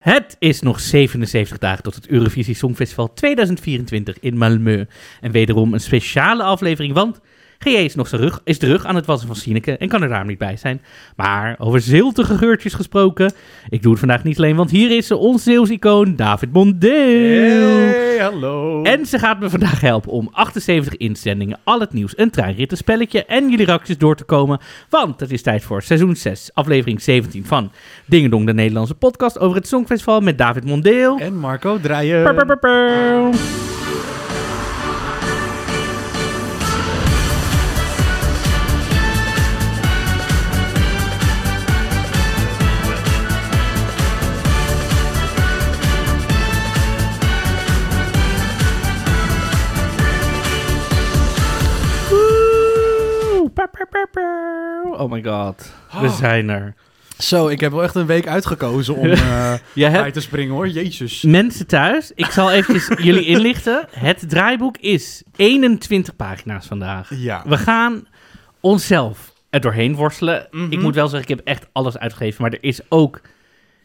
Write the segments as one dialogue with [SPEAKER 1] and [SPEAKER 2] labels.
[SPEAKER 1] Het is nog 77 dagen tot het Eurovisie Songfestival 2024 in Malmö. En wederom een speciale aflevering, want GJ is nog zijn rug, is de rug aan het wassen van Sineke en kan er daarom niet bij zijn. Maar over ziltige geurtjes gesproken, ik doe het vandaag niet alleen, want hier is ze, ons Zeeuws-icoon David Bondeel.
[SPEAKER 2] Hey, hallo.
[SPEAKER 1] En ze gaat me vandaag helpen om 78 inzendingen, al het nieuws, een treinrit, een spelletje en jullie reacties door te komen. Want het is tijd voor seizoen 6, aflevering 17 van Dingedong, de Nederlandse podcast over het Songfestival met David Mondeel.
[SPEAKER 2] En Marco draaien.
[SPEAKER 1] Purr, purr, purr, purr. Oeh, purr, purr, purr, purr. Oh my god, we
[SPEAKER 2] Oh.
[SPEAKER 1] zijn er.
[SPEAKER 2] Zo, ik heb wel echt een week uitgekozen om eh
[SPEAKER 1] Je
[SPEAKER 2] bij
[SPEAKER 1] hebt
[SPEAKER 2] te springen hoor. Jezus.
[SPEAKER 1] mensen thuis, ik zal eventjes jullie inlichten. Het draaiboek is 21 pagina's vandaag.
[SPEAKER 2] Ja.
[SPEAKER 1] We gaan onszelf er doorheen worstelen.
[SPEAKER 2] Mhm.
[SPEAKER 1] Ik moet wel zeggen, ik heb echt alles uitgegeven, maar er is ook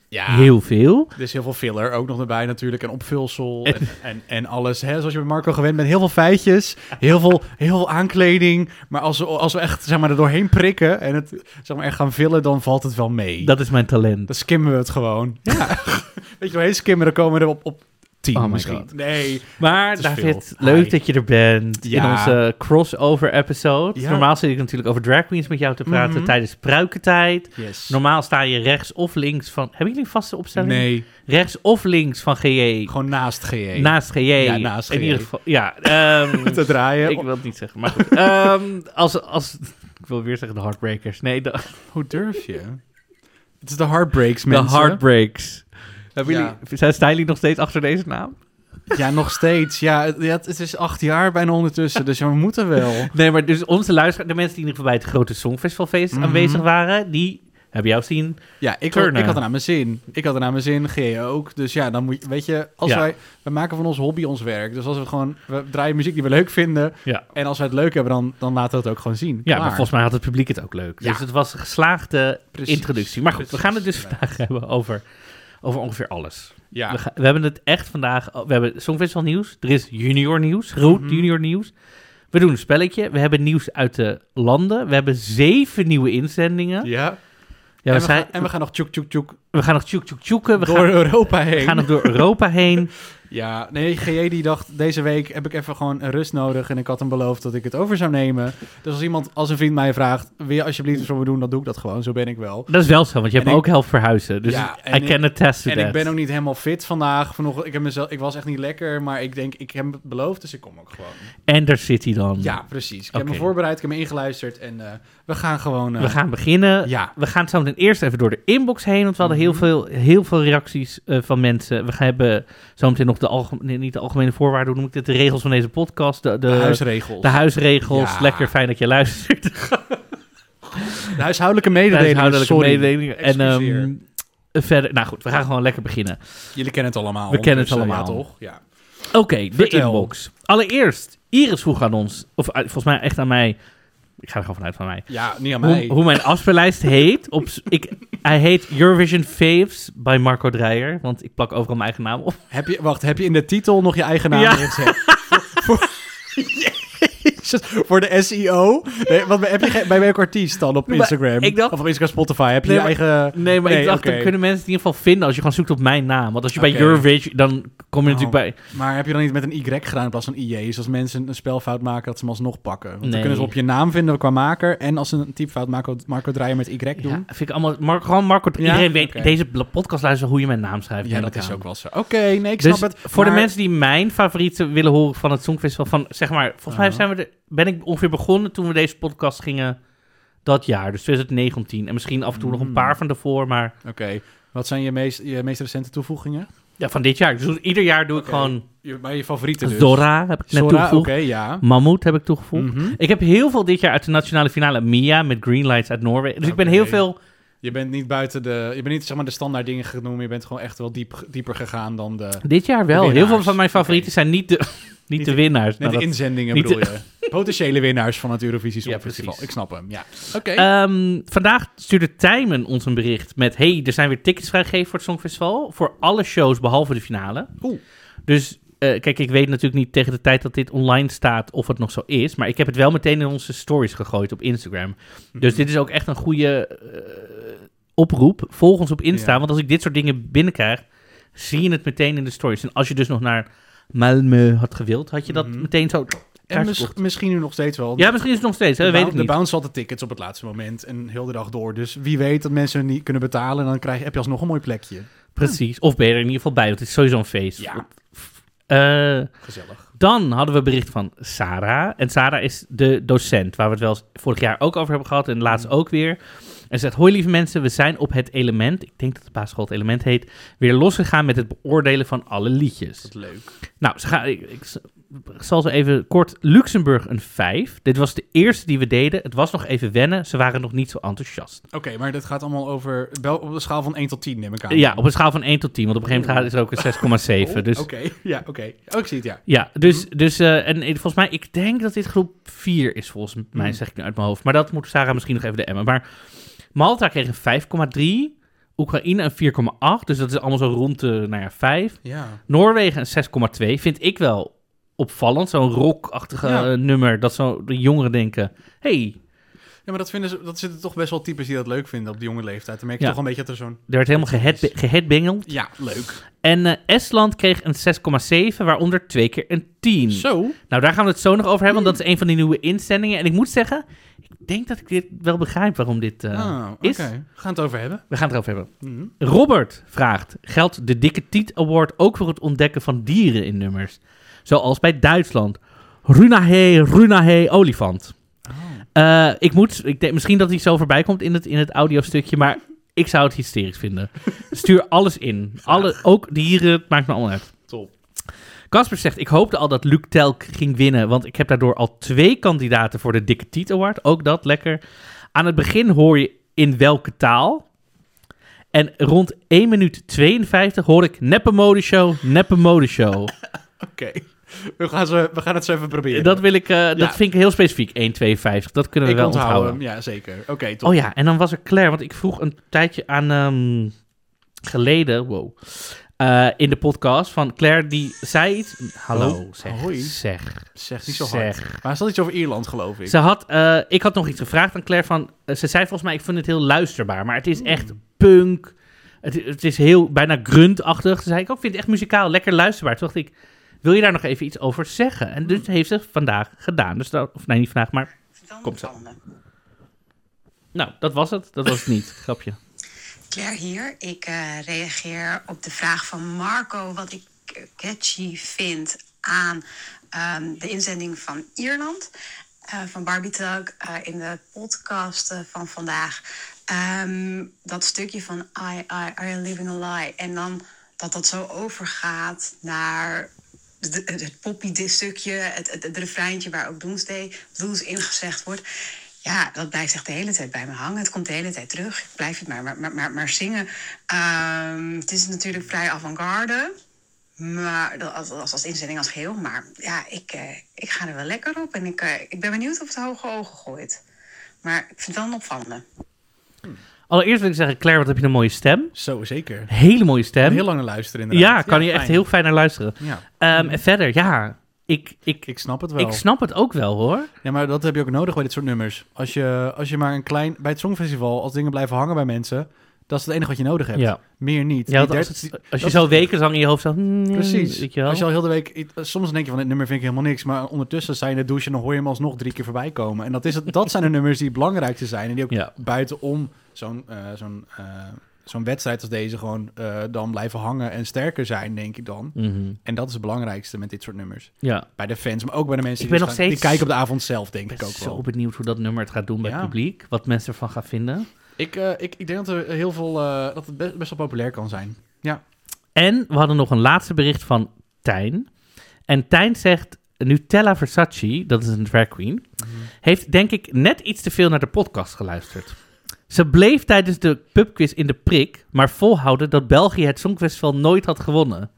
[SPEAKER 2] ja.
[SPEAKER 1] heel veel.
[SPEAKER 2] Er is heel veel filler ook nog erbij natuurlijk. En opvulsel. En, en, en alles. Hè, zoals je bij Marco gewend bent. Heel veel feitjes. Heel veel, heel veel aankleding. Maar als we, als we echt zeg maar, er doorheen prikken. En het zeg maar, echt gaan vullen. Dan valt het wel mee.
[SPEAKER 1] Dat is mijn talent.
[SPEAKER 2] Dan skimmen we het gewoon. Ja. Weet je wel, heen skimmen. Dan komen we er op, op tien
[SPEAKER 1] Oh my
[SPEAKER 2] misschien.
[SPEAKER 1] God.
[SPEAKER 2] Nee.
[SPEAKER 1] Maar
[SPEAKER 2] is veel.
[SPEAKER 1] David, leuk
[SPEAKER 2] Hi.
[SPEAKER 1] dat je er bent in
[SPEAKER 2] Ja.
[SPEAKER 1] onze crossover episode.
[SPEAKER 2] Ja.
[SPEAKER 1] Normaal zit ik natuurlijk over drag queens met jou te praten
[SPEAKER 2] Mhm.
[SPEAKER 1] tijdens pruikentijd.
[SPEAKER 2] Yes.
[SPEAKER 1] Normaal sta je rechts of links van... Hebben jullie een vaste opstelling?
[SPEAKER 2] Nee.
[SPEAKER 1] Rechts of links van E. GJ.
[SPEAKER 2] Gewoon naast E. GE.
[SPEAKER 1] Naast GJ.
[SPEAKER 2] Ja, naast
[SPEAKER 1] In
[SPEAKER 2] GJ.
[SPEAKER 1] ieder geval, ja. ehm,
[SPEAKER 2] te draaien.
[SPEAKER 1] ik wil het niet zeggen, maar goed. Ehm, als, als, ik wil weer zeggen de Heartbreakers. Nee, de,
[SPEAKER 2] Hoe durf je? Het is de Heartbreaks,
[SPEAKER 1] De
[SPEAKER 2] mensen.
[SPEAKER 1] Heartbreaks. Hebben
[SPEAKER 2] Ja.
[SPEAKER 1] jullie, zijn, staan jullie nog steeds achter deze naam?
[SPEAKER 2] Ja, nog steeds. Ja, het, ja, het is acht jaar bijna ondertussen, dus we moeten wel.
[SPEAKER 1] Nee, maar dus onze luisteraars, de mensen die in ieder geval bij het grote Songfestivalfeest
[SPEAKER 2] Mhm.
[SPEAKER 1] aanwezig waren, die hebben jou zien.
[SPEAKER 2] Ja, ik,
[SPEAKER 1] Turner.
[SPEAKER 2] ik had er naar mijn zin. Ik had er naar mijn zin, GE ook. Dus ja, dan moet je, weet je, als
[SPEAKER 1] Ja.
[SPEAKER 2] wij, wij maken van ons hobby ons werk. Dus als we gewoon, we draaien muziek die we leuk vinden.
[SPEAKER 1] Ja.
[SPEAKER 2] En als wij het leuk hebben, dan, dan laten we het ook gewoon zien.
[SPEAKER 1] Ja,
[SPEAKER 2] Klaar.
[SPEAKER 1] maar volgens mij had het publiek het ook leuk.
[SPEAKER 2] Ja.
[SPEAKER 1] Dus het was een geslaagde
[SPEAKER 2] Precies.
[SPEAKER 1] introductie. Maar goed, we
[SPEAKER 2] Precies.
[SPEAKER 1] gaan het dus vandaag hebben over, over ongeveer alles.
[SPEAKER 2] Ja.
[SPEAKER 1] We, ga- we hebben het echt vandaag, we hebben Songfestival nieuws, er is junior nieuws, groot
[SPEAKER 2] Mhm.
[SPEAKER 1] junior nieuws. We doen een spelletje, we hebben nieuws uit de landen, we hebben zeven nieuwe inzendingen.
[SPEAKER 2] Ja.
[SPEAKER 1] Ja,
[SPEAKER 2] en,
[SPEAKER 1] we,
[SPEAKER 2] we
[SPEAKER 1] zijn,
[SPEAKER 2] gaan, en we gaan nog tjoek tjoek tjoek
[SPEAKER 1] we gaan nog tjoek tjoek tjoeken, we
[SPEAKER 2] door
[SPEAKER 1] gaan
[SPEAKER 2] Europa heen.
[SPEAKER 1] We gaan nog door Europa heen.
[SPEAKER 2] Ja, nee, GJ die dacht, deze week heb ik even gewoon een rust nodig. En ik had hem beloofd dat ik het over zou nemen. Dus als iemand, als een vriend mij vraagt, wil je alsjeblieft iets voor me doen, dan doe ik dat gewoon. Zo ben ik wel.
[SPEAKER 1] Dat is wel zo, want je hebt
[SPEAKER 2] En
[SPEAKER 1] me
[SPEAKER 2] ik-
[SPEAKER 1] ook helft verhuizen. Dus
[SPEAKER 2] Ja, en
[SPEAKER 1] I can attest to
[SPEAKER 2] En
[SPEAKER 1] that.
[SPEAKER 2] ik ben ook niet helemaal fit vandaag. Vanochtend, ik, heb mezelf, ik was echt niet lekker, maar ik denk, ik heb het beloofd, dus ik kom ook gewoon.
[SPEAKER 1] En daar zit hij dan.
[SPEAKER 2] Ja, precies. Ik heb
[SPEAKER 1] Mm. Oké.
[SPEAKER 2] me voorbereid, ik heb me ingeluisterd en eh, we gaan gewoon... eh,
[SPEAKER 1] We gaan beginnen.
[SPEAKER 2] Ja,
[SPEAKER 1] We gaan zo meteen eerst even door de inbox heen, want we hadden heel
[SPEAKER 2] Mhm.
[SPEAKER 1] veel, heel veel reacties eh, van mensen. We gaan hebben zo meteen nog de algemene, niet de algemene voorwaarden, hoe noem ik dit, de regels van deze podcast, de, de,
[SPEAKER 2] de, huisregels.
[SPEAKER 1] de huisregels.
[SPEAKER 2] Ja.
[SPEAKER 1] Lekker fijn dat je luistert.
[SPEAKER 2] De huishoudelijke mededelingen,
[SPEAKER 1] Huishoudelijke
[SPEAKER 2] sorry.
[SPEAKER 1] mededelingen. En
[SPEAKER 2] Excuseer.
[SPEAKER 1] ehm, verder, nou goed, we gaan gewoon lekker beginnen.
[SPEAKER 2] Jullie kennen het allemaal.
[SPEAKER 1] We kennen het
[SPEAKER 2] ondertussen,
[SPEAKER 1] allemaal.
[SPEAKER 2] Ja, toch? Ja.
[SPEAKER 1] Oké, de
[SPEAKER 2] Vertel.
[SPEAKER 1] inbox. Allereerst, Iris vroeg aan ons, of eh, volgens mij echt aan mij, ik ga er gewoon vanuit van mij.
[SPEAKER 2] ja, niet aan
[SPEAKER 1] hoe,
[SPEAKER 2] mij.
[SPEAKER 1] hoe mijn afspeellijst heet. Op, s- ik, hij heet Eurovision Faves bij Marco Dreyer. Want ik plak overal mijn eigen naam op.
[SPEAKER 2] Heb je, wacht, heb je in de titel nog je eigen naam
[SPEAKER 1] Ja.
[SPEAKER 2] erin gezet? voor, voor, Jezus, voor de SEO? Nee, want heb je geen- bij welke artiest dan op
[SPEAKER 1] Maar
[SPEAKER 2] Instagram?
[SPEAKER 1] ik dacht-
[SPEAKER 2] of op Instagram, Spotify? Heb je
[SPEAKER 1] Nee,
[SPEAKER 2] je eigen...
[SPEAKER 1] Nee, maar ik dacht,
[SPEAKER 2] oké.
[SPEAKER 1] dan kunnen mensen het in ieder geval vinden als je gewoon zoekt op mijn naam. Want als je bij
[SPEAKER 2] Oké.
[SPEAKER 1] Eurovision, dan kom je
[SPEAKER 2] Oh,
[SPEAKER 1] natuurlijk bij...
[SPEAKER 2] Maar heb je dan niet met een Y gedaan in plaats van IJ? Dus als mensen een spelfout maken, dat ze hem alsnog pakken. Want
[SPEAKER 1] Nee.
[SPEAKER 2] dan kunnen ze op je naam vinden qua maker. En als ze een typfout maken, Marco draaien met Y doen.
[SPEAKER 1] Ja, vind ik allemaal... Mar gewoon Marco Dreyer.
[SPEAKER 2] Ja?
[SPEAKER 1] Iedereen weet,
[SPEAKER 2] Oké.
[SPEAKER 1] deze bl- podcast luisteren hoe je mijn naam schrijft.
[SPEAKER 2] Ja,
[SPEAKER 1] neem
[SPEAKER 2] dat
[SPEAKER 1] ik
[SPEAKER 2] is
[SPEAKER 1] aan.
[SPEAKER 2] ook wel zo. Oké, nee, ik
[SPEAKER 1] Dus
[SPEAKER 2] snap het.
[SPEAKER 1] voor de
[SPEAKER 2] maar-
[SPEAKER 1] mensen die mijn favorieten willen horen van het Songfestival, van zeg maar, volgens mij
[SPEAKER 2] Ja.
[SPEAKER 1] zijn we de, ben ik ongeveer begonnen toen we deze podcast gingen dat jaar, dus 2019. En misschien af en toe nog een
[SPEAKER 2] Mm.
[SPEAKER 1] paar van daarvoor, maar
[SPEAKER 2] Oké, wat zijn je meest, je meest recente toevoegingen?
[SPEAKER 1] Ja, van dit jaar. Dus ieder jaar doe ik
[SPEAKER 2] Oké.
[SPEAKER 1] gewoon...
[SPEAKER 2] Je, bij je favorieten dus.
[SPEAKER 1] Zora heb ik net
[SPEAKER 2] Zora, oké,
[SPEAKER 1] toegevoegd.
[SPEAKER 2] ja.
[SPEAKER 1] Mammoet heb ik toegevoegd.
[SPEAKER 2] Mhm.
[SPEAKER 1] Ik heb heel veel dit jaar uit de nationale finale. Mia met Green Lights uit Noorwegen. Dus ik ben
[SPEAKER 2] Oké.
[SPEAKER 1] heel veel...
[SPEAKER 2] Je bent niet buiten de. Je bent niet zeg maar de standaard dingen genomen. Je bent gewoon echt wel diep, dieper gegaan dan de.
[SPEAKER 1] Dit jaar wel.
[SPEAKER 2] De winnaars.
[SPEAKER 1] Heel veel van mijn favorieten zijn niet de, niet de winnaars.
[SPEAKER 2] Net
[SPEAKER 1] Nou,
[SPEAKER 2] de
[SPEAKER 1] dat-
[SPEAKER 2] inzendingen
[SPEAKER 1] niet
[SPEAKER 2] bedoel je. Potentiële winnaars van het Eurovisie
[SPEAKER 1] Ja,
[SPEAKER 2] Songfestival.
[SPEAKER 1] precies.
[SPEAKER 2] ik snap hem, ja. Oké.
[SPEAKER 1] Ehm, vandaag stuurde Tijmen ons een bericht met... hey, er zijn weer tickets vrijgegeven voor het Songfestival. Voor alle shows behalve de finale.
[SPEAKER 2] Oeh.
[SPEAKER 1] Dus eh, kijk, ik weet natuurlijk niet tegen de tijd dat dit online staat of het nog zo is. Maar ik heb het wel meteen in onze stories gegooid op Instagram.
[SPEAKER 2] Mm.
[SPEAKER 1] Dus dit is ook echt een goede eh, oproep. Volg ons op Insta.
[SPEAKER 2] Ja.
[SPEAKER 1] Want als ik dit soort dingen binnenkrijg, zie je het meteen in de stories. En als je dus nog naar Malmö had gewild, had je dat
[SPEAKER 2] Mhm.
[SPEAKER 1] meteen zo...
[SPEAKER 2] en
[SPEAKER 1] kaars
[SPEAKER 2] mis-
[SPEAKER 1] gekocht.
[SPEAKER 2] misschien nu nog steeds wel.
[SPEAKER 1] Ja, misschien is het nog steeds. Hè?
[SPEAKER 2] de,
[SPEAKER 1] We
[SPEAKER 2] bou-
[SPEAKER 1] weten het
[SPEAKER 2] de
[SPEAKER 1] niet.
[SPEAKER 2] bounce had de tickets op het laatste moment en heel de dag door. Dus wie weet dat mensen niet kunnen betalen en dan krijg, heb je alsnog een mooi plekje.
[SPEAKER 1] Precies. Of ben je er in ieder geval bij, want het is sowieso een feest.
[SPEAKER 2] Ja.
[SPEAKER 1] Eh,
[SPEAKER 2] Gezellig.
[SPEAKER 1] dan hadden we bericht van Sarah. En Sarah is de docent, waar we het wel eens vorig jaar ook over hebben gehad en
[SPEAKER 2] Mm.
[SPEAKER 1] laatst ook weer. En ze zegt, hoi lieve mensen, we zijn op het element, ik denk dat de basisschool het element heet, weer losgegaan met het beoordelen van alle liedjes.
[SPEAKER 2] Dat is leuk.
[SPEAKER 1] Nou, ze gaan, ik, ik s- zal ze even kort. Luxemburg een 5. Dit was de eerste die we deden. Het was nog even wennen. Ze waren nog niet zo enthousiast.
[SPEAKER 2] Oké, maar dat gaat allemaal over... Wel op de schaal van 1 tot 10 neem ik aan.
[SPEAKER 1] Ja, op een schaal van 1 tot 10. Want op een gegeven moment is er ook een 6,7.
[SPEAKER 2] Oh,
[SPEAKER 1] Dus
[SPEAKER 2] Oké, ja, oké. Oh, ik zie het, ja.
[SPEAKER 1] Ja, dus, dus eh, en eh, volgens mij, ik denk dat dit groep 4 is, volgens mij,
[SPEAKER 2] Mm.
[SPEAKER 1] zeg ik nu uit mijn hoofd. Maar dat moet Sarah misschien nog even de emmen. Maar Malta kreeg een 5,3, Oekraïne een 4,8, dus dat is allemaal zo rond de nou ja, 5.
[SPEAKER 2] Ja.
[SPEAKER 1] Noorwegen een 6,2, vind ik wel opvallend. Zo'n rockachtige
[SPEAKER 2] Ja.
[SPEAKER 1] eh, nummer, dat zo de jongeren denken, hey,
[SPEAKER 2] Ja, maar dat, vinden ze, dat zitten toch best wel types die dat leuk vinden op die jonge leeftijd. Dan merk je
[SPEAKER 1] Ja.
[SPEAKER 2] toch een beetje dat er zo'n...
[SPEAKER 1] er werd helemaal gehead- geheadbangeld.
[SPEAKER 2] Ja, leuk.
[SPEAKER 1] En eh, Estland kreeg een 6,7, waaronder twee keer een 10.
[SPEAKER 2] Zo.
[SPEAKER 1] Nou, daar gaan we het zo nog over hebben, want dat is een van die nieuwe instellingen. En ik moet zeggen, ik denk dat ik dit wel begrijp waarom dit eh,
[SPEAKER 2] Ah, oké.
[SPEAKER 1] is.
[SPEAKER 2] We gaan het over hebben.
[SPEAKER 1] We gaan het erover hebben.
[SPEAKER 2] Mhm.
[SPEAKER 1] Robert vraagt, geldt de Dikke Tiet Award ook voor het ontdekken van dieren in nummers? Zoals bij Duitsland. Runahe, Runahe, olifant.
[SPEAKER 2] Oh.
[SPEAKER 1] Eh, ik moet, ik denk, misschien dat hij zo voorbij komt in het, in het audiostukje, maar ik zou het hysterisch vinden. Stuur alles in. Alle, ook dieren, het maakt me allemaal uit.
[SPEAKER 2] Top.
[SPEAKER 1] Casper zegt, ik hoopte al dat Luc Telk ging winnen, want ik heb daardoor al twee kandidaten voor de Dikke Tiet Award. Ook dat, lekker. Aan het begin hoor je in welke taal. En rond 1 minuut 52 hoor ik neppe modeshow, neppe modeshow.
[SPEAKER 2] Oké. We, gaan ze- we gaan het zo even proberen.
[SPEAKER 1] Dat, wil ik, eh, dat vind ik heel specifiek, 1,52. Dat kunnen we
[SPEAKER 2] ik
[SPEAKER 1] wel
[SPEAKER 2] onthoud
[SPEAKER 1] onthouden.
[SPEAKER 2] hem. Ja, zeker. Oké, top.
[SPEAKER 1] Oh ja, en dan was er Claire, want ik vroeg een tijdje aan ehm, geleden, wow, eh, in de podcast van Claire, die zei iets. Hallo,
[SPEAKER 2] Oh,
[SPEAKER 1] zeg,
[SPEAKER 2] hoi.
[SPEAKER 1] zeg,
[SPEAKER 2] Zeg niet zo hard.
[SPEAKER 1] zeg.
[SPEAKER 2] Maar er zat iets over Ierland, geloof ik.
[SPEAKER 1] Ze had, eh, ik had nog iets gevraagd aan Claire van, eh, ze zei volgens mij, ik vind het heel luisterbaar, maar het is echt punk, het, het is heel, bijna gruntachtig. Ze zei, ik ook vind het echt muzikaal, lekker luisterbaar. Toen dacht ik, wil je daar nog even iets over zeggen? En dus heeft ze vandaag gedaan, dus dat, of nee, niet vandaag, maar Komt zo. nou, dat was het, dat was het niet, grapje.
[SPEAKER 3] Claire hier. Ik eh, reageer op de vraag van Marco wat ik eh, catchy vind aan ehm, de inzending van Ierland. eh, van Barbie Talk eh, in de podcast eh, van vandaag. Ehm, dat stukje van I, I, Are You Living a Lie? En dan dat dat zo overgaat naar de- het, het poppy stukje, het, het, het refreintje waar ook Doomsday Blues ingezegd wordt. Ja, dat blijft echt de hele tijd bij me hangen. Het komt de hele tijd terug. Ik blijf het maar, maar, maar, maar, maar zingen. Ehm, het is natuurlijk vrij avant-garde. Maar dat- als, als, als inzending als geheel. Maar ja, ik, eh, ik ga er wel lekker op. En ik, eh, ik ben benieuwd of het hoge ogen gooit. Maar ik vind het wel een opvallende.
[SPEAKER 1] Allereerst wil ik zeggen, Claire, wat heb je een mooie stem.
[SPEAKER 2] Zo, zeker.
[SPEAKER 1] Hele mooie stem.
[SPEAKER 2] Heel lang naar luisteren, inderdaad.
[SPEAKER 1] ja, kan je echt
[SPEAKER 2] fijn.
[SPEAKER 1] heel fijn naar luisteren.
[SPEAKER 2] Ja,
[SPEAKER 1] Ehm, En verder, ja, ik, ik,
[SPEAKER 2] ik snap het wel.
[SPEAKER 1] ik snap het ook wel hoor.
[SPEAKER 2] Ja, maar dat heb je ook nodig bij dit soort nummers. Als je, als je maar een klein... Bij het Songfestival, als dingen blijven hangen bij mensen... Dat is het enige wat je nodig hebt.
[SPEAKER 1] Ja.
[SPEAKER 2] Meer niet.
[SPEAKER 1] Ja,
[SPEAKER 2] Die
[SPEAKER 1] want als,
[SPEAKER 2] dertig-
[SPEAKER 1] het- als je
[SPEAKER 2] dat
[SPEAKER 1] zo
[SPEAKER 2] is-
[SPEAKER 1] weken lang in je hoofd zat.
[SPEAKER 2] Precies.
[SPEAKER 1] Mm, Weet je wel?
[SPEAKER 2] Als je al heel de week... Soms denk je van, dit nummer vind ik helemaal niks. Maar ondertussen sta je in de douche en dan hoor je hem alsnog drie keer voorbij komen. En dat, is het, dat zijn de nummers die het belangrijkste zijn. En die ook
[SPEAKER 1] Ja.
[SPEAKER 2] buitenom zo'n eh, zo'n eh, zo'n wedstrijd als deze gewoon eh, dan blijven hangen en sterker zijn, denk ik dan.
[SPEAKER 1] Mhm.
[SPEAKER 2] En dat is het belangrijkste met dit soort nummers.
[SPEAKER 1] Ja.
[SPEAKER 2] Bij de fans, maar ook bij de mensen
[SPEAKER 1] Ik
[SPEAKER 2] die,
[SPEAKER 1] ben
[SPEAKER 2] dus
[SPEAKER 1] nog
[SPEAKER 2] gaan- die
[SPEAKER 1] steeds-
[SPEAKER 2] kijken op de avond zelf, denk
[SPEAKER 1] Ik
[SPEAKER 2] ik
[SPEAKER 1] ben
[SPEAKER 2] ook wel.
[SPEAKER 1] zo benieuwd hoe dat nummer het gaat doen bij het
[SPEAKER 2] Ja.
[SPEAKER 1] publiek. Wat mensen ervan gaan vinden.
[SPEAKER 2] Ik, eh, ik, ik denk dat er heel veel eh, dat het best, best wel populair kan zijn.
[SPEAKER 1] En we hadden nog een laatste bericht van Tijn. En Tijn zegt, Nutella Versace, dat is een drag queen,
[SPEAKER 2] Mhm.
[SPEAKER 1] heeft denk ik net iets te veel naar de podcast geluisterd. Ze bleef tijdens de pubquiz in de prik, maar volhouden dat België het Songfestival nooit had gewonnen.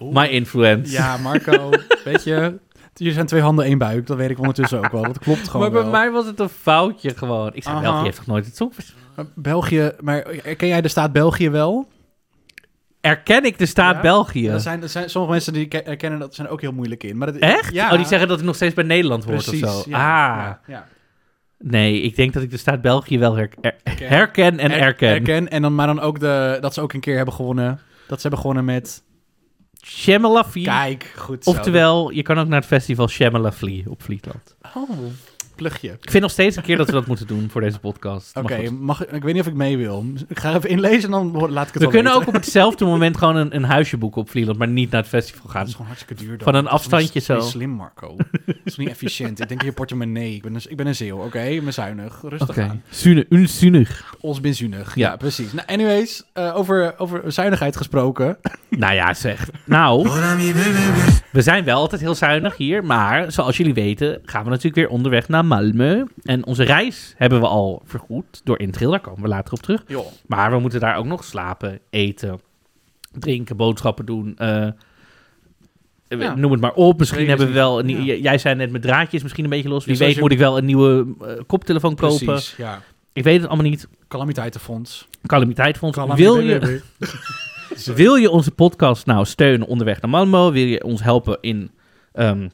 [SPEAKER 1] My influence.
[SPEAKER 2] Ja, Marco, weet je, het Hier zijn twee handen, één buik. Dat weet ik ondertussen ook wel. Dat klopt gewoon
[SPEAKER 1] maar bij
[SPEAKER 2] wel.
[SPEAKER 1] mij was het een foutje gewoon. Ik zei,
[SPEAKER 2] Aha.
[SPEAKER 1] België heeft toch nooit het Songfestival?
[SPEAKER 2] Maar België, maar ken jij de staat België wel?
[SPEAKER 1] Erken ik de staat
[SPEAKER 2] Ja,
[SPEAKER 1] België?
[SPEAKER 2] Er zijn, er zijn sommige mensen die ke- herkennen dat zijn er ook heel moeilijk in. Maar dat,
[SPEAKER 1] Echt?
[SPEAKER 2] Ja,
[SPEAKER 1] Oh, die zeggen dat het nog steeds bij Nederland hoort
[SPEAKER 2] precies.
[SPEAKER 1] of zo.
[SPEAKER 2] ja,
[SPEAKER 1] ah,
[SPEAKER 2] ja, ja.
[SPEAKER 1] nee, ik denk dat ik de staat België wel her- her- herken en
[SPEAKER 2] Her-
[SPEAKER 1] erken.
[SPEAKER 2] en dan, maar dan ook de, dat ze ook een keer hebben gewonnen. Dat ze hebben gewonnen met...
[SPEAKER 1] Shemalafie.
[SPEAKER 2] Kijk, goed zo.
[SPEAKER 1] Oftewel, je kan ook naar het festival Shemalafie op Vlietland.
[SPEAKER 2] Oh, plugje.
[SPEAKER 1] Ik vind nog steeds een keer dat we dat moeten doen voor deze podcast. Maar
[SPEAKER 2] Oké,
[SPEAKER 1] goed.
[SPEAKER 2] mag ik weet niet of ik mee wil. Ik ga even inlezen en dan ho- laat ik
[SPEAKER 1] We
[SPEAKER 2] het wel
[SPEAKER 1] kunnen ook
[SPEAKER 2] weten.
[SPEAKER 1] op hetzelfde moment gewoon een, een huisje boeken op Vlieland, maar niet naar het festival
[SPEAKER 2] Dat
[SPEAKER 1] gaan.
[SPEAKER 2] is gewoon hartstikke duur dan.
[SPEAKER 1] Van een
[SPEAKER 2] Dat is niet-
[SPEAKER 1] afstandje
[SPEAKER 2] dat is
[SPEAKER 1] zo.
[SPEAKER 2] niet slim, Marco. Dat is niet efficiënt. Ik denk in je portemonnee. Ik ben een, ik ben een zeeuw, oké? Ik ben zuinig. Rustig aan.
[SPEAKER 1] Oké, Zune- unzunig.
[SPEAKER 2] Ons ben zuinig.
[SPEAKER 1] Ja.
[SPEAKER 2] Ja, precies. Nou, anyways, eh, over, over zuinigheid gesproken.
[SPEAKER 1] Nou ja, zeg. Nou, we zijn wel altijd heel zuinig hier, maar zoals jullie weten gaan we natuurlijk weer onderweg naar Malmö. En onze reis hebben we al vergoed door Intril, daar komen we later op terug.
[SPEAKER 2] Joh.
[SPEAKER 1] Maar we moeten daar ook nog slapen, eten, drinken, boodschappen doen. eh,
[SPEAKER 2] Ja.
[SPEAKER 1] Noem het maar op. Misschien
[SPEAKER 2] Regels
[SPEAKER 1] hebben we wel. Een,
[SPEAKER 2] niet.
[SPEAKER 1] j- Jij zei net met draadjes misschien een beetje los. Wie
[SPEAKER 2] Ja, zoals
[SPEAKER 1] weet
[SPEAKER 2] je-
[SPEAKER 1] moet ik wel een nieuwe eh, koptelefoon kopen.
[SPEAKER 2] Precies, ja.
[SPEAKER 1] Ik weet het allemaal niet.
[SPEAKER 2] Calamiteitenfonds.
[SPEAKER 1] Calamiteitfonds.
[SPEAKER 2] Calamiteiten-
[SPEAKER 1] Wil je,
[SPEAKER 2] Nee, nee.
[SPEAKER 1] wil je onze podcast nou steunen onderweg naar Malmo? Wil je ons helpen in ehm,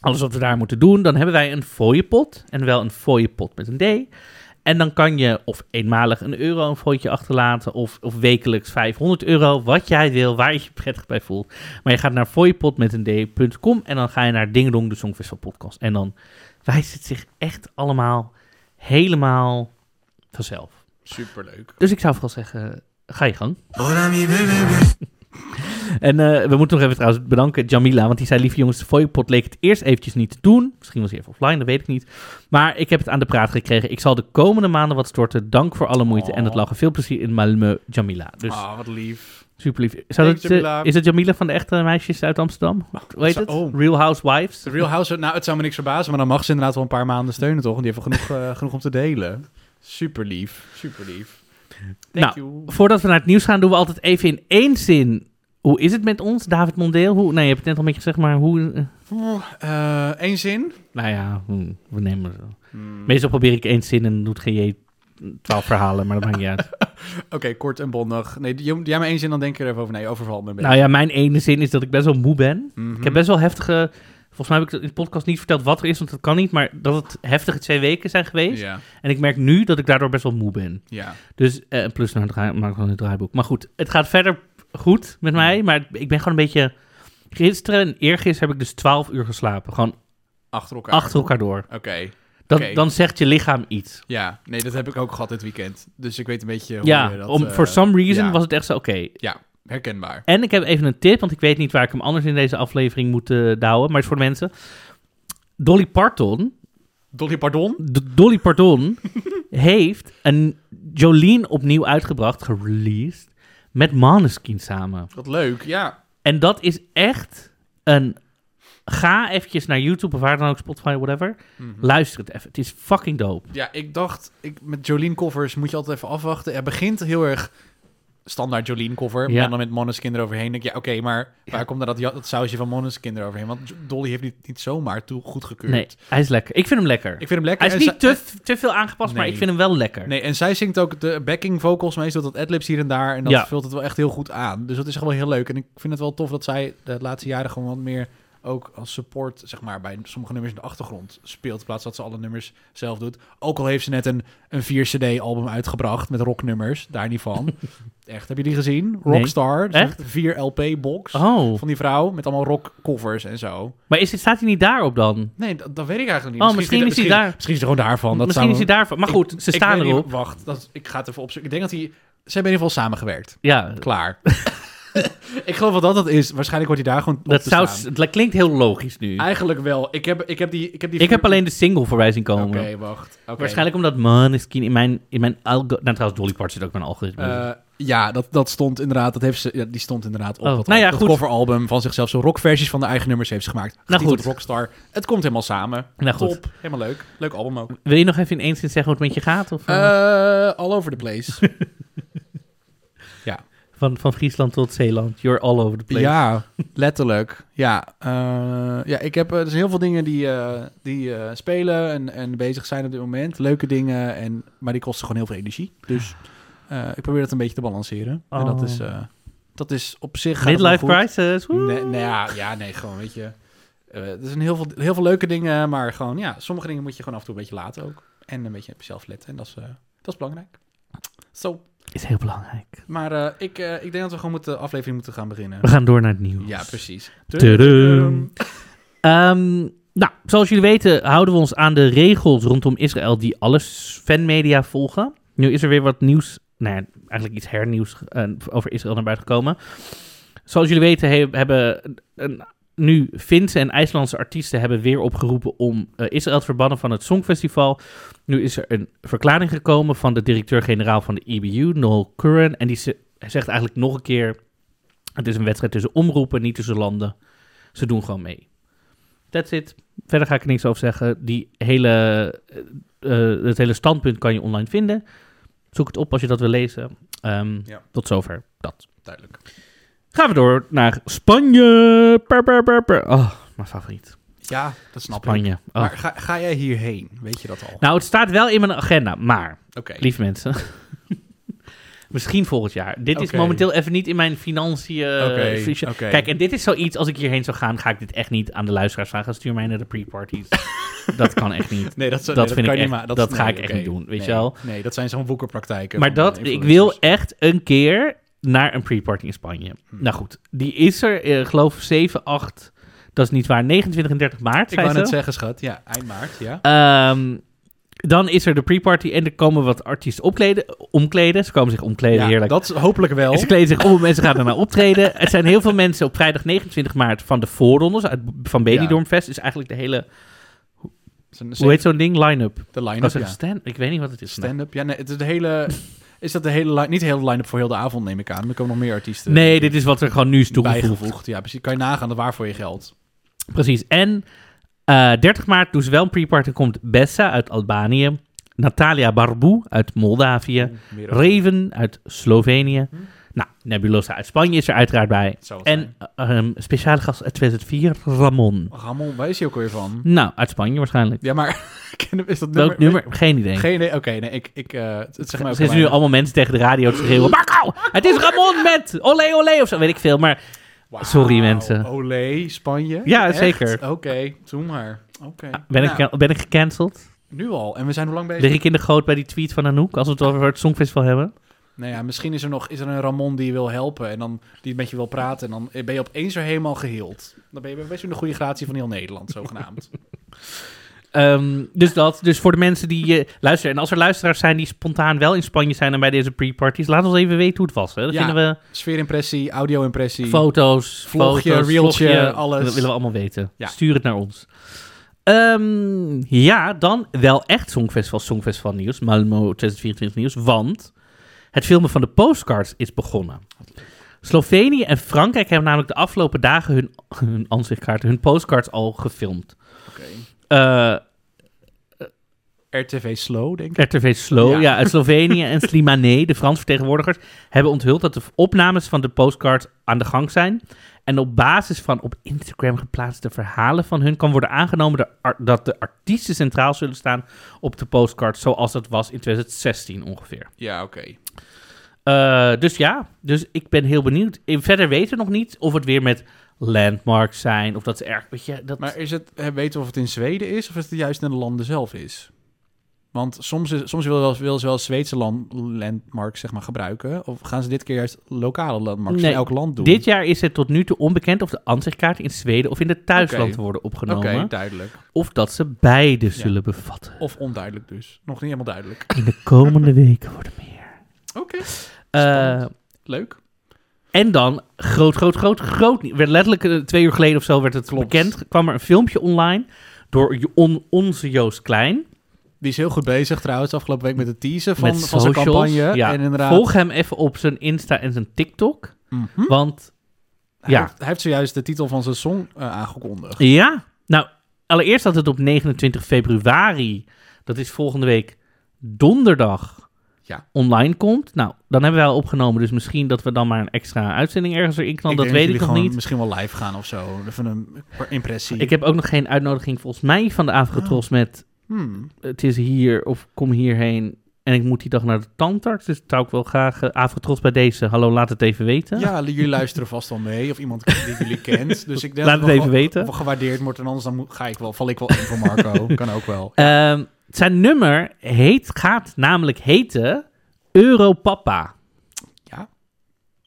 [SPEAKER 1] alles wat we daar moeten doen? Dan hebben wij een fooiepot. En wel een fooiepot met een D. En dan kan je of eenmalig een euro een fooitje achterlaten. Of, of wekelijks 500 euro. Wat jij wil, waar je je prettig bij voelt. Maar je gaat naar fooiepot met een D.com. En dan ga je naar Ding Dong, de Songfestival podcast. En dan wijst het zich echt allemaal helemaal vanzelf.
[SPEAKER 2] Superleuk.
[SPEAKER 1] Dus ik zou vooral zeggen, ga je gang. En eh, we moeten nog even trouwens bedanken Jamila, want die zei, lieve jongens, de fooiepot leek het eerst eventjes niet te doen. Misschien was hij even offline, dat weet ik niet. Maar ik heb het aan de praat gekregen. Ik zal de komende maanden wat storten. Dank voor alle moeite
[SPEAKER 2] Oh.
[SPEAKER 1] en het lachen. Veel plezier in Malmö, Jamila. Dus
[SPEAKER 2] Ah, wat lief.
[SPEAKER 1] super lief. Zou
[SPEAKER 2] Thanks,
[SPEAKER 1] dat, eh,
[SPEAKER 2] Jamila.
[SPEAKER 1] is dat Jamila van de echte meisjes uit Amsterdam? Hoe heet
[SPEAKER 2] zo-
[SPEAKER 1] het?
[SPEAKER 2] oh.
[SPEAKER 1] Real Housewives?
[SPEAKER 2] De Real House, nou, het zou me niks verbazen, maar dan mag ze inderdaad wel een paar maanden steunen, toch? En die hebben genoeg, eh, genoeg om te delen. Super lief, super lief. Thank you.
[SPEAKER 1] Voordat we naar het nieuws gaan, doen we altijd even in één zin. Hoe is het met ons, David Mondeel? Hoe, nee, je hebt het net al een beetje gezegd, maar hoe... eh,
[SPEAKER 2] Eén Eh, zin.
[SPEAKER 1] Nou ja, hmm, we nemen het wel.
[SPEAKER 2] Hmm.
[SPEAKER 1] Meestal probeer ik één zin en doet GJ twaalf verhalen, maar dat maakt niet uit.
[SPEAKER 2] Oké, kort en bondig. Nee, j- jij maar één zin, dan denk ik er even over. Nee, overval me een beetje.
[SPEAKER 1] nou ja, mijn ene zin is dat ik best wel moe ben.
[SPEAKER 2] Mhm.
[SPEAKER 1] Ik heb best wel heftige... Volgens mij heb ik het in de podcast niet verteld wat er is, want dat kan niet. Maar dat het heftige twee weken zijn geweest.
[SPEAKER 2] Ja,
[SPEAKER 1] En ik merk nu dat ik daardoor best wel moe ben.
[SPEAKER 2] ja.
[SPEAKER 1] Dus, eh, plus nou, draai, maak ik gewoon een draaiboek. Maar goed, het gaat verder goed met mij.
[SPEAKER 2] Mhm.
[SPEAKER 1] Maar ik ben gewoon een beetje... Gisteren en eergisteren heb ik dus 12 uur geslapen. Gewoon
[SPEAKER 2] Achter elkaar.
[SPEAKER 1] achter elkaar door.
[SPEAKER 2] Oké,
[SPEAKER 1] Dan,
[SPEAKER 2] Oké.
[SPEAKER 1] dan zegt je lichaam iets.
[SPEAKER 2] ja. Nee, dat heb ik ook gehad dit weekend. Dus ik weet een beetje hoe je
[SPEAKER 1] Ja,
[SPEAKER 2] dat...
[SPEAKER 1] om,
[SPEAKER 2] eh,
[SPEAKER 1] for some reason
[SPEAKER 2] ja.
[SPEAKER 1] was het echt zo, oké.
[SPEAKER 2] Ja, herkenbaar.
[SPEAKER 1] En ik heb even een tip, want ik weet niet waar ik hem anders in deze aflevering moet eh, douwen, maar het is voor de mensen. Dolly Parton,
[SPEAKER 2] Dolly, pardon?
[SPEAKER 1] D- Dolly Parton heeft een Jolene opnieuw uitgebracht, gereleased, met Maneskin samen.
[SPEAKER 2] Wat leuk, ja.
[SPEAKER 1] En dat is echt een... Ga eventjes naar YouTube of waar dan ook, Spotify, whatever.
[SPEAKER 2] Mhm.
[SPEAKER 1] Luister het even. Het is fucking dope.
[SPEAKER 2] Ja, ik dacht, ik, met Jolene covers moet je altijd even afwachten. Hij begint heel erg standaard Jolene cover.
[SPEAKER 1] Ja.
[SPEAKER 2] En dan met Måneskin eroverheen. Denk ik, ja, oké, maar waar komt dan dat, ja- dat sausje van Måneskin eroverheen? Want Jo- Dolly heeft niet, niet zomaar toe goedgekeurd.
[SPEAKER 1] Nee, hij is lekker. Ik vind hem lekker.
[SPEAKER 2] Ik vind hem lekker.
[SPEAKER 1] hij is
[SPEAKER 2] En
[SPEAKER 1] niet
[SPEAKER 2] zij-
[SPEAKER 1] te, te veel aangepast, maar
[SPEAKER 2] Nee.
[SPEAKER 1] ik vind hem wel lekker.
[SPEAKER 2] Nee, en zij zingt ook de backing vocals meestal, dat adlibs hier en daar. En dat
[SPEAKER 1] Ja.
[SPEAKER 2] vult het wel echt heel goed aan. Dus dat is gewoon heel leuk. En ik vind het wel tof dat zij de laatste jaren gewoon wat meer ook als support, zeg maar, bij sommige nummers in de achtergrond speelt. In plaats dat ze alle nummers zelf doet. Ook al heeft ze net een, een 4-cd-album uitgebracht met rocknummers. Daar niet van. echt, heb je die gezien?
[SPEAKER 1] Nee.
[SPEAKER 2] Rockstar. Dus
[SPEAKER 1] Echt?
[SPEAKER 2] Een 4-LP-box
[SPEAKER 1] Oh,
[SPEAKER 2] van die vrouw met allemaal rockcovers en zo.
[SPEAKER 1] maar is, dit- staat hij niet daarop dan?
[SPEAKER 2] Nee, dat, dat weet ik eigenlijk niet.
[SPEAKER 1] Oh, misschien is hij daar.
[SPEAKER 2] Misschien is hij gewoon daarvan. Dat
[SPEAKER 1] Misschien
[SPEAKER 2] zou-
[SPEAKER 1] is hij daarvan. Maar
[SPEAKER 2] ik-
[SPEAKER 1] goed, ze
[SPEAKER 2] ik
[SPEAKER 1] staan
[SPEAKER 2] weet niet-
[SPEAKER 1] erop.
[SPEAKER 2] wacht, dat, ik ga het even opzoeken. Ik denk dat hij... Ze hebben in ieder geval samengewerkt.
[SPEAKER 1] Ja,
[SPEAKER 2] Klaar. ik geloof wel dat dat is. Waarschijnlijk wordt hij daar gewoon op
[SPEAKER 1] dat,
[SPEAKER 2] te
[SPEAKER 1] zou,
[SPEAKER 2] staan.
[SPEAKER 1] dat klinkt heel logisch nu.
[SPEAKER 2] Eigenlijk wel. Ik heb, ik heb die... Ik heb, die
[SPEAKER 1] Ik heb alleen de single voorbij zien komen.
[SPEAKER 2] Oké, wacht. Oké.
[SPEAKER 1] Waarschijnlijk omdat Maneskin in mijn, in mijn algo... Nou, trouwens, Dolly Parton zit ook in mijn algoritme.
[SPEAKER 2] Eh, ja, dat, dat stond inderdaad. Dat heeft ze, ja, die stond inderdaad op
[SPEAKER 1] Oh,
[SPEAKER 2] dat,
[SPEAKER 1] nou ja,
[SPEAKER 2] dat
[SPEAKER 1] goed. Nou
[SPEAKER 2] coveralbum van zichzelf. Zo rockversies van de eigen nummers heeft ze gemaakt. Getiteld
[SPEAKER 1] goed.
[SPEAKER 2] Rockstar. Het komt helemaal samen.
[SPEAKER 1] Nou, goed.
[SPEAKER 2] Top. Helemaal leuk. Leuk album ook.
[SPEAKER 1] Wil je nog even in één zin zeggen hoe het met je gaat? Of, eh?
[SPEAKER 2] Eh, all over the place. ja.
[SPEAKER 1] Van, van Friesland tot Zeeland. You're all over the place.
[SPEAKER 2] Ja, letterlijk. Ja, eh, ja ik heb eh, er zijn heel veel dingen die, eh, die eh, spelen en, en bezig zijn op dit moment. Leuke dingen, en, maar die kosten gewoon heel veel energie. Dus eh, ik probeer dat een beetje te balanceren. En dat
[SPEAKER 1] Oh.
[SPEAKER 2] is, eh, dat is op zich... gaat het wel
[SPEAKER 1] Midlife
[SPEAKER 2] goed.
[SPEAKER 1] crisis. woe.
[SPEAKER 2] Nee, nou ja, ja, nee, gewoon, weet je. eh, er zijn heel veel, heel veel leuke dingen, maar gewoon, ja, sommige dingen moet je gewoon af en toe een beetje laten ook. En een beetje op jezelf letten. En dat is, eh, dat is belangrijk. Zo,
[SPEAKER 1] Is heel belangrijk.
[SPEAKER 2] maar eh, ik, eh, ik denk dat we gewoon met de aflevering moeten gaan beginnen.
[SPEAKER 1] We gaan door naar het nieuws.
[SPEAKER 2] Ja, precies.
[SPEAKER 1] Tudum. Ehm, nou, zoals jullie weten houden we ons aan de regels rondom Israël die alle s- fanmedia volgen. Nu is er weer wat nieuws, nou ja, eigenlijk iets hernieuws eh, over Israël naar buiten gekomen. Zoals jullie weten he- hebben een, nu Finse en IJslandse artiesten hebben weer opgeroepen om eh, Israël te verbannen van het Songfestival. Nu is er een verklaring gekomen van de directeur-generaal van de EBU, Noel Curran. En die ze- zegt eigenlijk nog een keer, het is een wedstrijd tussen omroepen, niet tussen landen. Ze doen gewoon mee. That's it. Verder ga ik er niks over zeggen. Die hele, eh, eh, het hele standpunt kan je online vinden. Zoek het op als je dat wil lezen. Ehm,
[SPEAKER 2] Ja.
[SPEAKER 1] Tot zover dat.
[SPEAKER 2] Duidelijk.
[SPEAKER 1] Gaan we door naar Spanje. Per, per, per, per. Oh, mijn favoriet.
[SPEAKER 2] Ja, dat snap ik.
[SPEAKER 1] Spanje. Oh.
[SPEAKER 2] Maar ga, ga jij hierheen? Weet je dat al?
[SPEAKER 1] Nou, het staat wel in mijn agenda, maar,
[SPEAKER 2] Oké.
[SPEAKER 1] lieve mensen. Misschien volgend jaar. Dit is
[SPEAKER 2] Oké.
[SPEAKER 1] momenteel even niet in mijn financiën.
[SPEAKER 2] Oké,
[SPEAKER 1] financiën-
[SPEAKER 2] oké.
[SPEAKER 1] eh, Kijk, en dit is zoiets, als ik hierheen zou gaan, ga ik dit echt niet aan de luisteraars vragen. Stuur mij naar de pre-parties. dat kan echt niet.
[SPEAKER 2] Nee, dat, zou-
[SPEAKER 1] dat
[SPEAKER 2] nee,
[SPEAKER 1] vind
[SPEAKER 2] kan
[SPEAKER 1] ik
[SPEAKER 2] je
[SPEAKER 1] echt-
[SPEAKER 2] maar-
[SPEAKER 1] dat
[SPEAKER 2] nee,
[SPEAKER 1] ga ik echt
[SPEAKER 2] oké.
[SPEAKER 1] niet doen, weet
[SPEAKER 2] Nee,
[SPEAKER 1] je wel.
[SPEAKER 2] Nee, dat zijn zo'n woekerpraktijken.
[SPEAKER 1] Maar
[SPEAKER 2] van,
[SPEAKER 1] dat,
[SPEAKER 2] eh,
[SPEAKER 1] ik wil
[SPEAKER 2] influencers.
[SPEAKER 1] echt een keer naar een pre-party in Spanje. Nou goed, die is er, eh, geloof ik, 7, 8, dat is niet waar, 29 en 30 maart.
[SPEAKER 2] Ik
[SPEAKER 1] zei
[SPEAKER 2] wou net
[SPEAKER 1] ze.
[SPEAKER 2] zeggen, schat. Ja, eind maart, ja.
[SPEAKER 1] Ehm, dan is er de pre-party en er komen wat artiesten opkleden, omkleden. Ze komen zich omkleden,
[SPEAKER 2] Ja,
[SPEAKER 1] Eh, heerlijk.
[SPEAKER 2] Dat is hopelijk wel.
[SPEAKER 1] En ze kleden zich om en ze gaan daarna optreden. Het zijn heel veel mensen op vrijdag 29 maart van de voorrondes uit, van Benidormfest. Is eigenlijk de hele,
[SPEAKER 2] Zijn-
[SPEAKER 1] hoe heet oh, zo'n ding? Line-up.
[SPEAKER 2] De
[SPEAKER 1] Ik,
[SPEAKER 2] line-up, ja.
[SPEAKER 1] ik weet niet wat het is.
[SPEAKER 2] Stand-up. Ja, nee, het is de hele... Is dat de hele line- Niet de hele line-up voor heel de avond, neem ik aan. Er komen nog meer artiesten
[SPEAKER 1] Nee, dit is wat er gewoon nu is toegevoegd.
[SPEAKER 2] bijgevoegd. Ja, precies. Kan je nagaan de waarvoor je geld.
[SPEAKER 1] Precies. En eh, 30 maart doen ze wel een pre-party. Komt Bessa uit Albanië. Natalia Barbu uit Moldavië.
[SPEAKER 2] Meer ook.
[SPEAKER 1] Raven uit Slovenië.
[SPEAKER 2] Hm.
[SPEAKER 1] Nou, Nebulosa uit Spanje is er uiteraard bij.
[SPEAKER 2] Zou het
[SPEAKER 1] En eh, een speciale gast uit 2004, Ramon.
[SPEAKER 2] zijn. Ramon, waar is hij ook weer van?
[SPEAKER 1] Nou, uit Spanje waarschijnlijk.
[SPEAKER 2] Ja, maar... is dat
[SPEAKER 1] Welk nummer? Geen idee.
[SPEAKER 2] Geen idee. Oké, nee, ik... ik eh, het, het zegt mij
[SPEAKER 1] Er
[SPEAKER 2] ook
[SPEAKER 1] zitten nu
[SPEAKER 2] weinig.
[SPEAKER 1] allemaal mensen tegen de radio te schreeuwen. Marco, het is Ramon met olé olé of zo, weet ik veel. Maar
[SPEAKER 2] Wauw,
[SPEAKER 1] Sorry, mensen.
[SPEAKER 2] Olé, Spanje.
[SPEAKER 1] Ja,
[SPEAKER 2] Echt?
[SPEAKER 1] zeker.
[SPEAKER 2] Oké, doe maar. Oké.
[SPEAKER 1] ben,
[SPEAKER 2] Nou,
[SPEAKER 1] ik, ben ik gecanceld?
[SPEAKER 2] Nu al. En we zijn hoe lang bezig?
[SPEAKER 1] Lig ik in de goot bij die tweet van Anouk, als we het over het Songfestival hebben?
[SPEAKER 2] Nou ja, misschien is er nog is er een Ramon die je wil helpen en dan die met je wil praten. En dan ben je opeens weer helemaal geheeld. Dan ben je best in de goede gratie van heel Nederland, zogenaamd.
[SPEAKER 1] Ehm, dus dat. Dus voor de mensen die eh, luisteren. En als er luisteraars zijn die spontaan wel in Spanje zijn en bij deze pre-parties, laat ons even weten hoe het was. Hè. Dan
[SPEAKER 2] Ja.
[SPEAKER 1] vinden
[SPEAKER 2] Sfeerimpressie, audio-impressie.
[SPEAKER 1] we foto's,
[SPEAKER 2] Vlogje,
[SPEAKER 1] foto's,
[SPEAKER 2] reeltje,
[SPEAKER 1] vlogje.
[SPEAKER 2] alles.
[SPEAKER 1] Dat willen we allemaal weten.
[SPEAKER 2] Ja.
[SPEAKER 1] Stuur het naar ons. Ehm, ja, dan wel echt Songfestival, Songfestival nieuws. Malmo 2024 nieuws. Want het filmen van de postcards is begonnen. Slovenië en Frankrijk hebben namelijk de afgelopen dagen hun, hun ansichtkaarten, hun postcards al gefilmd.
[SPEAKER 2] Oké.
[SPEAKER 1] Eh
[SPEAKER 2] RTV Slow, denk ik.
[SPEAKER 1] RTV Slow,
[SPEAKER 2] Ja.
[SPEAKER 1] ja. uit Slovenië en Slimane, de Frans vertegenwoordigers, hebben onthuld dat de opnames van de postcards aan de gang zijn. En op basis van op Instagram geplaatste verhalen van hun kan worden aangenomen de ar- dat de artiesten centraal zullen staan op de postcards, zoals dat was in 2016 ongeveer.
[SPEAKER 2] Ja, oké.
[SPEAKER 1] Eh, dus ja, dus ik ben heel benieuwd. En verder weten we nog niet of het weer met landmarks zijn, of dat ze erg, weet je, dat...
[SPEAKER 2] Maar is het, eh, weten we of het in Zweden is of is het juist in de landen zelf is? Want soms, is, soms wil, wel, wil ze wel Zweedse land, landmark zeg maar, gebruiken. Of gaan ze dit keer juist lokale landmarks
[SPEAKER 1] Nee,
[SPEAKER 2] in elk land doen?
[SPEAKER 1] dit jaar is het tot nu toe onbekend of de ansichtkaarten in Zweden of in het thuisland
[SPEAKER 2] Oké.
[SPEAKER 1] worden
[SPEAKER 2] Oké,
[SPEAKER 1] opgenomen.
[SPEAKER 2] duidelijk.
[SPEAKER 1] of dat ze beide zullen bevatten.
[SPEAKER 2] Of onduidelijk dus. Nog niet helemaal duidelijk.
[SPEAKER 1] In de komende weken worden meer.
[SPEAKER 2] Oké,
[SPEAKER 1] Eh,
[SPEAKER 2] leuk.
[SPEAKER 1] en dan groot, groot, groot, groot. nieuws. Werd letterlijk eh, twee uur geleden of zo werd het
[SPEAKER 2] Klopt.
[SPEAKER 1] bekend. Kwam er een filmpje online door Jo- on- onze Joost Klein.
[SPEAKER 2] Die is heel goed bezig trouwens, afgelopen week met het teasen van,
[SPEAKER 1] met
[SPEAKER 2] van zijn
[SPEAKER 1] socials.
[SPEAKER 2] campagne.
[SPEAKER 1] Ja.
[SPEAKER 2] En inderdaad,
[SPEAKER 1] Volg hem even op zijn Insta en zijn TikTok.
[SPEAKER 2] Mhm.
[SPEAKER 1] Want
[SPEAKER 2] hij,
[SPEAKER 1] ja.
[SPEAKER 2] heeft, hij heeft zojuist de titel van zijn song eh, aangekondigd.
[SPEAKER 1] ja, nou, allereerst dat het op 29 februari, dat is volgende week donderdag,
[SPEAKER 2] Ja.
[SPEAKER 1] online komt. Nou, dan hebben wij al opgenomen, dus misschien dat we dan maar een extra uitzending ergens erin knallen. Dat
[SPEAKER 2] denk
[SPEAKER 1] weet ik
[SPEAKER 2] jullie
[SPEAKER 1] nog
[SPEAKER 2] gewoon
[SPEAKER 1] niet.
[SPEAKER 2] Misschien wel live gaan of zo. Even een impressie.
[SPEAKER 1] Ik heb ook nog geen uitnodiging volgens mij van de
[SPEAKER 2] Oh.
[SPEAKER 1] Avrotros met
[SPEAKER 2] Hmm.
[SPEAKER 1] het is hier of kom hierheen en ik moet die dag naar de tandarts. Dus dat zou ik wel graag eh Avrotros bij deze. Hallo, laat het even weten.
[SPEAKER 2] Ja, li- jullie luisteren vast wel mee. Of iemand die jullie kent. Dus ik denk
[SPEAKER 1] Laat
[SPEAKER 2] dat
[SPEAKER 1] het
[SPEAKER 2] wel-
[SPEAKER 1] even weten.
[SPEAKER 2] wel gewaardeerd wordt. En anders dan moet- ga ik wel, val ik wel in voor Marco. kan ook wel.
[SPEAKER 1] Ehm, zijn nummer heet, gaat namelijk heten Europapa.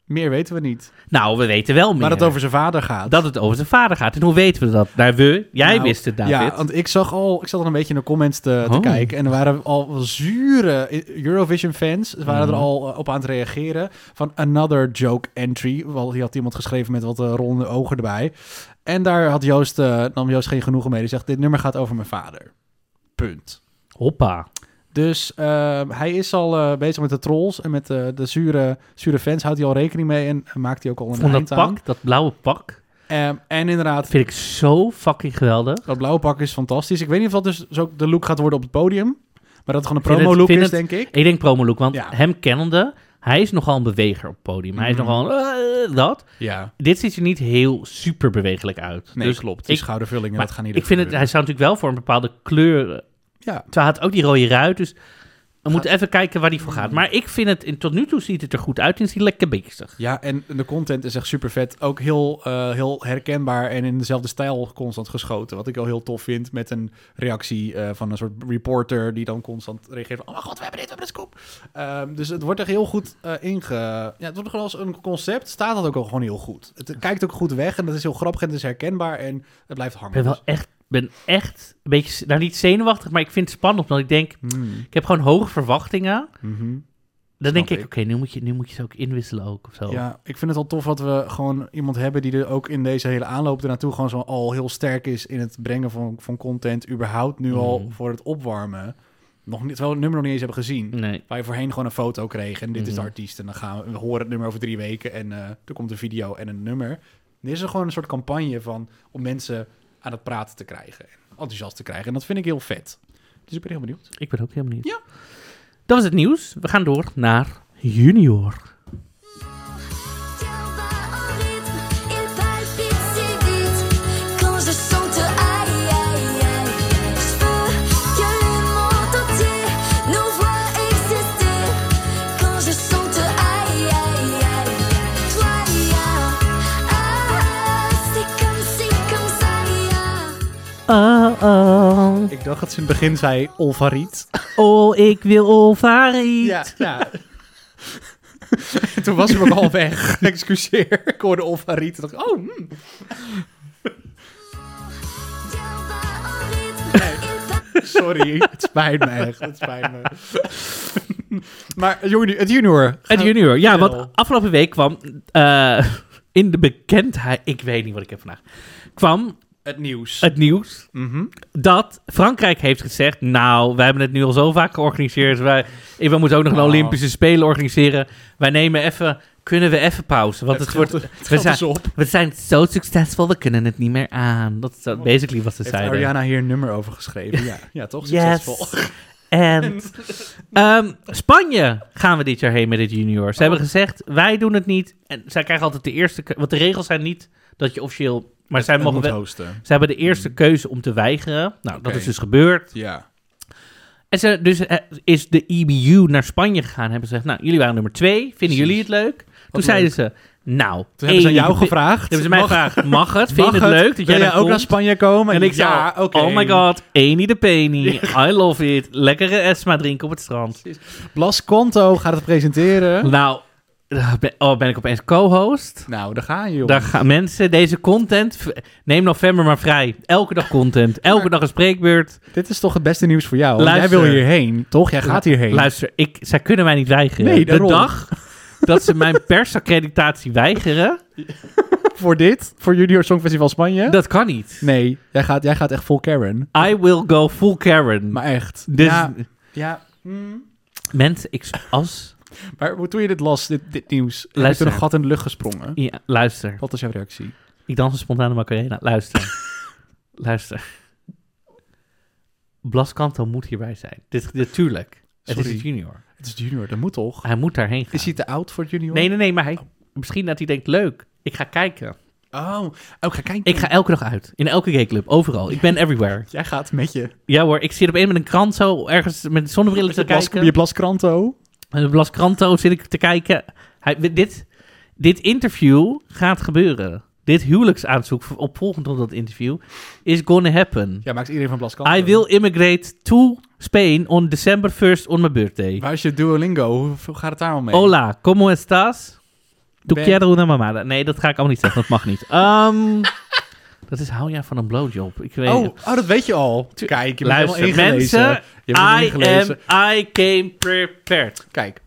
[SPEAKER 2] Meer weten we niet.
[SPEAKER 1] Nou, we weten wel meer.
[SPEAKER 2] Maar dat het over zijn vader gaat.
[SPEAKER 1] dat het over zijn vader gaat. En hoe weten we dat? Daar we, jij
[SPEAKER 2] Nou,
[SPEAKER 1] wist het, David.
[SPEAKER 2] Ja, want ik zag al, ik zat al een beetje in de comments te, te
[SPEAKER 1] Oh.
[SPEAKER 2] kijken. En er waren al zure Eurovision-fans, ze waren
[SPEAKER 1] Mhm.
[SPEAKER 2] er al eh, op aan het reageren. Van another joke entry. Want die had iemand geschreven met wat eh, rollende ogen erbij. En daar had Joost, eh, nam Joost geen genoegen mee. Die zegt, dit nummer gaat over mijn vader. Punt.
[SPEAKER 1] Hoppa.
[SPEAKER 2] Dus eh, hij is al eh, bezig met de trolls en met eh, de zure, zure fans. Houdt hij al rekening mee en maakt hij ook al een
[SPEAKER 1] Van dat
[SPEAKER 2] eind aan.
[SPEAKER 1] pak, dat blauwe pak,
[SPEAKER 2] Ehm, en inderdaad,
[SPEAKER 1] dat vind ik zo fucking geweldig.
[SPEAKER 2] Dat blauwe pak is fantastisch. Ik weet niet of dat dus zo de look gaat worden op het podium. Maar dat het gewoon een
[SPEAKER 1] Vind het-
[SPEAKER 2] promo-look
[SPEAKER 1] vind
[SPEAKER 2] is,
[SPEAKER 1] het-
[SPEAKER 2] denk ik.
[SPEAKER 1] Ik denk promo look, want
[SPEAKER 2] Ja.
[SPEAKER 1] hem kennende, hij is nogal een beweger op het podium. Hij is
[SPEAKER 2] Mhm.
[SPEAKER 1] nogal eh, dat.
[SPEAKER 2] Ja,
[SPEAKER 1] Dit ziet er niet heel super bewegelijk uit.
[SPEAKER 2] nee,
[SPEAKER 1] dus
[SPEAKER 2] klopt. Die
[SPEAKER 1] Ik,
[SPEAKER 2] schoudervullingen,
[SPEAKER 1] maar
[SPEAKER 2] dat gaan niet
[SPEAKER 1] ik vind het, hij zou natuurlijk wel voor een bepaalde kleur.
[SPEAKER 2] Ja.
[SPEAKER 1] Terwijl hij had ook die rode ruit, dus we moeten even kijken waar die voor gaat. Maar ik vind het, in, tot nu toe ziet het er goed uit en is hij lekker beestig.
[SPEAKER 2] Ja, en de content is echt super vet. Ook heel, eh, heel herkenbaar en in dezelfde stijl constant geschoten. Wat ik al heel tof vind met een reactie eh, van een soort reporter die dan constant reageert van... Oh mijn god, we hebben dit, we hebben de scoop. Ehm, dus het wordt echt heel goed eh, inge... Ja, het wordt gewoon als een concept, staat dat ook al gewoon heel goed. Het kijkt ook goed weg en dat is heel grappig en het is herkenbaar en het blijft
[SPEAKER 1] Ik
[SPEAKER 2] hangen.
[SPEAKER 1] ben wel echt, ben echt een beetje, nou niet zenuwachtig, maar ik vind het spannend. Omdat ik denk,
[SPEAKER 2] Mm,
[SPEAKER 1] ik heb gewoon hoge verwachtingen.
[SPEAKER 2] mhm.
[SPEAKER 1] Dan denk ik,
[SPEAKER 2] ik.
[SPEAKER 1] oké, nu, moet je- nu moet je ze ook inwisselen ook of zo.
[SPEAKER 2] Ja, ik vind het al tof dat we gewoon iemand hebben die er ook in deze hele aanloop ernaartoe gewoon zo al heel sterk is in het brengen van, van content, überhaupt nu al
[SPEAKER 1] Mhm.
[SPEAKER 2] voor het opwarmen. Nog niet, terwijl we het nummer nog niet eens hebben gezien.
[SPEAKER 1] Nee.
[SPEAKER 2] Waar je voorheen gewoon een foto kreeg en dit is de
[SPEAKER 1] Mhm.
[SPEAKER 2] artiest en dan gaan we, we horen het nummer over drie weken en eh, er komt een video en een nummer. Dit is er gewoon een soort campagne van om mensen aan het praten te krijgen, en enthousiast te krijgen. En dat vind ik heel vet. Dus ik ben heel benieuwd.
[SPEAKER 1] Ik ben ook helemaal niet.
[SPEAKER 2] Ja.
[SPEAKER 1] Dat was het nieuws. We gaan door naar Junior.
[SPEAKER 4] Tiens, va en rythme, il palpite si vite. Quand je chante, aïe aïe aïe, je veux que le monde entier nous voit exister. Quand je chante, aïe aïe aïe, toi, ah, ah, c'est comme si, comme ça, ah.
[SPEAKER 1] Oh, oh,
[SPEAKER 2] Ik dacht dat ze in het begin zei Olvariet.
[SPEAKER 1] oh, ik wil Olvari.
[SPEAKER 2] Ja, ja. Toen was hij ook al weg. Excuseer. Ik hoorde Olfariet en dacht, oh, hmm.
[SPEAKER 4] Tiens, va en rythme, il palpite.
[SPEAKER 2] sorry. Het spijt me echt. Het spijt me. maar juni- het junior.
[SPEAKER 1] Het Junior. Ja,
[SPEAKER 2] Wel.
[SPEAKER 1] want afgelopen week kwam eh, in de bekendheid, ik weet niet wat ik heb vandaag, kwam
[SPEAKER 2] Het nieuws.
[SPEAKER 1] het nieuws
[SPEAKER 2] Mhm.
[SPEAKER 1] dat Frankrijk heeft gezegd, nou, wij hebben het nu al zo vaak georganiseerd, wij, eh, we moeten ook nog een
[SPEAKER 2] Oh.
[SPEAKER 1] Olympische Spelen organiseren. Wij nemen even, kunnen we even pauze, want het, wordt,
[SPEAKER 2] geld- het eh.
[SPEAKER 1] we
[SPEAKER 2] geld
[SPEAKER 1] zijn,
[SPEAKER 2] is op.
[SPEAKER 1] We zijn zo succesvol, we kunnen het niet meer aan. Dat is zo- basically wat ze
[SPEAKER 2] Heeft
[SPEAKER 1] zeiden.
[SPEAKER 2] Ariana hier een nummer over geschreven? Ja, ja toch?
[SPEAKER 1] Yes.
[SPEAKER 2] Succesvol.
[SPEAKER 1] And. Ehm, Spanje gaan we dit jaar heen met het junior. Ze
[SPEAKER 2] Oh.
[SPEAKER 1] hebben gezegd, wij doen het niet. En zij krijgen altijd de eerste keuze. Want de regels zijn niet dat je officieel... Maar zij
[SPEAKER 2] Het
[SPEAKER 1] mogen
[SPEAKER 2] moet
[SPEAKER 1] wel...
[SPEAKER 2] hosten.
[SPEAKER 1] Ze hebben de eerste keuze om te weigeren. Nou, dat
[SPEAKER 2] Oké.
[SPEAKER 1] is dus gebeurd.
[SPEAKER 2] Ja.
[SPEAKER 1] En ze, dus eh, is de EBU naar Spanje gegaan. Hebben ze gezegd, nou, jullie waren nummer twee. Vinden
[SPEAKER 2] Precies.
[SPEAKER 1] jullie het leuk? Toen zeiden ze, nou...
[SPEAKER 2] Toen hebben ze aan jou
[SPEAKER 1] EBU
[SPEAKER 2] gevraagd.
[SPEAKER 1] Toen hebben ze mij
[SPEAKER 2] Mag-
[SPEAKER 1] gevraagd, mag het? Vind
[SPEAKER 2] mag
[SPEAKER 1] je het, leuk dat jij
[SPEAKER 2] Wil
[SPEAKER 1] daar
[SPEAKER 2] jij ook naar
[SPEAKER 1] komt?
[SPEAKER 2] Spanje komen?
[SPEAKER 1] En ik zei,
[SPEAKER 2] ja, oké.
[SPEAKER 1] oh my god, Eni de Penny, I love it. Lekkere Esma drinken op het strand.
[SPEAKER 2] Blas Conto gaat het presenteren.
[SPEAKER 1] Nou, eh, ben- oh, ben ik opeens co-host?
[SPEAKER 2] Nou, daar ga je, joh.
[SPEAKER 1] Daar gaan mensen, deze content, v- neem november maar vrij. Elke dag content, elke dag een spreekbeurt.
[SPEAKER 2] Dit is toch het beste nieuws voor jou? want
[SPEAKER 1] Luister.
[SPEAKER 2] Jij wil hierheen, toch? Jij gaat hierheen.
[SPEAKER 1] Luister, ik, zij kunnen mij niet weigeren.
[SPEAKER 2] Nee,
[SPEAKER 1] de
[SPEAKER 2] daarom.
[SPEAKER 1] dag dat ze mijn persaccreditatie weigeren,
[SPEAKER 2] Voor dit? Voor Junior Songfestival Spanje?
[SPEAKER 1] dat kan niet.
[SPEAKER 2] Nee, jij gaat, jij gaat echt vol Karen.
[SPEAKER 1] I will go full Karen.
[SPEAKER 2] Maar echt.
[SPEAKER 1] dus
[SPEAKER 2] Ja, ja. Hm.
[SPEAKER 1] mensen, ik, als,
[SPEAKER 2] Maar hoe toen je dit las, dit, dit nieuws, heb je
[SPEAKER 1] Luister.
[SPEAKER 2] toen een gat in de lucht gesprongen?
[SPEAKER 1] ja, luister.
[SPEAKER 2] Wat is jouw reactie?
[SPEAKER 1] Ik dans een spontane Macarena. Luister. Luister. Blas Kanto moet hierbij zijn. Dit, dit tuurlijk. Het is
[SPEAKER 2] Sorry.
[SPEAKER 1] het junior.
[SPEAKER 2] Het is junior, dat moet toch?
[SPEAKER 1] Hij moet daarheen gaan.
[SPEAKER 2] Is hij te oud voor junior?
[SPEAKER 1] Nee, nee, nee, maar hij... Misschien dat hij denkt, leuk, ik ga kijken.
[SPEAKER 2] Oh, oh, ik ga kijken.
[SPEAKER 1] Ik ga elke dag uit. In elke gayclub. Overal. Ik ben everywhere.
[SPEAKER 2] Jij gaat met je.
[SPEAKER 1] Ja hoor, ik zit op een met een krant zo ergens met zonnebrillen te
[SPEAKER 2] je, blas,
[SPEAKER 1] kijken.
[SPEAKER 2] je blaskranto.
[SPEAKER 1] Met een blaskranto zit ik te kijken. Hij, dit, dit interview gaat gebeuren. Dit huwelijksaanzoek opvolgend op dat interview is gonna happen.
[SPEAKER 2] Ja, maakt iedereen van blaskranto.
[SPEAKER 1] I will immigrate to Spain on December 1st on my birthday.
[SPEAKER 2] Waar is je Duolingo? Hoe hoe gaat het daar al mee?
[SPEAKER 1] Hola, ¿cómo estás? Tu
[SPEAKER 2] Ben-
[SPEAKER 1] quiero una mamada. Nee, dat ga ik allemaal niet zeggen. Dat mag niet. Ehm, dat is hou jij van een blowjob. Ik weet
[SPEAKER 2] Oh, oh, dat weet je al. Kijk, je bent helemaal
[SPEAKER 1] Luister,
[SPEAKER 2] ingelezen.
[SPEAKER 1] mensen.
[SPEAKER 2] je bent helemaal
[SPEAKER 1] I
[SPEAKER 2] ingelezen.
[SPEAKER 1] am, I came prepared.
[SPEAKER 2] Kijk,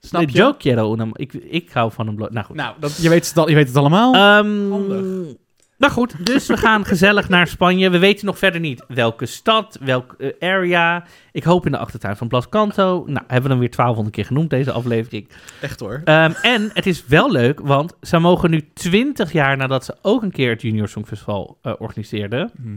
[SPEAKER 2] snap
[SPEAKER 1] Nee,
[SPEAKER 2] je?
[SPEAKER 1] joke, Jero, una- ik, ik hou van een blog. Nou goed.
[SPEAKER 2] Nou, dat, je, weet het al, je weet het allemaal.
[SPEAKER 1] Ehm,
[SPEAKER 2] handig.
[SPEAKER 1] nou goed, dus we gaan gezellig naar Spanje. We weten nog verder niet welke stad, welke eh, area. Ik hoop in de achtertuin van Blas Canto. Nou, hebben we hem weer 1200 keer genoemd, deze aflevering.
[SPEAKER 2] Echt hoor.
[SPEAKER 1] Ehm, en het is wel leuk, want ze mogen nu 20 jaar nadat ze ook een keer het Junior Songfestival eh, organiseerden,
[SPEAKER 2] Mhm.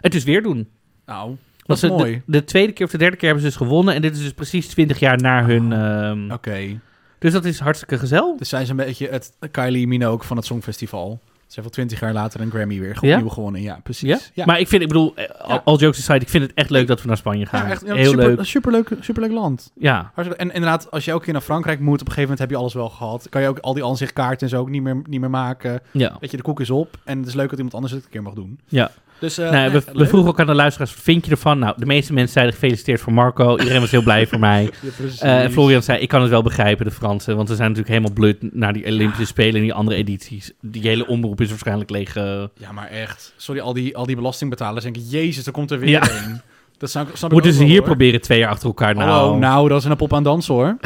[SPEAKER 1] het dus weer doen.
[SPEAKER 2] Nou, dat,
[SPEAKER 1] Want
[SPEAKER 2] is
[SPEAKER 1] ze
[SPEAKER 2] mooi.
[SPEAKER 1] De, de tweede keer of de derde keer hebben ze dus gewonnen. En dit is dus precies 20 jaar na hun. ehm,
[SPEAKER 2] Oké,
[SPEAKER 1] Dus dat is hartstikke gezellig.
[SPEAKER 2] dus zij is een beetje het Kylie Minogue van het Songfestival. Ze heeft al twintig jaar later een Grammy weer
[SPEAKER 1] Ja?
[SPEAKER 2] opnieuw gewonnen. Ja, precies.
[SPEAKER 1] Ja? Maar ik vind, ik bedoel, eh, al
[SPEAKER 2] Ja.
[SPEAKER 1] all jokes aside, ik vind het echt leuk dat we naar Spanje gaan.
[SPEAKER 2] Ja, echt, ja,
[SPEAKER 1] Heel
[SPEAKER 2] super,
[SPEAKER 1] leuk.
[SPEAKER 2] Superleuk, superleuk land.
[SPEAKER 1] Ja.
[SPEAKER 2] Hartstikke- En inderdaad, als je elke keer naar Frankrijk moet, op een gegeven moment heb je alles wel gehad. Kan je ook al die aanzichtkaarten en zo ook niet meer, niet meer maken.
[SPEAKER 1] ja.
[SPEAKER 2] Weet je, de koek is op. En het is leuk dat iemand anders het een keer mag doen.
[SPEAKER 1] Ja.
[SPEAKER 2] Dus, eh,
[SPEAKER 1] Nou, we,
[SPEAKER 2] echt
[SPEAKER 1] we
[SPEAKER 2] leuk.
[SPEAKER 1] vroegen ook aan de luisteraars, wat vind je ervan? Nou, de meeste mensen zeiden gefeliciteerd voor Marco. Iedereen was heel blij voor mij.
[SPEAKER 2] Ja, precies.
[SPEAKER 1] Eh, en Florian zei, ik kan het wel begrijpen, de Fransen. Want ze zijn natuurlijk helemaal blut naar die Olympische Spelen en die andere edities. Die hele omroep is waarschijnlijk leeg. eh,
[SPEAKER 2] Ja, maar echt. Sorry, al die, al die belastingbetalers denken, jezus, er komt er weer
[SPEAKER 1] Ja.
[SPEAKER 2] een. Dat snap, ik- snap ik
[SPEAKER 1] Moeten
[SPEAKER 2] ook
[SPEAKER 1] ze
[SPEAKER 2] wel,
[SPEAKER 1] hier
[SPEAKER 2] hoor.
[SPEAKER 1] proberen twee jaar achter elkaar nou?
[SPEAKER 2] Hallo, nou, dat is een pop aan dansen hoor.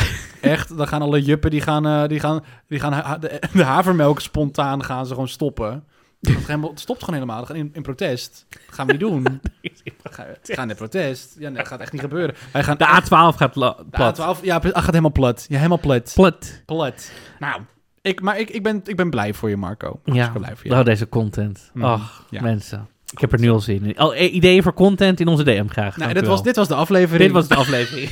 [SPEAKER 2] Echt, dan gaan alle juppen, die gaan, eh, die gaan, die gaan ha- de, de havermelk spontaan gaan ze gewoon stoppen. Dat gaat helemaal- Het stopt gewoon helemaal. We gaan in, in protest. Dat gaan we niet doen. We gaan, we gaan in protest. Ja, nee, dat gaat echt niet gebeuren. Wij gaan
[SPEAKER 1] De A12 gaat la- plat.
[SPEAKER 2] De A12, ja, pre- ah, gaat helemaal plat. Ja, helemaal plat.
[SPEAKER 1] Plat.
[SPEAKER 2] Plat. Nou, ik, maar ik, ik, ben, ik ben blij voor je, Marco.
[SPEAKER 1] Ja,
[SPEAKER 2] Ik ben blij voor je.
[SPEAKER 1] nou deze content.
[SPEAKER 2] Mhm.
[SPEAKER 1] Ach,
[SPEAKER 2] Ja.
[SPEAKER 1] mensen. Ik heb er nu al zin in. Al, eh, ideeën voor content in onze DM graag.
[SPEAKER 2] Nou,
[SPEAKER 1] Dank
[SPEAKER 2] dit
[SPEAKER 1] u
[SPEAKER 2] was,
[SPEAKER 1] wel.
[SPEAKER 2] dit was de aflevering.
[SPEAKER 1] Dit was de aflevering.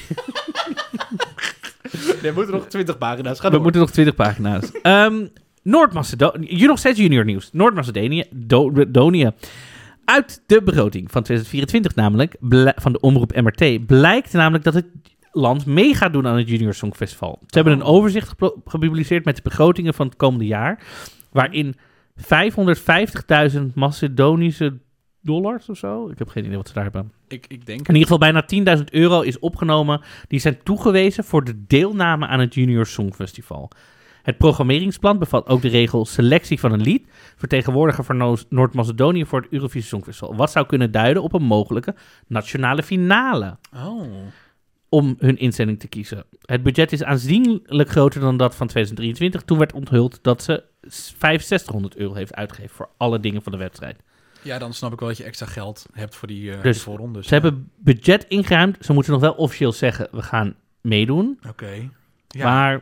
[SPEAKER 2] Er moeten nog 20 pagina's. Ga
[SPEAKER 1] We
[SPEAKER 2] door.
[SPEAKER 1] moeten nog 20 pagina's. Ehm, Noord-Macedonië. Hier nog steeds junior nieuws. Noord-Macedonië. Do- Donië. Uit de begroting van 2024 namelijk, bl- van de omroep MRT, blijkt namelijk dat het land mee gaat doen aan het Junior Songfestival. Ze hebben een overzicht gepro- gepubliceerd met de begrotingen van het komende jaar, waarin 550.000 Macedonische dollars of zo, ik heb geen idee wat ze daar hebben,
[SPEAKER 2] Ik, ik denk...
[SPEAKER 1] in ieder geval bijna 10.000 euro is opgenomen. Die zijn toegewezen voor de deelname aan het Junior Songfestival. Het programmeringsplan bevat ook de regel selectie van een lied, vertegenwoordiger van Noos- Noord-Macedonië voor het Eurovisie Songfestival. Wat zou kunnen duiden op een mogelijke nationale finale
[SPEAKER 2] Oh.
[SPEAKER 1] om hun inzending te kiezen. Het budget is aanzienlijk groter dan dat van 2023. Toen werd onthuld dat ze 6500 euro heeft uitgegeven voor alle dingen van de wedstrijd.
[SPEAKER 2] Ja, dan snap ik wel dat je extra geld hebt voor die, eh
[SPEAKER 1] Dus
[SPEAKER 2] die voorrondes.
[SPEAKER 1] Ze hebben budget ingeruimd. Ze moeten nog wel officieel zeggen, we gaan meedoen.
[SPEAKER 2] Oké. Ja.
[SPEAKER 1] Maar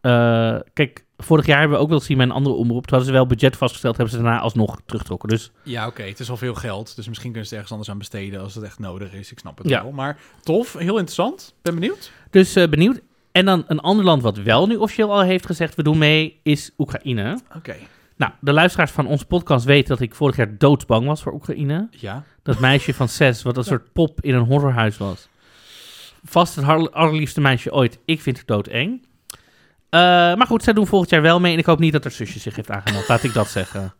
[SPEAKER 1] eh, kijk, vorig jaar hebben we ook wel zien mijn andere omroep. Toen hadden ze wel budget vastgesteld, hebben ze daarna alsnog teruggetrokken. Dus
[SPEAKER 2] Ja, oké. Het is al veel geld. Dus misschien kunnen ze ergens anders aan besteden als het echt nodig is. Ik snap het
[SPEAKER 1] Ja.
[SPEAKER 2] wel. Maar tof. Heel interessant. Ben benieuwd.
[SPEAKER 1] Dus eh, benieuwd. En dan een ander land wat wel nu officieel al heeft gezegd: we doen mee, is Oekraïne.
[SPEAKER 2] Oké.
[SPEAKER 1] Nou, de luisteraars van onze podcast weten dat ik vorig jaar doodsbang was voor Oekraïne.
[SPEAKER 2] Ja.
[SPEAKER 1] Dat meisje van zes, wat een soort pop in een horrorhuis was. Vast het har- allerliefste meisje ooit. Ik vind het doodeng. Eh, maar goed, zij doen volgend jaar wel mee. En ik hoop niet dat haar zusje zich heeft aangemeld. Laat ik dat zeggen.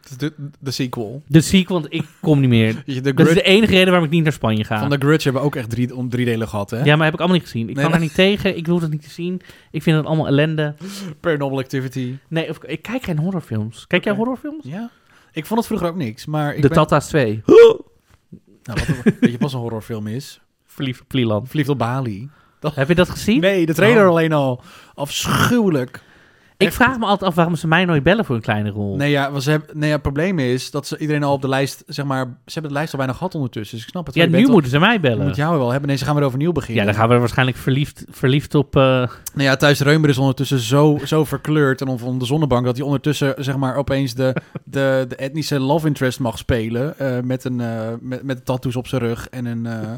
[SPEAKER 2] Het is De, de sequel.
[SPEAKER 1] De ziek, want ik kom niet meer.
[SPEAKER 2] Weet je, De
[SPEAKER 1] Dat is
[SPEAKER 2] Grudge,
[SPEAKER 1] de enige reden waarom ik niet naar Spanje ga.
[SPEAKER 2] Van de Grudge hebben we ook echt drie, om drie delen gehad, hè?
[SPEAKER 1] Ja, maar heb ik allemaal niet gezien. Ik
[SPEAKER 2] Nee,
[SPEAKER 1] kan daar
[SPEAKER 2] maar-
[SPEAKER 1] niet tegen. Ik wil dat niet zien. Ik vind het allemaal ellende.
[SPEAKER 2] Paranormal Activity.
[SPEAKER 1] Nee, of, ik kijk geen horrorfilms. Kijk jij
[SPEAKER 2] Oké.
[SPEAKER 1] horrorfilms?
[SPEAKER 2] Ja. Ik vond het vroeger ook niks, maar ik
[SPEAKER 1] de
[SPEAKER 2] ben...
[SPEAKER 1] Tata's 2.
[SPEAKER 2] Nou, wat, een- weet je pas een horrorfilm is?
[SPEAKER 1] Verliefd op Vlieland.
[SPEAKER 2] Verliefd op Bali.
[SPEAKER 1] Heb je dat gezien?
[SPEAKER 2] Nee, de trailer
[SPEAKER 1] Oh.
[SPEAKER 2] alleen al. Afschuwelijk.
[SPEAKER 1] ik
[SPEAKER 2] echt.
[SPEAKER 1] vraag me altijd af waarom ze mij nooit bellen voor een kleine rol.
[SPEAKER 2] Nee ja, want ze hebben- nee, ja, het probleem is dat ze iedereen al op de lijst, zeg maar, ze hebben de lijst al bijna gehad ondertussen. Dus ik snap het.
[SPEAKER 1] ja,
[SPEAKER 2] Je bent
[SPEAKER 1] nu
[SPEAKER 2] al-
[SPEAKER 1] moeten ze mij
[SPEAKER 2] je
[SPEAKER 1] bellen.
[SPEAKER 2] moet jou wel hebben. Nee, ze gaan weer overnieuw beginnen.
[SPEAKER 1] Ja, dan gaan we waarschijnlijk verliefd, verliefd op... eh,
[SPEAKER 2] Nou ja, Thuis Reumer is ondertussen zo, zo verkleurd en on- van de zonnebank dat hij ondertussen zeg maar opeens de, de, de etnische love interest mag spelen eh, met, een, eh, met, met tattoos op zijn rug en een, eh,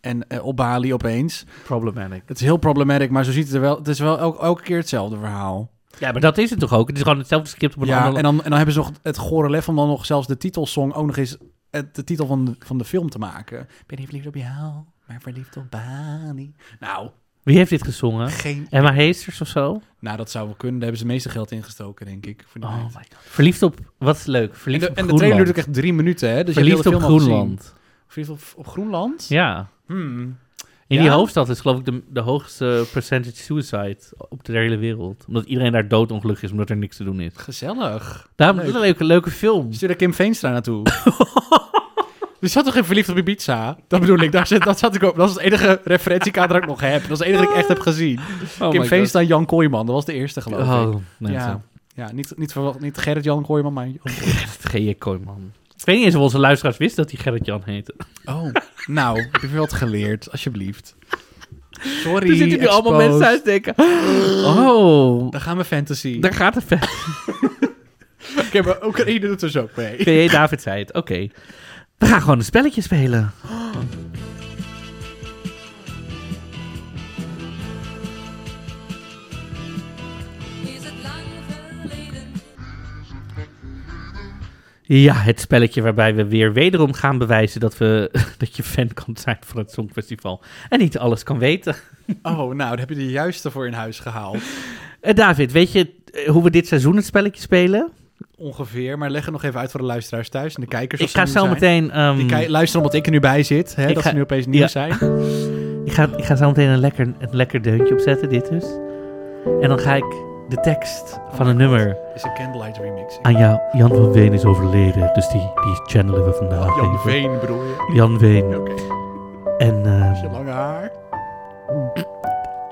[SPEAKER 2] en eh, op Bali opeens.
[SPEAKER 1] Problematic.
[SPEAKER 2] Het is heel problematic, maar zo ziet het er wel. Het is wel elke, elke keer hetzelfde verhaal.
[SPEAKER 1] Ja, maar dat is het toch ook? Het is gewoon hetzelfde script op een
[SPEAKER 2] Ja,
[SPEAKER 1] andere...
[SPEAKER 2] en dan, en dan hebben ze nog het gore lef om dan nog zelfs de titelsong ook nog eens het, de titel van de, van de film te maken. Ik Ben niet verliefd op jou, maar verliefd op Bali. Nou,
[SPEAKER 1] Wie heeft dit gezongen?
[SPEAKER 2] geen...
[SPEAKER 1] Emma Heesters of zo?
[SPEAKER 2] Nou, dat zou wel kunnen. Daar hebben ze het meeste geld ingestoken, denk ik. Voor die
[SPEAKER 1] Oh
[SPEAKER 2] meid.
[SPEAKER 1] my god. Verliefd op... Wat is leuk?
[SPEAKER 2] en
[SPEAKER 1] Verliefd
[SPEAKER 2] de,
[SPEAKER 1] op
[SPEAKER 2] en de
[SPEAKER 1] Groenland.
[SPEAKER 2] trailer duurt ook echt drie minuten, hè? Dus je hebt
[SPEAKER 1] Verliefd
[SPEAKER 2] heel
[SPEAKER 1] op
[SPEAKER 2] de film al gezien.
[SPEAKER 1] Groenland.
[SPEAKER 2] Verliefd op, op Groenland?
[SPEAKER 1] Ja.
[SPEAKER 2] Hmm.
[SPEAKER 1] In
[SPEAKER 2] Ja?
[SPEAKER 1] die hoofdstad is geloof ik de, de hoogste percentage suicide op de hele wereld. Omdat iedereen daar doodongelukkig is, omdat er niks te doen is.
[SPEAKER 2] Gezellig.
[SPEAKER 1] Daarom
[SPEAKER 2] Leuk.
[SPEAKER 1] een leuke, leuke film.
[SPEAKER 2] Stuur daar Kim Veenstra naartoe. Er zat toch geen verliefd op Ibiza? Dat bedoel ik. Daar zat, dat, zat ik op. dat is het enige referentiekader dat ik nog heb. Dat is het enige dat ik echt heb gezien.
[SPEAKER 1] Oh
[SPEAKER 2] Kim
[SPEAKER 1] my
[SPEAKER 2] Veenstra en Jan Kooijman. Dat was de eerste,
[SPEAKER 1] god.
[SPEAKER 2] geloof ik.
[SPEAKER 1] Oh, mensen.
[SPEAKER 2] Ja, ja niet, niet, verwacht, niet Gerrit Jan Kooijman, maar...
[SPEAKER 1] Gerrit G.J. Kooijman. Ik weet niet eens of onze luisteraars wisten dat hij Gerrit-Jan heette.
[SPEAKER 2] Oh, nou, ik heb je wat geleerd, alsjeblieft. Sorry,
[SPEAKER 1] Er zitten nu allemaal mensen thuis denken... Oh,
[SPEAKER 2] Dan gaan we fantasy.
[SPEAKER 1] daar gaat de fan.
[SPEAKER 2] Oké, maar Oekraïne doet er zo ook mee.
[SPEAKER 1] G.J. David zei het, oké. We gaan gewoon een spelletje spelen.
[SPEAKER 4] Is het lang geleden?
[SPEAKER 1] Ja, het spelletje waarbij we weer wederom gaan bewijzen dat, we, dat je fan kan zijn van het Songfestival. En niet alles kan weten.
[SPEAKER 2] Oh, nou, dan heb je de juiste voor in huis gehaald.
[SPEAKER 1] Eh, David, weet je eh, hoe we dit seizoen het spelletje spelen?
[SPEAKER 2] Ongeveer, maar leg het nog even uit voor de luisteraars thuis en de kijkers.
[SPEAKER 1] Ik
[SPEAKER 2] als ze
[SPEAKER 1] ga
[SPEAKER 2] nieuw
[SPEAKER 1] zo
[SPEAKER 2] zijn.
[SPEAKER 1] meteen... ehm,
[SPEAKER 2] Die kij- luisteren omdat ik er nu bij zit, hè,
[SPEAKER 1] Ik
[SPEAKER 2] dat
[SPEAKER 1] ga-
[SPEAKER 2] ze nu opeens nieuw
[SPEAKER 1] Ja.
[SPEAKER 2] zijn.
[SPEAKER 1] ik, ga, ik ga zo meteen een lekker, een lekker deuntje opzetten, dit dus. En dan ga ik de tekst van een nummer
[SPEAKER 2] Het is een Candlelight remix.
[SPEAKER 1] aan jou. Jan van Veen is overleden, dus die, die channelen we vandaag
[SPEAKER 2] Jan
[SPEAKER 1] even.
[SPEAKER 2] Veen bedoel je?
[SPEAKER 1] Jan Veen.
[SPEAKER 2] Oké, als
[SPEAKER 1] En, ehm,
[SPEAKER 2] je lange haar.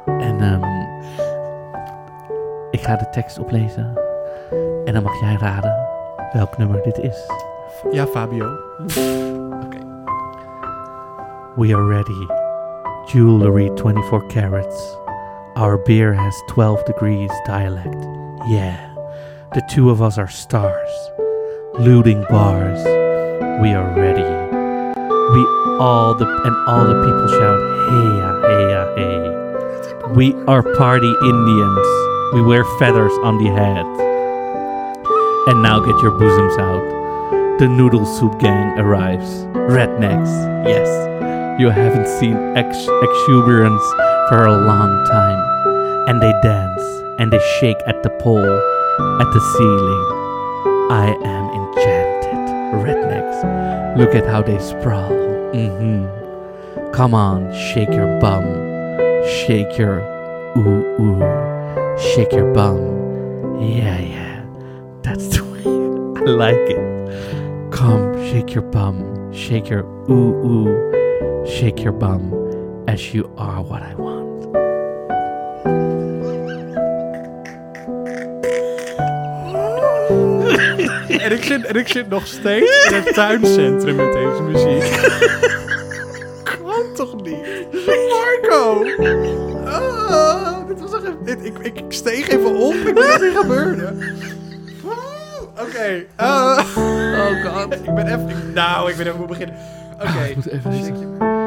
[SPEAKER 1] en ehm, ik ga de tekst oplezen. En dan mag jij raden welk nummer dit is.
[SPEAKER 2] Ja, Fabio.
[SPEAKER 1] We are ready. Jewelry 24 carats. Our beer has 12 degrees dialect. Yeah. The two of us are stars. Looting bars. We are ready. We all the and all the people shout hey hey hey. We are party Indians. We wear feathers on the head. And now get your bosoms out. The noodle soup gang arrives. Rednecks. Yes. You haven't seen ex- exuberance for a long time. And they dance and they shake at the pole, at the ceiling. I am enchanted. Rednecks, look at how they sprawl. Mm-hmm. Come on, shake your bum. Shake your ooh ooh. Shake your bum. Yeah, yeah. That's the way I like it. Come, shake your bum. Shake your ooh ooh. Shake your bum as you are what I want.
[SPEAKER 2] En ik, zit, en ik zit nog steeds in het tuincentrum met deze muziek. Kan toch niet? Marco! Ah, dit was toch even- dit, ik, ik, ik steeg even op. Ik weet wat er gebeurde. Ah, Oké. ah.
[SPEAKER 1] Oh god. Ah,
[SPEAKER 2] ik ben even... ik- nou, ik ben even moet beginnen. Oké.
[SPEAKER 1] moet even
[SPEAKER 2] Shake your-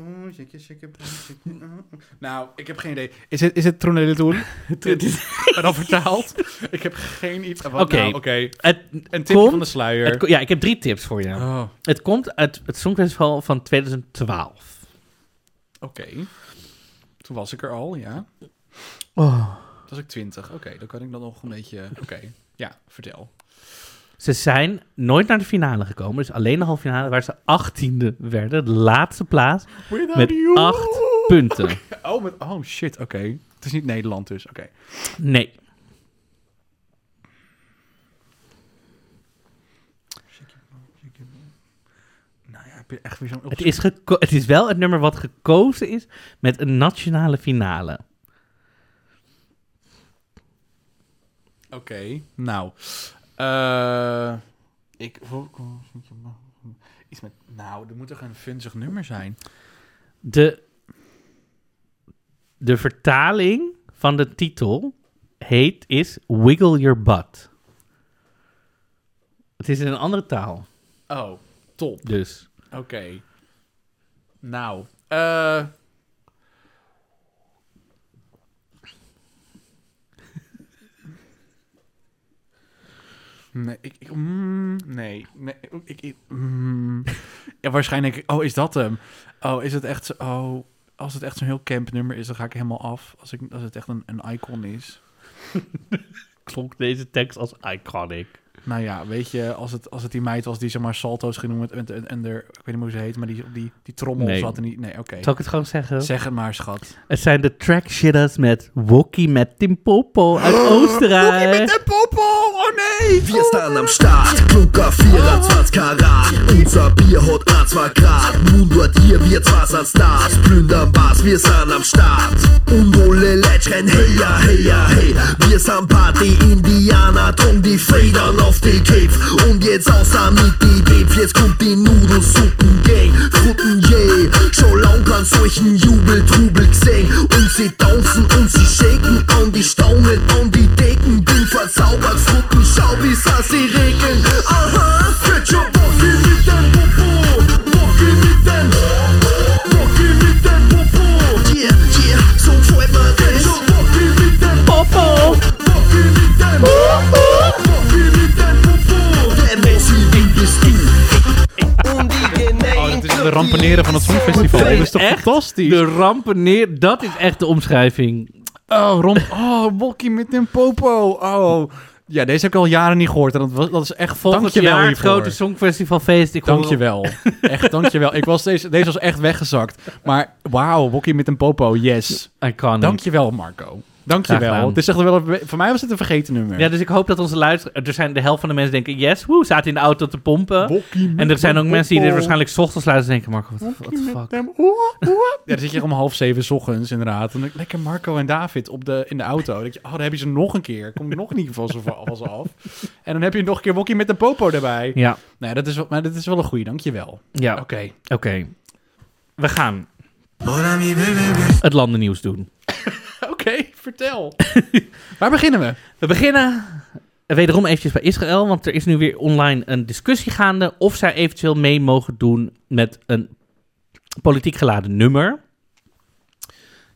[SPEAKER 2] Mm, shake your- shake your- shake your- mm. Nou, ik heb geen idee. Is het, is het Tronele Doen? Maar dan vertaald? Ik heb geen idee. Wat
[SPEAKER 1] Oké.
[SPEAKER 2] nou? Oké.
[SPEAKER 1] Het,
[SPEAKER 2] Een tipje
[SPEAKER 1] Komt-
[SPEAKER 2] van de sluier.
[SPEAKER 1] het ko- ja, ik heb drie tips voor je.
[SPEAKER 2] Oh,
[SPEAKER 1] Het komt uit het Songfestival van 2012.
[SPEAKER 2] oké. Toen was ik er al, ja.
[SPEAKER 1] Oh.
[SPEAKER 2] Toen was ik twintig. Oké, dan kan ik dan nog een beetje... Oké, ja, vertel.
[SPEAKER 1] Ze zijn nooit naar de finale gekomen. Dus alleen de halve finale waar ze achttiende werden. De laatste plaats. Met you. acht punten.
[SPEAKER 2] Oh, met, oh shit, oké. Het is niet Nederland dus, oké.
[SPEAKER 1] Nee.
[SPEAKER 2] Nou ja, heb je echt weer zo'n...
[SPEAKER 1] Het is, geko- het is wel het nummer wat gekozen is met een nationale finale.
[SPEAKER 2] Oké, nou. Eh ik... Iets met... Nou, er moet toch een funzig nummer zijn?
[SPEAKER 1] De, de vertaling van de titel heet is Wiggle Your Butt. Het is in een andere taal,
[SPEAKER 2] Oh, top.
[SPEAKER 1] dus.
[SPEAKER 2] Oké. Nou, Eh, Nee, ik, ik- mm, nee, nee, ik, ik- mm. ja, waarschijnlijk, oh, is dat hem? Oh, is het echt zo, oh, als het echt zo'n heel camp nummer is, dan ga ik helemaal af. Als, ik, als het echt een, een icon is.
[SPEAKER 1] Klonk deze tekst als iconic.
[SPEAKER 2] Nou ja, weet je, als het, als het die meid was die zeg maar salto's ging doen met, met- en, en er, ik weet niet hoe ze heet, maar die op die, die trommel
[SPEAKER 1] Nee.
[SPEAKER 2] zat en die, nee, oké.
[SPEAKER 1] Zal ik het gewoon zeggen?
[SPEAKER 2] Zeg het maar, schat.
[SPEAKER 1] Het zijn de track shitters met Wokkie met Timpopo uit Oostenrijk.
[SPEAKER 2] de popo, oh nee!
[SPEAKER 5] Wir
[SPEAKER 2] Nou,
[SPEAKER 5] sind am Start, Klunker 24 Karat, unser Bier hat A2 Grad, Mundort hier, wir zwei sind Stars, plündern was, wir sind am Start. Und alle Leute schreien, hey ja, hey ja, hey, wir sind Party-Indianer, drum die Federn auf die Käf. Und jetzt außer mit die Def, jetzt kommt die Nudelsuppen-Gang, Frutten, yeah, schon lang keinen solchen Jubeltrubel gesehen. Und sie tanzen und sie shaken an die Staunen, an die Decken, bin verzaubert, Frutten, schau wie sass sie regeln. Aha, Ketchup, Wocki mit dem Popo, Wocki mit dem, Wocki mit dem Popo. Yeah, yeah, so gefällt mir das. Ketchup, Wocki mit dem Popo, Wocki mit dem Popo, Wocki mit dem Popo. Der Messi, den bist du. Und
[SPEAKER 2] Oh,
[SPEAKER 5] die Gemeinde.
[SPEAKER 2] dit is de rampeneren van het Songfestival.
[SPEAKER 1] Dit
[SPEAKER 2] Dat
[SPEAKER 1] is
[SPEAKER 2] is toch
[SPEAKER 1] echt
[SPEAKER 2] fantastisch?
[SPEAKER 1] De rampen neer, dat is echt de omschrijving.
[SPEAKER 2] Oh, rond. Oh, Wokkie met een popo. Oh. Ja, deze heb ik al jaren niet gehoord. En dat, was, dat is echt
[SPEAKER 1] Volgend
[SPEAKER 2] dankjewel
[SPEAKER 1] jaar het
[SPEAKER 2] hiervoor.
[SPEAKER 1] grote Songfestivalfeest. Ik hoor-
[SPEAKER 2] Dankjewel. Echt, dankjewel. Ik was deze, deze was echt weggezakt. Maar wauw, Wokkie met een popo, yes.
[SPEAKER 1] Iconic.
[SPEAKER 2] Dankjewel, Marco.
[SPEAKER 1] Graag
[SPEAKER 2] Dankjewel.
[SPEAKER 1] gedaan.
[SPEAKER 2] Het is echt wel, een- voor mij was het een vergeten nummer.
[SPEAKER 1] Ja, dus ik hoop dat onze luisteraars... Er zijn de helft van de mensen denken... Yes, woe, zaten in de auto te pompen.
[SPEAKER 2] Wokkie met
[SPEAKER 1] en er zijn ook
[SPEAKER 2] een
[SPEAKER 1] mensen die dit
[SPEAKER 2] popo.
[SPEAKER 1] waarschijnlijk 's ochtends luisteren en denken... Marco, wat- wat de fuck?
[SPEAKER 2] Dem- oeh, oeh. Ja, dan zit je om half zeven 's ochtends inderdaad. En dan, lekker Marco en David op de, in de auto. Dan denk je, oh, dan heb je ze nog een keer. Kom ik nog niet van ze van ze af. En dan heb je nog een keer Wokkie met een popo erbij.
[SPEAKER 1] Ja,
[SPEAKER 2] Nee, dat is, wel- maar dat is wel een goeie, dankjewel.
[SPEAKER 1] ja.
[SPEAKER 2] Oké.
[SPEAKER 1] Oké. We gaan het landennieuws doen.
[SPEAKER 2] Oké, vertel. Waar beginnen we?
[SPEAKER 1] We beginnen wederom eventjes bij Israël, want er is nu weer online een discussie gaande of zij eventueel mee mogen doen met een politiek geladen nummer.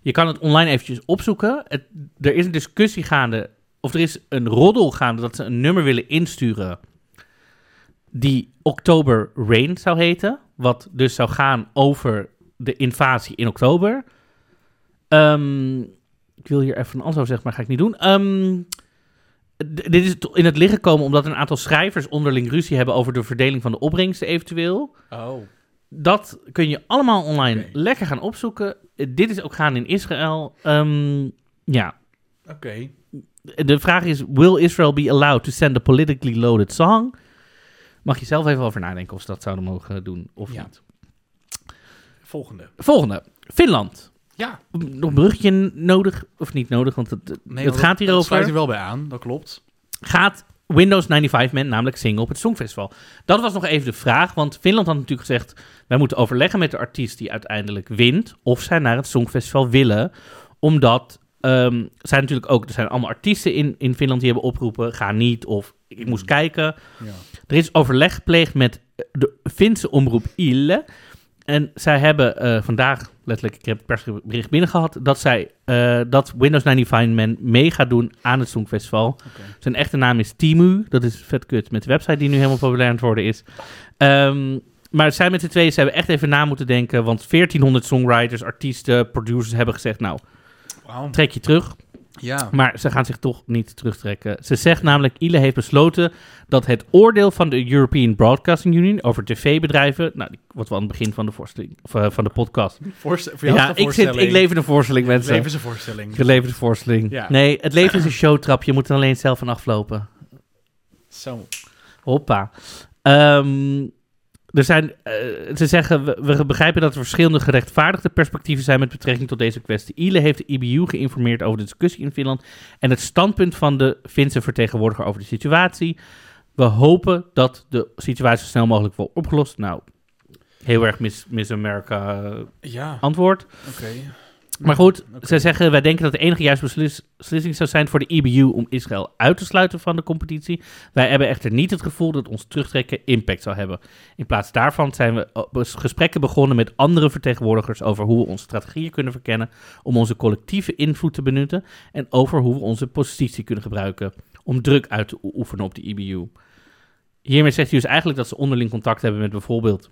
[SPEAKER 1] Je kan het online eventjes opzoeken. Het- er is een discussie gaande, of er is een roddel gaande dat ze een nummer willen insturen die Oktober Rain zou heten, wat dus zou gaan over de invasie in oktober. Ehm, ik wil hier even een antwoord zeggen, maar ga ik niet doen. Ehm, D- dit is to- in het licht gekomen omdat een aantal schrijvers onderling ruzie hebben over de verdeling van de opbrengsten eventueel.
[SPEAKER 2] Oh.
[SPEAKER 1] Dat kun je allemaal online
[SPEAKER 2] Oké.
[SPEAKER 1] lekker gaan opzoeken. Eh, Dit is ook gaan in Israël. Ehm, ja,
[SPEAKER 2] Oké.
[SPEAKER 1] de vraag is: Will Israel be allowed to send a politically loaded song? Mag je zelf even over nadenken of ze dat zouden mogen doen of
[SPEAKER 2] Ja.
[SPEAKER 1] niet.
[SPEAKER 2] Volgende.
[SPEAKER 1] Volgende: Finland.
[SPEAKER 2] Ja.
[SPEAKER 1] Nog een bruggetje nodig of niet nodig? Want het, het
[SPEAKER 2] Nee,
[SPEAKER 1] gaat
[SPEAKER 2] hier
[SPEAKER 1] hierover.
[SPEAKER 2] sluit er wel bij aan, dat klopt.
[SPEAKER 1] gaat Windows 95 Man namelijk zingen op het Songfestival? Dat was nog even de vraag, want Finland had natuurlijk gezegd... wij moeten overleggen met de artiest die uiteindelijk wint... of zij naar het Songfestival willen. Omdat ehm zij natuurlijk ook... er zijn allemaal artiesten in, in Finland die hebben opgeroepen... ga niet of ik moest kijken.
[SPEAKER 2] Ja.
[SPEAKER 1] Er is overleg gepleegd met de Finse omroep ILE... En zij hebben eh, vandaag, letterlijk, ik heb het persbericht binnengehad... dat, zij, eh, dat Windows 95 Man mee gaat doen aan het Songfestival. Zijn echte naam is Timu. Dat is vet kut met de website die nu helemaal populair aan het worden is. Ehm, maar zij met z'n tweeën, ze hebben echt even na moeten denken. Want 1400 songwriters, artiesten, producers hebben gezegd... nou,
[SPEAKER 2] Wauw.
[SPEAKER 1] trek je terug.
[SPEAKER 2] Ja.
[SPEAKER 1] Maar ze gaan zich toch niet terugtrekken. Ze zegt namelijk, ILE heeft besloten dat het oordeel van de European Broadcasting Union over tv-bedrijven, nou, die- wat we aan het begin van de, voorstelling, of, eh, van de podcast.
[SPEAKER 2] Voorstel, voor jou is
[SPEAKER 1] Ja,
[SPEAKER 2] het
[SPEAKER 1] ik, zit, ik lever de voorstelling, mensen.
[SPEAKER 2] Leven is een voorstelling.
[SPEAKER 1] Ik lever de voorstelling.
[SPEAKER 2] Ja.
[SPEAKER 1] Nee, het leven is een showtrap. Je moet er alleen zelf van aflopen.
[SPEAKER 2] Zo.
[SPEAKER 1] Hoppa. Ehm, er zijn, eh, ze zeggen, we, we begrijpen dat er verschillende gerechtvaardigde perspectieven zijn met betrekking tot deze kwestie. ILE heeft de IBU geïnformeerd over de discussie in Finland en het standpunt van de Finse vertegenwoordiger over de situatie. We hopen dat de situatie zo snel mogelijk wordt opgelost. Nou, heel erg Miss, Miss America eh,
[SPEAKER 2] Ja.
[SPEAKER 1] antwoord.
[SPEAKER 2] Oké.
[SPEAKER 1] Maar goed, ze zeggen, wij denken dat de enige juiste beslis- beslissing zou zijn voor de EBU om Israël uit te sluiten van de competitie. Wij hebben echter niet het gevoel dat ons terugtrekken impact zal hebben. In plaats daarvan zijn we op- gesprekken begonnen met andere vertegenwoordigers over hoe we onze strategieën kunnen verkennen om onze collectieve invloed te benutten en over hoe we onze positie kunnen gebruiken om druk uit te o- oefenen op de E EBU. Hiermee zegt hij dus eigenlijk dat ze onderling contact hebben met bijvoorbeeld,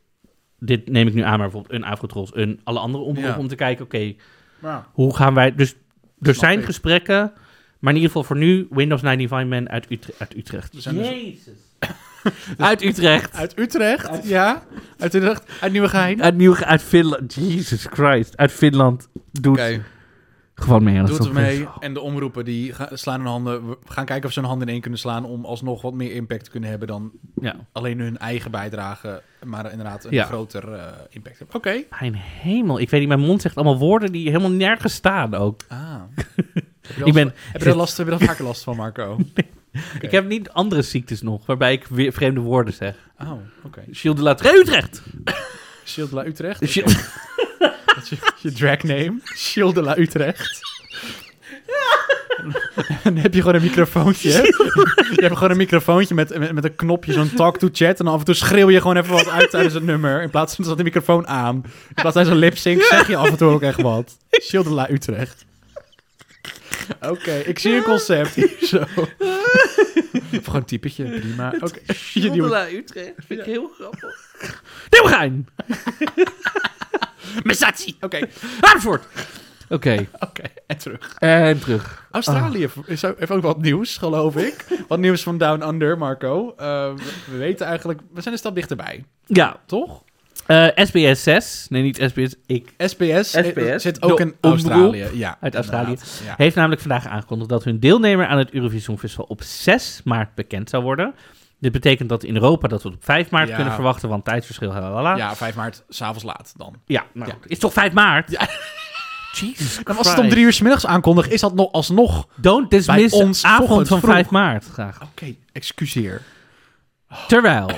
[SPEAKER 1] dit neem ik nu aan, maar bijvoorbeeld een Afrotrols, een alle andere omroepen
[SPEAKER 2] Ja.
[SPEAKER 1] om te kijken, oké,
[SPEAKER 2] Maar
[SPEAKER 1] hoe gaan wij... Dus er zijn
[SPEAKER 2] ik.
[SPEAKER 1] gesprekken, maar in ieder geval voor nu Windows 95 Man uit, Utre- uit Utrecht.
[SPEAKER 2] zijn dus-
[SPEAKER 1] Jezus. uit Utrecht. Uit,
[SPEAKER 2] Uit Utrecht, ja. Uit Utrecht, uit Nieuwegein.
[SPEAKER 1] Nieuw, uit Finland. Jesus Christ. Uit Finland. Doe het
[SPEAKER 2] Oké,
[SPEAKER 1] gewoon mee.
[SPEAKER 2] doet er mee. En de omroepen die ga- slaan hun handen. we gaan kijken of ze hun handen in één kunnen slaan. om alsnog wat meer impact te kunnen hebben dan
[SPEAKER 1] Ja.
[SPEAKER 2] alleen hun eigen bijdrage. maar inderdaad een
[SPEAKER 1] Ja.
[SPEAKER 2] groter eh, impact hebben. Oké.
[SPEAKER 1] Mijn hemel. Ik weet niet, mijn mond zegt allemaal woorden die helemaal nergens staan ook.
[SPEAKER 2] Ah. heb je,
[SPEAKER 1] Ik ben-
[SPEAKER 2] ben, heb, je daar last, heb je daar vaker last van, Marco?
[SPEAKER 1] Ik heb niet andere ziektes nog, waarbij ik weer vreemde woorden zeg.
[SPEAKER 2] Oh, oké.
[SPEAKER 1] Gilles de Latre Utrecht.
[SPEAKER 2] Shield de la Utrecht.
[SPEAKER 1] Gilles-
[SPEAKER 2] Oké. Dat is je, je dragname. Shield de la Utrecht. En dan heb je gewoon een microfoontje. Je hebt gewoon een microfoontje met, met, met een knopje, zo'n talk to chat. En dan af en toe schreeuw je gewoon even wat uit tijdens het nummer. In plaats van dat de microfoon aan. In plaats van zo'n lip sync zeg je af en toe ook echt wat. Shield de la Utrecht. Oké, ik zie een concept hier zo. Of gewoon typetje, prima. Oké, je nieuwe
[SPEAKER 1] Utrecht. Vind ik heel grappig. Nieuwegein.
[SPEAKER 2] Messatie. Oké,
[SPEAKER 1] Amersfoort. Oké.
[SPEAKER 2] oké. En terug.
[SPEAKER 1] En terug.
[SPEAKER 2] Australië is ook- heeft ook wat nieuws, geloof ik. Wat nieuws van Down Under, Marco. Eh, we- we weten eigenlijk, we zijn een stap dichterbij,
[SPEAKER 1] Ja,
[SPEAKER 2] toch?
[SPEAKER 1] eh, SBS 6. Nee, niet SBS. Ik.
[SPEAKER 2] SBS, eh,
[SPEAKER 1] SBS,
[SPEAKER 2] zit ook
[SPEAKER 1] de
[SPEAKER 2] in
[SPEAKER 1] omroep
[SPEAKER 2] Australië. Ja,
[SPEAKER 1] uit Australië.
[SPEAKER 2] inderdaad. Ja.
[SPEAKER 1] Heeft namelijk vandaag aangekondigd dat hun deelnemer aan het Eurovisie Songfestival op 6 maart bekend zou worden. Dit betekent dat in Europa dat we het op 5 maart
[SPEAKER 2] Ja.
[SPEAKER 1] kunnen verwachten, want tijdsverschil, halala. Ja,
[SPEAKER 2] ja, 5 maart, s'avonds laat dan.
[SPEAKER 1] ja nou
[SPEAKER 2] Ja.
[SPEAKER 1] goed. Is toch 5 maart? Ja. Jesus Christ.
[SPEAKER 2] En als het om drie uur 's middags aankondigt, is dat nog alsnog... Oké,
[SPEAKER 1] Don't dismiss
[SPEAKER 2] Bij ons
[SPEAKER 1] de avond
[SPEAKER 2] ochtends
[SPEAKER 1] van
[SPEAKER 2] vroeg.
[SPEAKER 1] 5 maart, graag.
[SPEAKER 2] excuseer.
[SPEAKER 1] Terwijl...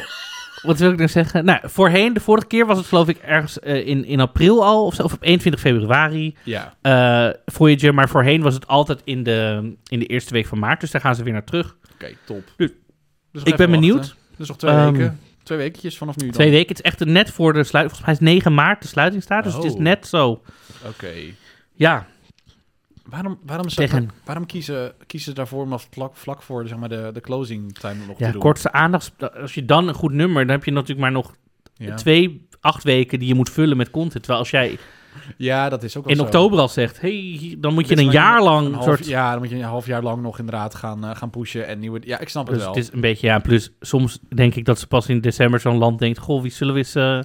[SPEAKER 1] Wat wil ik nou zeggen? Nou, voorheen, de vorige keer was het geloof ik ergens eh, in, in april al, of zo, of op 21 februari.
[SPEAKER 2] Ja,
[SPEAKER 1] eh Voyager, maar voorheen was het altijd in de, in de eerste week van maart, dus daar gaan ze weer naar terug.
[SPEAKER 2] oké, top.
[SPEAKER 1] Dus
[SPEAKER 2] nog
[SPEAKER 1] ik
[SPEAKER 2] even
[SPEAKER 1] ben benieuwd.
[SPEAKER 2] wachten. Dus nog twee
[SPEAKER 1] Ehm,
[SPEAKER 2] weken. Twee wekentjes vanaf nu dan.
[SPEAKER 1] Twee weken. Het is echt net voor de sluiting. Volgens mij is 9 maart de sluiting staat. Dus het is
[SPEAKER 2] Oh.
[SPEAKER 1] net zo.
[SPEAKER 2] Oké.
[SPEAKER 1] Ja,
[SPEAKER 2] Waarom, waarom, zou-
[SPEAKER 1] Tegen-
[SPEAKER 2] waarom kiezen, kiezen ze daarvoor om dat vlak, vlak voor zeg maar, de, de closing time nog
[SPEAKER 1] ja
[SPEAKER 2] te doen?
[SPEAKER 1] kortste aandacht. Als je dan een goed nummer, dan heb je natuurlijk maar nog
[SPEAKER 2] Ja.
[SPEAKER 1] twee, acht weken die je moet vullen met content. Terwijl als jij
[SPEAKER 2] Ja, dat is ook wel
[SPEAKER 1] in
[SPEAKER 2] zo.
[SPEAKER 1] oktober al zegt, hey, hier- dan moet je
[SPEAKER 2] Dit is
[SPEAKER 1] een
[SPEAKER 2] wel
[SPEAKER 1] jaar lang
[SPEAKER 2] Een
[SPEAKER 1] een
[SPEAKER 2] half-
[SPEAKER 1] soort...
[SPEAKER 2] Ja, dan moet je een half jaar lang nog inderdaad gaan, eh, gaan pushen en nieuwe... Ja, ik snap het
[SPEAKER 1] Dus
[SPEAKER 2] wel.
[SPEAKER 1] het is een beetje, ja, plus soms denk ik dat ze pas in december zo'n land denkt, goh, wie zullen we eens, eh,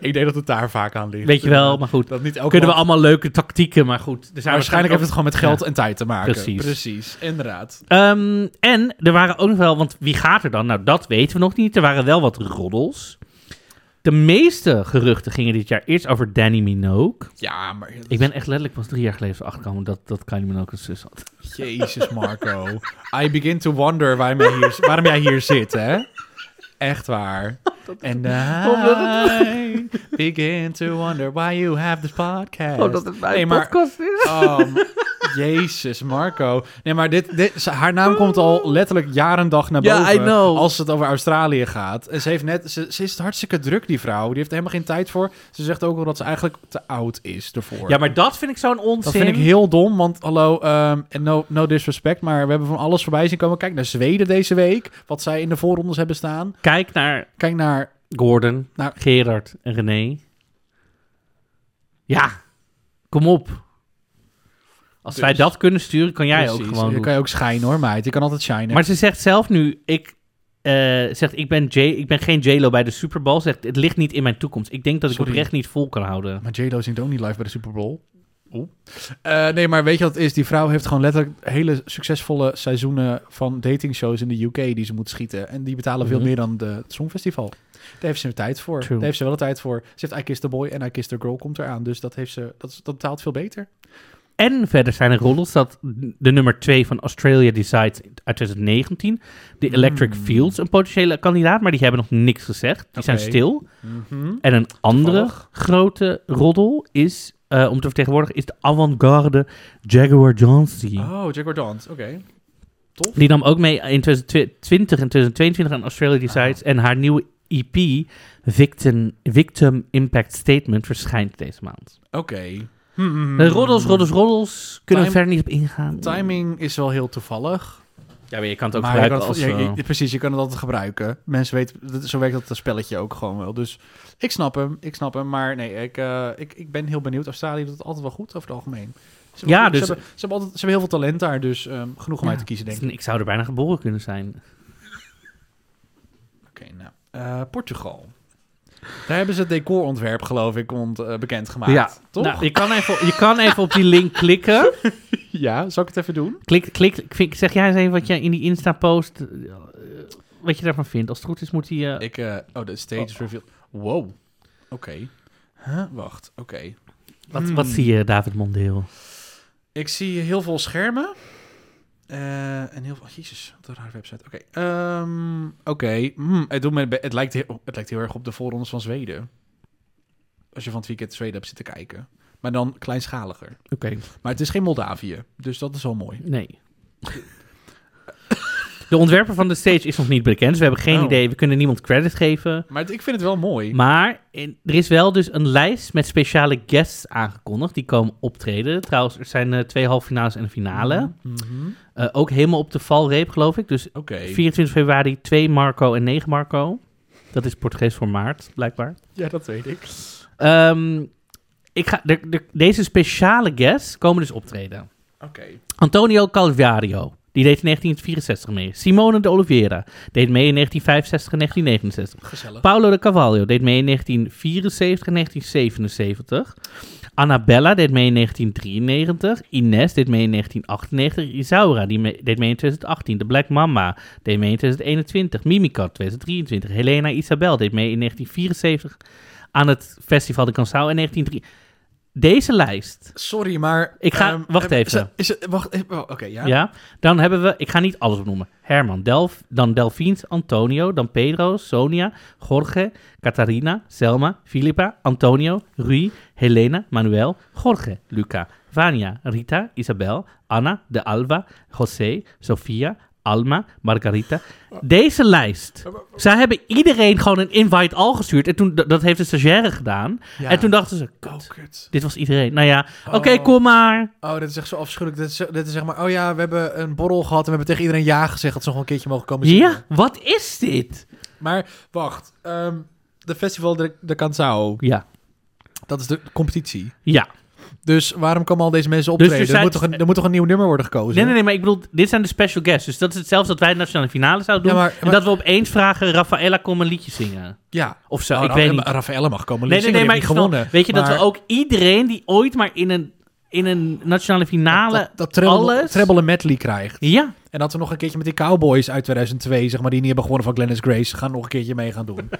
[SPEAKER 2] Ik denk dat het daar vaak aan ligt.
[SPEAKER 1] weet je wel, maar goed.
[SPEAKER 2] Dat niet elke
[SPEAKER 1] Kunnen we
[SPEAKER 2] land-
[SPEAKER 1] allemaal leuke tactieken, maar goed. Er zijn
[SPEAKER 2] Waarschijnlijk heeft het gewoon met geld en tijd te maken.
[SPEAKER 1] Precies.
[SPEAKER 2] Precies, inderdaad.
[SPEAKER 1] Ehm, en er waren ook nog wel, want wie gaat er dan? Nou, dat weten we nog niet. Er waren wel wat roddels. De meeste geruchten gingen dit jaar eerst over Danny Minogue.
[SPEAKER 2] Ja, maar...
[SPEAKER 1] Ik ben echt letterlijk pas drie jaar geleden zo achterkomen dat, dat Kylie Minogue een zus had.
[SPEAKER 2] Jezus, Marco. I begin to wonder waarom jij hier, waarom jij hier zit, hè? Echt waar. And
[SPEAKER 1] Oh,
[SPEAKER 2] I begin to wonder why you have this podcast.
[SPEAKER 1] Oh,
[SPEAKER 2] nee, maar,
[SPEAKER 1] is.
[SPEAKER 2] Um, jezus, Marco. Nee, maar dit, dit, ze- haar naam komt al letterlijk jaar en dag naar
[SPEAKER 1] Ja,
[SPEAKER 2] boven.
[SPEAKER 1] I know.
[SPEAKER 2] Als het over Australië gaat. En ze, heeft net, ze, ze is hartstikke druk, die vrouw. Die heeft er helemaal geen tijd voor. Ze zegt ook wel dat ze eigenlijk te oud is ervoor.
[SPEAKER 1] Ja, maar dat vind ik zo'n onzin.
[SPEAKER 2] dat vind ik heel dom, want hallo, ehm, en no, no disrespect, maar we hebben van alles voorbij zien komen. Kijk naar Zweden deze week, wat zij in de voorrondes hebben staan.
[SPEAKER 1] Kijk naar
[SPEAKER 2] Kijk naar,
[SPEAKER 1] Gordon,
[SPEAKER 2] Nou-
[SPEAKER 1] Gerard en René. Ja, kom op. Als wij
[SPEAKER 2] Dus-
[SPEAKER 1] dat kunnen sturen, kan jij ook
[SPEAKER 2] Precies,
[SPEAKER 1] gewoon
[SPEAKER 2] je
[SPEAKER 1] doen.
[SPEAKER 2] kan je ook schijnen hoor, meid. Je kan altijd shinen.
[SPEAKER 1] Maar ze zegt zelf nu, ik, eh, zegt, ik, ben, J, ik ben geen J-Lo bij de Super Bowl. Zegt, het ligt niet in mijn toekomst. Ik denk dat ik
[SPEAKER 2] Sorry.
[SPEAKER 1] oprecht niet vol kan houden.
[SPEAKER 2] Maar J-Lo zingt ook niet live bij de Super Bowl. Oeh. Eh, nee, maar weet je wat het is? Die vrouw heeft gewoon letterlijk hele succesvolle seizoenen van datingshows in de UK die ze moet schieten. En die betalen
[SPEAKER 1] Mhm.
[SPEAKER 2] veel meer dan de, het Songfestival. Daar heeft ze de tijd voor.
[SPEAKER 1] True.
[SPEAKER 2] Daar heeft ze wel de tijd voor. Ze heeft I Kissed the Boy en I Kissed the Girl komt eraan. Dus dat, heeft ze, dat, is- dat betaalt veel beter.
[SPEAKER 1] En verder zijn er roddels dat de nummer 2 van Australia Decides uit 2019, de Electric
[SPEAKER 2] Hmm.
[SPEAKER 1] Fields, een potentiële kandidaat, maar die hebben nog niks gezegd. Die zijn
[SPEAKER 2] Oké.
[SPEAKER 1] stil. En een andere grote roddel is eh, om te vertegenwoordigen is de avant-garde Jaguar Johnson.
[SPEAKER 2] Oh, Jaguar Dance, oké.
[SPEAKER 1] Die nam ook mee in 2020 en 2022 aan Australia
[SPEAKER 2] Oh.
[SPEAKER 1] Decides. En haar nieuwe EP, Victim, Victim Impact Statement, verschijnt deze maand.
[SPEAKER 2] Oké. Hmm,
[SPEAKER 1] Eh, roddels, roddels, roddels. Kunnen we
[SPEAKER 2] Time-
[SPEAKER 1] verder niet op ingaan.
[SPEAKER 2] Timing is wel heel toevallig.
[SPEAKER 1] Ja, maar je kan het ook
[SPEAKER 2] Maar je kan
[SPEAKER 1] gebruiken
[SPEAKER 2] het-
[SPEAKER 1] als...
[SPEAKER 2] ja, je-
[SPEAKER 1] eh,
[SPEAKER 2] precies, je kan het altijd gebruiken. Mensen weten, dat- zo werkt dat spelletje ook gewoon wel. Dus ik snap hem, ik snap hem. Maar nee, ik, eh, ik, ik ben heel benieuwd. Australië doet het altijd wel goed over het algemeen. Ze
[SPEAKER 1] Ja,
[SPEAKER 2] ze
[SPEAKER 1] dus-
[SPEAKER 2] hebben, ze, hebben altijd, ze hebben heel veel talent daar, dus ehm, genoeg om
[SPEAKER 1] Ja.
[SPEAKER 2] uit te kiezen, denk ik.
[SPEAKER 1] Ik zou er bijna geboren kunnen zijn.
[SPEAKER 2] Oké, nou. Eh, Portugal. Daar hebben ze het decorontwerp, geloof ik, ont, eh, bekendgemaakt. toch?
[SPEAKER 1] Nou, je, kan even, je kan even op die link klikken.
[SPEAKER 2] Ja, zal ik het even doen?
[SPEAKER 1] Klik, klik, ik vind- zeg jij eens even wat jij in die Insta-post... eh, wat je daarvan vindt. Als het goed is moet die... eh,
[SPEAKER 2] Ik, eh, oh, de stage
[SPEAKER 1] Oh.
[SPEAKER 2] reveal. Wow. Oké. Huh? Wacht, oké.
[SPEAKER 1] wat, wat
[SPEAKER 2] Hmm.
[SPEAKER 1] zie je, David Mondeel?
[SPEAKER 2] Ik zie heel veel schermen. Eh, en heel veel... oh, jezus, wat een rare website. Oké. ehm, Oké. hmm, het, doet me, het, lijkt heel, het lijkt heel erg op de voorrondes van Zweden. Als je van het weekend Zweden hebt zitten kijken. Maar dan kleinschaliger.
[SPEAKER 1] Oké.
[SPEAKER 2] Maar het is geen Moldavië. Dus dat is wel mooi.
[SPEAKER 1] Nee. De ontwerper van de stage is nog niet bekend, dus we hebben geen
[SPEAKER 2] Oh.
[SPEAKER 1] idee. We kunnen niemand credit geven.
[SPEAKER 2] Maar het- ik vind het wel mooi.
[SPEAKER 1] Maar in- er is wel dus een lijst met speciale guests aangekondigd. Die komen optreden. Trouwens, er zijn eh, twee halve finales en een finale.
[SPEAKER 2] Mhm.
[SPEAKER 1] Eh, ook helemaal op de valreep, geloof ik. Dus
[SPEAKER 2] Oké.
[SPEAKER 1] 24 februari 2 Marco en 9 Marco. Dat is Portugees voor maart, blijkbaar.
[SPEAKER 2] Ja, dat weet ik.
[SPEAKER 1] Ehm, ik ga, de, de- deze speciale guests komen dus optreden.
[SPEAKER 2] Oké.
[SPEAKER 1] Antonio Calvario, die deed in 1964 mee. Simone de Oliveira deed mee in 1965 en 1969.
[SPEAKER 2] Gezellig.
[SPEAKER 1] Paolo de Cavallo deed mee in 1974 en 1977. Annabella deed mee in 1993. Ines deed mee in 1998. Isaura die me- deed mee in 2018. De Black Mama deed mee in 2021. Mimikat 2023. Helena Isabel deed mee in 1974 aan het Festival de Cansao in 1903. Deze lijst
[SPEAKER 2] Sorry, maar...
[SPEAKER 1] Ik ga-
[SPEAKER 2] ehm,
[SPEAKER 1] wacht
[SPEAKER 2] eh,
[SPEAKER 1] even.
[SPEAKER 2] Is, is, wacht even. oh, Oké, ja.
[SPEAKER 1] Ja. dan hebben we, ik ga niet alles opnoemen. Herman, Delf, dan Delphins, Antonio, dan Pedro, Sonia, Jorge, Catharina, Selma, Filipa, Antonio, Rui, Helena, Manuel, Jorge, Luca, Vania, Rita, Isabel, Anna, De Alva, José, Sofia, Alma, Margarita. Deze lijst. Zij hebben iedereen gewoon een invite al gestuurd. En toen, dat dat heeft de stagiaire gedaan.
[SPEAKER 2] Ja.
[SPEAKER 1] En toen dachten ze,
[SPEAKER 2] Oh,
[SPEAKER 1] kut,
[SPEAKER 2] kut.
[SPEAKER 1] dit was iedereen. Nou ja, oké,
[SPEAKER 2] Oh.
[SPEAKER 1] kom maar.
[SPEAKER 2] Oh, dat is echt zo afschuwelijk. Dat is, dat is zeg maar, oh ja, we hebben een borrel gehad en we hebben tegen iedereen ja gezegd dat ze nog wel een keertje mogen komen zingen.
[SPEAKER 1] Ja, wat is dit?
[SPEAKER 2] Maar wacht, ehm, de Festival de, de Cansao,
[SPEAKER 1] Ja,
[SPEAKER 2] dat is de competitie.
[SPEAKER 1] ja.
[SPEAKER 2] Dus waarom komen al deze mensen
[SPEAKER 1] Dus er
[SPEAKER 2] optreden? er,
[SPEAKER 1] zijn-
[SPEAKER 2] moet toch een, er moet toch een nieuw nummer worden gekozen?
[SPEAKER 1] Nee, nee, nee, maar ik bedoel, dit zijn de special guests. Dus dat is hetzelfde dat wij de nationale finale zouden doen.
[SPEAKER 2] Ja, maar-
[SPEAKER 1] En
[SPEAKER 2] maar-
[SPEAKER 1] dat we opeens vragen, Rafaela, kom een liedje zingen.
[SPEAKER 2] Ja.
[SPEAKER 1] Of zo,
[SPEAKER 2] Nou,
[SPEAKER 1] ik
[SPEAKER 2] Ra-
[SPEAKER 1] weet
[SPEAKER 2] Ra-
[SPEAKER 1] niet.
[SPEAKER 2] Rafaella mag komen.
[SPEAKER 1] Nee, nee, nee, maar ik snap-
[SPEAKER 2] gewonnen.
[SPEAKER 1] Weet je, dat
[SPEAKER 2] Maar
[SPEAKER 1] we ook iedereen die ooit maar in een, in een nationale finale
[SPEAKER 2] dat, dat treble,
[SPEAKER 1] alles...
[SPEAKER 2] treble een medley krijgt.
[SPEAKER 1] Ja,
[SPEAKER 2] En dat we nog een keertje met die Cowboys uit 2002, zeg maar, die niet hebben gewonnen van Glennis Grace, gaan nog een keertje mee gaan doen.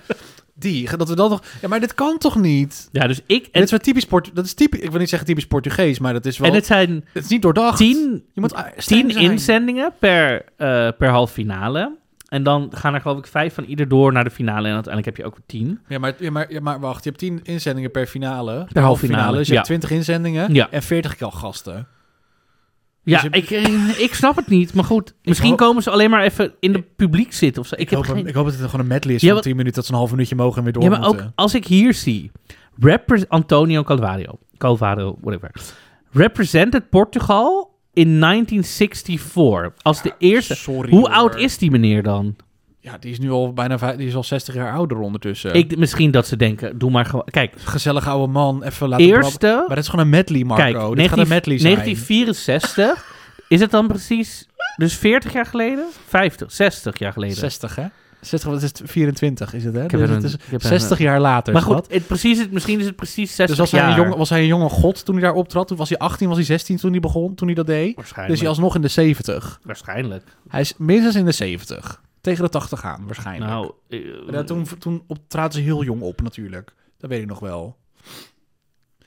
[SPEAKER 2] die, dat we dan nog... Ja, maar dit kan toch niet?
[SPEAKER 1] ja dus ik...
[SPEAKER 2] En
[SPEAKER 1] En,
[SPEAKER 2] dit is wel typisch Port dat is typisch, ik wil niet zeggen typisch Portugees, maar dat is wel...
[SPEAKER 1] en het zijn
[SPEAKER 2] het is niet doordacht.
[SPEAKER 1] tien,
[SPEAKER 2] Je moet ah, a- streng
[SPEAKER 1] tien
[SPEAKER 2] zijn.
[SPEAKER 1] inzendingen per, eh per half finale. En dan gaan er geloof ik vijf van ieder door naar de finale. En uiteindelijk heb je ook tien.
[SPEAKER 2] Ja maar, ja, maar, ja, maar wacht, je hebt 10 inzendingen per finale.
[SPEAKER 1] Per halve finale,
[SPEAKER 2] Dus je hebt 20 inzendingen
[SPEAKER 1] Ja.
[SPEAKER 2] en 40 keer gasten.
[SPEAKER 1] Ja,
[SPEAKER 2] Dus je-
[SPEAKER 1] ik, eh, ik snap het niet. Maar goed, misschien
[SPEAKER 2] hoop-
[SPEAKER 1] komen ze alleen maar even in het publiek zitten of zo. Ik,
[SPEAKER 2] Ik,
[SPEAKER 1] heb
[SPEAKER 2] hoop,
[SPEAKER 1] geen...
[SPEAKER 2] ik hoop dat het gewoon een medley is
[SPEAKER 1] Ja,
[SPEAKER 2] van
[SPEAKER 1] wat-
[SPEAKER 2] 10 minuten, dat ze een half minuutje mogen en weer door
[SPEAKER 1] Ja, maar ook
[SPEAKER 2] moeten.
[SPEAKER 1] als ik hier zie... Repre- Antonio Calvario. Calvario, whatever. Represented Portugal in 1964. Als de eerste...
[SPEAKER 2] sorry,
[SPEAKER 1] Hoe
[SPEAKER 2] hoor.
[SPEAKER 1] oud is die meneer dan?
[SPEAKER 2] Ja, die is nu al bijna vij- die is al 60 jaar ouder ondertussen.
[SPEAKER 1] Ik, misschien dat ze denken, doe maar gewoon... Kijk,
[SPEAKER 2] Gezellige oude man, even laten
[SPEAKER 1] eerste...
[SPEAKER 2] brabbelen. Maar dat is gewoon een medley, Marco.
[SPEAKER 1] Kijk,
[SPEAKER 2] Dit
[SPEAKER 1] 19
[SPEAKER 2] gaat een medley zijn.
[SPEAKER 1] 1964. is het dan precies... Dus 40 jaar geleden? 50, 60 jaar geleden.
[SPEAKER 2] 60, hè? 60, wat is het? 24 is het, hè?
[SPEAKER 1] heb
[SPEAKER 2] Dus
[SPEAKER 1] er
[SPEAKER 2] het
[SPEAKER 1] een-
[SPEAKER 2] is
[SPEAKER 1] ik heb er
[SPEAKER 2] 60 jaar later.
[SPEAKER 1] maar
[SPEAKER 2] schat.
[SPEAKER 1] goed, het, precies, het, misschien is het precies 60
[SPEAKER 2] Dus was hij,
[SPEAKER 1] jaar.
[SPEAKER 2] een jonge, was hij een jonge god toen hij daar optrad? Toen was hij 18, was hij 16 toen hij begon, toen hij dat deed?
[SPEAKER 1] Waarschijnlijk.
[SPEAKER 2] Dus hij alsnog in de 70.
[SPEAKER 1] Waarschijnlijk.
[SPEAKER 2] Hij is minstens in de 70. Tegen de 80 aan, waarschijnlijk.
[SPEAKER 1] Nou, eh,
[SPEAKER 2] Ja, toen toen op, traden ze heel jong op, natuurlijk. Dat weet ik nog wel.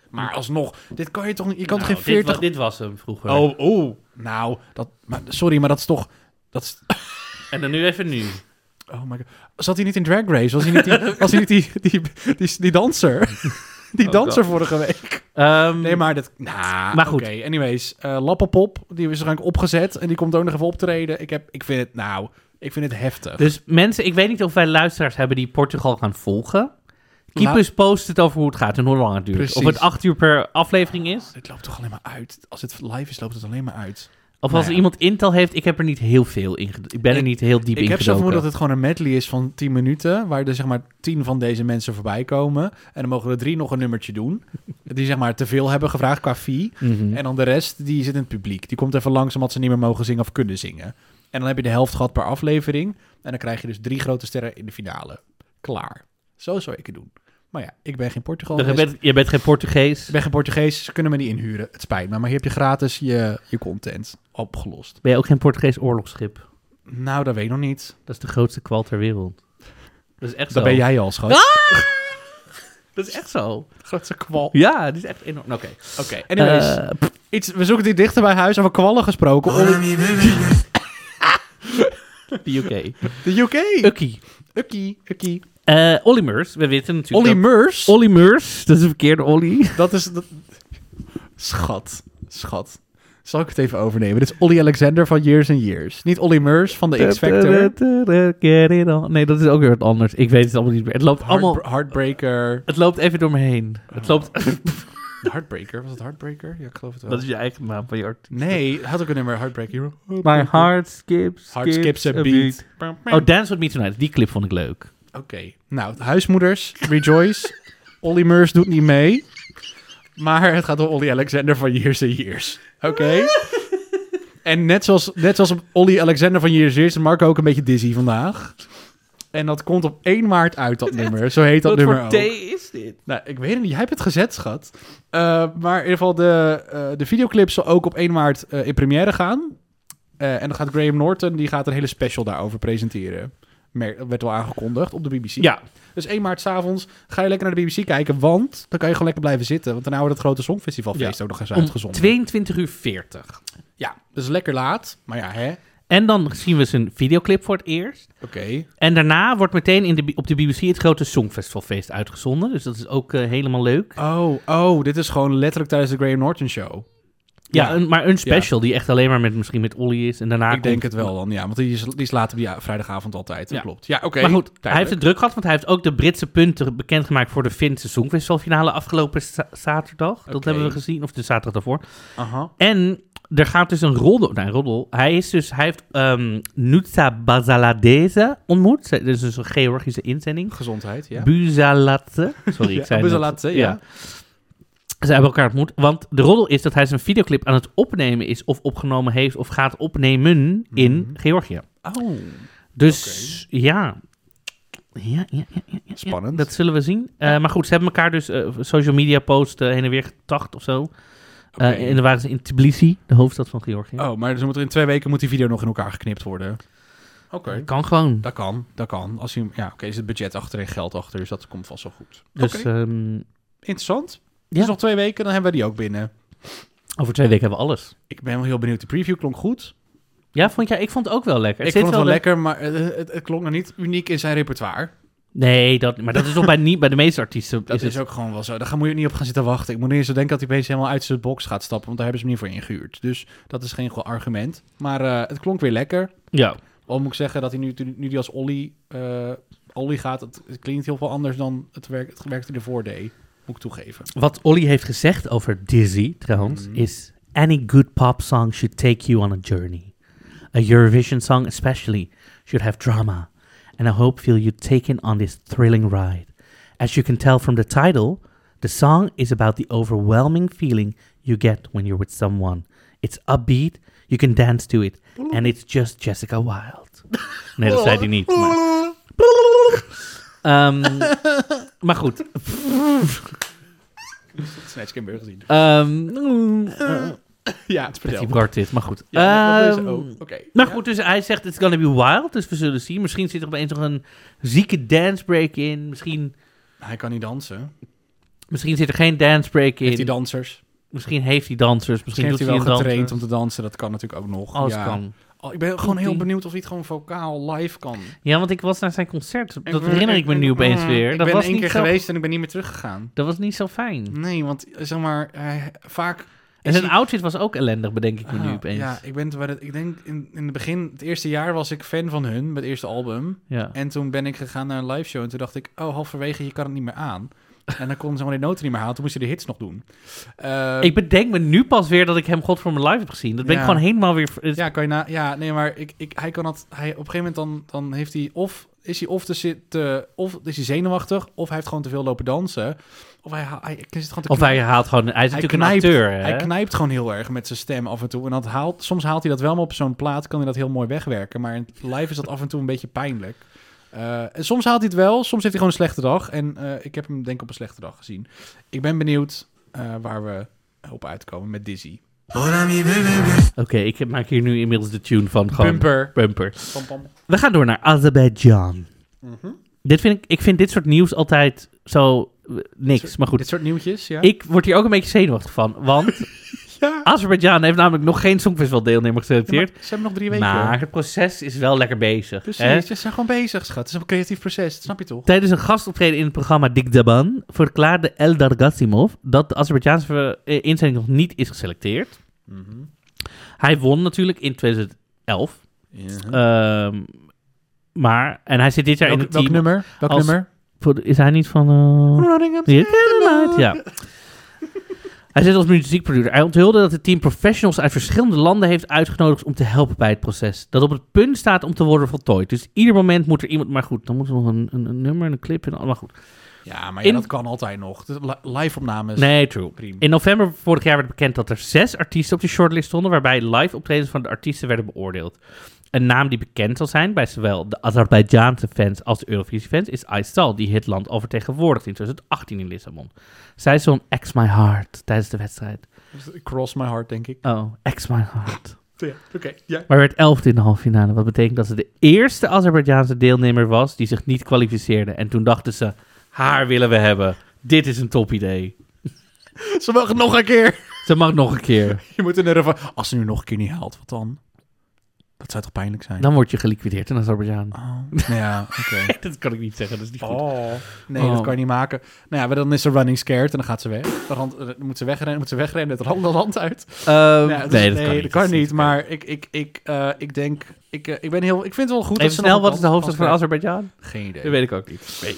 [SPEAKER 2] Maar alsnog, dit kan je toch niet... Je kan
[SPEAKER 1] nou,
[SPEAKER 2] toch geen
[SPEAKER 1] dit wa-
[SPEAKER 2] 40...
[SPEAKER 1] Dit, was hem vroeger.
[SPEAKER 2] oh, oh. Nou, dat, maar, sorry, maar dat is toch... Dat is,
[SPEAKER 1] En dan nu even nu.
[SPEAKER 2] oh my god. Zat hij niet in Drag
[SPEAKER 1] Oh
[SPEAKER 2] Race? Was hij niet die, was hij niet die, die, die, die danser? Die danser vorige week.
[SPEAKER 1] Ehm,
[SPEAKER 2] Nee, maar dat... Nah,
[SPEAKER 1] Maar goed.
[SPEAKER 2] oké, anyways, eh Lappenpop, die is waarschijnlijk opgezet en die komt ook nog even optreden. Ik, heb, ik vind het, nou, ik vind het heftig.
[SPEAKER 1] Dus mensen, ik weet niet of wij luisteraars hebben die Portugal gaan volgen. Keep
[SPEAKER 2] Nou-
[SPEAKER 1] us posted over hoe het gaat en hoe lang het duurt.
[SPEAKER 2] Precies.
[SPEAKER 1] Of het acht uur per aflevering is.
[SPEAKER 2] Het loopt toch alleen maar uit? Als het live is, loopt het alleen maar uit.
[SPEAKER 1] Of
[SPEAKER 2] Nou
[SPEAKER 1] als
[SPEAKER 2] ja.
[SPEAKER 1] er iemand intel heeft, ik heb er niet heel veel in. ged- Ik ben er
[SPEAKER 2] Ik-
[SPEAKER 1] niet heel diep in
[SPEAKER 2] ik heb zo
[SPEAKER 1] gedoken.
[SPEAKER 2] vermoeden dat het gewoon een medley is van 10 minuten, waar er zeg maar 10 van deze mensen voorbij komen. En dan mogen er drie nog een nummertje doen, die zeg maar te veel hebben gevraagd qua fee.
[SPEAKER 1] Mhm.
[SPEAKER 2] En dan de rest, die zit in het publiek. Die komt even langs omdat ze niet meer mogen zingen of kunnen zingen. En dan heb je de helft gehad per aflevering. En dan krijg je dus drie grote sterren in de finale. Klaar. Zo zou ik het doen. Maar ja, ik ben geen Portugal.
[SPEAKER 1] Dus je,
[SPEAKER 2] geweest.
[SPEAKER 1] bent, je bent geen Portugees.
[SPEAKER 2] Ik ben geen Portugees, ze kunnen me niet inhuren. Het spijt me, maar hier heb je gratis je, je content opgelost.
[SPEAKER 1] Ben je ook geen Portugees oorlogsschip?
[SPEAKER 2] Nou, dat weet ik nog niet.
[SPEAKER 1] Dat is de grootste kwal ter wereld. Dat is echt
[SPEAKER 2] Dat
[SPEAKER 1] zo.
[SPEAKER 2] ben jij al, schat.
[SPEAKER 1] Dat is echt zo.
[SPEAKER 2] Grote kwal.
[SPEAKER 1] Ja, dat is echt enorm. Oké.
[SPEAKER 2] Oké, anyways.
[SPEAKER 1] Eh,
[SPEAKER 2] Iets, we zoeken die dichter bij huis over kwallen gesproken. Om
[SPEAKER 1] de UK.
[SPEAKER 2] de UK.
[SPEAKER 1] Ukkie.
[SPEAKER 2] Ukkie, ukkie.
[SPEAKER 1] Eh Olly Murs, we weten natuurlijk
[SPEAKER 2] Olly
[SPEAKER 1] dat-
[SPEAKER 2] Murs.
[SPEAKER 1] Olly Murs, dat is een verkeerde Olly.
[SPEAKER 2] Dat is... Dat... Schat, schat. Zal ik het even overnemen? Dit is Olly Alexander van Years and Years. Niet Olly Murs van de X-Factor.
[SPEAKER 1] Get it on. Nee, dat is ook weer wat anders. Ik weet het allemaal niet meer. Het loopt allemaal...
[SPEAKER 2] Heartbra- Heartbreaker.
[SPEAKER 1] Het loopt even door me heen. Het loopt...
[SPEAKER 2] Oh. Heartbreaker? Was het Heartbreaker? Ja, ik geloof het wel.
[SPEAKER 1] Dat is je eigen naam van je art.
[SPEAKER 2] Nee, had ook een nummer Heartbreaker.
[SPEAKER 1] My heart skips,
[SPEAKER 2] Heart skips a beat.
[SPEAKER 1] Oh, Dance With Me Tonight. Die clip vond ik leuk.
[SPEAKER 2] Oké. Nou, huismoeders, rejoice. Olly Murs doet niet mee. Maar het gaat om Olly Alexander van Years and Years. Oké? en net zoals, net zoals op Olly Alexander van Years and Years... is Marco ook een beetje dizzy vandaag. En dat komt op 1 maart uit, dat nummer. Zo heet dat
[SPEAKER 1] Wat
[SPEAKER 2] nummer
[SPEAKER 1] voor
[SPEAKER 2] ook.
[SPEAKER 1] thee is dit?
[SPEAKER 2] Nou, ik weet het niet. Jij hebt het gezet, schat. Eh, maar in ieder geval, de, eh, de videoclip zal ook op 1 maart eh, in première gaan. Eh, en dan gaat Graham Norton, die gaat een hele special daarover presenteren. Mer- Dat werd wel aangekondigd op de BBC.
[SPEAKER 1] Ja.
[SPEAKER 2] Dus 1 maart s'avonds ga je lekker naar de BBC kijken, want dan kan je gewoon lekker blijven zitten. Want daarna wordt het grote Songfestivalfeest
[SPEAKER 1] Ja.
[SPEAKER 2] ook nog eens
[SPEAKER 1] Om
[SPEAKER 2] uitgezonden.
[SPEAKER 1] 22 uur 40.
[SPEAKER 2] Ja, dus lekker laat. Maar ja, hè? Oké.
[SPEAKER 1] En dan zien we zijn videoclip voor het eerst. En daarna wordt meteen in de, bi- op de BBC het grote Songfestivalfeest uitgezonden. Dus dat is ook eh, helemaal leuk.
[SPEAKER 2] Oh, oh, dit is gewoon letterlijk tijdens de Graham Norton show.
[SPEAKER 1] Ja,
[SPEAKER 2] Ja.
[SPEAKER 1] een- maar een special die echt alleen maar met, misschien met Olly is. En daarna
[SPEAKER 2] ik denk
[SPEAKER 1] komt-
[SPEAKER 2] het wel dan, ja. Want die is, die is later op die a- vrijdagavond altijd. Dat
[SPEAKER 1] Ja.
[SPEAKER 2] klopt. Ja, oké.
[SPEAKER 1] Maar goed, hij
[SPEAKER 2] Duidelijk.
[SPEAKER 1] heeft het druk gehad, want hij heeft ook de Britse punten bekendgemaakt voor de Finse Songfestivalfinale afgelopen za- zaterdag. Dat
[SPEAKER 2] Oké.
[SPEAKER 1] hebben we gezien, of de zaterdag daarvoor.
[SPEAKER 2] Aha.
[SPEAKER 1] En er gaat dus een roddel. Nee, roddel. Hij, is dus, hij heeft ehm Nutsa Bazaladeze ontmoet. Zij- Dat is dus een Georgische inzending.
[SPEAKER 2] Gezondheid, ja.
[SPEAKER 1] Buzalatze. Sorry, ik
[SPEAKER 2] Ja,
[SPEAKER 1] zei
[SPEAKER 2] Buzalatze,
[SPEAKER 1] dat-
[SPEAKER 2] ja.
[SPEAKER 1] Ze hebben elkaar ontmoet. Want de roddel is dat hij zijn videoclip aan het opnemen is... of opgenomen heeft of gaat
[SPEAKER 2] Mhm.
[SPEAKER 1] opnemen in Georgië.
[SPEAKER 2] Oh.
[SPEAKER 1] Dus ja. Ja, ja, ja, ja, ja.
[SPEAKER 2] Spannend.
[SPEAKER 1] Dat zullen we zien. Eh, Maar goed, ze hebben elkaar dus eh, social media post eh, heen en weer getacht of zo. Eh, en dan waren ze in Tbilisi, de hoofdstad van Georgië.
[SPEAKER 2] Oh, maar dus moet er in twee weken moet die video nog in elkaar geknipt worden. Oké.
[SPEAKER 1] Dat kan gewoon.
[SPEAKER 2] Dat kan, dat kan. Als je, ja, oké, is het budget achter en geld achter, dus dat komt vast wel goed.
[SPEAKER 1] Dus
[SPEAKER 2] Oké,
[SPEAKER 1] ehm,
[SPEAKER 2] interessant.
[SPEAKER 1] ja.
[SPEAKER 2] Dus nog twee weken, dan hebben we die ook binnen.
[SPEAKER 1] over twee weken hebben we alles.
[SPEAKER 2] Ik ben wel heel benieuwd. De preview klonk goed.
[SPEAKER 1] Ja, vond jij, ik vond het ook wel lekker.
[SPEAKER 2] ik
[SPEAKER 1] zit
[SPEAKER 2] vond het wel
[SPEAKER 1] de-
[SPEAKER 2] lekker, maar eh, het, het klonk nog niet uniek in zijn repertoire.
[SPEAKER 1] Nee, dat, maar dat is toch bij, niet, bij de meeste artiesten.
[SPEAKER 2] Dat is,
[SPEAKER 1] het-
[SPEAKER 2] ook gewoon wel zo. Daar ga- moet je niet op gaan zitten wachten. Ik moet niet eens zo denken dat hij opeens helemaal uit zijn box gaat stappen, want daar hebben ze hem niet voor ingehuurd. Dus dat is geen goed argument. Maar eh, het klonk weer lekker.
[SPEAKER 1] Ja.
[SPEAKER 2] Al moet ik zeggen dat hij nu, nu die als Olly, eh, Olly gaat, het, het klinkt heel veel anders dan het werk, het werk die ervoor deed. Moet ik toegeven.
[SPEAKER 1] Wat Olly heeft gezegd over Dizzy, trouwens, is... Any good pop song should take you on a journey. A Eurovision song especially should have drama. And I hope feel you taken on this thrilling ride. As you can tell from the title, the song is about the overwhelming feeling you get when you're with someone. It's upbeat, you can dance to it, and it's just Jessica Wilde. Nee, dat zei hij niet. Maar, Ehm, maar goed,
[SPEAKER 2] Snatch Kimber gezien.
[SPEAKER 1] Ehm, mm, eh,
[SPEAKER 2] Ja, het vertel.
[SPEAKER 1] die Bart dit, maar goed.
[SPEAKER 2] Ja, dat is
[SPEAKER 1] Ehm,
[SPEAKER 2] ook. Oké.
[SPEAKER 1] Maar goed, dus hij zegt it's gonna be wild, dus we zullen zien. Misschien zit er opeens nog een zieke dancebreak in. Misschien,
[SPEAKER 2] Hij kan niet dansen.
[SPEAKER 1] misschien zit er geen dancebreak in.
[SPEAKER 2] Heeft hij dansers?
[SPEAKER 1] misschien heeft hij dansers. Misschien,
[SPEAKER 2] Misschien heeft hij wel
[SPEAKER 1] doet
[SPEAKER 2] getraind
[SPEAKER 1] een danser.
[SPEAKER 2] om te dansen. Dat kan natuurlijk ook nog.
[SPEAKER 1] Alles
[SPEAKER 2] Ja.
[SPEAKER 1] kan.
[SPEAKER 2] Oh, Ik ben gewoon heel benieuwd of hij het gewoon vocaal live kan.
[SPEAKER 1] Ja, want ik was naar zijn concert. Dat
[SPEAKER 2] ben-
[SPEAKER 1] herinner ik me nu opeens
[SPEAKER 2] mm,
[SPEAKER 1] weer.
[SPEAKER 2] Ik
[SPEAKER 1] Dat
[SPEAKER 2] ben
[SPEAKER 1] was
[SPEAKER 2] één
[SPEAKER 1] niet
[SPEAKER 2] keer
[SPEAKER 1] zo-
[SPEAKER 2] geweest en ik ben niet meer teruggegaan.
[SPEAKER 1] Dat was niet zo fijn.
[SPEAKER 2] Nee, want eh, zeg maar, hij- vaak...
[SPEAKER 1] En
[SPEAKER 2] is
[SPEAKER 1] zijn
[SPEAKER 2] hij-
[SPEAKER 1] outfit was ook ellendig, bedenk ik me nu
[SPEAKER 2] Ah,
[SPEAKER 1] opeens.
[SPEAKER 2] Ja,
[SPEAKER 1] Ja.
[SPEAKER 2] ik, ben, terwijl het- ik denk in, in het begin, het eerste jaar was ik fan van hun, met het eerste album. En toen ben ik gegaan naar een live show en toen dacht ik, oh, halverwege, je kan het niet meer aan. En dan kon ze maar die noten niet meer halen, toen moest je de hits nog doen. Eh,
[SPEAKER 1] Ik bedenk me nu pas weer dat ik hem God voor mijn live heb gezien. Dat ben ik
[SPEAKER 2] Ja.
[SPEAKER 1] gewoon helemaal weer... ver-
[SPEAKER 2] Ja, kan je na, ja, nee, maar ik, ik, hij kan dat. Hij, op een gegeven moment dan, dan heeft hij of is hij of te zitten, of is hij zenuwachtig, of hij heeft gewoon te veel lopen dansen, of hij, ha- hij hij zit gewoon te
[SPEAKER 1] Of hij haalt gewoon... Hij is
[SPEAKER 2] hij
[SPEAKER 1] natuurlijk
[SPEAKER 2] knijpt,
[SPEAKER 1] een acteur, hè?
[SPEAKER 2] hij knijpt gewoon heel erg met zijn stem af en toe. En dat haalt, soms haalt hij dat wel, maar op zo'n plaat kan hij dat heel mooi wegwerken. Maar in live is dat af en toe een beetje pijnlijk. Eh, en soms haalt hij het wel, soms heeft hij gewoon een slechte dag. En eh, ik heb hem denk ik op een slechte dag gezien. Ik ben benieuwd eh, waar we op uitkomen met Dizzy.
[SPEAKER 1] Oké, ik maak hier nu inmiddels de tune van gewoon...
[SPEAKER 2] Bumper.
[SPEAKER 1] Bumper.
[SPEAKER 2] Pam, pam.
[SPEAKER 1] We gaan door naar Azerbeidzjan.
[SPEAKER 2] Mhm.
[SPEAKER 1] Dit vind ik, ik vind dit soort nieuws altijd zo eh, niks, maar goed.
[SPEAKER 2] Dit soort nieuwtjes, ja?
[SPEAKER 1] Ik word hier ook een beetje zenuwachtig van, want
[SPEAKER 2] ja.
[SPEAKER 1] Azerbeidzjan heeft namelijk nog geen Songfestival deelnemer geselecteerd.
[SPEAKER 2] ze hebben nog drie weken.
[SPEAKER 1] Maar het proces is wel lekker bezig.
[SPEAKER 2] Precies,
[SPEAKER 1] hè?
[SPEAKER 2] ze zijn gewoon bezig, schat. Het is een creatief proces, dat snap je toch?
[SPEAKER 1] Tijdens een gastoptreden in het programma Dik Daban verklaarde Eldar Gassimov dat de Azerbeidjaanse eh, inzending nog niet is geselecteerd.
[SPEAKER 2] Mhm.
[SPEAKER 1] Hij won natuurlijk in 2011. Ehm, maar, en hij zit dit jaar
[SPEAKER 2] Welk,
[SPEAKER 1] in het
[SPEAKER 2] welk
[SPEAKER 1] team.
[SPEAKER 2] nummer? Welk
[SPEAKER 1] als-
[SPEAKER 2] nummer?
[SPEAKER 1] Voor- Is hij niet van... eh,
[SPEAKER 2] Running up
[SPEAKER 1] Ja, ja. Hij zit als muziekproducer. Hij onthulde dat het team professionals uit verschillende landen heeft uitgenodigd om te helpen bij het proces. Dat op het punt staat om te worden voltooid. Dus ieder moment moet er iemand. Maar goed, dan moet er nog een, een, een nummer en een clip en allemaal goed.
[SPEAKER 2] Ja, maar ja,
[SPEAKER 1] In-
[SPEAKER 2] dat kan altijd nog. De li- Live opnames.
[SPEAKER 1] Nee, true.
[SPEAKER 2] Prima.
[SPEAKER 1] In november vorig jaar werd bekend dat er zes artiesten op de shortlist stonden, waarbij live optredens van de artiesten werden beoordeeld. Een naam die bekend zal zijn bij zowel de Azerbeidzjaanse fans als de Eurovisie-fans is Aysel, die het land al vertegenwoordigt in 2018 in Lissabon. Zij zong X My Heart tijdens de wedstrijd.
[SPEAKER 2] Cross my heart, denk ik.
[SPEAKER 1] Oh, X My Heart.
[SPEAKER 2] Ja, Oké, ja.
[SPEAKER 1] Maar werd elfde in de halve finale, wat betekent dat ze de eerste Azerbeidzjaanse deelnemer was die zich niet kwalificeerde. En toen dachten ze, haar willen we hebben. Dit is een top idee.
[SPEAKER 2] Ze mag nog een keer.
[SPEAKER 1] Ze mag nog een keer.
[SPEAKER 2] Je moet in de revan... Als ze nu nog een keer niet haalt, wat dan? Dat zou toch pijnlijk zijn?
[SPEAKER 1] Dan word je geliquideerd in Azerbeidzjan.
[SPEAKER 2] Oh, ja, oké.
[SPEAKER 1] Dat Ah. kan ik niet zeggen, dat is niet goed.
[SPEAKER 2] Oh. Nee,
[SPEAKER 1] Oh.
[SPEAKER 2] dat kan je niet maken. Nou ja, maar dan is ze running scared en dan gaat ze weg. Dan, rand- dan moet ze wegrennen, moet ze wegrennen het land, dat land uit. Ja, dus-
[SPEAKER 1] Ehm, nee, dat kan niet.
[SPEAKER 2] dat
[SPEAKER 1] Dat is
[SPEAKER 2] kan niet.
[SPEAKER 1] niet
[SPEAKER 2] Maar ik, ik, ik, eh, ik denk, ik, eh, ik ben heel, ik vind het wel goed.
[SPEAKER 1] Even
[SPEAKER 2] dat ze nog
[SPEAKER 1] snel,
[SPEAKER 2] een
[SPEAKER 1] wat is de
[SPEAKER 2] kans-
[SPEAKER 1] hoofdstad van
[SPEAKER 2] kans
[SPEAKER 1] Azerbeidzjan?
[SPEAKER 2] krijgen. Geen idee.
[SPEAKER 1] Dat weet ik ook niet.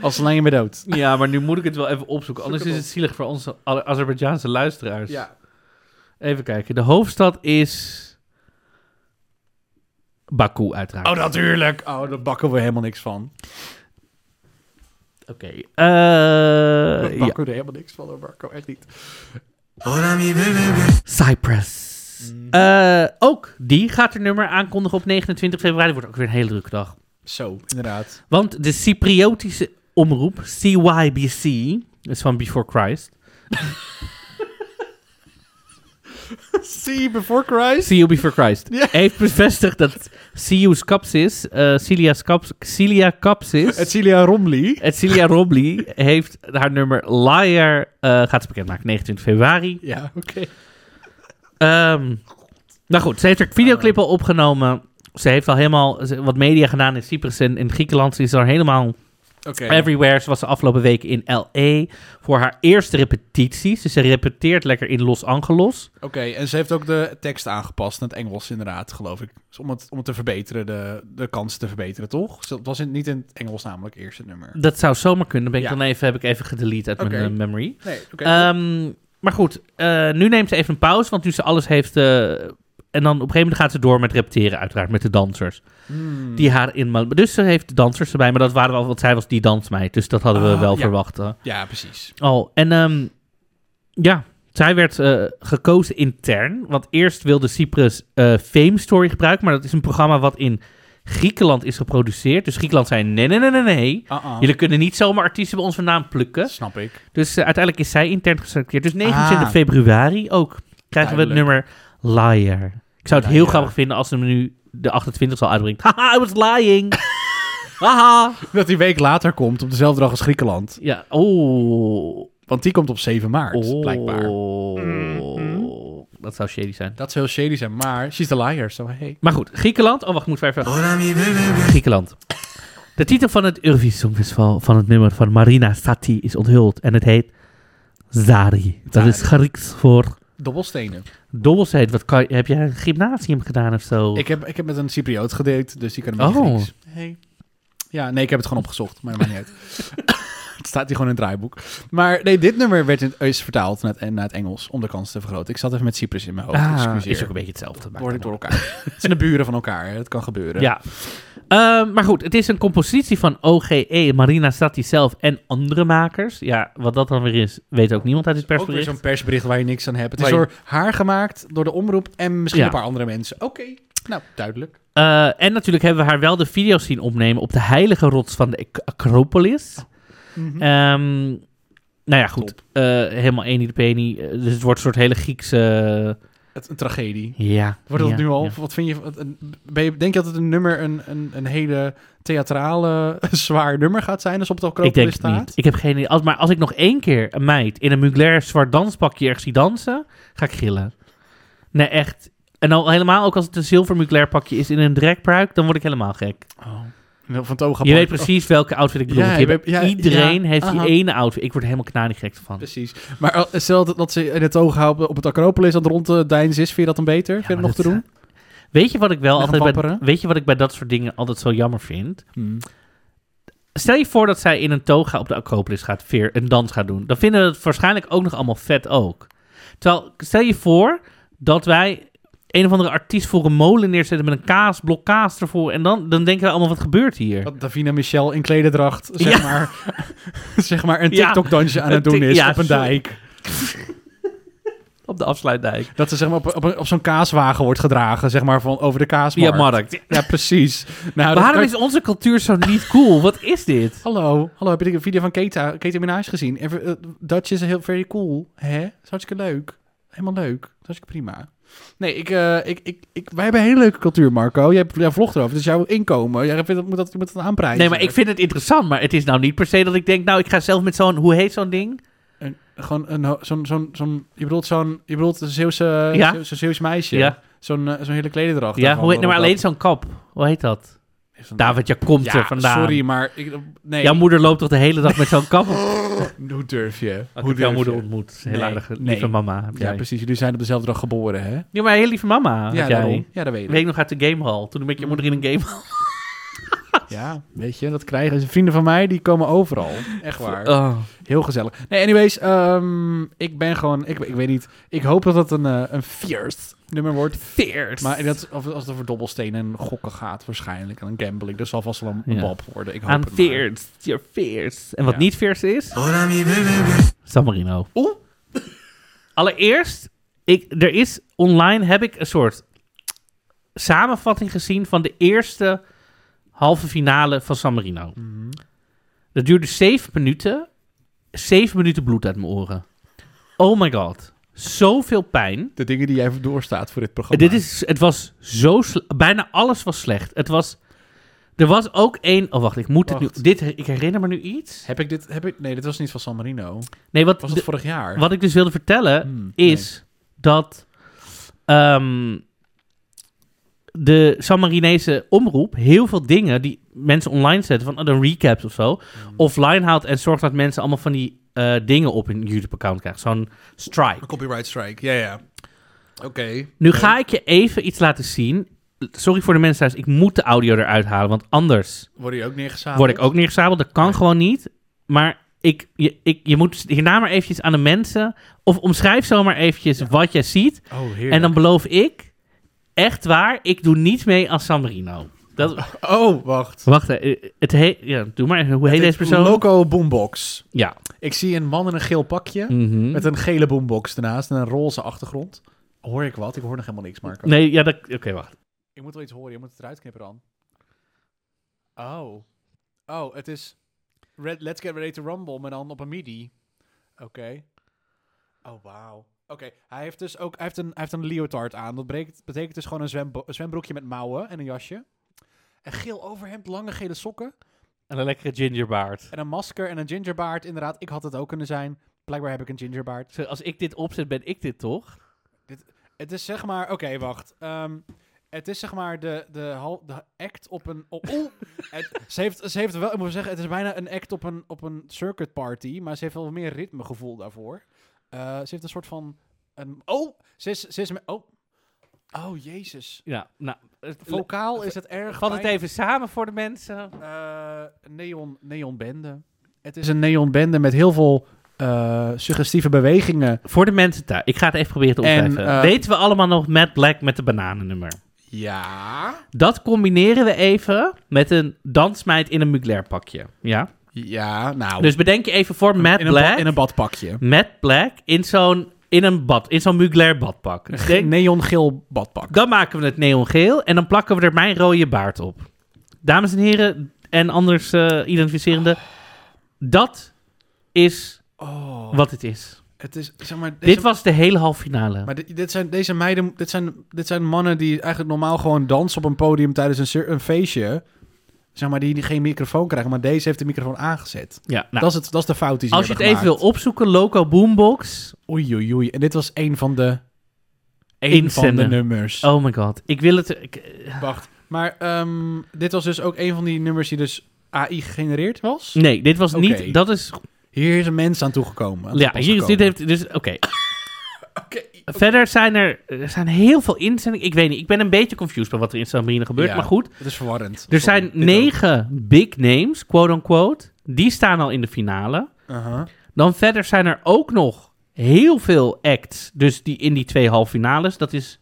[SPEAKER 2] Als alleen je me dood.
[SPEAKER 1] Ja, maar nu moet ik het wel even opzoeken. Anders
[SPEAKER 2] het
[SPEAKER 1] is het zielig voor onze alle Azerbeidzjaanse luisteraars.
[SPEAKER 2] Ja.
[SPEAKER 1] Even kijken. De hoofdstad is... Baku, uiteraard.
[SPEAKER 2] Oh, natuurlijk. Oh, daar bakken we helemaal niks van.
[SPEAKER 1] Oké. Eh,
[SPEAKER 2] Daar
[SPEAKER 1] ja.
[SPEAKER 2] bakken we er helemaal niks van, hoor, Marco. Echt niet.
[SPEAKER 1] Cyprus. Eh, ook die gaat haar nummer aankondigen op 29 februari. Wordt ook weer een hele drukke dag.
[SPEAKER 2] Zo, inderdaad.
[SPEAKER 1] Want de Cypriotische omroep, CYBC, is van Before Christ.
[SPEAKER 2] See before Christ.
[SPEAKER 1] See You Before Christ.
[SPEAKER 2] Ja.
[SPEAKER 1] Heeft bevestigd dat CU Scapsis, eh Cilia, Scaps, Cilia Capsis,
[SPEAKER 2] Het Cilia Romley.
[SPEAKER 1] het Cilia Robley, heeft haar nummer Liar, eh, gaat ze bekendmaken, 29 februari.
[SPEAKER 2] Ja, oké.
[SPEAKER 1] Ehm, nou goed, ze heeft haar videoclip al opgenomen. Ze heeft al helemaal ze- wat media gedaan in Cyprus en in Griekenland. Ze is al helemaal
[SPEAKER 2] Oké.
[SPEAKER 1] everywhere. Ze was de afgelopen weken in L.A. voor haar eerste repetities. Dus ze repeteert lekker in Los Angeles.
[SPEAKER 2] Oké, en ze heeft ook de tekst aangepast naar het Engels, inderdaad, geloof ik. Dus om, het, om het te verbeteren, de, de kansen te verbeteren, toch? Het was in, niet in het Engels namelijk, eerst het nummer.
[SPEAKER 1] Dat zou zomaar kunnen. Ben ik
[SPEAKER 2] Ja.
[SPEAKER 1] dan even, heb ik even gedelete uit
[SPEAKER 2] Oké.
[SPEAKER 1] mijn eh, memory.
[SPEAKER 2] Nee, oké.
[SPEAKER 1] Ehm, maar goed, eh, nu neemt ze even een pauze, want nu ze alles heeft... eh, en dan op een gegeven moment gaat ze door met repeteren, uiteraard, met de dansers.
[SPEAKER 2] Hmm.
[SPEAKER 1] Die haar in... Mal- Dus ze heeft de dansers erbij, maar dat waren we al, want zij was die dansmeid. Dus dat hadden we
[SPEAKER 2] Ah,
[SPEAKER 1] wel
[SPEAKER 2] ja.
[SPEAKER 1] verwacht. eh. hè.
[SPEAKER 2] Ja, precies.
[SPEAKER 1] Oh, en ehm, ja, zij werd eh, gekozen intern. Want eerst wilde Cyprus eh, Fame Story gebruiken, maar dat is een programma wat in Griekenland is geproduceerd. Dus Griekenland zei nee, nee, nee, nee, nee.
[SPEAKER 2] Uh-uh.
[SPEAKER 1] Jullie kunnen niet zomaar artiesten bij ons vandaan plukken.
[SPEAKER 2] Snap ik.
[SPEAKER 1] Dus eh, uiteindelijk is zij intern geselecteerd. Dus 29
[SPEAKER 2] Ah.
[SPEAKER 1] februari ook krijgen we het
[SPEAKER 2] Duidelijk.
[SPEAKER 1] nummer Liar. Ik zou het heel
[SPEAKER 2] Liar.
[SPEAKER 1] grappig vinden als ze hem nu de 28 zal uitbrengt. Haha, I was lying. Haha.
[SPEAKER 2] Dat die week later komt, op dezelfde dag als Griekenland.
[SPEAKER 1] Ja, oh.
[SPEAKER 2] Want die komt op 7 maart,
[SPEAKER 1] oh.
[SPEAKER 2] blijkbaar.
[SPEAKER 1] Dat zou shady zijn.
[SPEAKER 2] Dat zou heel shady zijn, maar she's the liar, so hey.
[SPEAKER 1] Maar goed, Griekenland. Oh, wacht, moeten we even... Griekenland. De titel van het Eurovisie Songfestival van het nummer van Marina Sati is onthuld. En het heet Zari. Dat is Grieks voor
[SPEAKER 2] Dobbelstenen.
[SPEAKER 1] dobbelsteen. Wat kan, heb jij een gymnasium gedaan of zo?
[SPEAKER 2] Ik heb, ik heb met een Cypriot gedate, dus die kan een beetje
[SPEAKER 1] Oh.
[SPEAKER 2] Grieks. Hey. Ja, nee, ik heb het gewoon opgezocht, maar dat maakt niet uit. het staat hier gewoon in het draaiboek. Maar nee, dit nummer werd in, is vertaald naar het, naar het Engels om de kans te vergroten. Ik zat even met Cyprus in mijn hoofd,
[SPEAKER 1] ah,
[SPEAKER 2] oh, excuseer.
[SPEAKER 1] is ook een beetje hetzelfde. maakt
[SPEAKER 2] Word ik
[SPEAKER 1] dan
[SPEAKER 2] door elkaar. het zijn de buren van elkaar, hè. het kan gebeuren.
[SPEAKER 1] Ja. Ehm, maar goed, het is een compositie van OGE, Marina Stati zelf en andere makers. Ja, wat dat dan weer is, weet ook niemand uit dit
[SPEAKER 2] Ook weer
[SPEAKER 1] persbericht.
[SPEAKER 2] zo'n persbericht waar je niks aan hebt. Het is
[SPEAKER 1] Waar je-
[SPEAKER 2] door haar gemaakt, door de omroep en misschien
[SPEAKER 1] Ja.
[SPEAKER 2] een paar andere mensen. Oké, nou, duidelijk.
[SPEAKER 1] Eh, en natuurlijk hebben we haar wel de video's zien opnemen op de heilige rots van de Ak-
[SPEAKER 2] Oh,
[SPEAKER 1] Acropolis.
[SPEAKER 2] hm. Mhm.
[SPEAKER 1] Ehm, nou ja, goed. Eh, helemaal één de penny. Eh, Dus het wordt een soort hele Griekse...
[SPEAKER 2] Het, een tragedie.
[SPEAKER 1] ja.
[SPEAKER 2] Wordt dat
[SPEAKER 1] ja,
[SPEAKER 2] nu al?
[SPEAKER 1] ja.
[SPEAKER 2] Wat vind je, wat- een- ben je? Denk je dat het een nummer een, een, een hele theatrale, zwaar nummer gaat zijn als op het
[SPEAKER 1] Ik denk
[SPEAKER 2] Acropolis
[SPEAKER 1] het
[SPEAKER 2] staat?
[SPEAKER 1] niet. Ik heb geen idee. Als, maar als ik nog één keer een meid in een muglair zwart danspakje ergens zie dansen, ga ik gillen. Nee, echt. En al helemaal ook als het een zilver muglair pakje is in een drekpruik, dan word ik helemaal gek.
[SPEAKER 2] Oh. Wil Van Toga
[SPEAKER 1] Je weet
[SPEAKER 2] Park.
[SPEAKER 1] precies welke outfit ik bedoel.
[SPEAKER 2] Ja,
[SPEAKER 1] want
[SPEAKER 2] je
[SPEAKER 1] je hebt-
[SPEAKER 2] weet- ja,
[SPEAKER 1] iedereen
[SPEAKER 2] ja,
[SPEAKER 1] heeft
[SPEAKER 2] aha.
[SPEAKER 1] die ene outfit. Ik word er helemaal knanigrek
[SPEAKER 2] Oh,
[SPEAKER 1] van.
[SPEAKER 2] precies. Maar al- stel dat, dat ze in het oog houden op het Acropolis aan het rond te deinzen is, vind je dat dan beter? vind je dat
[SPEAKER 1] maar
[SPEAKER 2] nog te
[SPEAKER 1] dat- eh,
[SPEAKER 2] doen?
[SPEAKER 1] Weet je wat ik wel
[SPEAKER 2] Nog
[SPEAKER 1] altijd bij,
[SPEAKER 2] wapperen? Hmm.
[SPEAKER 1] weet je wat ik bij dat soort dingen altijd zo jammer vind? Stel je voor dat zij in een toga op de Acropolis gaat veer een dans gaat doen. Dan vinden we het waarschijnlijk ook nog allemaal vet ook. Terwijl stel je voor dat wij een of andere artiest voor een molen neerzetten met een kaas, blok kaas ervoor en dan, dan denken we allemaal wat gebeurt hier?
[SPEAKER 2] Dat Davina Michel in klederdracht, zeg,
[SPEAKER 1] eh, Ja.
[SPEAKER 2] maar, zeg maar, een
[SPEAKER 1] Ja.
[SPEAKER 2] TikTok-dansje aan
[SPEAKER 1] Een
[SPEAKER 2] het doen
[SPEAKER 1] tik-
[SPEAKER 2] is
[SPEAKER 1] ja,
[SPEAKER 2] op een
[SPEAKER 1] sorry.
[SPEAKER 2] dijk.
[SPEAKER 1] Op de afsluitdijk.
[SPEAKER 2] Dat ze zeg maar, op, op, een- op zo'n kaaswagen wordt gedragen, zeg maar, van over de
[SPEAKER 1] Via
[SPEAKER 2] kaasmarkt.
[SPEAKER 1] markt.
[SPEAKER 2] Ja, precies. Nou, dat
[SPEAKER 1] Waarom
[SPEAKER 2] kan-
[SPEAKER 1] is onze cultuur zo niet cool? Wat is dit?
[SPEAKER 2] Hallo, hallo, heb je de video van Keta, Keta Minaj gezien? Ev- eh, Dutch is heel very cool. Hè? Dat is hartstikke leuk. Helemaal leuk. Dat is hartstikke prima. Nee, ik, eh, ik, ik, ik, wij hebben een hele leuke cultuur, Marco. Jij, jij vlogt erover, dus jouw inkomen. Jij vindt dat, moet dat, je moet dat aanprijzen.
[SPEAKER 1] Nee, maar ik vind het interessant, maar het is nou niet per se dat ik denk, nou ik ga zelf met zo'n, hoe heet zo'n ding?
[SPEAKER 2] Een- gewoon een, ho- zo'n, zo'n, zo'n, je bedoelt zo'n, je bedoelt een Zeeuwse,
[SPEAKER 1] Ja.
[SPEAKER 2] Zeeuwse, Zeeuws meisje.
[SPEAKER 1] Ja.
[SPEAKER 2] Zo'n, eh, zo'n hele klederdracht.
[SPEAKER 1] Ja,
[SPEAKER 2] daarvan,
[SPEAKER 1] hoe heet, nee, maar
[SPEAKER 2] waarop
[SPEAKER 1] alleen zo'n kap. Hoe heet dat?
[SPEAKER 2] dat- Zo'n-
[SPEAKER 1] David, je komt
[SPEAKER 2] Ja,
[SPEAKER 1] er vandaan.
[SPEAKER 2] sorry, maar ik, nee,
[SPEAKER 1] Jouw moeder loopt toch de hele dag met zo'n kap? op?
[SPEAKER 2] hoe durf je?
[SPEAKER 1] Ik
[SPEAKER 2] hoe
[SPEAKER 1] heb
[SPEAKER 2] durf
[SPEAKER 1] jouw moeder
[SPEAKER 2] je?
[SPEAKER 1] ontmoet. Heel
[SPEAKER 2] Nee,
[SPEAKER 1] aardig.
[SPEAKER 2] nee.
[SPEAKER 1] Lieve mama. Heb
[SPEAKER 2] Ja,
[SPEAKER 1] jij.
[SPEAKER 2] precies. Jullie zijn op dezelfde dag geboren, hè?
[SPEAKER 1] Ja, maar heel lieve mama. heb jij.
[SPEAKER 2] daarom. ja, Mm. dat weet ik.
[SPEAKER 1] Weet ik nog uit de gamehall. Toen ben ik je moeder in een gamehall.
[SPEAKER 2] Ja, weet je, dat krijgen ze. Vrienden van mij, die komen overal. Echt waar.
[SPEAKER 1] Oh.
[SPEAKER 2] Heel gezellig. Nee, anyways, ehm, ik ben gewoon, ik, ik weet niet, ik hoop dat dat een, eh, een fierce nummer wordt.
[SPEAKER 1] Fierce.
[SPEAKER 2] Maar dat, of, als het over dobbelstenen en gokken gaat waarschijnlijk, en een gambling, dat zal vast wel een, een
[SPEAKER 1] Ja.
[SPEAKER 2] bab worden. Ik hoop
[SPEAKER 1] Aan
[SPEAKER 2] het maar.
[SPEAKER 1] fierce. You're fierce. En wat
[SPEAKER 2] Ja.
[SPEAKER 1] niet fierce is? San Marino.
[SPEAKER 2] Oeh.
[SPEAKER 1] Allereerst, ik, er is online heb ik een soort samenvatting gezien van de eerste halve finale van San Marino. Dat duurde zeven minuten. Zeven minuten bloed uit mijn oren. Oh my god. Zoveel pijn.
[SPEAKER 2] De dingen die jij doorstaat voor dit programma.
[SPEAKER 1] Dit is, het was zo sle- Bijna alles was slecht. Het was... Er was ook één... Oh, wacht. Ik moet het nu...
[SPEAKER 2] Wacht.
[SPEAKER 1] Dit, ik herinner me nu iets.
[SPEAKER 2] Heb ik dit, heb ik, nee, dit was niet van San Marino.
[SPEAKER 1] Nee, wat,
[SPEAKER 2] Was dat
[SPEAKER 1] de-
[SPEAKER 2] vorig jaar?
[SPEAKER 1] wat ik dus wilde vertellen
[SPEAKER 2] Hmm,
[SPEAKER 1] is dat ehm, de San Marinese omroep heel veel dingen die mensen online zetten, van oh, de recaps of zo,
[SPEAKER 2] Hmm.
[SPEAKER 1] offline houdt en zorgt dat mensen allemaal van die eh, dingen op hun YouTube-account krijgen. Zo'n strike.
[SPEAKER 2] copyright strike, ja, ja. Oké.
[SPEAKER 1] Nu ga ik je even iets laten zien. Sorry voor de mensen thuis, ik moet de audio eruit halen, want anders
[SPEAKER 2] Word je ook neergezameld?
[SPEAKER 1] word ik ook neergezabeld. Dat kan gewoon niet. Maar ik, je, ik, je moet hierna maar eventjes aan de mensen... Of omschrijf zomaar eventjes wat jij ziet.
[SPEAKER 2] Oh, heerlijk.
[SPEAKER 1] En dan beloof ik, echt waar, ik doe niet mee aan San Marino. Dat,
[SPEAKER 2] Oh, wacht.
[SPEAKER 1] wacht, eh, het heet, ja, doe maar, even, hoe heet
[SPEAKER 2] Dit
[SPEAKER 1] deze persoon?
[SPEAKER 2] Loco Boombox.
[SPEAKER 1] ja.
[SPEAKER 2] Ik zie een man in een geel pakje
[SPEAKER 1] Mhm.
[SPEAKER 2] met een gele boombox daarnaast en een roze achtergrond. Hoor ik wat? Ik hoor nog helemaal niks, Marco.
[SPEAKER 1] Nee, ja, dat- oké, wacht.
[SPEAKER 2] Ik moet wel iets horen. Je moet het eruit knippen dan. Oh. Oh, het is Red, Let's Get Ready to Rumble, maar dan op een midi. Oké. Oh, wauw. Oké, hij heeft dus ook hij heeft een, hij heeft een leotard aan. Dat breekt- betekent dus gewoon een, zwembo- een zwembroekje met mouwen en een jasje. Een geel overhemd, lange gele sokken.
[SPEAKER 1] En een lekkere gingerbaard.
[SPEAKER 2] En een masker en een gingerbaard. Inderdaad, ik had het ook kunnen zijn. Blijkbaar heb ik een gingerbaard.
[SPEAKER 1] Zo, Als ik dit opzet, ben ik dit toch?
[SPEAKER 2] Dit, Het is zeg maar... Oké, wacht. Ehm, het is zeg maar de, de, hal- de act op een... Op, oeh! het, ze, heeft, ze heeft wel... Ik moet zeggen, het is bijna een act op een, op een circuit party. Maar ze heeft wel meer ritmegevoel daarvoor. Eh, ze heeft een soort van... Een, oh! Ze is, ze is... met- Oh! Oh, jezus.
[SPEAKER 1] Ja, nou, het-
[SPEAKER 2] Vokaal is het erg...
[SPEAKER 1] vat het
[SPEAKER 2] pijn-
[SPEAKER 1] even samen voor de mensen.
[SPEAKER 2] eh neon, neonbende. Het is een neonbende met heel veel eh, suggestieve bewegingen.
[SPEAKER 1] Voor de mensen thuis. Ik ga het even proberen te
[SPEAKER 2] En,
[SPEAKER 1] omschrijven.
[SPEAKER 2] eh,
[SPEAKER 1] Weten we allemaal nog Matt Black met de bananennummer?
[SPEAKER 2] Ja.
[SPEAKER 1] Dat combineren we even met een dansmeid in een mugler pakje. Ja?
[SPEAKER 2] Ja, nou.
[SPEAKER 1] Dus bedenk je even voor Matt
[SPEAKER 2] in, een ba-
[SPEAKER 1] Black.
[SPEAKER 2] in een badpakje.
[SPEAKER 1] Matt Black in zo'n in een bad, in zo'n mugler badpak. Dus denk-
[SPEAKER 2] Neongeel badpak.
[SPEAKER 1] dan maken we het neongeel en dan plakken we er mijn rode baard op. Dames en heren en anders eh identificerende, dat is
[SPEAKER 2] Oh,
[SPEAKER 1] wat het is.
[SPEAKER 2] het is, zeg maar, deze,
[SPEAKER 1] Dit was de hele halve finale.
[SPEAKER 2] maar dit, dit zijn, deze meiden, dit zijn, dit zijn mannen die eigenlijk normaal gewoon dansen op een podium tijdens een, cir- een feestje. Zeg maar, die, die geen microfoon krijgen, maar deze heeft de microfoon aangezet.
[SPEAKER 1] Ja, nou,
[SPEAKER 2] dat, is het, dat is de fout die ze
[SPEAKER 1] als je het
[SPEAKER 2] hebben
[SPEAKER 1] even wil
[SPEAKER 2] gemaakt.
[SPEAKER 1] opzoeken, Loco Boombox.
[SPEAKER 2] Oei, oei, oei. En dit was één van de... één van de
[SPEAKER 1] Inzenden.
[SPEAKER 2] nummers.
[SPEAKER 1] Oh my god, ik wil het... ik-
[SPEAKER 2] Wacht. Maar ehm, dit was dus ook een van die nummers die dus AI gegenereerd was?
[SPEAKER 1] nee, dit was
[SPEAKER 2] Oké.
[SPEAKER 1] niet... Dat is...
[SPEAKER 2] Hier is een mens aan toegekomen. aan
[SPEAKER 1] Ja,
[SPEAKER 2] te pas
[SPEAKER 1] hier is dit
[SPEAKER 2] gekomen.
[SPEAKER 1] heeft... Dus, oké. Verder zijn er, er zijn heel veel inzendingen. Ik weet niet, ik ben een beetje confused bij wat er in Sabrina gebeurt,
[SPEAKER 2] Ja.
[SPEAKER 1] maar goed.
[SPEAKER 2] Het is verwarrend.
[SPEAKER 1] Er
[SPEAKER 2] Sorry,
[SPEAKER 1] zijn
[SPEAKER 2] dit
[SPEAKER 1] negen big names, quote-unquote. Die staan al in de finale.
[SPEAKER 2] ook. Aha.
[SPEAKER 1] Dan verder zijn er ook nog heel veel acts. Dus die in die twee halve finales. Dat is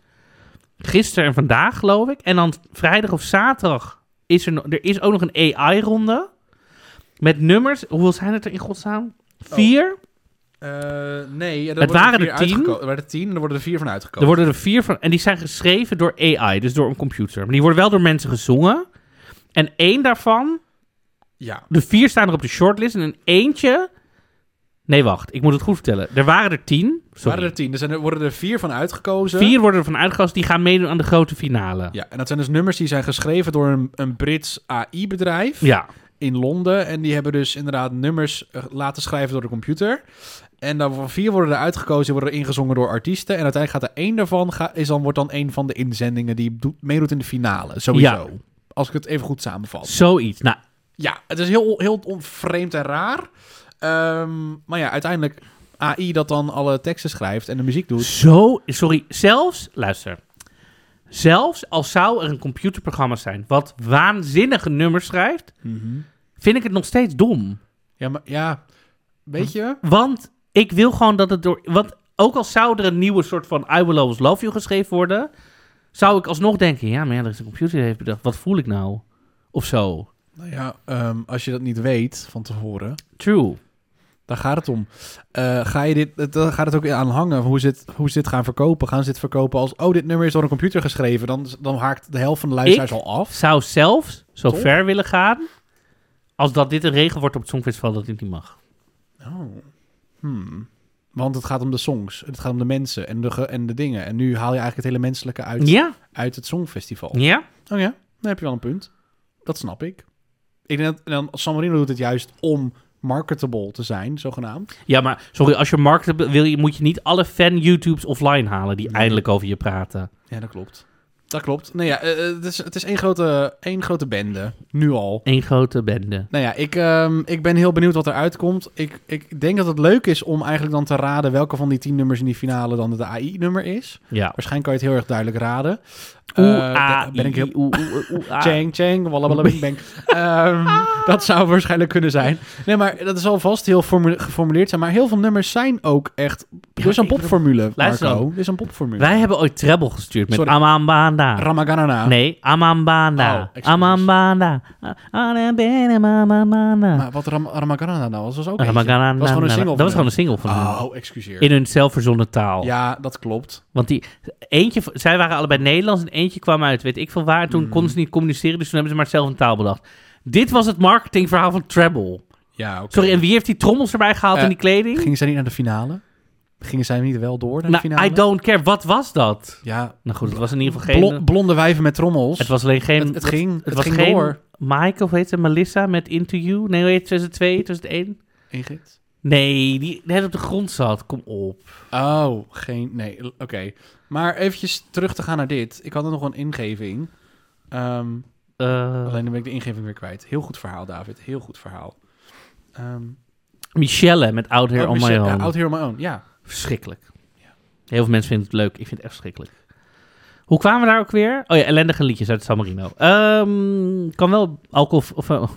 [SPEAKER 1] gisteren en vandaag, geloof ik. En dan vrijdag of zaterdag is er, no- er is ook nog een AI-ronde. Met nummers. Hoeveel zijn het er in godsnaam? Vier.
[SPEAKER 2] Eh, nee, er
[SPEAKER 1] Het
[SPEAKER 2] worden
[SPEAKER 1] waren
[SPEAKER 2] vier
[SPEAKER 1] er tien.
[SPEAKER 2] uitgeko- Er waren er tien en er worden er vier van
[SPEAKER 1] Er
[SPEAKER 2] uitgekomen.
[SPEAKER 1] worden er vier van. En die zijn geschreven door AI, dus door een computer. Maar die worden wel door mensen gezongen. En één daarvan
[SPEAKER 2] Ja.
[SPEAKER 1] De vier staan er op de shortlist en een eentje... Nee, wacht. Ik moet het goed vertellen. Er waren er tien.
[SPEAKER 2] Er
[SPEAKER 1] Sorry.
[SPEAKER 2] waren er tien. Er, zijn, er worden er vier van uitgekozen.
[SPEAKER 1] Vier worden ervan uitgekozen. Die gaan meedoen aan de grote finale.
[SPEAKER 2] Ja, en dat zijn dus nummers die zijn geschreven door een, een Brits AI-bedrijf
[SPEAKER 1] Ja.
[SPEAKER 2] in Londen. En die hebben dus inderdaad nummers eh, laten schrijven door de computer. En daarvan vier worden er uitgekozen, die worden er ingezongen door artiesten. En uiteindelijk gaat er één daarvan, ga, is dan, wordt dan één van de inzendingen die doet, meedoet in de finale. Sowieso.
[SPEAKER 1] Ja.
[SPEAKER 2] Als ik het even goed samenvat.
[SPEAKER 1] Zoiets. Nou,
[SPEAKER 2] Ja, het is heel, heel onvreemd en raar. Ehm, maar ja, uiteindelijk AI dat dan alle teksten schrijft en de muziek doet.
[SPEAKER 1] zo... Sorry. Zelfs... Luister. Zelfs als zou er een computerprogramma zijn... wat waanzinnige nummers schrijft... vind ik het nog steeds dom.
[SPEAKER 2] Ja, maar ja, weet je?
[SPEAKER 1] Want ik wil gewoon dat het door... Want ook al zou er een nieuwe soort van I Will Always Love You geschreven worden... zou ik alsnog denken... Ja, maar ja, dat is een computer die heeft bedacht. Wat voel ik nou? Of zo.
[SPEAKER 2] Nou ja, ehm, als je dat niet weet van tevoren,
[SPEAKER 1] True.
[SPEAKER 2] Daar gaat het om. Eh, ga je dit, het- dan gaat het ook aan hangen. Hoe ze, dit, hoe ze dit gaan verkopen. Gaan ze dit verkopen als... Oh, dit nummer is door een computer geschreven. Dan, dan haakt de helft van de luisteraars
[SPEAKER 1] Ik-
[SPEAKER 2] al af.
[SPEAKER 1] Zou zelfs zo
[SPEAKER 2] Toch?
[SPEAKER 1] ver willen gaan. als dat dit een regel wordt op het Songfestival dat dit niet mag.
[SPEAKER 2] Hmm. Want het gaat om de songs. Het gaat om de mensen en de, ge- en de dingen. En nu haal je eigenlijk het hele menselijke uit,
[SPEAKER 1] Ja,
[SPEAKER 2] uit het Songfestival.
[SPEAKER 1] ja.
[SPEAKER 2] Oh ja, dan heb je wel een punt. Dat snap ik. Ik denk dat en dan, San Marino doet het juist om marketable te zijn, zogenaamd.
[SPEAKER 1] Ja, maar sorry, als je markt wil, je, moet je niet alle fan-YouTubes offline halen die eindelijk over je praten.
[SPEAKER 2] Ja, dat klopt. Dat klopt. Nou ja, eh, eh, het is, het is één, grote, één grote bende. Nu al.
[SPEAKER 1] Eén grote bende.
[SPEAKER 2] Nou ja, ik, ehm, ik ben heel benieuwd wat eruit komt. Ik, ik denk dat het leuk is om eigenlijk dan te raden welke van die tien nummers in die finale dan het AI-nummer is.
[SPEAKER 1] Ja.
[SPEAKER 2] Waarschijnlijk kan je het heel erg duidelijk raden.
[SPEAKER 1] Oeh,
[SPEAKER 2] Eh,
[SPEAKER 1] ah,
[SPEAKER 2] daar ben ik heel...
[SPEAKER 1] i, i, oeh, oeh, oeh, ah.
[SPEAKER 2] Chang, chang, wallabalabing, bang. Ehm, dat zou waarschijnlijk kunnen zijn. Nee, maar dat zal vast heel formu- geformuleerd zijn. Maar heel veel nummers zijn ook echt... Er is een
[SPEAKER 1] ik bedoel-
[SPEAKER 2] popformule,
[SPEAKER 1] Luister
[SPEAKER 2] Marco.
[SPEAKER 1] dan.
[SPEAKER 2] Er is een popformule.
[SPEAKER 1] Wij hebben ooit treble gestuurd met
[SPEAKER 2] Sorry.
[SPEAKER 1] Amambanda.
[SPEAKER 2] Ramaganana.
[SPEAKER 1] Nee,
[SPEAKER 2] Oh,
[SPEAKER 1] Amambanda.
[SPEAKER 2] excuses.
[SPEAKER 1] Amambanda. Ah, ah, ben hem, Amambanda.
[SPEAKER 2] Maar wat Ram Ramaganana nou was, was ook eentje.
[SPEAKER 1] Ramagana-
[SPEAKER 2] Dat was gewoon een single.
[SPEAKER 1] nou, Dat was
[SPEAKER 2] van
[SPEAKER 1] gewoon een single van
[SPEAKER 2] hun.
[SPEAKER 1] hun.
[SPEAKER 2] Oh, excuseer.
[SPEAKER 1] In hun zelfverzonnen taal.
[SPEAKER 2] Ja, dat klopt.
[SPEAKER 1] Want die, eentje, zij waren allebei Nederlands en eentje kwam uit, weet ik veel waar. Toen
[SPEAKER 2] Hmm.
[SPEAKER 1] konden ze niet communiceren, dus toen hebben ze maar zelf een taal bedacht. Dit was het marketingverhaal van Treble.
[SPEAKER 2] Ja, oké.
[SPEAKER 1] Sorry, en wie heeft die trommels erbij gehaald
[SPEAKER 2] Eh,
[SPEAKER 1] in die kleding?
[SPEAKER 2] Gingen zij niet naar de finale? Gingen zij niet wel door naar de
[SPEAKER 1] Nou,
[SPEAKER 2] finale?
[SPEAKER 1] I don't care. Wat was dat?
[SPEAKER 2] Ja,
[SPEAKER 1] Nou goed, het was in ieder geval geen...
[SPEAKER 2] blo- blonde wijven met trommels.
[SPEAKER 1] het was alleen geen...
[SPEAKER 2] Het- het ging- het
[SPEAKER 1] was
[SPEAKER 2] ging
[SPEAKER 1] geen
[SPEAKER 2] door.
[SPEAKER 1] Mike, of heet ze, Melissa met Into You? Nee, hoe heet ze? 2002, 2001?
[SPEAKER 2] Ingrid?
[SPEAKER 1] Nee, die net op de grond zat. Kom op.
[SPEAKER 2] Oh, geen. Nee, l- oké. Maar eventjes terug te gaan naar dit. Ik had er nog een ingeving. Ehm,
[SPEAKER 1] Eh,
[SPEAKER 2] Alleen dan ben ik de ingeving weer kwijt. Heel goed verhaal, David. Heel goed verhaal. Ehm
[SPEAKER 1] Michelle met Out Here
[SPEAKER 2] oh,
[SPEAKER 1] On My
[SPEAKER 2] Michelle-
[SPEAKER 1] Own.
[SPEAKER 2] ja, Out Here On My Own, ja.
[SPEAKER 1] Verschrikkelijk. Heel veel mensen vinden het leuk. Ik vind het echt verschrikkelijk. Hoe kwamen we daar ook weer? Oh ja, ellendige liedjes uit San Marino. Ehm, kan wel alcohol... Of, eh,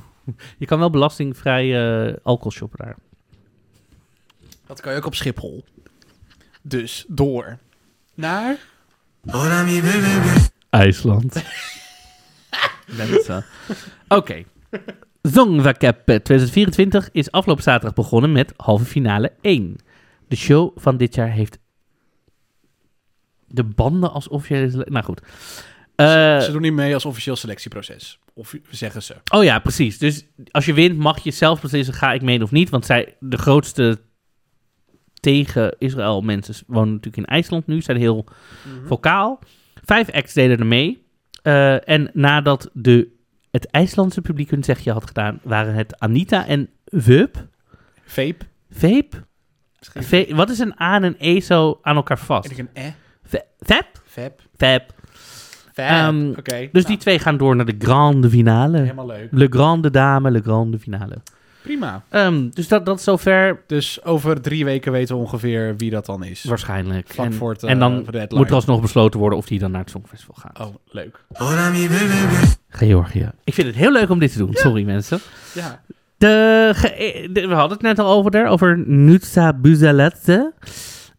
[SPEAKER 1] je kan wel belastingvrij eh, alcohol shoppen daar.
[SPEAKER 2] Dat kan je ook op Schiphol. Dus door. Naar?
[SPEAKER 1] IJsland. Mensen. Oké. Zongwa Cup 2024 is afgelopen zaterdag begonnen met halve finale 1. De show van dit jaar heeft de banden als officiële... sele- Nou goed. Eh,
[SPEAKER 2] ze doen niet mee als officieel selectieproces. Of zeggen ze.
[SPEAKER 1] oh ja, precies. Dus als je wint mag je zelf beslissen ga ik meedoen of niet. Want zij, de grootste tegen Israël mensen s- wonen natuurlijk in IJsland nu. Zijn heel vocaal. Vijf acts deden er mee. Eh, en nadat de, het IJslandse publiek hun zegje had gedaan, waren het Anita en Vup.
[SPEAKER 2] Vape.
[SPEAKER 1] Veep? Ve- Wat is een A en een E zo aan elkaar
[SPEAKER 2] En
[SPEAKER 1] vast?
[SPEAKER 2] ik een eh.
[SPEAKER 1] Ve- Vep?
[SPEAKER 2] Vap.
[SPEAKER 1] Vep.
[SPEAKER 2] Vap.
[SPEAKER 1] Ehm,
[SPEAKER 2] Oké.
[SPEAKER 1] Dus
[SPEAKER 2] Nou,
[SPEAKER 1] die twee gaan door naar de grande finale.
[SPEAKER 2] Helemaal leuk.
[SPEAKER 1] Le grande dame, le grande finale.
[SPEAKER 2] Prima.
[SPEAKER 1] Ehm, dus dat, dat is zover
[SPEAKER 2] Dus over drie weken weten we ongeveer wie dat dan is.
[SPEAKER 1] waarschijnlijk.
[SPEAKER 2] Vlak
[SPEAKER 1] en,
[SPEAKER 2] voor het, eh,
[SPEAKER 1] en dan
[SPEAKER 2] voor de deadline.
[SPEAKER 1] moet er alsnog besloten worden of die dan naar het Songfestival gaat.
[SPEAKER 2] Oh, leuk.
[SPEAKER 1] Georgië. Ik vind het heel leuk om dit te doen. Sorry mensen.
[SPEAKER 2] Ja.
[SPEAKER 1] De, ge- eh, de- we hadden het net al over daar, over Nutsa Buzalette.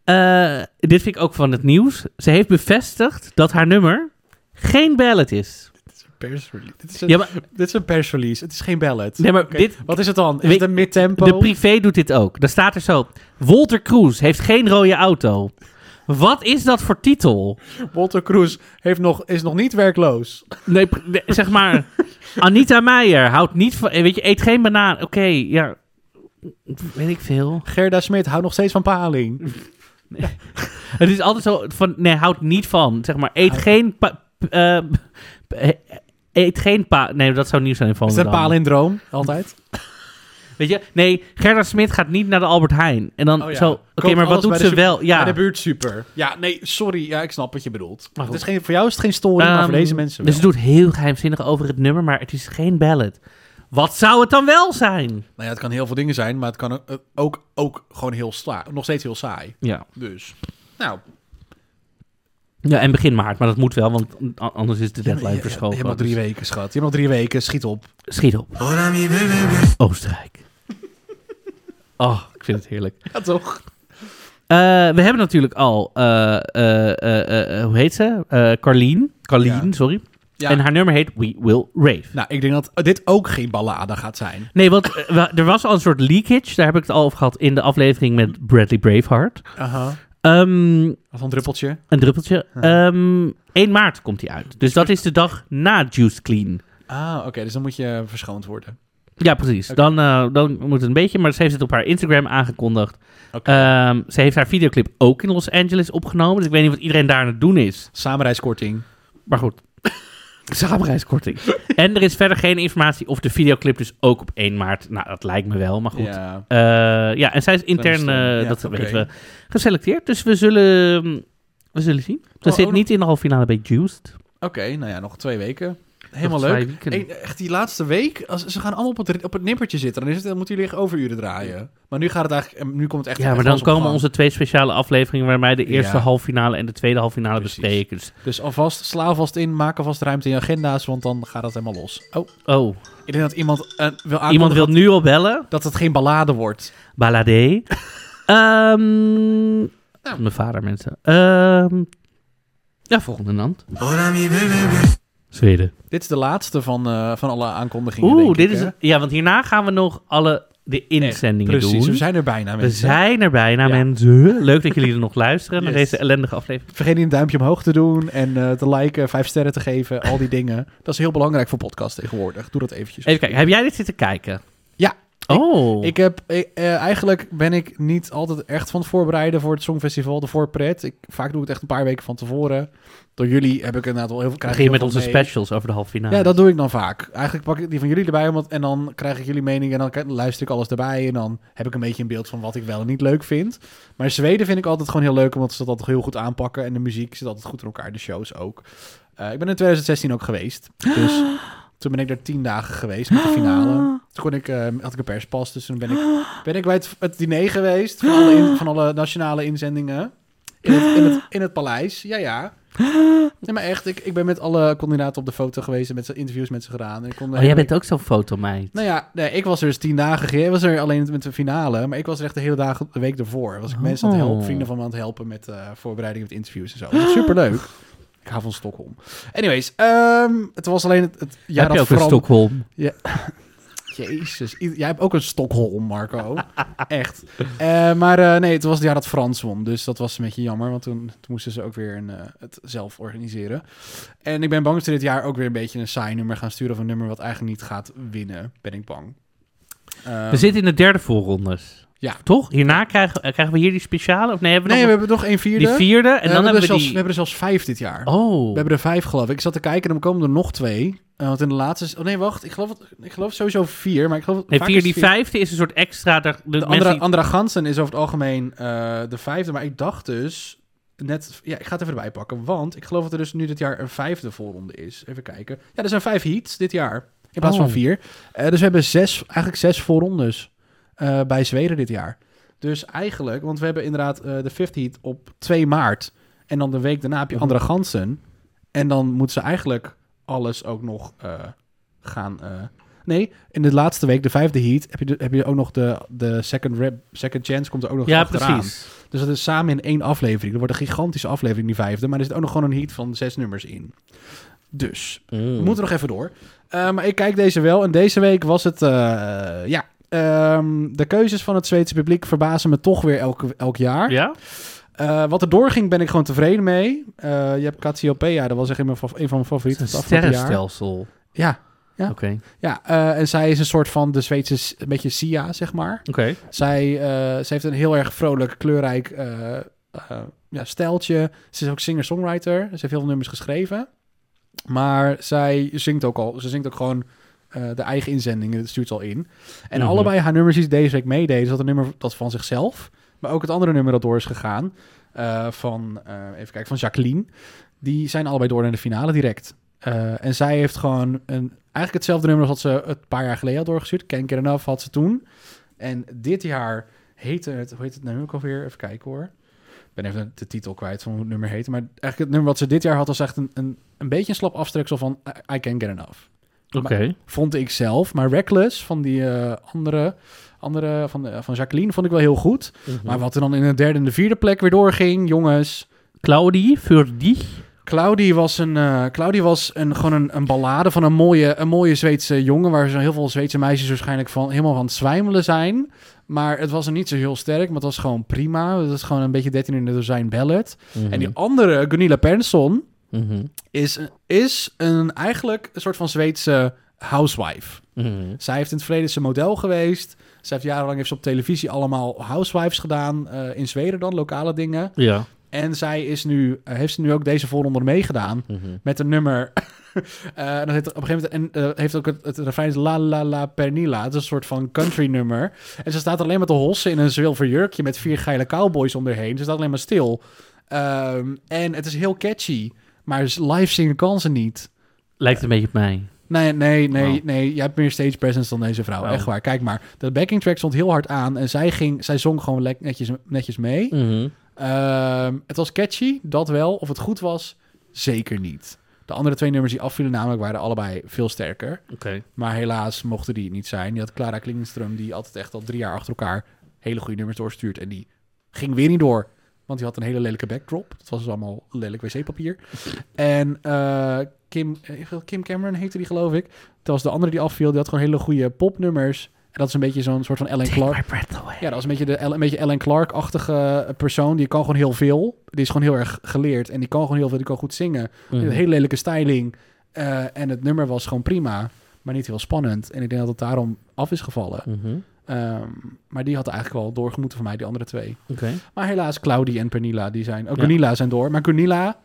[SPEAKER 1] Eh, dit vind ik ook van het nieuws. Ze heeft bevestigd dat haar nummer geen ballad is.
[SPEAKER 2] Pers release. Dit is een,
[SPEAKER 1] Ja, maar-
[SPEAKER 2] dit is een pers release. Het is geen ballad.
[SPEAKER 1] Nee, maar
[SPEAKER 2] Oké,
[SPEAKER 1] dit-
[SPEAKER 2] Wat is het dan? Is
[SPEAKER 1] Weet-
[SPEAKER 2] het een midtempo?
[SPEAKER 1] De privé doet dit ook. Daar staat er zo: Walter Cruz heeft geen rode auto. Wat is dat voor titel?
[SPEAKER 2] Walter Cruz heeft nog, is nog niet werkloos.
[SPEAKER 1] Nee, pr- nee, zeg maar. Anita Meijer houdt niet van. eh, Weet je, eet geen banaan. Oké, ja. Weet ik veel.
[SPEAKER 2] Gerda Smit houdt nog steeds van paling.
[SPEAKER 1] Het is altijd zo van, nee, houd niet van. Zeg maar, eet geen... Pa, p- eh, p- eh, eet geen pa... Nee, dat zou nieuw zijn van
[SPEAKER 2] Is dat een palindroom? Altijd.
[SPEAKER 1] Weet je? Nee, Gerda Smit gaat niet naar de Albert Heijn. En dan zo... Oké,
[SPEAKER 2] Koopt
[SPEAKER 1] maar wat
[SPEAKER 2] Oh alles
[SPEAKER 1] doet
[SPEAKER 2] bij de
[SPEAKER 1] ze
[SPEAKER 2] super-
[SPEAKER 1] wel? Ja.
[SPEAKER 2] Bij de buurt super. Ja, nee, sorry. Ja, ik snap wat je bedoelt.
[SPEAKER 1] Maar
[SPEAKER 2] Het
[SPEAKER 1] goed.
[SPEAKER 2] is geen, voor jou is het geen story, maar
[SPEAKER 1] Ehm,
[SPEAKER 2] voor deze mensen wel.
[SPEAKER 1] Dus ze doet heel geheimzinnig over het nummer, maar het is geen ballad. Wat zou het dan wel zijn?
[SPEAKER 2] Nou ja, het kan heel veel dingen zijn, maar het kan ook- eh, ook, ook gewoon heel saai. Nog steeds heel saai.
[SPEAKER 1] Ja.
[SPEAKER 2] Dus, nou.
[SPEAKER 1] Ja, en begin maart, maar dat moet wel, want a- anders is de deadline
[SPEAKER 2] je- je- je
[SPEAKER 1] verschoven.
[SPEAKER 2] hebt nog drie
[SPEAKER 1] Dus
[SPEAKER 2] weken, schat. Je hebt nog drie weken. Schiet op.
[SPEAKER 1] Schiet op. Oostenrijk. Oh, ik vind het heerlijk.
[SPEAKER 2] Ja, toch?
[SPEAKER 1] Eh, we hebben natuurlijk al, eh, eh, eh, eh, hoe heet ze? Eh Carleen. Carleen,
[SPEAKER 2] Ja.
[SPEAKER 1] sorry.
[SPEAKER 2] Ja.
[SPEAKER 1] En haar nummer heet We Will Rave.
[SPEAKER 2] Nou, ik denk dat dit ook geen ballade gaat zijn.
[SPEAKER 1] Nee, want eh, we- er was al een soort leakage. Daar heb ik het al over gehad in de aflevering met Bradley Braveheart.
[SPEAKER 2] Aha.
[SPEAKER 1] Ehm,
[SPEAKER 2] Wat een druppeltje.
[SPEAKER 1] een druppeltje. Ehm 1 maart komt die uit. Dus dat is de dag na Juice Clean.
[SPEAKER 2] Ah, oké. dus dan moet je verschoond worden.
[SPEAKER 1] Ja, precies. Dan, eh, dan moet het een beetje. Maar ze heeft het op haar Instagram aangekondigd.
[SPEAKER 2] Oké.
[SPEAKER 1] Ehm, ze heeft haar videoclip ook in Los Angeles opgenomen. Dus ik weet niet wat iedereen daar aan het doen is.
[SPEAKER 2] Samenreiskorting.
[SPEAKER 1] Maar goed. Samenreiskorting. en er is verder geen informatie of de videoclip dus ook op 1 maart. Nou, dat lijkt me wel, maar goed. Ja,
[SPEAKER 2] Ja.
[SPEAKER 1] ja en zij is intern,
[SPEAKER 2] Dan is het,
[SPEAKER 1] eh,
[SPEAKER 2] ja,
[SPEAKER 1] dat
[SPEAKER 2] oké.
[SPEAKER 1] weten we, geselecteerd. Dus we zullen, we zullen zien. Ze
[SPEAKER 2] Oh,
[SPEAKER 1] zit
[SPEAKER 2] oh,
[SPEAKER 1] niet in de halve finale bij Juiced.
[SPEAKER 2] Oké, nou ja, nog twee weken. Helemaal
[SPEAKER 1] Nog twee
[SPEAKER 2] leuk.
[SPEAKER 1] weken.
[SPEAKER 2] Eén- echt die laatste week, als, ze gaan allemaal op het, op het nippertje zitten. Dan, is het, dan moeten jullie echt overuren draaien. Maar nu gaat het eigenlijk, en nu komt het echt
[SPEAKER 1] Ja, maar
[SPEAKER 2] echt
[SPEAKER 1] dan
[SPEAKER 2] alles op
[SPEAKER 1] komen
[SPEAKER 2] gang.
[SPEAKER 1] onze twee speciale afleveringen... waarbij de eerste
[SPEAKER 2] Ja.
[SPEAKER 1] halve finale en de tweede halve finale
[SPEAKER 2] Precies.
[SPEAKER 1] bespreken. Dus,
[SPEAKER 2] Dus alvast, sla alvast in, maak alvast ruimte in je agenda's, want dan gaat het helemaal los. Oh,
[SPEAKER 1] oh,
[SPEAKER 2] ik denk dat iemand eh, wil aankondigen
[SPEAKER 1] iemand wil nu al bellen.
[SPEAKER 2] dat het geen ballade wordt.
[SPEAKER 1] Balade. Ehm, Mijn vader, mensen. Ehm, ja, volgende land. Zweden.
[SPEAKER 2] Dit is de laatste van, eh, van alle aankondigingen,
[SPEAKER 1] Oeh,
[SPEAKER 2] denk
[SPEAKER 1] dit
[SPEAKER 2] ik,
[SPEAKER 1] is
[SPEAKER 2] hè?
[SPEAKER 1] het. Ja, want hierna gaan we nog alle de inzendingen
[SPEAKER 2] Precies,
[SPEAKER 1] doen.
[SPEAKER 2] we zijn er bijna,
[SPEAKER 1] We
[SPEAKER 2] mensen.
[SPEAKER 1] zijn er bijna,
[SPEAKER 2] Ja.
[SPEAKER 1] mensen. Leuk dat jullie er nog luisteren naar
[SPEAKER 2] Yes.
[SPEAKER 1] deze ellendige aflevering.
[SPEAKER 2] Vergeet niet een duimpje omhoog te doen en eh, te liken, vijf sterren te geven, al die dingen. Dat is heel belangrijk voor podcasts tegenwoordig. Doe dat eventjes.
[SPEAKER 1] Even kijken, heb jij dit zitten kijken?
[SPEAKER 2] Ja.
[SPEAKER 1] Oh.
[SPEAKER 2] Ik heb, ik, eh, eigenlijk ben ik niet altijd echt van het voorbereiden voor het Songfestival, de voorpret. Ik, vaak doe ik het echt een paar weken van tevoren. Door jullie heb ik inderdaad wel heel veel... krijg ik
[SPEAKER 1] begin je
[SPEAKER 2] heel
[SPEAKER 1] met onze
[SPEAKER 2] veel mee.
[SPEAKER 1] specials over de halve finale.
[SPEAKER 2] Ja, dat doe ik dan vaak. Eigenlijk pak ik die van jullie erbij omdat, en dan krijg ik jullie mening en dan k- luister ik alles erbij. En dan heb ik een beetje een beeld van wat ik wel en niet leuk vind. Maar Zweden vind ik altijd gewoon heel leuk, omdat ze dat altijd heel goed aanpakken. En de muziek zit altijd goed in elkaar, de shows ook. Eh, ik ben in 2016 ook geweest. Dus toen ben ik daar tien dagen geweest met de finale. Toen kon ik, eh, had ik een perspas, dus toen ben ik, ben ik bij het, het diner geweest van alle, in- van alle nationale inzendingen. In het, in, het, in het paleis, ja ja. Nee, maar echt, ik, ik ben met alle kandidaten op de foto geweest en met ze interviews met ze gedaan. En ik kon
[SPEAKER 1] Oh, jij bent ook zo'n fotomeid.
[SPEAKER 2] Nou ja, nee, ik was er dus tien dagen. Jij was er alleen met de finale, maar ik was er echt de hele dag, de week ervoor. Was ik mensen aan het helpen,
[SPEAKER 1] Oh.
[SPEAKER 2] vrienden van me aan het helpen met eh voorbereiding, met interviews en zo. Dat was superleuk. Ik hou van Stockholm. Anyways, ehm, het was alleen het, het jaar
[SPEAKER 1] Heb je
[SPEAKER 2] dat
[SPEAKER 1] ook in
[SPEAKER 2] Fran-
[SPEAKER 1] Stockholm?
[SPEAKER 2] Jezus, i- jij hebt ook een Stockholm, Marco. Echt. Eh, maar eh, nee, het was het jaar dat Frans won. Dus dat was een beetje jammer, want toen, toen moesten ze ook weer een, eh, het zelf organiseren. En ik ben bang dat ze dit jaar ook weer een beetje een saai nummer gaan sturen... of een nummer wat eigenlijk niet gaat winnen, ben ik bang. Ehm,
[SPEAKER 1] We zitten in de derde voorrondes.
[SPEAKER 2] Ja.
[SPEAKER 1] Toch? Hierna krijgen, eh, krijgen we hier die speciale? Of nee, hebben we
[SPEAKER 2] nee, we
[SPEAKER 1] nog
[SPEAKER 2] hebben nog één vierde.
[SPEAKER 1] die vierde? En
[SPEAKER 2] Eh,
[SPEAKER 1] dan hebben we
[SPEAKER 2] er zelfs,
[SPEAKER 1] die...
[SPEAKER 2] we hebben er zelfs vijf dit jaar.
[SPEAKER 1] Oh.
[SPEAKER 2] We hebben er vijf, geloof ik. Ik zat te kijken en dan komen er nog twee. Eh, want in de laatste... is- Oh nee, wacht. Ik geloof, het- ik geloof sowieso vier, maar ik geloof...
[SPEAKER 1] Nee,
[SPEAKER 2] vaak
[SPEAKER 1] vier,
[SPEAKER 2] is
[SPEAKER 1] die
[SPEAKER 2] het vier.
[SPEAKER 1] vijfde is een soort extra... daar- de
[SPEAKER 2] De
[SPEAKER 1] mensen
[SPEAKER 2] andere,
[SPEAKER 1] die-
[SPEAKER 2] andere Gansen is over het algemeen eh, de vijfde. Maar ik dacht dus net... Ja, ik ga het even erbij pakken. Want ik geloof dat er dus nu dit jaar een vijfde voorronde is. Even kijken. Ja, er zijn vijf heats dit jaar. In plaats van
[SPEAKER 1] Oh.
[SPEAKER 2] vier. Eh, dus we hebben zes, eigenlijk zes voorrondes eh, bij Zweden dit jaar. Dus eigenlijk... Want we hebben inderdaad eh, de fifth heat op 2 maart. En dan de week daarna heb je
[SPEAKER 1] Mhm.
[SPEAKER 2] andere Gansen. En dan moet ze eigenlijk alles ook nog eh, gaan... eh, Nee, in de laatste week, de vijfde heat, heb je, de- heb je ook nog de, de second, rep, second chance komt er ook nog
[SPEAKER 1] Ja,
[SPEAKER 2] achteraan.
[SPEAKER 1] precies.
[SPEAKER 2] Dus dat is samen in één aflevering. Dat wordt een gigantische aflevering, die vijfde. Maar er zit ook nog gewoon een heat van zes nummers in. Dus, we
[SPEAKER 1] Mm.
[SPEAKER 2] moeten nog even door. Eh, maar ik kijk deze wel. En deze week was het, eh, ja... ehm, de keuzes van het Zweedse publiek verbazen me toch weer elke, elk jaar.
[SPEAKER 1] Ja?
[SPEAKER 2] Eh, wat er doorging ben ik gewoon tevreden mee. Eh, je hebt Cassiopeia, dat was echt een van mijn, fa- een van mijn favorieten.
[SPEAKER 1] Een
[SPEAKER 2] het afgelopen jaar.
[SPEAKER 1] sterrenstelsel. Oké.
[SPEAKER 2] Ja, Ja.
[SPEAKER 1] Oké.
[SPEAKER 2] ja eh, en zij is een soort van de Zweedse, s- een beetje Sia, zeg maar. Zij, eh, ze heeft een heel erg vrolijk, kleurrijk eh, eh, ja, stijltje. Ze is ook singer-songwriter. Ze heeft heel veel nummers geschreven. Maar zij zingt ook al. Ze zingt ook gewoon eh, de eigen inzendingen. Dat stuurt ze al in. En
[SPEAKER 1] Mhm.
[SPEAKER 2] allebei haar nummers die ze deze week meededen... is dat een nummer dat van zichzelf... maar ook het andere nummer dat door is gegaan... eh, van, eh, even kijken, van Jacqueline. Die zijn allebei door naar de finale direct. Eh, en zij heeft gewoon een, eigenlijk hetzelfde nummer als wat ze een paar jaar geleden had doorgestuurd. Can't Get Enough had ze toen. En dit jaar heette het, hoe heet het nummer ook alweer? Even kijken hoor. Ik ben even de titel kwijt van hoe het nummer heette. Maar eigenlijk het nummer wat ze dit jaar had was echt een, een, een beetje een slap aftreksel van I, I Can't Get Enough.
[SPEAKER 1] Oké.
[SPEAKER 2] Vond ik zelf. Maar Reckless van die eh, andere, andere van, de- van Jacqueline vond ik wel heel goed. Maar wat er dan in de derde en de vierde plek weer doorging, jongens.
[SPEAKER 1] Claudie, voor die...
[SPEAKER 2] Claudie was, een, eh Claudie was een, gewoon een, een ballade van een mooie, een mooie Zweedse jongen... waar zo heel veel Zweedse meisjes waarschijnlijk van, helemaal van het zwijmelen zijn. Maar het was er niet zo heel sterk, maar het was gewoon prima. Het was gewoon een beetje 13 in de dozijn ballad. En die andere, Gunilla Persson,
[SPEAKER 1] Mhm.
[SPEAKER 2] is, is een, eigenlijk een soort van Zweedse housewife.
[SPEAKER 1] Mhm.
[SPEAKER 2] Zij heeft in het verleden zijn model geweest. Zij heeft jarenlang heeft ze op televisie allemaal housewives gedaan. eh, in Zweden dan, lokale dingen.
[SPEAKER 1] Ja.
[SPEAKER 2] En zij is nu, eh, heeft ze nu ook deze voorronde meegedaan
[SPEAKER 1] Mhm.
[SPEAKER 2] met een nummer. Eh, en dat heet op een gegeven moment en, eh, heeft ook het, het refrein is La La La Pernilla. Het is een soort van country nummer. En ze staat alleen maar te hossen in een zilver jurkje met vier geile cowboys om haar heen. Ze staat alleen maar stil. Ehm, en het is heel catchy, maar z- live zingen kan ze niet.
[SPEAKER 1] Lijkt een beetje op mij.
[SPEAKER 2] Nee, nee, nee,
[SPEAKER 1] Wow.
[SPEAKER 2] nee. Jij hebt meer stage presence dan deze vrouw.
[SPEAKER 1] Wow.
[SPEAKER 2] Echt waar. Kijk maar. De backing track stond heel hard aan en zij, ging, zij zong gewoon lek- netjes, netjes mee.
[SPEAKER 1] Mhm.
[SPEAKER 2] Ehm, het was catchy, dat wel. Of het goed was, zeker niet. De andere twee nummers die afvielen namelijk waren allebei veel sterker.
[SPEAKER 1] Oké.
[SPEAKER 2] Maar helaas mochten die het niet zijn. Je had Clara Klingenström, die altijd echt al drie jaar achter elkaar hele goede nummers doorstuurt. En die ging weer niet door, want die had een hele lelijke backdrop. Dat was dus allemaal lelijk wc-papier. En eh, Kim, eh, Kim Cameron heette die, geloof ik. Dat was de andere die afviel, die had gewoon hele goede popnummers. En dat is een beetje zo'n soort van Ellen Clark.
[SPEAKER 1] breath away.
[SPEAKER 2] Ja, dat is een beetje, de, een beetje Ellen Clark-achtige eh, persoon. Die kan gewoon heel veel. Die is gewoon heel erg geleerd. En die kan gewoon heel veel. Die kan goed zingen.
[SPEAKER 1] Mhm.
[SPEAKER 2] Een hele lelijke styling.
[SPEAKER 1] Mhm.
[SPEAKER 2] Eh, en het nummer was gewoon prima. Maar niet heel spannend. En ik denk dat het daarom af is gevallen. Ehm, maar die had eigenlijk wel doorgemoeten voor mij, die andere twee.
[SPEAKER 1] Oké.
[SPEAKER 2] Maar helaas, Claudie en Pernilla, die zijn... Oh,
[SPEAKER 1] Ja.
[SPEAKER 2] Gunilla zijn door. Maar Gunilla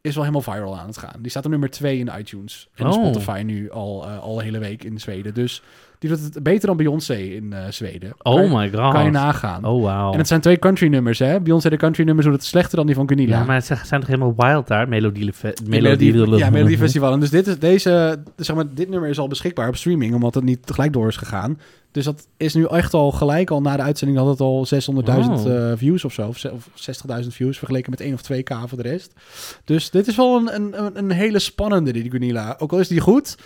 [SPEAKER 2] is wel helemaal viral aan het gaan. Die staat op nummer 2 in iTunes. En op
[SPEAKER 1] Oh.
[SPEAKER 2] Spotify nu al, eh, al een hele week in Zweden. Dus die doet het beter dan Beyoncé in eh, Zweden. Kan je-
[SPEAKER 1] Oh my god.
[SPEAKER 2] Kan je nagaan.
[SPEAKER 1] Oh wow.
[SPEAKER 2] En het zijn twee country nummers, hè? Beyoncé de country nummers doet het slechter dan die van Gunilla.
[SPEAKER 1] Ja, maar ze zijn toch helemaal wild daar? Melodie...
[SPEAKER 2] In Melodie-
[SPEAKER 1] Melodie...
[SPEAKER 2] ja, Melody Festival. En dus dit, is, deze, zeg maar, dit nummer is al beschikbaar op streaming, omdat het niet tegelijk door is gegaan. Dus dat is nu echt al gelijk, al na de uitzending had het al 600.000
[SPEAKER 1] Wow.
[SPEAKER 2] eh, views of zo. Of, ze- of 60.000 views, vergeleken met 1 of 2k voor de rest. Dus dit is wel een, een, een- een hele spannende, die Gunilla. Ook al is die goed,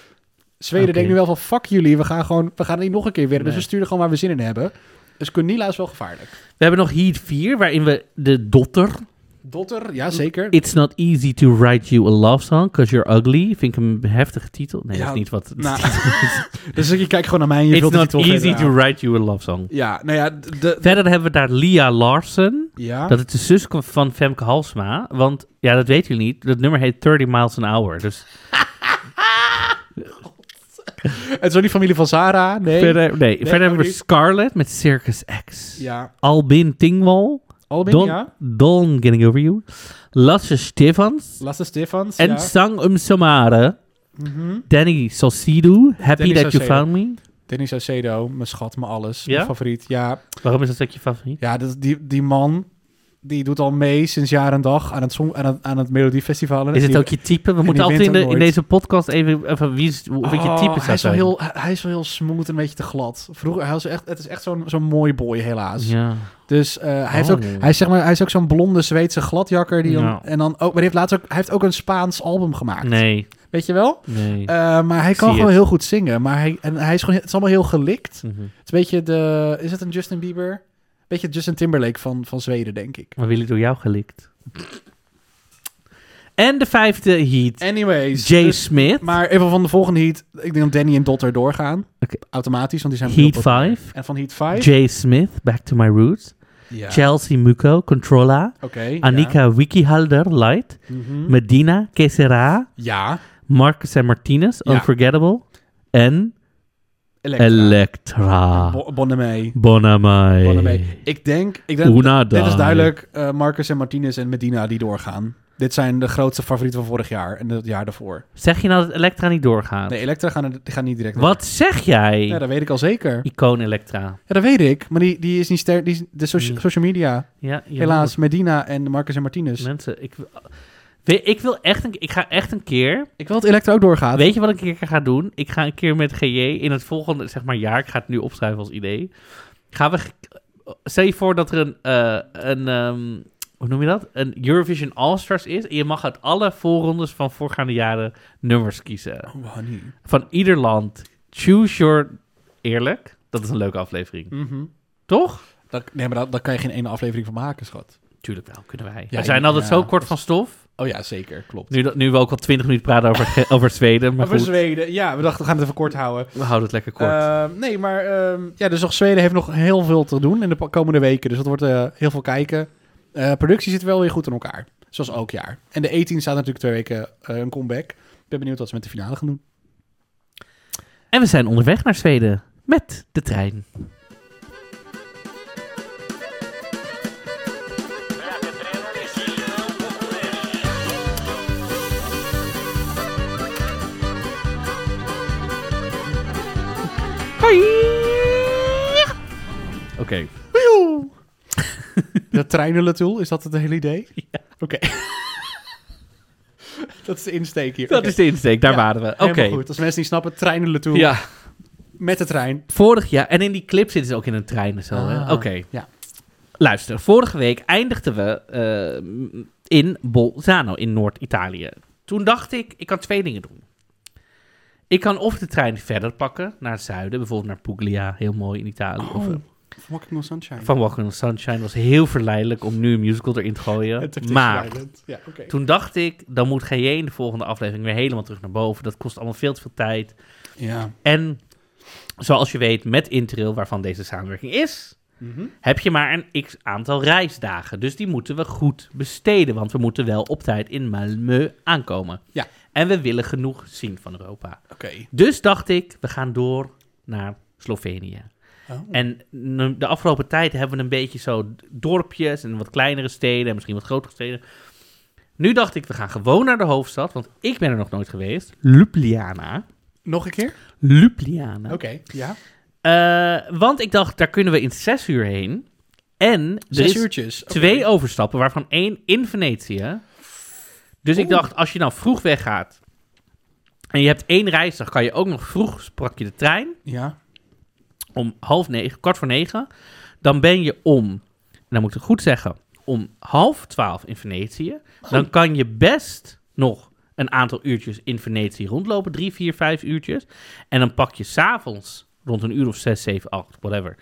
[SPEAKER 2] Zweden
[SPEAKER 1] Oké.
[SPEAKER 2] denkt nu wel van, fuck jullie, we gaan, gewoon, we gaan het niet nog een keer winnen. Dus
[SPEAKER 1] Nee.
[SPEAKER 2] we sturen gewoon waar we zin in hebben. Dus Gunilla is wel gevaarlijk.
[SPEAKER 1] We hebben nog Heat 4, waarin we de dotter...
[SPEAKER 2] Dotter, ja zeker.
[SPEAKER 1] It's not easy to write you a love song, cause you're ugly. Vind ik een heftige titel. Nee,
[SPEAKER 2] Ja,
[SPEAKER 1] dat is niet wat...
[SPEAKER 2] Nou, dus je kijkt gewoon naar mij en je
[SPEAKER 1] It's
[SPEAKER 2] vult de
[SPEAKER 1] not
[SPEAKER 2] titel
[SPEAKER 1] easy
[SPEAKER 2] verder
[SPEAKER 1] to
[SPEAKER 2] aan.
[SPEAKER 1] write you a love song.
[SPEAKER 2] Ja, nou ja, d- de,
[SPEAKER 1] Verder hebben we daar Lia Larsen.
[SPEAKER 2] Ja.
[SPEAKER 1] Dat is de zus van Femke Halsma. Want, ja, dat weten jullie niet. Dat nummer heet 30 Miles an Hour. Dus
[SPEAKER 2] Het is ook niet familie van Sarah, nee.
[SPEAKER 1] verder, nee,
[SPEAKER 2] maar
[SPEAKER 1] verder hebben we
[SPEAKER 2] die-
[SPEAKER 1] Scarlett met Circus X.
[SPEAKER 2] Ja.
[SPEAKER 1] Albin Tingwall.
[SPEAKER 2] Albin,
[SPEAKER 1] Don,
[SPEAKER 2] ja.
[SPEAKER 1] Don Getting Over You. Lasse Stefans.
[SPEAKER 2] Lasse Stefans,
[SPEAKER 1] En
[SPEAKER 2] ja.
[SPEAKER 1] Sang Um Samare. Danny Salcido. Happy
[SPEAKER 2] Mhm. Danny
[SPEAKER 1] That You
[SPEAKER 2] Saucedo.
[SPEAKER 1] Found Me.
[SPEAKER 2] Dennis Acedo, mijn schat, mijn alles.
[SPEAKER 1] Ja?
[SPEAKER 2] Mijn favoriet, ja.
[SPEAKER 1] Waarom is dat stukje favoriet?
[SPEAKER 2] Ja, dat, die, die man, die doet al mee sinds jaar en dag aan het, song, aan het, aan het Melodiefestival. En
[SPEAKER 1] Is het
[SPEAKER 2] die-
[SPEAKER 1] ook je type? We
[SPEAKER 2] die
[SPEAKER 1] moeten altijd in,
[SPEAKER 2] wint
[SPEAKER 1] de,
[SPEAKER 2] hem
[SPEAKER 1] in
[SPEAKER 2] nooit.
[SPEAKER 1] deze podcast even... even wie is, hoe- wat
[SPEAKER 2] Oh,
[SPEAKER 1] je type zou
[SPEAKER 2] hij is, wel
[SPEAKER 1] zijn.
[SPEAKER 2] heel, hij hij is wel heel smooth en een beetje te glad. Vroeger, hij was echt, het is echt zo'n zo'n mooi boy, helaas.
[SPEAKER 1] Ja.
[SPEAKER 2] Dus eh, hij, heeft
[SPEAKER 1] Oh.
[SPEAKER 2] ook, hij, is, zeg maar, hij is ook zo'n blonde Zweedse gladjakker. Die dan,
[SPEAKER 1] Ja.
[SPEAKER 2] en dan ook, maar hij heeft, laatst ook, hij heeft ook een Spaans album gemaakt.
[SPEAKER 1] Nee,
[SPEAKER 2] Weet je wel?
[SPEAKER 1] nee.
[SPEAKER 2] Eh, maar hij
[SPEAKER 1] Ik
[SPEAKER 2] kan
[SPEAKER 1] zie
[SPEAKER 2] gewoon
[SPEAKER 1] het.
[SPEAKER 2] heel goed zingen. Maar hij, en hij is gewoon, het is allemaal heel gelikt.
[SPEAKER 1] Mhm.
[SPEAKER 2] Het is een beetje de... Is het een Justin Bieber? Een beetje Justin Timberlake van, van Zweden, denk ik.
[SPEAKER 1] Maar wil ik door jou gelikt? En de vijfde heat.
[SPEAKER 2] Anyways.
[SPEAKER 1] Jay
[SPEAKER 2] dus-
[SPEAKER 1] Smith.
[SPEAKER 2] maar even van de volgende heat. Ik denk dat Danny en Dotter doorgaan.
[SPEAKER 1] Oké.
[SPEAKER 2] Automatisch, want die zijn...
[SPEAKER 1] Heat
[SPEAKER 2] heel populair.
[SPEAKER 1] 5.
[SPEAKER 2] En van Heat 5?
[SPEAKER 1] Jay Smith, Back to My Roots.
[SPEAKER 2] Ja.
[SPEAKER 1] Chelsea Muko, Controlla.
[SPEAKER 2] Oké.
[SPEAKER 1] Annika Wikihalder, Light.
[SPEAKER 2] Ja. Mhm.
[SPEAKER 1] Medina, Kesera.
[SPEAKER 2] ja.
[SPEAKER 1] Marcus en Martinez,
[SPEAKER 2] Ja.
[SPEAKER 1] Unforgettable. En
[SPEAKER 2] Elektra.
[SPEAKER 1] Elektra.
[SPEAKER 2] Bo- Bonnemey.
[SPEAKER 1] Bonamai.
[SPEAKER 2] Bonnemey. Ik denk... Ik denk
[SPEAKER 1] Una
[SPEAKER 2] dit is
[SPEAKER 1] dai.
[SPEAKER 2] duidelijk eh, Marcus en Martinez en Medina die doorgaan. Dit zijn de grootste favorieten van vorig jaar en het jaar daarvoor.
[SPEAKER 1] Zeg je nou dat Elektra niet doorgaat?
[SPEAKER 2] Nee, Elektra gaan, er- gaan niet direct
[SPEAKER 1] Wat zeg jij?
[SPEAKER 2] Ja, dat weet ik al zeker.
[SPEAKER 1] Icoon Elektra.
[SPEAKER 2] Ja, dat weet ik. Maar die, die is niet sterk. Die is de socia-
[SPEAKER 1] Nee.
[SPEAKER 2] social media.
[SPEAKER 1] Ja, je
[SPEAKER 2] Helaas, Medina en Marcus en Martinez.
[SPEAKER 1] Mensen, ik, wil- We- ik wil echt een, ik ga echt een keer.
[SPEAKER 2] Ik wil dat Elektra ook doorgaat.
[SPEAKER 1] Weet je wat ik een keer ga doen? Ik ga een keer met GJ in het volgende zeg maar, jaar. Ik ga het nu opschrijven als idee. Gaan we. ge- Stel je voor dat er een. eh, een ehm, hoe noem je dat? Een Eurovision All-Stars is. En je mag uit alle voorrondes van voorgaande jaren nummers kiezen.
[SPEAKER 2] Oh, honey.
[SPEAKER 1] Van ieder land. Choose your. Eerlijk. Dat is een leuke aflevering.
[SPEAKER 2] Mhm.
[SPEAKER 1] Toch?
[SPEAKER 2] Dat, nee, maar daar dat kan je geen ene aflevering van maken, schat.
[SPEAKER 1] Tuurlijk wel, kunnen wij.
[SPEAKER 2] Ja,
[SPEAKER 1] we zijn
[SPEAKER 2] ik-
[SPEAKER 1] altijd
[SPEAKER 2] ja,
[SPEAKER 1] zo
[SPEAKER 2] dat
[SPEAKER 1] kort
[SPEAKER 2] is-
[SPEAKER 1] van stof.
[SPEAKER 2] Oh ja, zeker. Klopt.
[SPEAKER 1] Nu, dat- nu we ook al twintig minuten praten over, ge- over Zweden. Maar
[SPEAKER 2] Maar voor
[SPEAKER 1] goed.
[SPEAKER 2] Zweden. Ja, we dachten we gaan het even kort houden.
[SPEAKER 1] We houden het lekker kort.
[SPEAKER 2] Ehm, nee, maar ehm, ja, dus nog Zweden heeft nog heel veel te doen in de pa- komende weken. Dus dat wordt eh, heel veel kijken. Eh, productie zit wel weer goed in elkaar. Zoals elk jaar. En de 18 staat natuurlijk twee weken eh, een comeback. Ik ben benieuwd wat ze met de finale gaan doen.
[SPEAKER 1] en we zijn onderweg naar Zweden met de trein. Hoi! Oké.
[SPEAKER 2] De treinenlatool, is dat het hele idee? Oké. dat is de insteek hier.
[SPEAKER 1] Dat
[SPEAKER 2] Oké.
[SPEAKER 1] is de insteek, daar
[SPEAKER 2] Ja,
[SPEAKER 1] waren we. Oké.
[SPEAKER 2] Helemaal goed. Als mensen niet snappen, treinenlatool
[SPEAKER 1] Ja,
[SPEAKER 2] met de trein.
[SPEAKER 1] vorig jaar. En in die clip zitten ze ook in een trein en zo. hè? eh,
[SPEAKER 2] Ah.
[SPEAKER 1] Oké.
[SPEAKER 2] Ja.
[SPEAKER 1] Luister, vorige week eindigden we eh, in Bolzano in Noord-Italië. Toen dacht ik, ik kan twee dingen doen. Ik kan of de trein verder pakken naar het zuiden, bijvoorbeeld naar Puglia, heel mooi in Italië.
[SPEAKER 2] Oh.
[SPEAKER 1] Of, eh,
[SPEAKER 2] Fucking no sunshine.
[SPEAKER 1] van Walking on Sunshine was heel verleidelijk om nu een musical erin te gooien.
[SPEAKER 2] Het heeft
[SPEAKER 1] Maar
[SPEAKER 2] Island. Ja, oké.
[SPEAKER 1] toen dacht ik, dan moet GJ in de volgende aflevering weer helemaal terug naar boven. Dat kost allemaal veel te veel tijd.
[SPEAKER 2] Ja.
[SPEAKER 1] En zoals je weet, met Interrail, waarvan deze samenwerking is, heb je maar een x aantal reisdagen. Dus die moeten we goed besteden, want we moeten wel op tijd in Malmö aankomen.
[SPEAKER 2] Ja.
[SPEAKER 1] En we willen genoeg zien van Europa.
[SPEAKER 2] Oké.
[SPEAKER 1] Dus dacht ik, we gaan door naar Slovenië. En n- de afgelopen tijd hebben we een beetje zo dorpjes en wat kleinere steden en misschien wat grotere steden. Nu dacht ik, we gaan gewoon naar de hoofdstad, want ik ben er nog nooit geweest. Ljubljana.
[SPEAKER 2] Nog een keer?
[SPEAKER 1] Ljubljana.
[SPEAKER 2] Oké, ja.
[SPEAKER 1] Eh, want ik dacht, daar kunnen we in zes uur heen. En er
[SPEAKER 2] Zes
[SPEAKER 1] is
[SPEAKER 2] uurtjes. Oké.
[SPEAKER 1] twee overstappen, waarvan één in Venetië. Dus ik dacht, als je nou vroeg weggaat en je hebt één reisdag, kan je ook nog vroeg, pak je de trein
[SPEAKER 2] Ja.
[SPEAKER 1] om half negen, kwart voor negen. Dan ben je om, en dan moet ik het goed zeggen, om half twaalf in Venetië. Dan kan je best nog een aantal uurtjes in Venetië rondlopen. Drie, vier, vijf uurtjes. En dan pak je s'avonds rond een uur of zes, zeven, acht, whatever.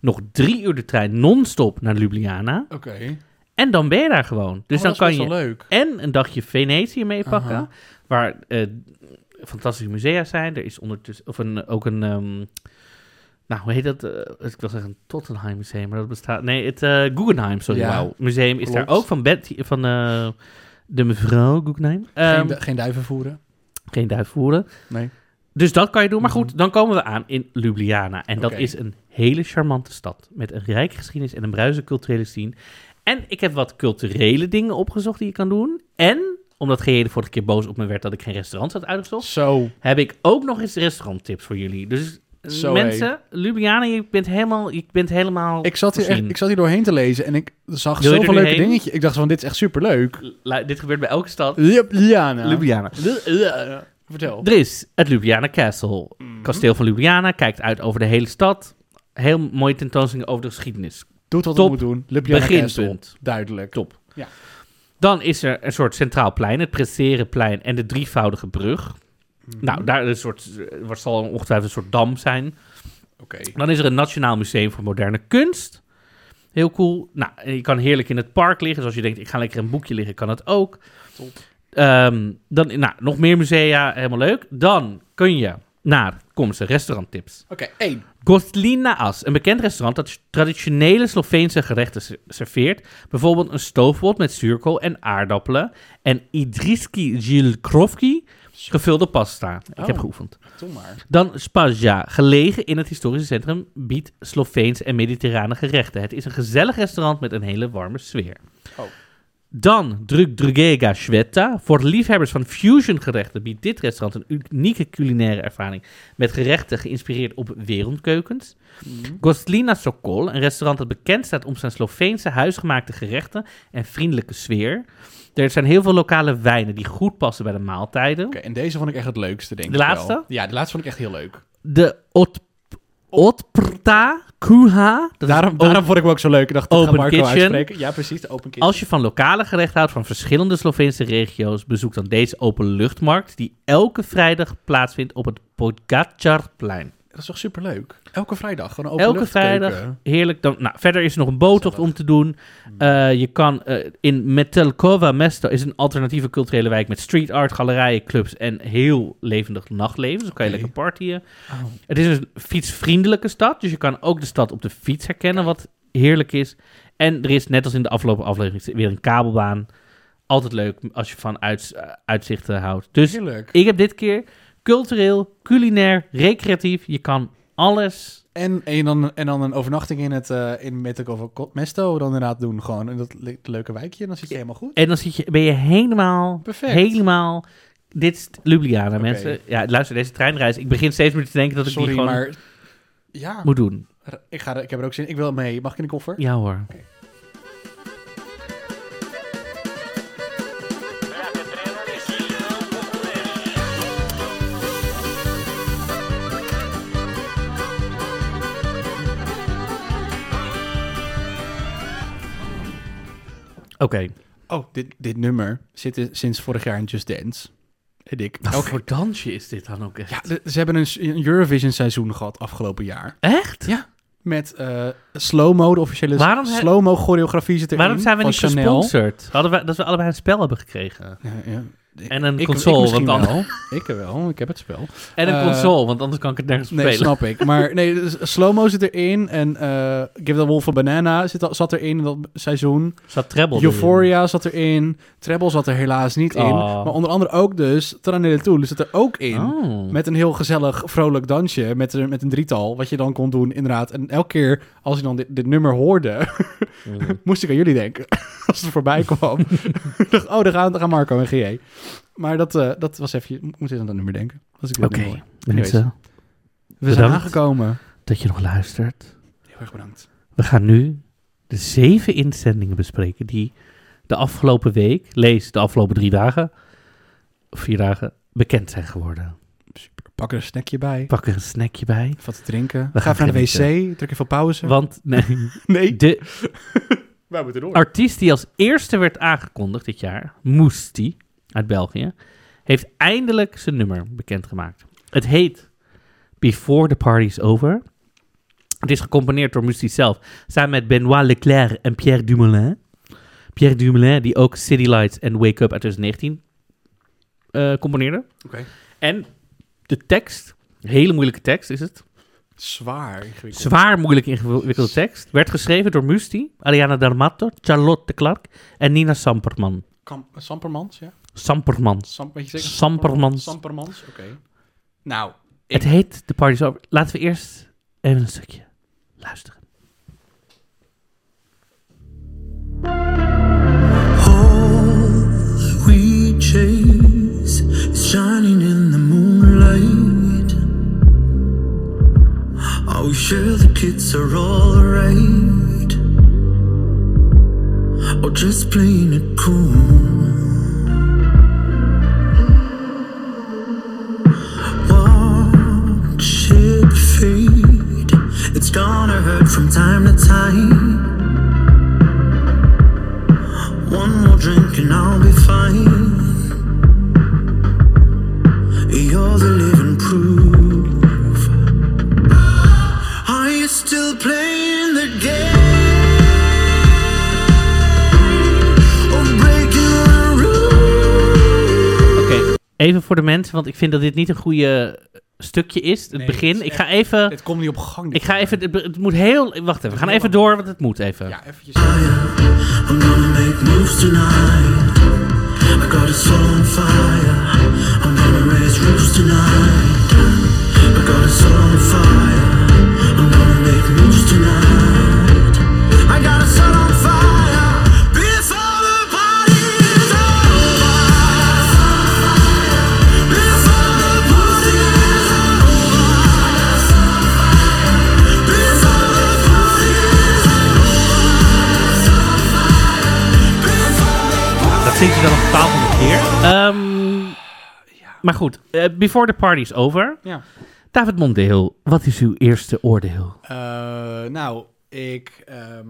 [SPEAKER 1] Nog drie uur de trein non-stop naar Ljubljana.
[SPEAKER 2] Oké.
[SPEAKER 1] En Dus dan ben je daar gewoon. Dus
[SPEAKER 2] Oh,
[SPEAKER 1] dan
[SPEAKER 2] dat
[SPEAKER 1] kan
[SPEAKER 2] is best
[SPEAKER 1] je
[SPEAKER 2] wel leuk.
[SPEAKER 1] en een dagje Venetië meepakken.
[SPEAKER 2] Aha.
[SPEAKER 1] Waar eh, fantastische musea zijn. Er is ondertussen of een, ook een. ehm, nou, hoe heet dat? Eh, ik wil zeggen een Tottenham Museum, maar dat bestaat. Nee, het eh, Guggenheim, sorry.
[SPEAKER 2] Ja,
[SPEAKER 1] wauw, museum is daar
[SPEAKER 2] klopt.
[SPEAKER 1] ook van Betty, van eh, de mevrouw Guggenheim.
[SPEAKER 2] Geen,
[SPEAKER 1] Ehm,
[SPEAKER 2] du- geen duiven voeren.
[SPEAKER 1] geen duif voeren.
[SPEAKER 2] Nee.
[SPEAKER 1] Dus dat kan je doen. Maar goed, dan komen we aan in Ljubljana. En dat
[SPEAKER 2] Mhm. Oké.
[SPEAKER 1] is een hele charmante stad. Met een rijke geschiedenis en een bruisende culturele scene. En ik heb wat culturele dingen opgezocht die je kan doen. En, omdat Geheerde vorige keer boos op me werd dat ik geen restaurants had uitgezocht...
[SPEAKER 2] Zo.
[SPEAKER 1] heb ik ook nog eens restauranttips voor jullie. Dus eh,
[SPEAKER 2] Zo,
[SPEAKER 1] mensen, Ljubljana, je bent helemaal... Je bent helemaal
[SPEAKER 2] Ik zat, hier echt,
[SPEAKER 1] voorzien.
[SPEAKER 2] ik zat hier doorheen te lezen en ik zag
[SPEAKER 1] Wil je er
[SPEAKER 2] zoveel
[SPEAKER 1] nu
[SPEAKER 2] leuke
[SPEAKER 1] heen?
[SPEAKER 2] dingetjes. Ik dacht van, dit is echt superleuk.
[SPEAKER 1] La- dit gebeurt bij elke stad.
[SPEAKER 2] Ljubljana.
[SPEAKER 1] Ljubljana.
[SPEAKER 2] Ljubljana. Vertel.
[SPEAKER 1] Er is het Ljubljana Castle.
[SPEAKER 2] Mhm.
[SPEAKER 1] Kasteel van Ljubljana kijkt uit over de hele stad. Heel mooie tentoonstelling over de geschiedenis.
[SPEAKER 2] Doet wat
[SPEAKER 1] Top.
[SPEAKER 2] het moet doen. Ljubljana
[SPEAKER 1] Beginpunt.
[SPEAKER 2] Castle. Duidelijk.
[SPEAKER 1] Top.
[SPEAKER 2] Ja.
[SPEAKER 1] Dan is er een soort centraal plein, het Presserenplein en de drievoudige brug. Nou, daar is een soort, eh, wat zal ongetwijfeld een soort dam zijn.
[SPEAKER 2] Oké.
[SPEAKER 1] Dan is er een Nationaal Museum voor Moderne Kunst. Heel cool. Nou, en je kan heerlijk in het park liggen. Dus als je denkt, ik ga lekker een boekje liggen, kan dat ook.
[SPEAKER 2] Top.
[SPEAKER 1] Ehm, dan, nou, nog meer musea, helemaal leuk. Dan kun je naar, kom ze, restauranttips.
[SPEAKER 2] Oké, één.
[SPEAKER 1] Gostlina As, een bekend restaurant dat traditionele Sloveense gerechten se- serveert. Bijvoorbeeld een stoofpot met zuurkool en aardappelen. En Idriski Gilkrovki, gevulde pasta. Ik heb
[SPEAKER 2] Oh.
[SPEAKER 1] geoefend.
[SPEAKER 2] Doe maar.
[SPEAKER 1] Dan Spazja, gelegen in het historische centrum, biedt Sloveens en mediterrane gerechten. Het is een gezellig restaurant met een hele warme sfeer.
[SPEAKER 2] Oh.
[SPEAKER 1] Dan Druk Drugega Sveta. Voor liefhebbers van fusiongerechten biedt dit restaurant een unieke culinaire ervaring met gerechten geïnspireerd op wereldkeukens.
[SPEAKER 2] Mhm.
[SPEAKER 1] Gostlina Sokol, een restaurant dat bekend staat om zijn Sloveense huisgemaakte gerechten en vriendelijke sfeer. Er zijn heel veel lokale wijnen die goed passen bij de maaltijden.
[SPEAKER 2] Oké, en deze vond ik echt het leukste, denk
[SPEAKER 1] De
[SPEAKER 2] ik wel.
[SPEAKER 1] laatste?
[SPEAKER 2] Ja, de laatste vond ik echt heel leuk.
[SPEAKER 1] de Ot Otprta Kuha. Dat is
[SPEAKER 2] Daarom,
[SPEAKER 1] ook-
[SPEAKER 2] daarom vond ik hem ook zo leuk. Ik dacht, dat
[SPEAKER 1] Open
[SPEAKER 2] gaat Marco
[SPEAKER 1] kitchen.
[SPEAKER 2] uitspreken. Ja, precies, de open kitchen.
[SPEAKER 1] als je van lokale gerechten houdt van verschillende Sloveense regio's, bezoek dan deze openluchtmarkt die elke vrijdag plaatsvindt op het Podgacarplein.
[SPEAKER 2] Dat is toch superleuk? Elke vrijdag, gewoon een open
[SPEAKER 1] Elke vrijdag, heerlijk. Dan, nou, verder is er nog een boottocht om te doen.
[SPEAKER 2] Hmm.
[SPEAKER 1] Eh, je kan eh, in Metelkova Mesto is een alternatieve culturele wijk met street art, galerijen, clubs en heel levendig nachtleven. Dus dan kan je
[SPEAKER 2] Oké. Oh.
[SPEAKER 1] lekker partyen. Het is een fietsvriendelijke stad, dus je kan ook de stad op de fiets herkennen, wat heerlijk is. En er is, net als in de afgelopen aflevering, weer een kabelbaan. Altijd leuk als je van uits- eh, uitzichten houdt. Dus
[SPEAKER 2] Heerlijk.
[SPEAKER 1] ik heb dit keer cultureel, culinair, recreatief. Je kan alles.
[SPEAKER 2] En, en, dan, en dan een overnachting in het eh in Metalcover Mesto dan inderdaad doen. Gewoon in dat le- leuke wijkje. En dan zit je helemaal goed.
[SPEAKER 1] En dan zit je, ben je helemaal,
[SPEAKER 2] Perfect.
[SPEAKER 1] helemaal... Dit is Ljubljana, mensen.
[SPEAKER 2] Oké.
[SPEAKER 1] Ja, luister, deze treinreis. Ik begin steeds meer te denken dat ik
[SPEAKER 2] Sorry,
[SPEAKER 1] die gewoon
[SPEAKER 2] maar... Ja,
[SPEAKER 1] moet doen.
[SPEAKER 2] ik, ga er, ik heb er ook zin in. Ik wil mee. Mag ik in de koffer?
[SPEAKER 1] Ja hoor. Oké.
[SPEAKER 2] Oh, dit, dit nummer zit in- sinds vorig jaar in Just Dance. En ik.
[SPEAKER 1] Wat voor dansje is dit dan ook echt?
[SPEAKER 2] Ja, de- ze hebben een, s- een Eurovision seizoen gehad afgelopen jaar.
[SPEAKER 1] Echt?
[SPEAKER 2] Ja. Met eh slow-mo, de officiële
[SPEAKER 1] Waarom he-
[SPEAKER 2] slow-mo choreografie zit erin.
[SPEAKER 1] Waarom zijn we
[SPEAKER 2] van
[SPEAKER 1] niet
[SPEAKER 2] Chanel.
[SPEAKER 1] gesponsord? Hadden we, dat we allebei een spel hebben gekregen.
[SPEAKER 2] Ja, ja.
[SPEAKER 1] En een
[SPEAKER 2] Ik-
[SPEAKER 1] console,
[SPEAKER 2] ik misschien
[SPEAKER 1] want dan-
[SPEAKER 2] wel. Ik wel, ik heb het spel.
[SPEAKER 1] En een
[SPEAKER 2] Eh,
[SPEAKER 1] console, want anders kan ik het nergens
[SPEAKER 2] Nee,
[SPEAKER 1] spelen.
[SPEAKER 2] snap ik. Maar nee, dus slow-mo zit erin en eh, Give the Wolf a Banana zit, al- zat erin in dat seizoen.
[SPEAKER 1] Zat treble erin.
[SPEAKER 2] Euphoria zat erin. Treble zat er helaas niet in.
[SPEAKER 1] Oh.
[SPEAKER 2] Maar onder andere ook dus Tranele Tool zit er ook in.
[SPEAKER 1] Oh.
[SPEAKER 2] Met een heel gezellig, vrolijk dansje. Met, een- met een drietal. Wat je dan kon doen, inderdaad. En elke keer als ik dan dit, dit nummer hoorde.
[SPEAKER 1] Mm.
[SPEAKER 2] moest ik aan jullie denken. als het voorbij kwam. Ik dacht, oh, daar gaan, daar gaan Marco en GE. Maar dat, eh, dat was even. Ik moest eens aan dat nummer denken. Als ik dit
[SPEAKER 1] Oké,
[SPEAKER 2] nummer hoor.
[SPEAKER 1] mensen,
[SPEAKER 2] We zijn
[SPEAKER 1] bedankt.
[SPEAKER 2] aangekomen.
[SPEAKER 1] dat je nog luistert.
[SPEAKER 2] Heel erg bedankt.
[SPEAKER 1] We gaan nu de zeven inzendingen bespreken die de afgelopen week, lees de afgelopen drie dagen, of vier dagen, bekend zijn geworden.
[SPEAKER 2] Pak er een snackje bij.
[SPEAKER 1] Pak er een snackje bij.
[SPEAKER 2] Wat te drinken.
[SPEAKER 1] We
[SPEAKER 2] Ga
[SPEAKER 1] gaan
[SPEAKER 2] even naar de
[SPEAKER 1] genieten.
[SPEAKER 2] wc. Druk even op pauze.
[SPEAKER 1] Want nee,
[SPEAKER 2] Nee,
[SPEAKER 1] de
[SPEAKER 2] wij moeten door.
[SPEAKER 1] artiest die als eerste werd aangekondigd dit jaar, Moesti uit België, heeft eindelijk zijn nummer bekendgemaakt. Het heet Before the Party is Over. Het is gecomponeerd door Moesti zelf, samen met Benoit Leclerc en Pierre Dumoulin. Pierre Dumoulin, die ook City Lights en Wake Up uit 2019 eh, componeerde.
[SPEAKER 2] Oké.
[SPEAKER 1] En de tekst, hele moeilijke tekst is het,
[SPEAKER 2] Zwaar ingewikkeld.
[SPEAKER 1] zwaar moeilijk ingewikkelde tekst. Werd geschreven door Musti, Ariana D'Armato, Charlotte de Clark en Nina Samperman.
[SPEAKER 2] Kam- Sampermans, ja?
[SPEAKER 1] Samperman.
[SPEAKER 2] Sam, weet je zeker?
[SPEAKER 1] Sampermans.
[SPEAKER 2] Sampermans, oké. Nou,
[SPEAKER 1] Het heet The Party's Over. Laten we eerst even een stukje luisteren.
[SPEAKER 6] All we chase is shining in the moonlight. Oh, sure, the kids are alright. Or just playing it cool. Watch it fade. It's gonna hurt from time to time. One more drink and I'll be fine. You're the living proof. Are you still playing the game? Or breaking the rules?
[SPEAKER 1] Oké, even voor de mensen, want ik vind dat dit niet een goede stukje is. Het
[SPEAKER 2] Nee, het
[SPEAKER 1] begin.
[SPEAKER 2] is
[SPEAKER 1] Ik ga even...
[SPEAKER 2] het komt niet op gang. dit
[SPEAKER 1] Ik ga
[SPEAKER 2] keer.
[SPEAKER 1] even... Het, het moet heel... Wacht even, we gaan even door, want het moet even.
[SPEAKER 2] Ja, eventjes.
[SPEAKER 6] I'm gonna make moves tonight. I got a soul on fire. I'm gonna raise roofs tonight. I got a soul on fire. I'm gonna make moves tonight. I got a soul on fire. Before the party is over. Before the party is over. Before the party is
[SPEAKER 1] Dat zingt hij dan een bepaald een keer. Ehm, Maar goed, eh, Before the Party is Over.
[SPEAKER 2] Ja.
[SPEAKER 1] David Mondeel, wat is uw eerste oordeel?
[SPEAKER 2] Eh, nou, ik ehm,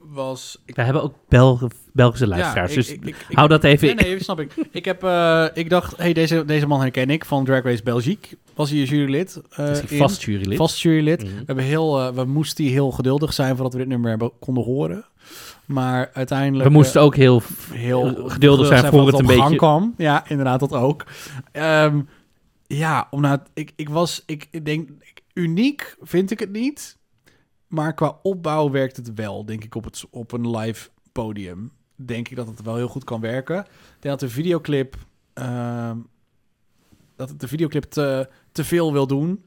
[SPEAKER 2] was... Ik,
[SPEAKER 1] We hebben ook Belgen- Belgische luisteraars,
[SPEAKER 2] ik-
[SPEAKER 1] dus
[SPEAKER 2] ik- ik- ik-
[SPEAKER 1] hou dat even
[SPEAKER 2] Nee, nee, snap ik. Ik, heb, eh, ik dacht, hey, deze, deze man herken ik van Drag Race Belgique. Was hij een jurylid? eh,
[SPEAKER 1] Is hij
[SPEAKER 2] in.
[SPEAKER 1] vast jurylid? Mhm.
[SPEAKER 2] Vast jurylid. We, hebben heel, eh, we moesten heel geduldig zijn voordat we dit nummer hebben, konden horen. Maar uiteindelijk...
[SPEAKER 1] We moesten ook heel...
[SPEAKER 2] eh, heel
[SPEAKER 1] geduldig zijn voor het
[SPEAKER 2] voordat
[SPEAKER 1] een
[SPEAKER 2] op gang
[SPEAKER 1] beetje...
[SPEAKER 2] kwam. Ja, inderdaad, dat ook. Ehm, ja, omdat ik, ik was... Ik, ik denk, ik- uniek vind ik het niet. Maar qua opbouw werkt het wel, denk ik, op, het, op een live podium. Denk ik dat het wel heel goed kan werken. Ik denk dat de videoclip... ehm, dat de videoclip te, te veel wil doen.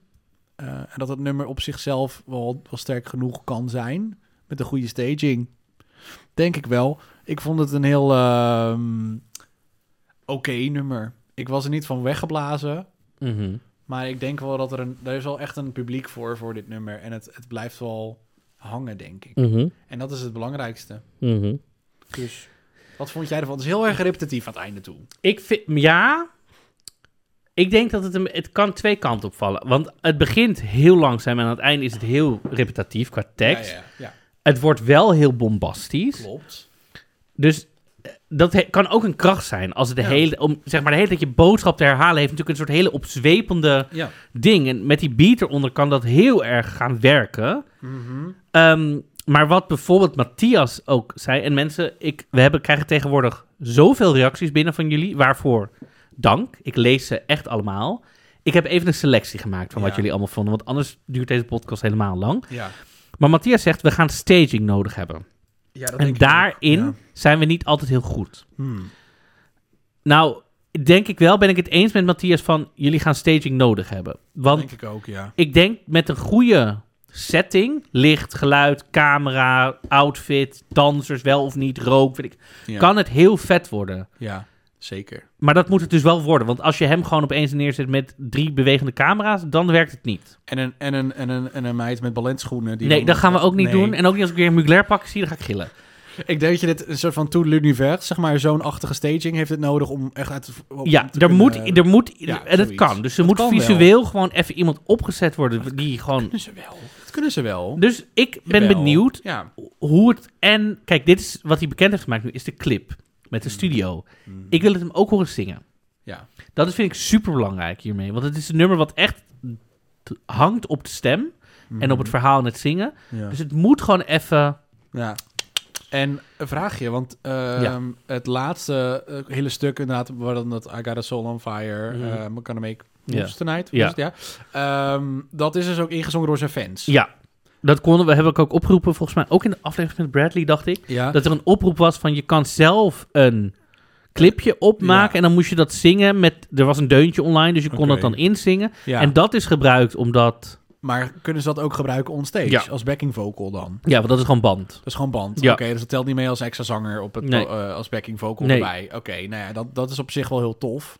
[SPEAKER 2] Eh, en dat het nummer op zichzelf wel, wel sterk genoeg kan zijn. Met een goede staging. Denk ik wel. Ik vond het een heel ehm, oké nummer. Ik was er niet van weggeblazen.
[SPEAKER 1] Mhm.
[SPEAKER 2] Maar ik denk wel dat er een... Er is wel echt een publiek voor, voor dit nummer. En het, het blijft wel hangen, denk ik.
[SPEAKER 1] Mhm.
[SPEAKER 2] En dat is het belangrijkste.
[SPEAKER 1] Mhm.
[SPEAKER 2] Dus wat vond jij ervan? Het is heel erg repetitief aan het einde toe.
[SPEAKER 1] Ik vind... Ja... Ik denk dat het hem... Het kan twee kanten opvallen. Want het begint heel langzaam en aan het einde is het heel repetitief qua tekst.
[SPEAKER 2] Ja, ja, ja.
[SPEAKER 1] Het wordt wel heel bombastisch.
[SPEAKER 2] Klopt.
[SPEAKER 1] Dus eh, dat he- kan ook een kracht zijn. Als het de,
[SPEAKER 2] Ja.
[SPEAKER 1] hele, om, zeg maar, de hele tijd je boodschap te herhalen... heeft natuurlijk een soort hele opzwepende
[SPEAKER 2] Ja.
[SPEAKER 1] ding. En met die beat eronder kan dat heel erg gaan werken.
[SPEAKER 2] Mhm.
[SPEAKER 1] Ehm, maar wat bijvoorbeeld Matthias ook zei... en mensen, ik, we hebben, krijgen tegenwoordig zoveel reacties binnen van jullie... waarvoor dank. Ik lees ze echt allemaal. Ik heb even een selectie gemaakt van wat
[SPEAKER 2] Ja.
[SPEAKER 1] jullie allemaal vonden, want anders duurt deze podcast helemaal lang.
[SPEAKER 2] Ja,
[SPEAKER 1] Maar Matthias zegt, we gaan staging nodig hebben.
[SPEAKER 2] ja dat
[SPEAKER 1] en
[SPEAKER 2] denk ik ook.
[SPEAKER 1] daarin
[SPEAKER 2] Ja.
[SPEAKER 1] zijn we niet altijd heel goed.
[SPEAKER 2] Hmm.
[SPEAKER 1] Nou, denk ik wel, ben ik het eens met Matthias van, jullie gaan staging nodig hebben. Want
[SPEAKER 2] Denk ik ook, ja.
[SPEAKER 1] ik denk met een goede setting, licht, geluid, camera, outfit, dansers wel of niet, rook, weet ik,
[SPEAKER 2] ja.
[SPEAKER 1] kan het heel vet worden.
[SPEAKER 2] Ja, zeker.
[SPEAKER 1] Maar dat moet het dus wel worden, want als je hem gewoon opeens neerzet met drie bewegende camera's, dan werkt het niet.
[SPEAKER 2] En een, en een, en een, en een meid met balletschoenen. Die
[SPEAKER 1] nee,
[SPEAKER 2] dan-
[SPEAKER 1] dat gaan we ook niet
[SPEAKER 2] Nee.
[SPEAKER 1] doen. En ook niet als ik weer een Mugler pak zie, dan ga ik gillen.
[SPEAKER 2] Ik denk dat je dit een soort van tout l'univers, zeg maar, zo'n achtige staging heeft het nodig om echt uit om
[SPEAKER 1] Ja,
[SPEAKER 2] te
[SPEAKER 1] er
[SPEAKER 2] kunnen- eh,
[SPEAKER 1] moet, er moet,
[SPEAKER 2] ja,
[SPEAKER 1] en dat
[SPEAKER 2] zoiets.
[SPEAKER 1] kan. Dus er
[SPEAKER 2] Dat
[SPEAKER 1] moet
[SPEAKER 2] kan wel.
[SPEAKER 1] visueel gewoon even iemand opgezet worden die gewoon...
[SPEAKER 2] kunnen ze wel. Dat kunnen ze wel.
[SPEAKER 1] Dus ik ben
[SPEAKER 2] Jawel.
[SPEAKER 1] benieuwd
[SPEAKER 2] Ja.
[SPEAKER 1] hoe het... En kijk, dit is wat hij bekend heeft gemaakt nu, is de clip met
[SPEAKER 2] Mm.
[SPEAKER 1] de studio. Ik wil het hem ook horen zingen.
[SPEAKER 2] Ja.
[SPEAKER 1] Dat vind ik super belangrijk hiermee. Want het is een nummer wat echt t- hangt op de stem en op het verhaal en het zingen.
[SPEAKER 2] Mhm. Ja.
[SPEAKER 1] Dus het moet gewoon even.
[SPEAKER 2] Ja. En een vraagje, want ehm,
[SPEAKER 1] Ja.
[SPEAKER 2] het laatste eh, hele stuk inderdaad, waar dan dat I Got a Soul on Fire,
[SPEAKER 1] Mhm.
[SPEAKER 2] eh, I'm gonna make
[SPEAKER 1] Ja.
[SPEAKER 2] moves tonight,
[SPEAKER 1] Ja.
[SPEAKER 2] was het, ja. Ehm, dat is dus ook ingezongen door zijn fans.
[SPEAKER 1] Ja, dat konden we, hebben ik ook opgeroepen, volgens mij ook in de aflevering met Bradley, dacht ik.
[SPEAKER 2] Ja.
[SPEAKER 1] Dat er een oproep was van je kan zelf een clipje opmaken
[SPEAKER 2] Ja.
[SPEAKER 1] en dan moest je dat zingen met. Er was een deuntje online, dus je kon
[SPEAKER 2] Oké.
[SPEAKER 1] dat dan inzingen.
[SPEAKER 2] Ja.
[SPEAKER 1] En dat is gebruikt omdat.
[SPEAKER 2] Maar kunnen ze dat ook gebruiken on stage,
[SPEAKER 1] Ja.
[SPEAKER 2] als backing vocal dan?
[SPEAKER 1] Ja, want dat is gewoon band.
[SPEAKER 2] Dat is gewoon band.
[SPEAKER 1] Ja.
[SPEAKER 2] Oké, dus dat telt niet mee als extra zanger op het,
[SPEAKER 1] Nee.
[SPEAKER 2] eh, als backing vocal
[SPEAKER 1] Nee.
[SPEAKER 2] erbij. Oké, nou ja, dat, dat is op zich wel heel tof.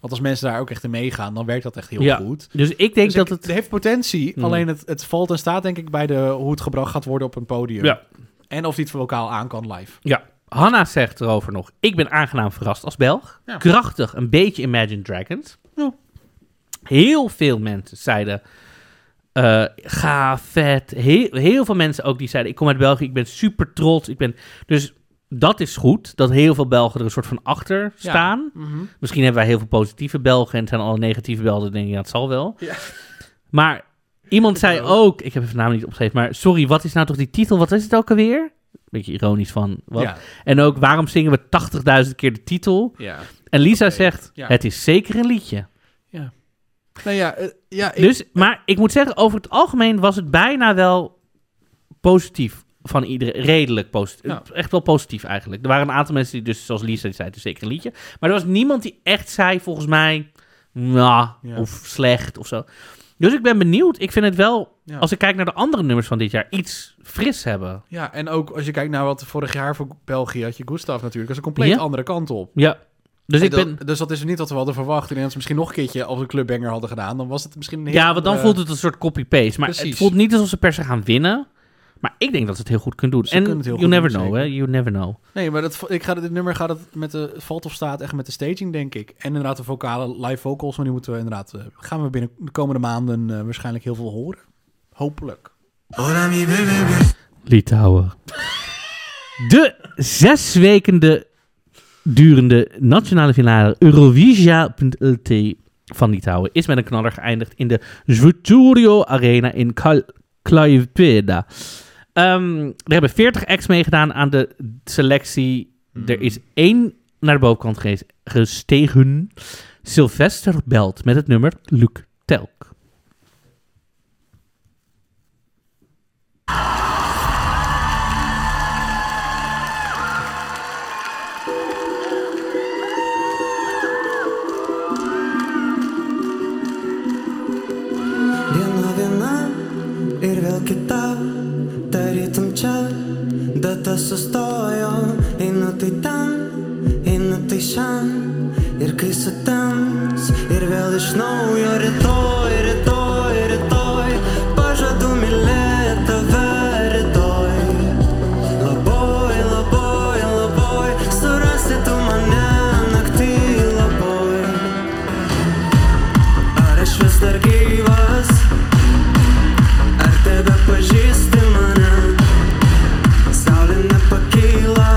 [SPEAKER 2] Want als mensen daar ook echt in meegaan, dan werkt dat echt heel
[SPEAKER 1] Ja.
[SPEAKER 2] goed.
[SPEAKER 1] Dus ik denk
[SPEAKER 2] Dus
[SPEAKER 1] dat
[SPEAKER 2] ik-
[SPEAKER 1] het.
[SPEAKER 2] het heeft potentie,
[SPEAKER 1] Hmm.
[SPEAKER 2] alleen het, het valt en staat denk ik bij de, hoe het gebracht gaat worden op een podium.
[SPEAKER 1] Ja.
[SPEAKER 2] En of die het vocaal aan kan live.
[SPEAKER 1] Ja, Hanna zegt erover nog. Ik ben aangenaam verrast als Belg.
[SPEAKER 2] Ja.
[SPEAKER 1] Krachtig, een beetje Imagine Dragons.
[SPEAKER 2] Ja.
[SPEAKER 1] Heel veel mensen zeiden... eh, ga vet. Heel, heel veel mensen ook die zeiden... Ik kom uit België, ik ben super trots. Ik ben... Dus dat is goed. Dat heel veel Belgen er een soort van achter
[SPEAKER 2] Ja.
[SPEAKER 1] staan. Misschien hebben wij heel veel positieve Belgen... en zijn alle negatieve Belgen. Dan denk ik, ja, het zal wel.
[SPEAKER 2] Ja.
[SPEAKER 1] Maar iemand zei ook... Ik heb even naam niet opgeschreven, maar... Sorry, wat is nou toch die titel? Wat is het ook alweer? Beetje ironisch van... Wat?
[SPEAKER 2] Ja.
[SPEAKER 1] En ook, waarom zingen we 80.000 keer de titel?
[SPEAKER 2] Ja.
[SPEAKER 1] En Lisa
[SPEAKER 2] Oké,
[SPEAKER 1] zegt,
[SPEAKER 2] ja.
[SPEAKER 1] het is zeker een liedje.
[SPEAKER 2] Nou ja, eh, ja ik,
[SPEAKER 1] dus, maar ik moet zeggen, over het algemeen was het bijna wel positief van iedereen. Redelijk positief.
[SPEAKER 2] Ja.
[SPEAKER 1] Echt wel positief eigenlijk. Er waren een aantal mensen die dus, zoals Lisa, die zei, het is zeker een liedje. Maar er was niemand die echt zei, volgens mij, nou,
[SPEAKER 2] Ja.
[SPEAKER 1] of slecht of zo. Dus ik ben benieuwd. Ik vind het wel,
[SPEAKER 2] Ja.
[SPEAKER 1] als ik kijk naar de andere nummers van dit jaar, iets fris hebben.
[SPEAKER 2] ja, en ook als je kijkt naar wat vorig jaar voor België had je Gustav natuurlijk. Dat is een compleet
[SPEAKER 1] Ja.
[SPEAKER 2] andere kant op.
[SPEAKER 1] Ja. Dus
[SPEAKER 2] En
[SPEAKER 1] ik ben...
[SPEAKER 2] dat, dus dat is niet wat we hadden verwacht. En als ze misschien nog een keertje als een clubbanger hadden gedaan, dan was het misschien een heel eh,
[SPEAKER 1] Ja, want dan
[SPEAKER 2] andere-
[SPEAKER 1] voelt het een soort copy-paste. Maar het
[SPEAKER 2] Precies.
[SPEAKER 1] voelt niet alsof ze per se gaan winnen. Maar ik denk dat ze het heel goed kunnen doen.
[SPEAKER 2] Ze
[SPEAKER 1] en
[SPEAKER 2] kunnen het heel
[SPEAKER 1] you
[SPEAKER 2] goed
[SPEAKER 1] never
[SPEAKER 2] doen,
[SPEAKER 1] know, hè? You never know.
[SPEAKER 2] Nee, maar dat, ik ga, dit nummer gaat het met de het valt of staat echt met de staging, denk ik. En inderdaad de vocale live vocals, want die moeten we inderdaad... eh, gaan we binnen de komende maanden eh, waarschijnlijk heel veel horen. Hopelijk.
[SPEAKER 6] Hola mi bebé,
[SPEAKER 1] Litouwen. De zes wekende durende nationale finale Eurovisia.lt van Litouwen is met een knaller geëindigd in de Zvuturio Arena in Kal- Klaipėda. Ehm, er hebben 40 acts meegedaan aan de selectie. Er is één naar de bovenkant geweest- gestegen. Sylvester Belt met het nummer Luc Telk.
[SPEAKER 7] Viena viena ir vėl kita, tarytum čia, data sustojo, einu tai ten, einu tai šian, ir kai sutems, ir vėl iš naujo rytoj, rytoj, rytoj, pažadu mylėti tave rytoj. Labai, labai, labai, surasi tu mane naktį labai. Ar aš vis dar gyvas? Ar tebe pažįsti mane? Saulė nepakyla.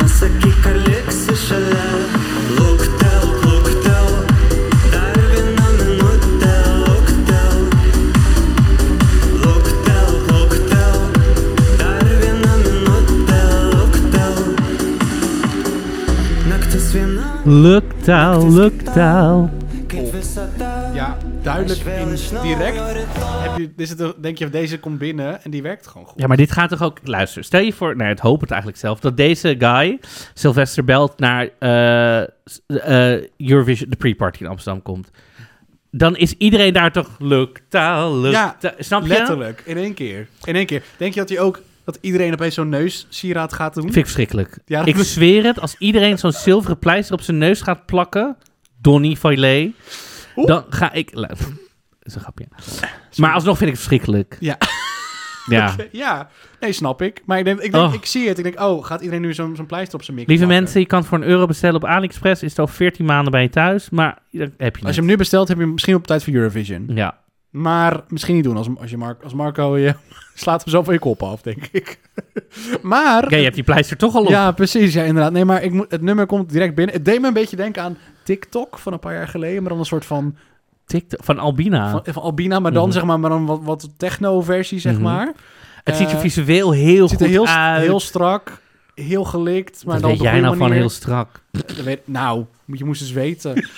[SPEAKER 7] Pasakyk, ar liksi šalia. Luktel, luktel, dar
[SPEAKER 1] Luktaal, luktaal.
[SPEAKER 7] Kaip visada
[SPEAKER 2] Ja, duidelijk in direct. Heb je, is het, een- denk je, deze komt binnen en die werkt gewoon goed.
[SPEAKER 1] Ja, maar dit gaat toch ook... Luister, stel je voor... Nou, het hoopt het eigenlijk zelf. Dat deze guy, Sylvester, belt naar eh, s- eh, Eurovision, de pre-party in Amsterdam komt. Dan is iedereen daar toch... Luktaal, luktaal. snap je?
[SPEAKER 2] Letterlijk, in één keer. In één keer. Denk je dat hij ook, dat iedereen opeens zo'n neus sieraad gaat doen?
[SPEAKER 1] Vind ik verschrikkelijk.
[SPEAKER 2] Ja, dat
[SPEAKER 1] ik
[SPEAKER 2] is-
[SPEAKER 1] zweer het, als iedereen zo'n zilveren pleister op zijn neus gaat plakken, Donny Violet,
[SPEAKER 2] Oeh.
[SPEAKER 1] dan ga ik... lu- Dat is een grapje. Maar alsnog vind ik het verschrikkelijk.
[SPEAKER 2] Ja.
[SPEAKER 1] Ja.
[SPEAKER 2] Ja, nee, snap ik. Maar ik, denk, ik, denk,
[SPEAKER 1] Oh.
[SPEAKER 2] ik zie het. Ik denk, oh, gaat iedereen nu zo'n zo'n pleister op zijn mik
[SPEAKER 1] Lieve
[SPEAKER 2] plakken?
[SPEAKER 1] mensen, je kan het voor een euro bestellen op AliExpress. Is het al 14 maanden bij je thuis, maar dat heb je
[SPEAKER 2] Als
[SPEAKER 1] niet.
[SPEAKER 2] je hem nu bestelt, heb je hem misschien op tijd voor Eurovision.
[SPEAKER 1] Ja.
[SPEAKER 2] Maar misschien niet doen als, als, je Mar- als Marco je slaat hem zo van je kop af, denk ik. maar...
[SPEAKER 1] Oké, je hebt die pleister toch al op.
[SPEAKER 2] Ja, precies. Ja, inderdaad. Nee, maar ik moet, het nummer komt direct binnen. Het deed me een beetje denken aan TikTok van een paar jaar geleden. Maar dan een soort van,
[SPEAKER 1] TikTok, van Albina.
[SPEAKER 2] van, van Albina. Maar dan,
[SPEAKER 1] Mhm.
[SPEAKER 2] zeg maar, maar dan wat, wat techno-versie, zeg
[SPEAKER 1] Mhm.
[SPEAKER 2] maar.
[SPEAKER 1] het ziet er
[SPEAKER 2] eh,
[SPEAKER 1] visueel heel
[SPEAKER 2] Het ziet er
[SPEAKER 1] goed
[SPEAKER 2] heel,
[SPEAKER 1] uit.
[SPEAKER 2] heel strak, heel gelikt. Maar
[SPEAKER 1] Wat
[SPEAKER 2] dan
[SPEAKER 1] weet
[SPEAKER 2] op een
[SPEAKER 1] jij nou
[SPEAKER 2] goede
[SPEAKER 1] van
[SPEAKER 2] manier.
[SPEAKER 1] heel strak?
[SPEAKER 2] Dat weet- nou, je moest eens weten.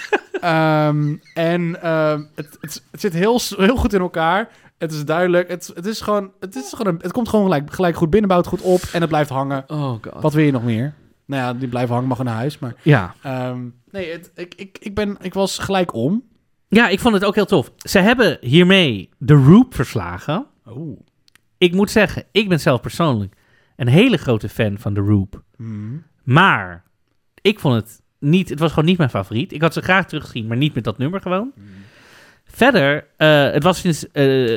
[SPEAKER 2] Ehm, en ehm, het, het, het zit heel, s- heel goed in elkaar. Het is duidelijk. Het, het, is gewoon, het, is gewoon een- het komt gewoon gelijk, gelijk goed binnen, bouwt goed op en het blijft hangen.
[SPEAKER 1] Oh god.
[SPEAKER 2] Wat wil je nog meer? Nou ja, die blijven hangen mag naar huis. Maar
[SPEAKER 1] Ja.
[SPEAKER 2] Ehm, nee, het, ik, ik, ik, ben, ik was gelijk om.
[SPEAKER 1] ja, ik vond het ook heel tof. Ze hebben hiermee de Roop verslagen.
[SPEAKER 2] Oh.
[SPEAKER 1] ik moet zeggen, ik ben zelf persoonlijk een hele grote fan van de Roop.
[SPEAKER 2] Hmm.
[SPEAKER 1] Maar ik vond het niet, het was gewoon niet mijn favoriet. Ik had ze graag teruggezien, maar niet met dat nummer gewoon.
[SPEAKER 2] Hmm.
[SPEAKER 1] Verder, eh, het was sinds eh,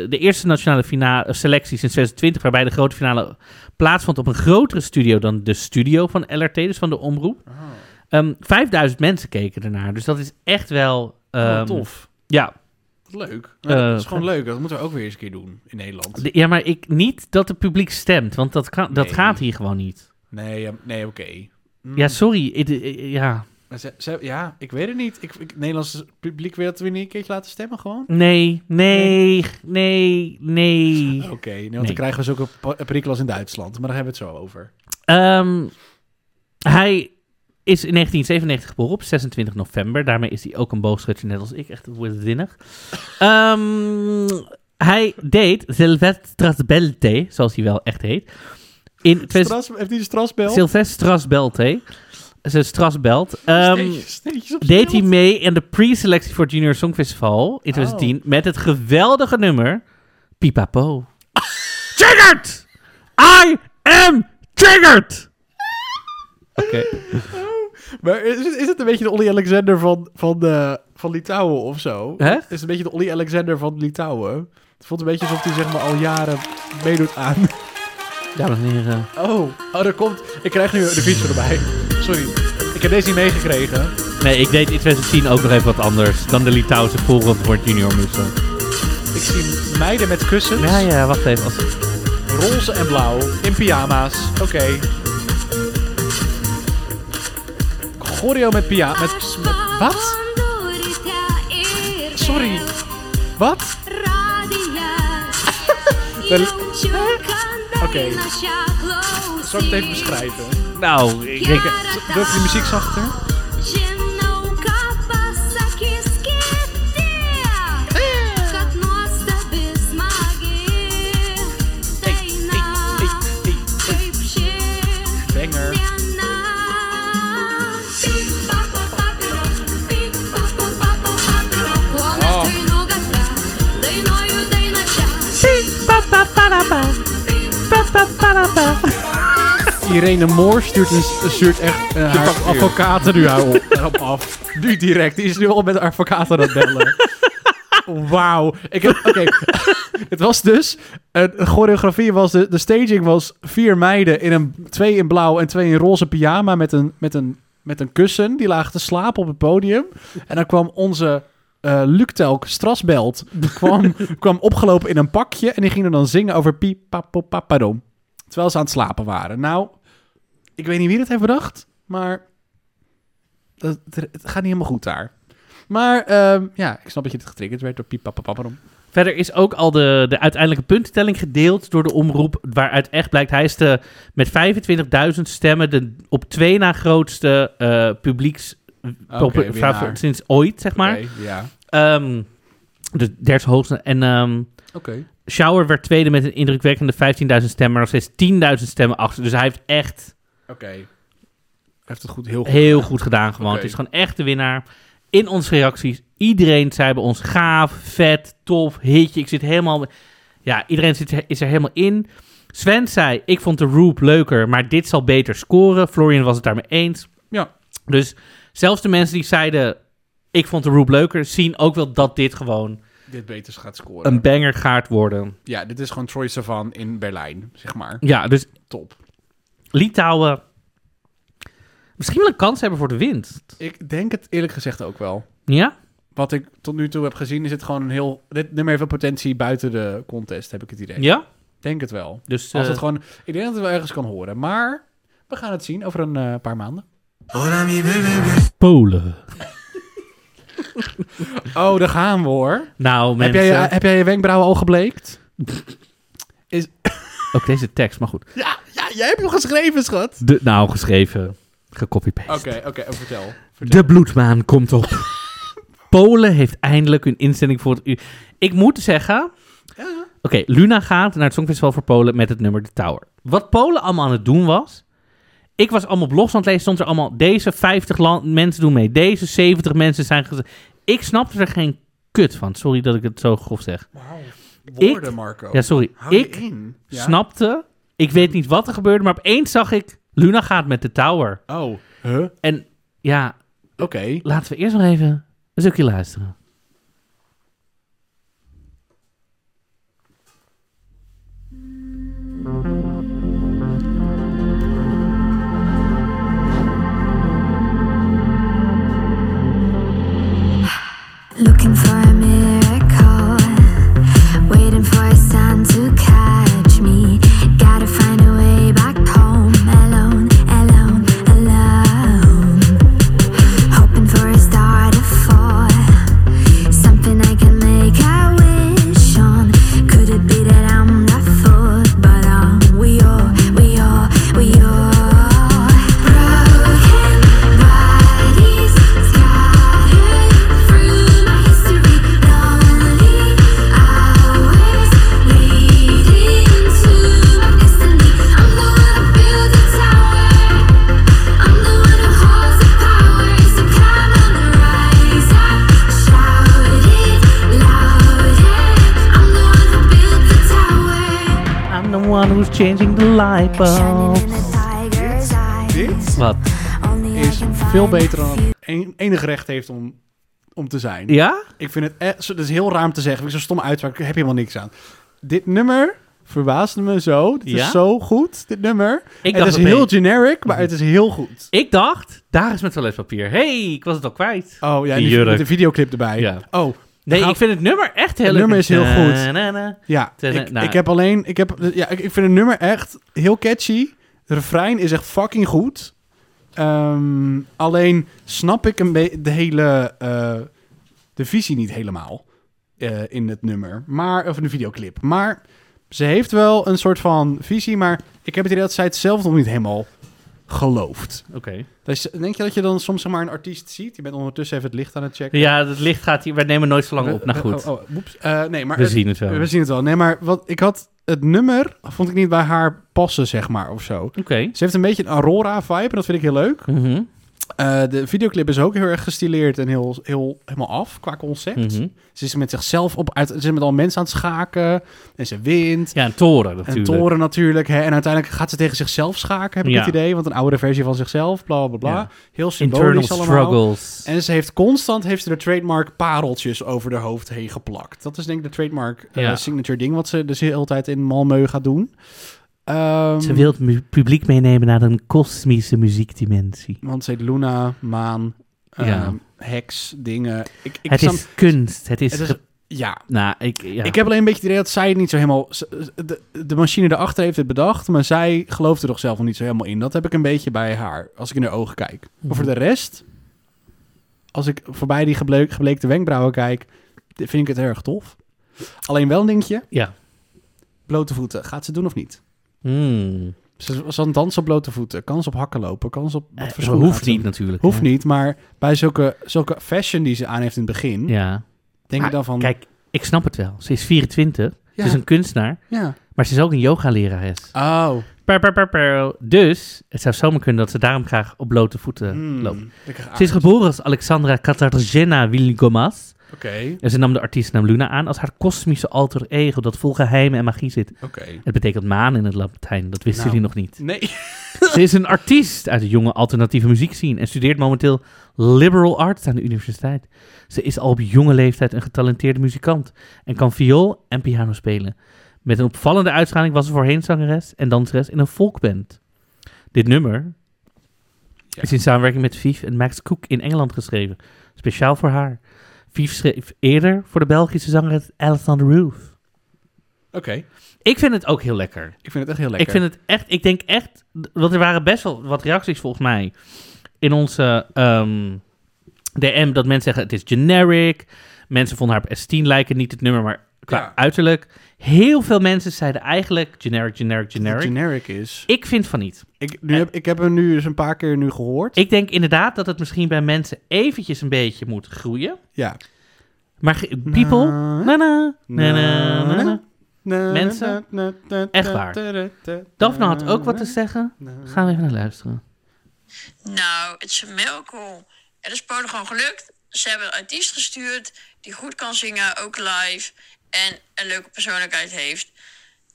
[SPEAKER 1] de eerste nationale fina- of selectie sinds 2020, waarbij de grote finale plaatsvond op een grotere studio dan de studio van LRT, dus van de omroep.
[SPEAKER 2] Oh.
[SPEAKER 1] Ehm, 5000 mensen keken ernaar, dus dat is echt wel ehm,
[SPEAKER 2] Oh, tof.
[SPEAKER 1] Ja,
[SPEAKER 2] Wat leuk.
[SPEAKER 1] Eh,
[SPEAKER 2] dat is gewoon leuk. Dat moeten we ook weer eens een keer doen in Nederland.
[SPEAKER 1] De- ja, maar ik niet dat het publiek stemt, want dat, kan, dat
[SPEAKER 2] Nee.
[SPEAKER 1] gaat hier gewoon niet.
[SPEAKER 2] Nee, ehm, nee oké. Mm.
[SPEAKER 1] Ja, sorry. ik- ik- ik- Ja.
[SPEAKER 2] Maar ze- ze- ja, ik weet het niet. Ik, ik, Nederlands publiek wil dat we niet een keertje laten stemmen gewoon.
[SPEAKER 1] Nee, nee, nee, nee.
[SPEAKER 2] Oké, nee, want
[SPEAKER 1] Nee.
[SPEAKER 2] dan krijgen we zulke pa- perikelen als in Duitsland. Maar daar hebben we het zo over.
[SPEAKER 1] Ehm, hij is in 1997 geboren op 26 november. Daarmee is hij ook een boogschutter, net als ik. Echt woordzinnig. Ehm hij deed Sylvester Belte, zoals hij wel echt heet. In Sylvester
[SPEAKER 2] Stras, heeft hij een strasbel?
[SPEAKER 1] Sylvester Belte. Zijn strasbelt. Ehm,
[SPEAKER 2] Steentjes- steentjes op
[SPEAKER 1] deed hij
[SPEAKER 2] straat.
[SPEAKER 1] mee aan de pre-selectie voor het Junior Songfestival in 2010 met het geweldige nummer Pipapo. triggered! I am triggered! Oké.
[SPEAKER 2] Maar is, het- is het een beetje de Olly Alexander van, van, eh, van Litouwen of zo?
[SPEAKER 1] Hè?
[SPEAKER 2] Is het een beetje de Olly Alexander van Litouwen? Het voelt een beetje alsof hij zeg maar al jaren meedoet aan...
[SPEAKER 1] Dames en heren.
[SPEAKER 2] Oh, oh, er komt. Ik krijg nu de fiets erbij. Sorry. Ik heb deze niet meegekregen.
[SPEAKER 1] Nee, ik deed in 2010 ook nog even wat anders dan de Litouwse Forum voor het Junior Moesten.
[SPEAKER 2] Ik zie meiden met kussens,
[SPEAKER 1] Ja, ja, wacht even. Als...
[SPEAKER 2] roze en blauw, in pyjama's. Oké. Choreo met pyjama. Met, met, wat? Sorry. Wat?
[SPEAKER 4] Wel- Oké.
[SPEAKER 2] Oké. Zal ik het even beschrijven?
[SPEAKER 1] Nou, ik denk...
[SPEAKER 2] Wil je de muziek zachter? Banger. Irene Moor stuurt, een, stuurt echt eh, haar advocaten nu haar op, erop af. Nu direct. Die is nu al met haar advocaten aan het bellen. Wauw. Ik heb- Oké. het was dus... Een een choreografie was... De, de staging was vier meiden in een... Twee in blauw en twee in roze pyjama met een, met een, met een kussen. Die lagen te slapen op het podium. En dan kwam onze... eh Luc Telk Strasbelt kwam, kwam opgelopen in een pakje en die ging er dan zingen over piep, pap, pop, pap, padom. Terwijl ze aan het slapen waren. Nou, ik weet niet wie dat heeft bedacht, maar dat, het, het gaat niet helemaal goed daar. Maar ehm, ja, ik snap dat je dit getriggerd werd door Piep papa, papa, om.
[SPEAKER 1] Verder is ook al de, de uiteindelijke puntentelling gedeeld door de omroep. Waaruit echt blijkt, hij is de, met 25.000 stemmen de op twee na grootste eh, publieks popu-
[SPEAKER 2] winnaar.
[SPEAKER 1] favor- sinds ooit, zeg maar.
[SPEAKER 2] Oké, ja.
[SPEAKER 1] Ehm, de derde hoogste. En ehm,
[SPEAKER 2] Oké.
[SPEAKER 1] Shower werd tweede met een indrukwekkende 15.000 stemmen, maar nog steeds 10.000 stemmen achter. Dus hij heeft echt
[SPEAKER 2] Oké. Hij Heeft het goed, heel goed.
[SPEAKER 1] heel goed gedaan gewoon.
[SPEAKER 2] Oké.
[SPEAKER 1] Het is gewoon echt de winnaar. In onze reacties, iedereen zei bij ons gaaf, vet, tof, hitje. Ik zit helemaal... Ja, iedereen zit, er- is er helemaal in. Sven zei, ik vond de Roop leuker, maar dit zal beter scoren. Florian was het daarmee eens.
[SPEAKER 2] Ja.
[SPEAKER 1] Dus zelfs de mensen die zeiden, ik vond de Roop leuker, zien ook wel dat dit gewoon
[SPEAKER 2] Dit beter gaat scoren.
[SPEAKER 1] een banger gaat worden.
[SPEAKER 2] ja, dit is gewoon Troy Savan in Berlijn, zeg maar.
[SPEAKER 1] Ja, dus
[SPEAKER 2] Top.
[SPEAKER 1] Litouwen misschien wel een kans hebben voor de winst.
[SPEAKER 2] Ik denk het eerlijk gezegd ook wel.
[SPEAKER 1] Ja?
[SPEAKER 2] Wat ik tot nu toe heb gezien, is het gewoon een heel... Dit nummer heeft wel potentie buiten de contest, heb ik het idee.
[SPEAKER 1] Ja?
[SPEAKER 2] Denk het wel.
[SPEAKER 1] Dus
[SPEAKER 2] Als
[SPEAKER 1] eh,
[SPEAKER 2] het gewoon, ik denk dat het wel ergens kan horen. Maar we gaan het zien over een eh, paar maanden.
[SPEAKER 6] Hola mi bebé.
[SPEAKER 1] Polen.
[SPEAKER 2] Oh, daar gaan we hoor.
[SPEAKER 1] Nou,
[SPEAKER 2] Heb
[SPEAKER 1] mensen.
[SPEAKER 2] jij, je- heb jij je wenkbrauwen al gebleekt? Is,
[SPEAKER 1] Ook deze tekst, maar goed.
[SPEAKER 2] ja, ja, jij hebt hem geschreven, schat.
[SPEAKER 1] De, nou, geschreven. Gecopy-paste.
[SPEAKER 2] Oké, oké, oh, vertel.
[SPEAKER 1] De bloedmaan komt op. Polen heeft eindelijk hun instelling voor het u. Ik moet zeggen. Oké, Luna gaat naar het Songfestival voor Polen met het nummer The Tower. Wat Polen allemaal aan het doen was. Ik was allemaal blogs aan het lezen. Stond er allemaal. Deze 50 land, mensen doen mee. Deze 70 mensen zijn. geze- Ik snapte er geen kut van. Sorry dat ik het zo grof zeg.
[SPEAKER 2] Woorden,
[SPEAKER 1] ik-
[SPEAKER 2] Marco.
[SPEAKER 1] Ja, sorry.
[SPEAKER 2] Hou je
[SPEAKER 1] Ik
[SPEAKER 2] in. Ja?
[SPEAKER 1] snapte. Ik weet niet wat er gebeurde. Maar opeens zag ik. Luna gaat met The Tower.
[SPEAKER 2] Oh, huh? Oké.
[SPEAKER 1] En ja, laten we eerst nog even een stukje luisteren.
[SPEAKER 4] Looking for a miracle, waiting for a sign to catch me. Gotta find a way back home, alone, alone, alone. Hoping for a star to fall, something I can make a wish on. Could it be that I'm the fool? But um, we all, we all, we all. Broken bodies scattered through my history. Lonely hours leading to my destiny. I'm the one who built the tower. I'm the one who holds the power. So come on, rise up, shout it louder. I'm the one who built
[SPEAKER 1] I'm the one who's
[SPEAKER 4] the tower.
[SPEAKER 1] changing the light bulb.
[SPEAKER 2] Dit
[SPEAKER 1] Wat?
[SPEAKER 2] is veel beter dan het en- enig recht heeft om, om te zijn.
[SPEAKER 1] Ja?
[SPEAKER 2] Ik vind het echt, zo- dat is heel raar om te zeggen. Ik zo'n stomme uitspraak, ik heb helemaal niks aan. Dit nummer verbaasde me zo. Dit
[SPEAKER 1] Ja?
[SPEAKER 2] is zo goed, dit nummer.
[SPEAKER 1] Ik
[SPEAKER 2] het
[SPEAKER 1] dacht
[SPEAKER 2] is
[SPEAKER 1] dat
[SPEAKER 2] heel
[SPEAKER 1] het-
[SPEAKER 2] generic, maar het is heel goed.
[SPEAKER 1] Ik dacht, daar is mijn toiletpapier. hey, ik was het al kwijt.
[SPEAKER 2] Oh ja, en
[SPEAKER 1] Die
[SPEAKER 2] die,
[SPEAKER 1] jurk.
[SPEAKER 2] met de videoclip erbij.
[SPEAKER 1] Ja.
[SPEAKER 2] Oh,
[SPEAKER 1] Nee,
[SPEAKER 2] Gaan-
[SPEAKER 1] ik vind het nummer echt heel
[SPEAKER 2] Het
[SPEAKER 1] leuk.
[SPEAKER 2] nummer is heel goed.
[SPEAKER 1] Ta-na-na.
[SPEAKER 2] ja.
[SPEAKER 1] Ten-
[SPEAKER 2] Ik,
[SPEAKER 1] nou-
[SPEAKER 2] ik heb alleen... Ik, heb, ja, ik, ik vind het nummer echt heel catchy. De refrein is echt fucking goed. Ehm, alleen snap ik een be- de hele... eh, de visie niet helemaal eh, in het nummer. Maar, of in de videoclip. Maar ze heeft wel een soort van visie. Maar ik heb het idee dat zij het zelf nog niet helemaal gelooft.
[SPEAKER 1] Oké.
[SPEAKER 2] Dus denk je dat je dan soms zeg maar een artiest ziet? Je bent ondertussen even het licht aan het checken.
[SPEAKER 1] Ja, het licht gaat hier. Wij nemen nooit zo lang op. Nou
[SPEAKER 2] Eh,
[SPEAKER 1] goed.
[SPEAKER 2] oh, oh, oeps. Eh, nee, maar
[SPEAKER 1] We
[SPEAKER 2] het-
[SPEAKER 1] zien het wel.
[SPEAKER 2] we
[SPEAKER 1] Oké.
[SPEAKER 2] zien het wel. Nee, maar wat, ik had het nummer, vond ik niet bij haar passen, zeg maar, of zo. Ze heeft een beetje een Aurora-vibe en dat vind ik heel leuk.
[SPEAKER 1] Mhm,
[SPEAKER 2] Eh, de videoclip is ook heel erg gestileerd en heel, heel helemaal af qua concept.
[SPEAKER 1] mhm.
[SPEAKER 2] Ze is met zichzelf op, uit, ze is met al mensen aan het schaken en ze wint.
[SPEAKER 1] Ja, een toren
[SPEAKER 2] Een
[SPEAKER 1] natuurlijk.
[SPEAKER 2] toren natuurlijk. Hè? En uiteindelijk gaat ze tegen zichzelf schaken, heb ik
[SPEAKER 1] Ja.
[SPEAKER 2] het idee. Want een oude versie van zichzelf, bla bla bla.
[SPEAKER 1] Ja.
[SPEAKER 2] Heel symbolisch
[SPEAKER 1] Internal
[SPEAKER 2] allemaal.
[SPEAKER 1] struggles.
[SPEAKER 2] En ze heeft constant heeft ze de trademark pareltjes over haar hoofd heen geplakt. Dat is denk ik de trademark eh,
[SPEAKER 1] Ja.
[SPEAKER 2] signature ding wat ze dus heel altijd in Malmö gaat doen. Ehm,
[SPEAKER 1] Ze wil het mu- publiek meenemen naar een kosmische muziekdimensie.
[SPEAKER 2] Want ze heet Luna, maan, ehm,
[SPEAKER 1] Ja.
[SPEAKER 2] heks, dingen. Ik, ik
[SPEAKER 1] het
[SPEAKER 2] snap-
[SPEAKER 1] is kunst. Het is...
[SPEAKER 2] het is-
[SPEAKER 1] ge-
[SPEAKER 2] ja.
[SPEAKER 1] Nou, ik... Ja.
[SPEAKER 2] Ik heb alleen een beetje het idee dat zij het niet zo helemaal... ze- De, de machine daarachter heeft het bedacht, maar zij gelooft er toch zelf nog niet zo helemaal in. Dat heb ik een beetje bij haar, als ik in haar ogen kijk.
[SPEAKER 1] Mhm.
[SPEAKER 2] Maar voor de rest, als ik voorbij die gebleek, gebleekte wenkbrauwen kijk, vind ik het heel erg tof. Alleen wel een dingetje,
[SPEAKER 1] Ja.
[SPEAKER 2] blote voeten, gaat ze doen of niet?
[SPEAKER 1] Hmm.
[SPEAKER 2] Ze ze hadden dansen op blote voeten, kans op hakken lopen, kans op wat voor
[SPEAKER 1] Eh,
[SPEAKER 2] schoenen
[SPEAKER 1] hoeft
[SPEAKER 2] aan te
[SPEAKER 1] niet
[SPEAKER 2] doen.
[SPEAKER 1] natuurlijk.
[SPEAKER 2] Hoeft
[SPEAKER 1] ja.
[SPEAKER 2] niet, maar bij zulke, zulke fashion die ze aan heeft in het begin,
[SPEAKER 1] Ja.
[SPEAKER 2] denk ik
[SPEAKER 1] Maar
[SPEAKER 2] dan van...
[SPEAKER 1] Kijk, ik snap het wel. Ze is 24.
[SPEAKER 2] Ja.
[SPEAKER 1] Ze is een kunstenaar.
[SPEAKER 2] Ja.
[SPEAKER 1] Maar ze is ook een yogalerares.
[SPEAKER 2] Oh.
[SPEAKER 1] Pew, pew, pew, pew. Dus het zou zomaar kunnen dat ze daarom graag op blote voeten
[SPEAKER 2] Hmm.
[SPEAKER 1] loopt.
[SPEAKER 2] Ah,
[SPEAKER 1] Ze is geboren als Alexandra Katarzyna Wilgomas.
[SPEAKER 2] Oké,
[SPEAKER 1] En ze nam de artiestennaam Luna aan als haar kosmische alter ego dat vol geheimen en magie zit.
[SPEAKER 2] oké.
[SPEAKER 1] Het betekent maan in het Latijn, dat wisten
[SPEAKER 2] Nou.
[SPEAKER 1] jullie nog niet.
[SPEAKER 2] Nee.
[SPEAKER 1] Ze is een artiest uit de jonge alternatieve muziekscene en studeert momenteel liberal arts aan de universiteit. Ze is al op jonge leeftijd een getalenteerde muzikant en kan viool en piano spelen. Met een opvallende uitschaling was ze voorheen zangeres en danseres in een folkband. Dit nummer is in samenwerking met Vief en Max Cook in Engeland geschreven, speciaal voor haar. Vief schreef eerder voor de Belgische zangeres Alexander Roof.
[SPEAKER 2] Oké,
[SPEAKER 1] Ik vind het ook heel lekker.
[SPEAKER 2] ik vind het echt heel lekker.
[SPEAKER 1] Ik vind het echt, ik denk echt, want er waren best wel wat reacties volgens mij in onze ehm, DM dat mensen zeggen het is generic. Mensen vonden haar op S10 lijken, niet het nummer, maar qua
[SPEAKER 2] Ja.
[SPEAKER 1] uiterlijk. Heel veel mensen zeiden eigenlijk generic, generic,
[SPEAKER 2] Dat
[SPEAKER 1] generic.
[SPEAKER 2] het generic is.
[SPEAKER 1] ik vind van niet.
[SPEAKER 2] Ik, nu heb, ik heb hem nu dus een paar keer nu gehoord.
[SPEAKER 1] Ik denk inderdaad dat het misschien bij mensen eventjes een beetje moet groeien.
[SPEAKER 2] ja.
[SPEAKER 1] Maar ge- people,
[SPEAKER 2] Na-
[SPEAKER 1] na, na, na, na, na, na. Mensen, echt
[SPEAKER 2] Echt
[SPEAKER 1] waar. Daphne had ook wat te zeggen. Gaan we even naar luisteren.
[SPEAKER 8] Nou, het is heel cool. Het is Polen gewoon gelukt. Ze hebben een artiest gestuurd die goed kan zingen, ook live. En een leuke persoonlijkheid heeft.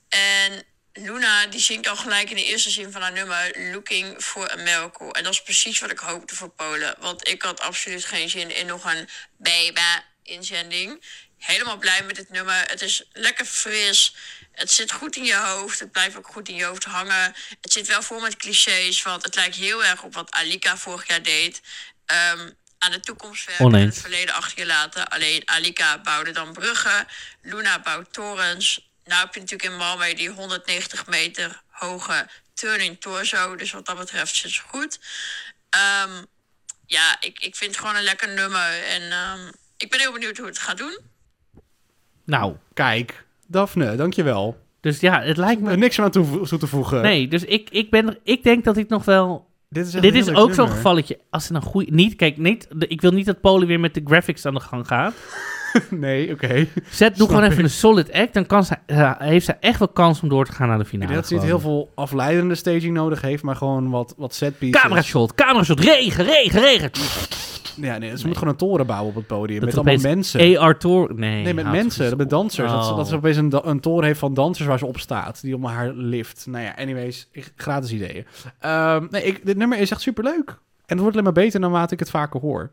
[SPEAKER 8] En Luna, die zingt al gelijk in de eerste zin van haar nummer... Looking for a Miracle. En dat is precies wat ik hoopte voor Polen. Want ik had absoluut geen zin in nog een baby-inzending. Helemaal blij met dit nummer. Het is lekker fris. Het zit goed in je hoofd. Het blijft ook goed in je hoofd hangen. Het zit wel vol met clichés. Want het lijkt heel erg op wat Alika vorig jaar deed. Ehm, aan de toekomst werken en
[SPEAKER 1] Oneens.
[SPEAKER 8] het verleden achter je laten. Alleen Alika bouwde dan bruggen. Luna bouwt torens. Nou heb je natuurlijk in Malmö die 190 meter hoge turning torso. Dus wat dat betreft zit ze goed. Ehm, ja, ik, ik vind het gewoon een lekker nummer. En ehm, ik ben heel benieuwd hoe het gaat doen.
[SPEAKER 1] Nou,
[SPEAKER 2] Kijk, Daphne, dankjewel.
[SPEAKER 1] dus ja, het lijkt me...
[SPEAKER 2] Er niks aan toe, toe te voegen.
[SPEAKER 1] Nee, dus ik, ik, ben, er- ik denk dat ik nog wel...
[SPEAKER 2] Dit is, echt
[SPEAKER 1] dit
[SPEAKER 2] een
[SPEAKER 1] is
[SPEAKER 2] heerlijk
[SPEAKER 1] ook zo'n
[SPEAKER 2] nummer.
[SPEAKER 1] gevalletje. Als ze een goede... Niet, kijk, niet, de- ik wil niet dat Polen weer met de graphics aan de gang gaat.
[SPEAKER 2] Nee, oké. Ik
[SPEAKER 1] Zet, doe
[SPEAKER 2] Snap
[SPEAKER 1] gewoon even een solid act. Dan kan ze, ja, heeft ze echt wel kans om door te gaan naar de finale.
[SPEAKER 2] denk dat ze niet heel
[SPEAKER 1] gewoon.
[SPEAKER 2] veel afleidende staging nodig heeft, maar gewoon wat, wat setpieces.
[SPEAKER 1] Camera shot, camera shot, regen, regen, regen.
[SPEAKER 2] Ja, nee, ze moet gewoon een toren bouwen op het podium.
[SPEAKER 1] Dat
[SPEAKER 2] met
[SPEAKER 1] er
[SPEAKER 2] allemaal
[SPEAKER 1] opeens
[SPEAKER 2] mensen.
[SPEAKER 1] AR Tour... Nee,
[SPEAKER 2] Nee, met
[SPEAKER 1] houd
[SPEAKER 2] mensen,
[SPEAKER 1] op.
[SPEAKER 2] met dansers. Dat, ze,
[SPEAKER 1] Oh.
[SPEAKER 2] dat ze opeens een, da- een toren heeft van dansers waar ze op staat. Die om haar lift. Nou ja, anyways, ik- gratis ideeën. Ehm, nee, ik, dit nummer is echt superleuk. En het wordt alleen maar beter naarmate ik het vaker hoor.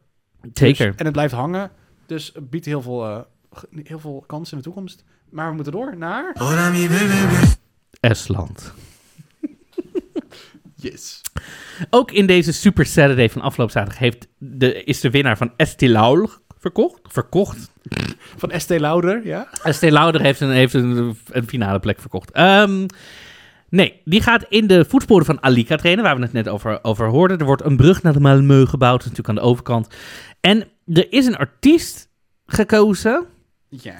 [SPEAKER 1] Zeker.
[SPEAKER 2] Dus- en het blijft hangen. Dus het biedt heel veel, eh, ge- heel veel kansen in de toekomst. Maar we moeten door naar...
[SPEAKER 6] Hola mi bebé.
[SPEAKER 1] Estland.
[SPEAKER 2] Yes.
[SPEAKER 1] Ook in deze Super Saturday van afgelopen zaterdag heeft de, is de winnaar van Estilaul verkocht. Verkocht.
[SPEAKER 2] Van Estee Lauder, ja?
[SPEAKER 1] ST Lauder heeft een, heeft een, een finale plek verkocht. Ehm, nee, die gaat in de voetsporen van Alika trainen, waar we het net over, over hoorden. Er wordt een brug naar de Malmö gebouwd, natuurlijk aan de overkant. En er is een artiest gekozen.
[SPEAKER 2] Ja.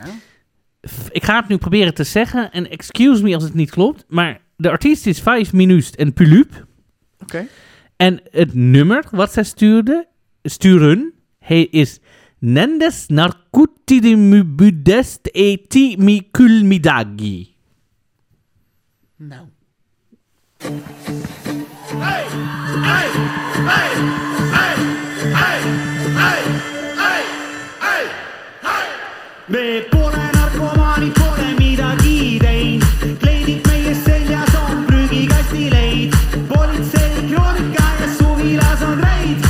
[SPEAKER 1] F- Ik ga het nu proberen te zeggen, en excuse me als het niet klopt, maar de artiest is Vijf Minust en Pulup.
[SPEAKER 2] Oké.
[SPEAKER 1] En het nummer wat zij stuurde, sturen, hij is Nendes Narcutimubudest Eti Mikulmidagi.
[SPEAKER 2] Nou.
[SPEAKER 9] Me ponen narcomaan, pole midagi teinud , kleidid meie seljas on prügikasti leid , politseinik nurka ja suvilas on reid ,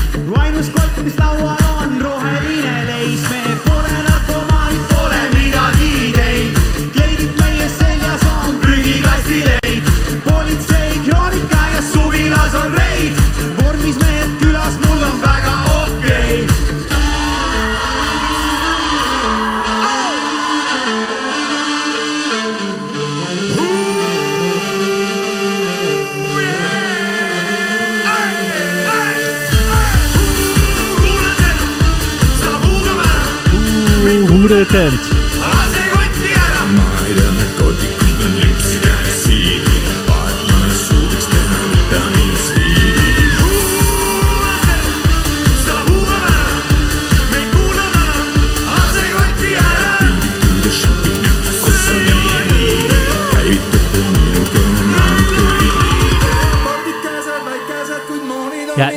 [SPEAKER 9] ainus kott , mis laual on roheline leis , me pole narkomaan , pole midagi teinud , kleidid meie seljas on prügikasti leid , politseinik nurka ja suvilas on reid , vormis mehed külas , mul on väga okei okay. .
[SPEAKER 6] ma ei tea , need kodikud on lipsi käes siin , vaat ma suudaks teha .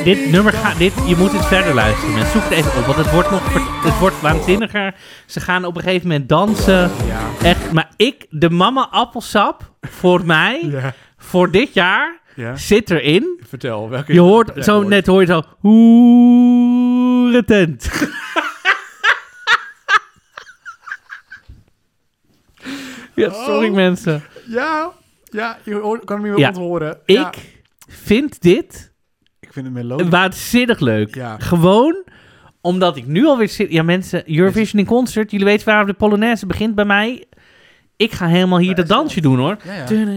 [SPEAKER 1] dit nummer gaat... Dit, je moet het verder luisteren, mensen. Zoek het even op, want het wordt nog... ver- Het wordt waanzinniger. Ze gaan op een gegeven moment dansen. Echt, maar ik... De mama appelsap, voor mij,
[SPEAKER 2] Ja.
[SPEAKER 1] voor dit jaar,
[SPEAKER 2] Ja.
[SPEAKER 1] zit erin.
[SPEAKER 2] Vertel, welke...
[SPEAKER 1] Je hoort
[SPEAKER 2] Ja,
[SPEAKER 1] zo
[SPEAKER 2] hoor.
[SPEAKER 1] net, hoor je zo... Hoerentent. ja, sorry
[SPEAKER 2] Oh.
[SPEAKER 1] mensen.
[SPEAKER 2] Ja, ja, je hoort, kan hem hier
[SPEAKER 1] Ja.
[SPEAKER 2] wel horen.
[SPEAKER 1] Ik
[SPEAKER 2] Ja,
[SPEAKER 1] vind dit
[SPEAKER 2] ik vind hem melodie.
[SPEAKER 1] waanzinnig leuk.
[SPEAKER 2] Ja.
[SPEAKER 1] Gewoon omdat ik nu alweer zit... Ja mensen, Eurovision in Concert. Jullie weten waar de Polonaise begint bij mij. Ik ga helemaal hier dat dansje doen hoor.
[SPEAKER 2] Ja, ja. En dan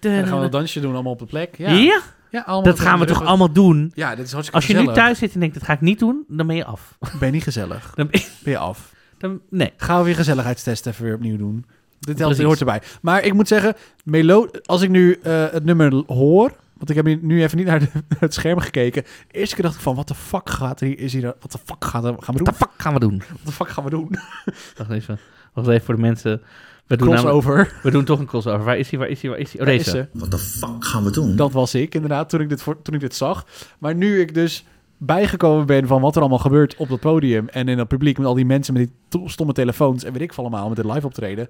[SPEAKER 2] gaan we
[SPEAKER 1] Ja,
[SPEAKER 2] dat dansje doen allemaal op de plek. Ja, Ja, allemaal
[SPEAKER 1] dat
[SPEAKER 2] op de
[SPEAKER 1] gaan we toch
[SPEAKER 2] rug.
[SPEAKER 1] allemaal doen?
[SPEAKER 2] Ja, dit is hartstikke
[SPEAKER 1] Als je nu
[SPEAKER 2] gezellig.
[SPEAKER 1] thuis zit en denkt, dat ga ik niet doen, dan ben je af.
[SPEAKER 2] Ben je niet gezellig,
[SPEAKER 1] Dan ben je-
[SPEAKER 2] ben je af.
[SPEAKER 1] dan, nee.
[SPEAKER 2] Gaan we weer gezelligheidstest even weer opnieuw doen. Dit helpt,
[SPEAKER 1] Precies.
[SPEAKER 2] dit hoort erbij. Maar ik moet zeggen, melo als ik nu eh, het nummer l- hoor... Want ik heb hier nu even niet naar, de- naar het scherm gekeken. De eerste keer dacht ik van, wat de fuck gaat er hier... Is hier wat de fuck gaat er, gaan we doen?
[SPEAKER 1] What the fuck gaan we doen?
[SPEAKER 2] Wat de fuck gaan we doen?
[SPEAKER 1] Wacht even. Wacht even voor de mensen. We doen, namelijk-
[SPEAKER 2] Crossover.
[SPEAKER 1] we doen toch een crossover. Waar is hij? Waar is hij? Waar is hij? Oh, deze.
[SPEAKER 2] Is ze.
[SPEAKER 5] What the fuck gaan we doen?
[SPEAKER 2] Dat was ik inderdaad toen ik, dit voor, toen ik dit zag. Maar nu ik dus bijgekomen ben van wat er allemaal gebeurt op dat podium en in dat publiek met al die mensen met die to- stomme telefoons en weet ik veel allemaal met dit live optreden,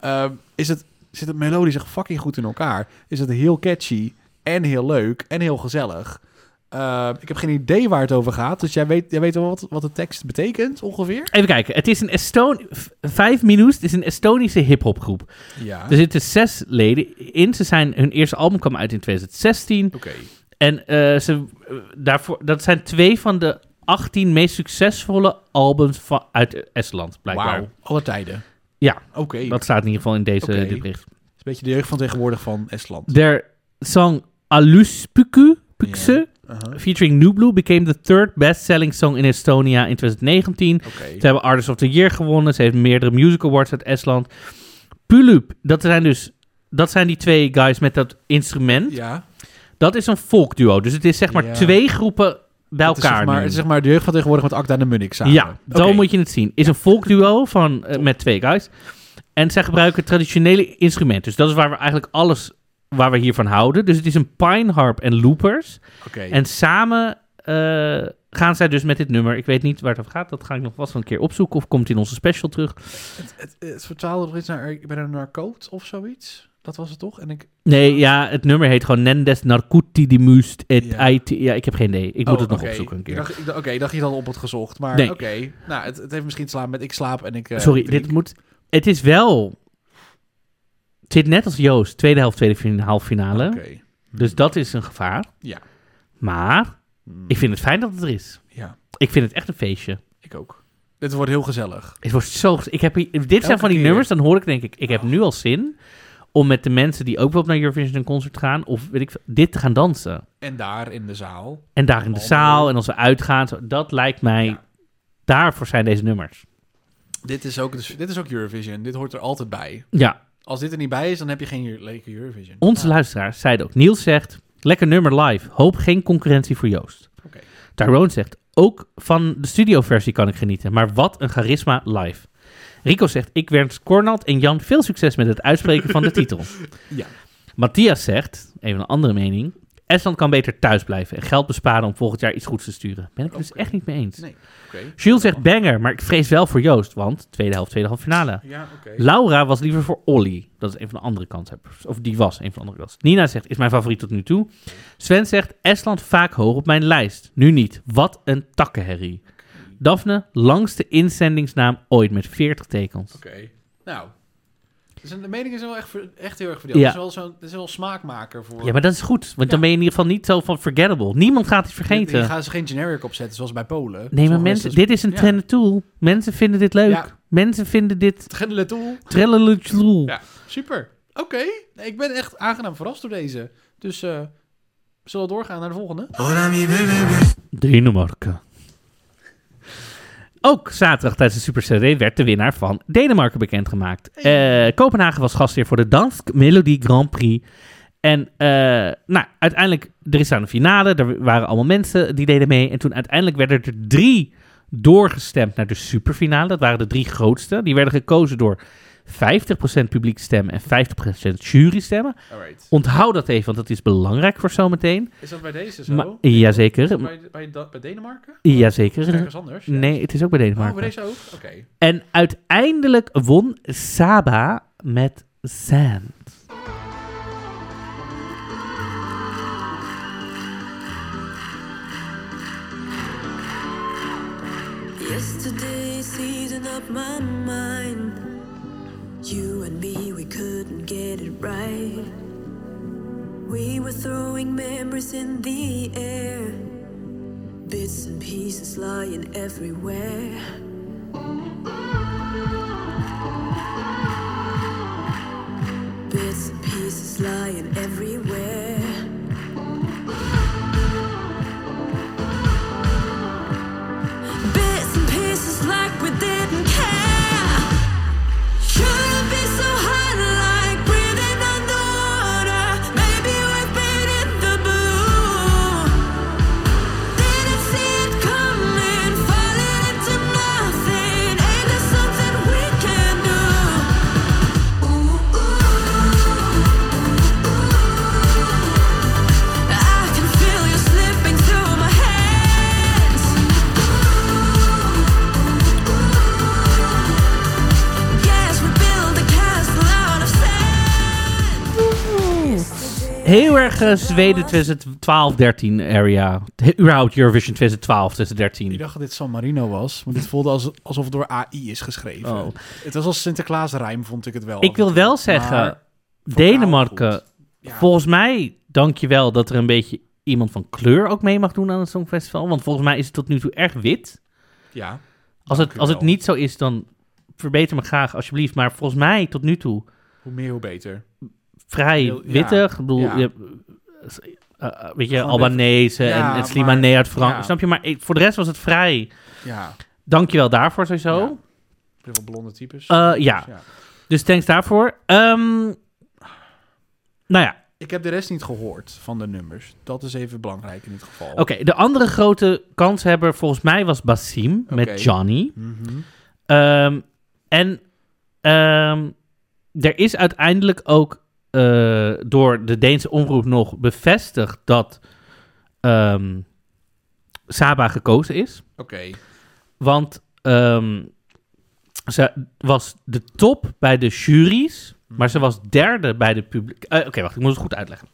[SPEAKER 2] ehm, is het, zit het melodisch echt fucking goed in elkaar. Is het heel catchy en heel leuk en heel gezellig. Ehm, ik heb geen idee waar het over gaat, dus jij weet, jij weet wel wat, wat de tekst betekent ongeveer?
[SPEAKER 1] Even kijken. Het is een Eston... v- Vijf Minus. Het is een Estonische hiphopgroep.
[SPEAKER 2] Ja.
[SPEAKER 1] Er zitten zes leden in. Ze zijn... Hun eerste album kwam uit in 2016.
[SPEAKER 2] Oké.
[SPEAKER 1] En eh, ze, eh, daarvoor, dat zijn twee van de 18 meest succesvolle albums van, uit Estland, blijkbaar.
[SPEAKER 2] Wauw. Alle tijden.
[SPEAKER 1] Ja,
[SPEAKER 2] Oké. Dat
[SPEAKER 1] dat staat in ieder geval in deze,
[SPEAKER 2] Oké.
[SPEAKER 1] dit bericht.
[SPEAKER 2] is een beetje de jeugd van tegenwoordig van Estland.
[SPEAKER 1] Their song Aluspuku, Pukse,
[SPEAKER 2] Aha.
[SPEAKER 1] featuring New Blue became the third best-selling song in Estonia in 2019.
[SPEAKER 2] Oké.
[SPEAKER 1] Ze hebben Artist of the Year gewonnen. Ze heeft meerdere music awards uit Estland. Pulup, dat zijn dus dat zijn die twee guys met dat instrument.
[SPEAKER 2] Ja.
[SPEAKER 1] Dat is een folkduo. Dus het is zeg maar
[SPEAKER 2] Ja.
[SPEAKER 1] twee groepen bij
[SPEAKER 2] Het is
[SPEAKER 1] elkaar.
[SPEAKER 2] zeg maar,
[SPEAKER 1] nu.
[SPEAKER 2] het is zeg maar de jeugd van tegenwoordig met Akda en de Munnik samen.
[SPEAKER 1] ja, zo
[SPEAKER 2] Oké.
[SPEAKER 1] moet je het zien. Is een folkduo van, eh, met twee guys. En zij gebruiken traditionele instrumenten. Dus dat is waar we eigenlijk alles waar we hiervan houden. Dus het is een pine harp en loopers.
[SPEAKER 2] Oké.
[SPEAKER 1] En samen eh, gaan zij dus met dit nummer. Ik weet niet waar het over gaat. Dat ga ik nog vast wel een keer opzoeken. Of komt in onze special terug.
[SPEAKER 2] Het, het vertaalde toch iets naar, ik ben een narcoot of zoiets? Dat was het toch? En ik,
[SPEAKER 1] Nee, ja, het nummer heet gewoon Nendes Narcuti di Must et
[SPEAKER 2] Ja.
[SPEAKER 1] Ait. Ja, ik heb geen idee. Ik moet
[SPEAKER 2] Oh,
[SPEAKER 1] het nog
[SPEAKER 2] oké.
[SPEAKER 1] opzoeken een
[SPEAKER 2] Ik
[SPEAKER 1] keer.
[SPEAKER 2] dacht- ik dacht- Oké, ik dacht je dan op het gezocht, maar
[SPEAKER 1] Nee.
[SPEAKER 2] oké. Nou, het, het heeft misschien te slaan met ik slaap en ik eh,
[SPEAKER 1] Sorry,
[SPEAKER 2] drink.
[SPEAKER 1] dit moet... Het is wel... Het zit net als Joost, tweede helft, tweede fin- halve finale.
[SPEAKER 2] Oké,
[SPEAKER 1] Dus dat is een gevaar.
[SPEAKER 2] Ja.
[SPEAKER 1] Maar
[SPEAKER 2] Hmm.
[SPEAKER 1] ik vind het fijn dat het er is.
[SPEAKER 2] ja,
[SPEAKER 1] Ik vind het echt een feestje.
[SPEAKER 2] ik ook. Dit wordt heel gezellig.
[SPEAKER 1] Het wordt zo... gez- Ik heb hier, dit zijn
[SPEAKER 2] Elke
[SPEAKER 1] van die
[SPEAKER 2] keer. Oh.
[SPEAKER 1] nummers, dan hoor ik denk ik... Ik heb nu al zin om met de mensen die ook wel naar Eurovision een concert gaan... of weet ik veel, dit te gaan dansen.
[SPEAKER 2] En daar in de zaal.
[SPEAKER 1] En daar in de
[SPEAKER 2] Oh,
[SPEAKER 1] zaal
[SPEAKER 2] mooi.
[SPEAKER 1] en als we uitgaan. zo- Dat lijkt mij...
[SPEAKER 2] Ja.
[SPEAKER 1] Daarvoor zijn deze nummers.
[SPEAKER 2] Dit is, ook, dus, dit is ook Eurovision. Dit hoort er altijd bij.
[SPEAKER 1] Ja,
[SPEAKER 2] Als dit er niet bij is, dan heb je geen Eu- leuke Eurovision.
[SPEAKER 1] Onze luisteraars zeiden ook. Niels zegt, lekker nummer live. Hoop geen concurrentie voor Joost.
[SPEAKER 2] Oké.
[SPEAKER 1] Tyrone zegt, ook van de studioversie kan ik genieten. Maar wat een charisma live. Rico zegt, ik wens Cornald en Jan veel succes met het uitspreken van de titel.
[SPEAKER 2] Ja.
[SPEAKER 1] Matthias zegt, even een andere mening. Estland kan beter thuis blijven en geld besparen om volgend jaar iets goeds te sturen. Ben ik het dus
[SPEAKER 2] Oké.
[SPEAKER 1] echt niet mee eens.
[SPEAKER 2] Nee. Oké.
[SPEAKER 1] Jules zegt banger, maar ik vrees wel voor Joost, want tweede helft, tweede half finale.
[SPEAKER 2] Ja, oké.
[SPEAKER 1] Laura was liever voor Olly. Dat is een van de andere kanshebbers. Of die was een van de andere kans. Nina zegt, is mijn favoriet tot nu toe. Sven zegt, Estland vaak hoog op mijn lijst. Nu niet. Wat een takkenherrie. Daphne, langste inzendingsnaam ooit met 40 tekens.
[SPEAKER 2] Oké. Nou. Dus de meningen zijn wel echt, ver- echt heel erg verdeeld.
[SPEAKER 1] Ja.
[SPEAKER 2] Het is wel zo'n het is wel een smaakmaker voor...
[SPEAKER 1] Ja, maar dat is goed. Want dan
[SPEAKER 2] Ja.
[SPEAKER 1] ben je in ieder geval niet zo van forgettable. Niemand gaat het
[SPEAKER 2] Je
[SPEAKER 1] vergeten.
[SPEAKER 2] gaan ze geen generic opzetten, zoals bij Polen.
[SPEAKER 1] Nee, maar
[SPEAKER 2] Sommige
[SPEAKER 1] mensen,
[SPEAKER 2] dat
[SPEAKER 1] dit is een
[SPEAKER 2] ja.
[SPEAKER 1] trend tool. Mensen vinden dit leuk.
[SPEAKER 2] Ja.
[SPEAKER 1] Mensen vinden dit
[SPEAKER 2] Het gendele tool.
[SPEAKER 1] trellelutsloel.
[SPEAKER 2] Ja, super. Oké, Nee, ik ben echt aangenaam verrast door deze. Dus eh, zullen we doorgaan naar de volgende?
[SPEAKER 6] Hola mi bebé.
[SPEAKER 1] Denemarken. Ook zaterdag tijdens de Super CD werd de winnaar van Denemarken bekendgemaakt. Eh, Kopenhagen was gastheer voor de Dansk Melody Grand Prix. En eh, nou, uiteindelijk, er is aan de finale. Er waren allemaal mensen die deden mee. En toen uiteindelijk werden er drie doorgestemd naar de superfinale. Dat waren de drie grootste. Die werden gekozen door 50% publiek stemmen en 50% jury stemmen.
[SPEAKER 2] Alright.
[SPEAKER 1] Onthoud dat even, want dat is belangrijk voor zometeen.
[SPEAKER 2] Is dat bij deze zo?
[SPEAKER 1] Maar,
[SPEAKER 2] Is dat
[SPEAKER 1] jazeker.
[SPEAKER 2] bij, bij, dat- bij Denemarken? Is
[SPEAKER 1] Jazeker.
[SPEAKER 2] ergens anders? Ja.
[SPEAKER 1] Nee, het is ook bij
[SPEAKER 2] Oh, bij
[SPEAKER 1] Denemarken.
[SPEAKER 2] deze ook? Oké.
[SPEAKER 1] En uiteindelijk won Saba met Sand.
[SPEAKER 4] Yesterday, season up my mind. You and me, we couldn't get it right. We were throwing memories in the air, bits and pieces lying everywhere. Bits and pieces lying everywhere. bits and pieces like we didn't care. Shouldn't be so hard like breathing underwater. Maybe we've been in the blue. Didn't see it coming, falling into nothing. Ain't there something we can do? Ooh, ooh, ooh. I can feel you slipping through my hands. Yes, we build a castle out of sand.
[SPEAKER 1] Heel erg eh, Zweden 2012-13 area. He- Überhaupt Eurovision 2012 tussen 13.
[SPEAKER 2] Ik dacht dat dit San Marino was, want dit voelde als, alsof het door AI is geschreven.
[SPEAKER 1] Oh.
[SPEAKER 2] Het was als Sinterklaas-rijm, vond ik het wel.
[SPEAKER 1] Ik wil wel zeggen,
[SPEAKER 2] Maar
[SPEAKER 1] Denemarken,
[SPEAKER 2] goed. Ja.
[SPEAKER 1] volgens mij dank je wel dat er een beetje iemand van kleur ook mee mag doen aan het Songfestival. Want volgens mij is het tot nu toe erg wit.
[SPEAKER 2] Ja.
[SPEAKER 1] Als,
[SPEAKER 2] Dank
[SPEAKER 1] het,
[SPEAKER 2] u
[SPEAKER 1] als het
[SPEAKER 2] wel.
[SPEAKER 1] niet zo is, dan verbeter me graag alsjeblieft. Maar volgens mij tot nu toe
[SPEAKER 2] Hoe meer, hoe beter.
[SPEAKER 1] vrij
[SPEAKER 2] Heel- ja,
[SPEAKER 1] wittig. Ik bedoel,
[SPEAKER 2] ja.
[SPEAKER 1] je hebt, eh, eh, eh, weet je,
[SPEAKER 2] Gewoon
[SPEAKER 1] Albanese
[SPEAKER 2] even- ja,
[SPEAKER 1] en, en
[SPEAKER 2] maar-
[SPEAKER 1] Slimane uit Frankrijk.
[SPEAKER 2] ja.
[SPEAKER 1] Snap je? Maar ik- voor de rest was het vrij.
[SPEAKER 2] Ja.
[SPEAKER 1] Dank je wel daarvoor sowieso.
[SPEAKER 2] Ja. Heel veel blonde types.
[SPEAKER 1] Eh, ja.
[SPEAKER 2] Ja.
[SPEAKER 1] Dus thanks daarvoor. Ehm, nou ja,
[SPEAKER 2] Ik heb de rest niet gehoord van de nummers. Dat is even belangrijk in dit geval.
[SPEAKER 1] oké. de andere grote kanshebber volgens mij was Basim
[SPEAKER 2] Oké.
[SPEAKER 1] met Johnny.
[SPEAKER 2] Mhm.
[SPEAKER 1] Ehm, en ehm, er is uiteindelijk ook eh, door de Deense omroep nog bevestigd dat ehm, Saba gekozen is.
[SPEAKER 2] Oké.
[SPEAKER 1] Want ehm, ze was de top bij de juries, maar ze was derde bij de publiek. eh, Oké, wacht, ik moet het goed uitleggen.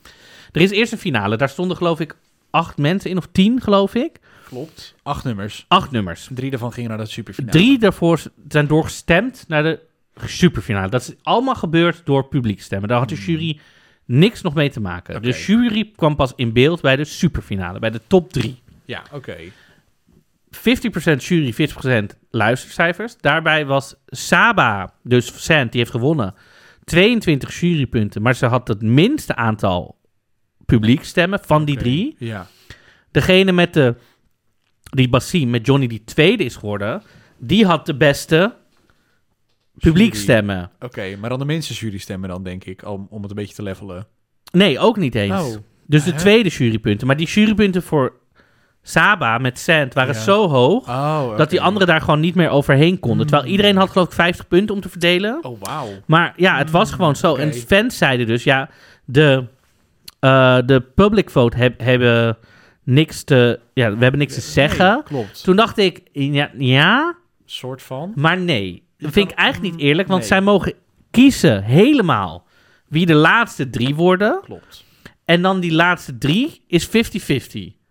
[SPEAKER 1] Er is eerst een finale. Daar stonden geloof ik acht mensen in, of tien geloof ik.
[SPEAKER 2] Klopt. Acht nummers.
[SPEAKER 1] Acht nummers.
[SPEAKER 2] Drie daarvan gingen naar dat superfinale.
[SPEAKER 1] Drie daarvoor s- zijn doorgestemd naar de superfinale. Dat is allemaal gebeurd door publiek stemmen. Daar had de jury niks nog mee te maken. De
[SPEAKER 2] Oké.
[SPEAKER 1] jury kwam pas in beeld bij de superfinale, bij de top drie.
[SPEAKER 2] Ja, oké.
[SPEAKER 1] 50% jury, 50% luistercijfers. Daarbij was Saba, dus Sand, die heeft gewonnen, 22 jurypunten. Maar ze had het minste aantal publiekstemmen van die drie.
[SPEAKER 2] Ja.
[SPEAKER 1] Degene met de, die Basim, met Johnny, die tweede is geworden, die had de beste publiekstemmen.
[SPEAKER 2] Oké, maar dan de mensen jury stemmen dan, denk ik. Om, om het een beetje te levelen.
[SPEAKER 1] Nee, ook niet eens.
[SPEAKER 2] Oh.
[SPEAKER 1] Dus de
[SPEAKER 2] Hè?
[SPEAKER 1] tweede jurypunten. Maar die jurypunten voor Saba met Sand waren
[SPEAKER 2] Ja.
[SPEAKER 1] zo hoog...
[SPEAKER 2] Oh,
[SPEAKER 1] Dat die anderen daar gewoon niet meer overheen konden. Terwijl iedereen had geloof ik 50 punten om te verdelen.
[SPEAKER 2] Hmm. Oh, wauw.
[SPEAKER 1] Maar ja, het was gewoon zo.
[SPEAKER 2] oké.
[SPEAKER 1] En fans zeiden dus, ja, de, eh, de public vote heb- hebben niks te... Ja, we hebben niks te zeggen.
[SPEAKER 2] Nee, klopt.
[SPEAKER 1] Toen dacht ik, ja, ja
[SPEAKER 2] Soort van.
[SPEAKER 1] maar nee. Dat vind ik eigenlijk niet eerlijk, want
[SPEAKER 2] hmm, nee.
[SPEAKER 1] zij mogen kiezen helemaal wie de laatste drie worden.
[SPEAKER 2] Klopt.
[SPEAKER 1] En dan die laatste drie is 50-50.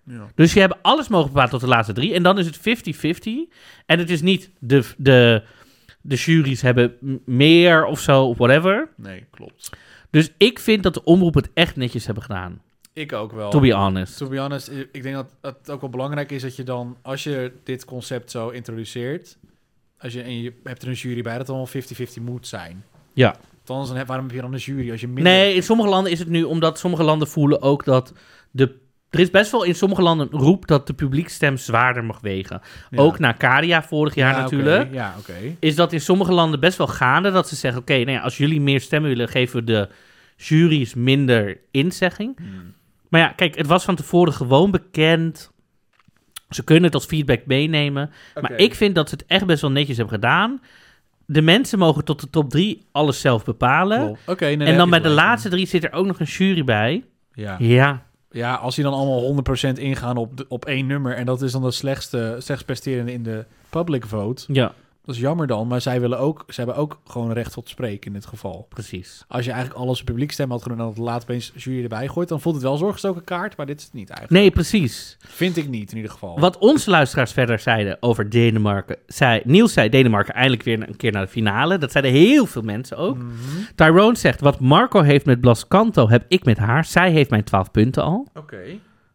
[SPEAKER 2] Ja.
[SPEAKER 1] Dus je hebt alles mogen bepalen tot de laatste drie. En dan is het 50-50. En het is niet de, de, de juries hebben m- meer of zo, of whatever.
[SPEAKER 2] Nee, klopt.
[SPEAKER 1] Dus ik vind dat de omroep het echt netjes hebben gedaan.
[SPEAKER 2] Ik ook wel.
[SPEAKER 1] To be honest.
[SPEAKER 2] To be honest, i- ik denk dat het ook wel belangrijk is dat je dan, als je dit concept zo introduceert, als je, en je hebt er een jury bij, dat het allemaal 50-50 moet zijn.
[SPEAKER 1] Ja.
[SPEAKER 2] Althans, dan heb, waarom heb je dan een jury als je minder...
[SPEAKER 1] Nee, in sommige landen is het nu omdat sommige landen voelen ook dat de. Er is best wel in sommige landen een roep dat de publiekstem zwaarder mag wegen.
[SPEAKER 2] Ja.
[SPEAKER 1] Ook na Caria vorig jaar
[SPEAKER 2] Ja, Ah, oké.
[SPEAKER 1] natuurlijk.
[SPEAKER 2] Ja, oké.
[SPEAKER 1] is dat in sommige landen best wel gaande. Dat ze zeggen, oké, nou ja, als jullie meer stemmen willen, geven we de jury's minder inzegging. Maar ja, kijk, het was van tevoren gewoon bekend. Ze kunnen het als feedback meenemen. Maar
[SPEAKER 2] Oké.
[SPEAKER 1] ik vind dat ze het echt best wel netjes hebben gedaan. de mensen mogen tot de top drie alles zelf bepalen.
[SPEAKER 2] Lol. Oké, nee, nee,
[SPEAKER 1] en dan bij
[SPEAKER 2] heb
[SPEAKER 1] de
[SPEAKER 2] je gelijk.
[SPEAKER 1] laatste drie zit er ook nog een jury bij.
[SPEAKER 2] Ja.
[SPEAKER 1] Ja.
[SPEAKER 2] ja, als die dan allemaal 100% ingaan op, de- op één nummer... en dat is dan de slechtste, slechtst presterende in de public vote...
[SPEAKER 1] Ja,
[SPEAKER 2] dat is jammer dan, maar zij, willen ook, zij hebben ook gewoon recht tot spreken in dit geval.
[SPEAKER 1] precies.
[SPEAKER 2] Als je eigenlijk alles publiek stem had gedaan... en dat laat opeens jury erbij gooit... dan voelt het wel zorggestoken kaart, maar dit is het niet eigenlijk.
[SPEAKER 1] Nee, precies.
[SPEAKER 2] Vind ik niet in ieder geval.
[SPEAKER 1] Wat onze luisteraars verder zeiden over Denemarken. Zei, Niels zei Denemarken eindelijk weer een keer naar de finale. Dat zeiden heel veel mensen ook.
[SPEAKER 2] Mhm.
[SPEAKER 1] Tyrone zegt, wat Marco heeft met Blascanto heb ik met haar. Zij heeft mijn 12 punten al.
[SPEAKER 2] Oké,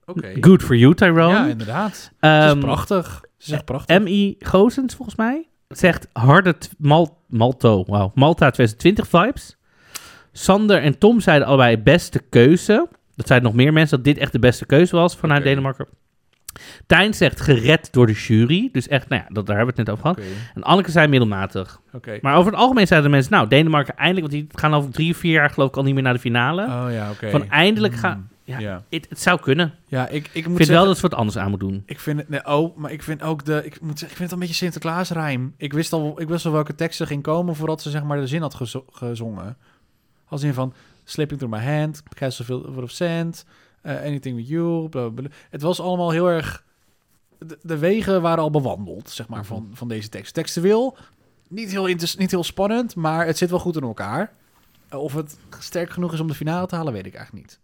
[SPEAKER 2] oké.
[SPEAKER 1] Good for you, Tyrone.
[SPEAKER 2] Ja, inderdaad.
[SPEAKER 1] Ehm,
[SPEAKER 2] Ze is prachtig. Ze is echt prachtig.
[SPEAKER 1] M.I. Gozens, volgens mij, zegt harde t- Mal- Malto, wauw, Malta 2020 vibes. Sander en Tom zeiden allebei beste keuze. Dat zeiden nog meer mensen dat dit echt de beste keuze was vanuit
[SPEAKER 2] Oké.
[SPEAKER 1] Denemarken. Tijn zegt gered door de jury. Dus echt, nou ja, dat, daar hebben we het net over gehad.
[SPEAKER 2] Oké,
[SPEAKER 1] En Anneke zei middelmatig.
[SPEAKER 2] oké.
[SPEAKER 1] eh, Maar over het algemeen zeiden de mensen, nou, Denemarken eindelijk, want die gaan over drie, vier jaar geloof ik al niet meer naar de finale.
[SPEAKER 2] Oh ja, oké. Hmm,
[SPEAKER 1] Van eindelijk gaan... Ja,
[SPEAKER 2] Ja,
[SPEAKER 1] het, het zou kunnen. Ik
[SPEAKER 2] ja ik, ik moet
[SPEAKER 1] vind wel
[SPEAKER 2] zeggen-
[SPEAKER 1] dat ze wat anders aan moeten doen.
[SPEAKER 2] Ik vind het, nee, oh, maar ik vind ook de, ik moet zeggen, ik vind het een beetje Sinterklaasrijm. Ik wist al, ik wist al welke tekst er ging komen voordat ze zeg maar de zin had gezo- gezongen. Als in van, slipping through my hand, castle full of sand, eh, anything with you, bla, bla, bla. Het was allemaal heel erg, de, de wegen waren al bewandeld, zeg maar, van, van deze tekst. Textueel, niet heel, inter- niet heel spannend, maar het zit wel goed in elkaar. Eh, of het sterk genoeg is om de finale te halen, weet ik eigenlijk niet.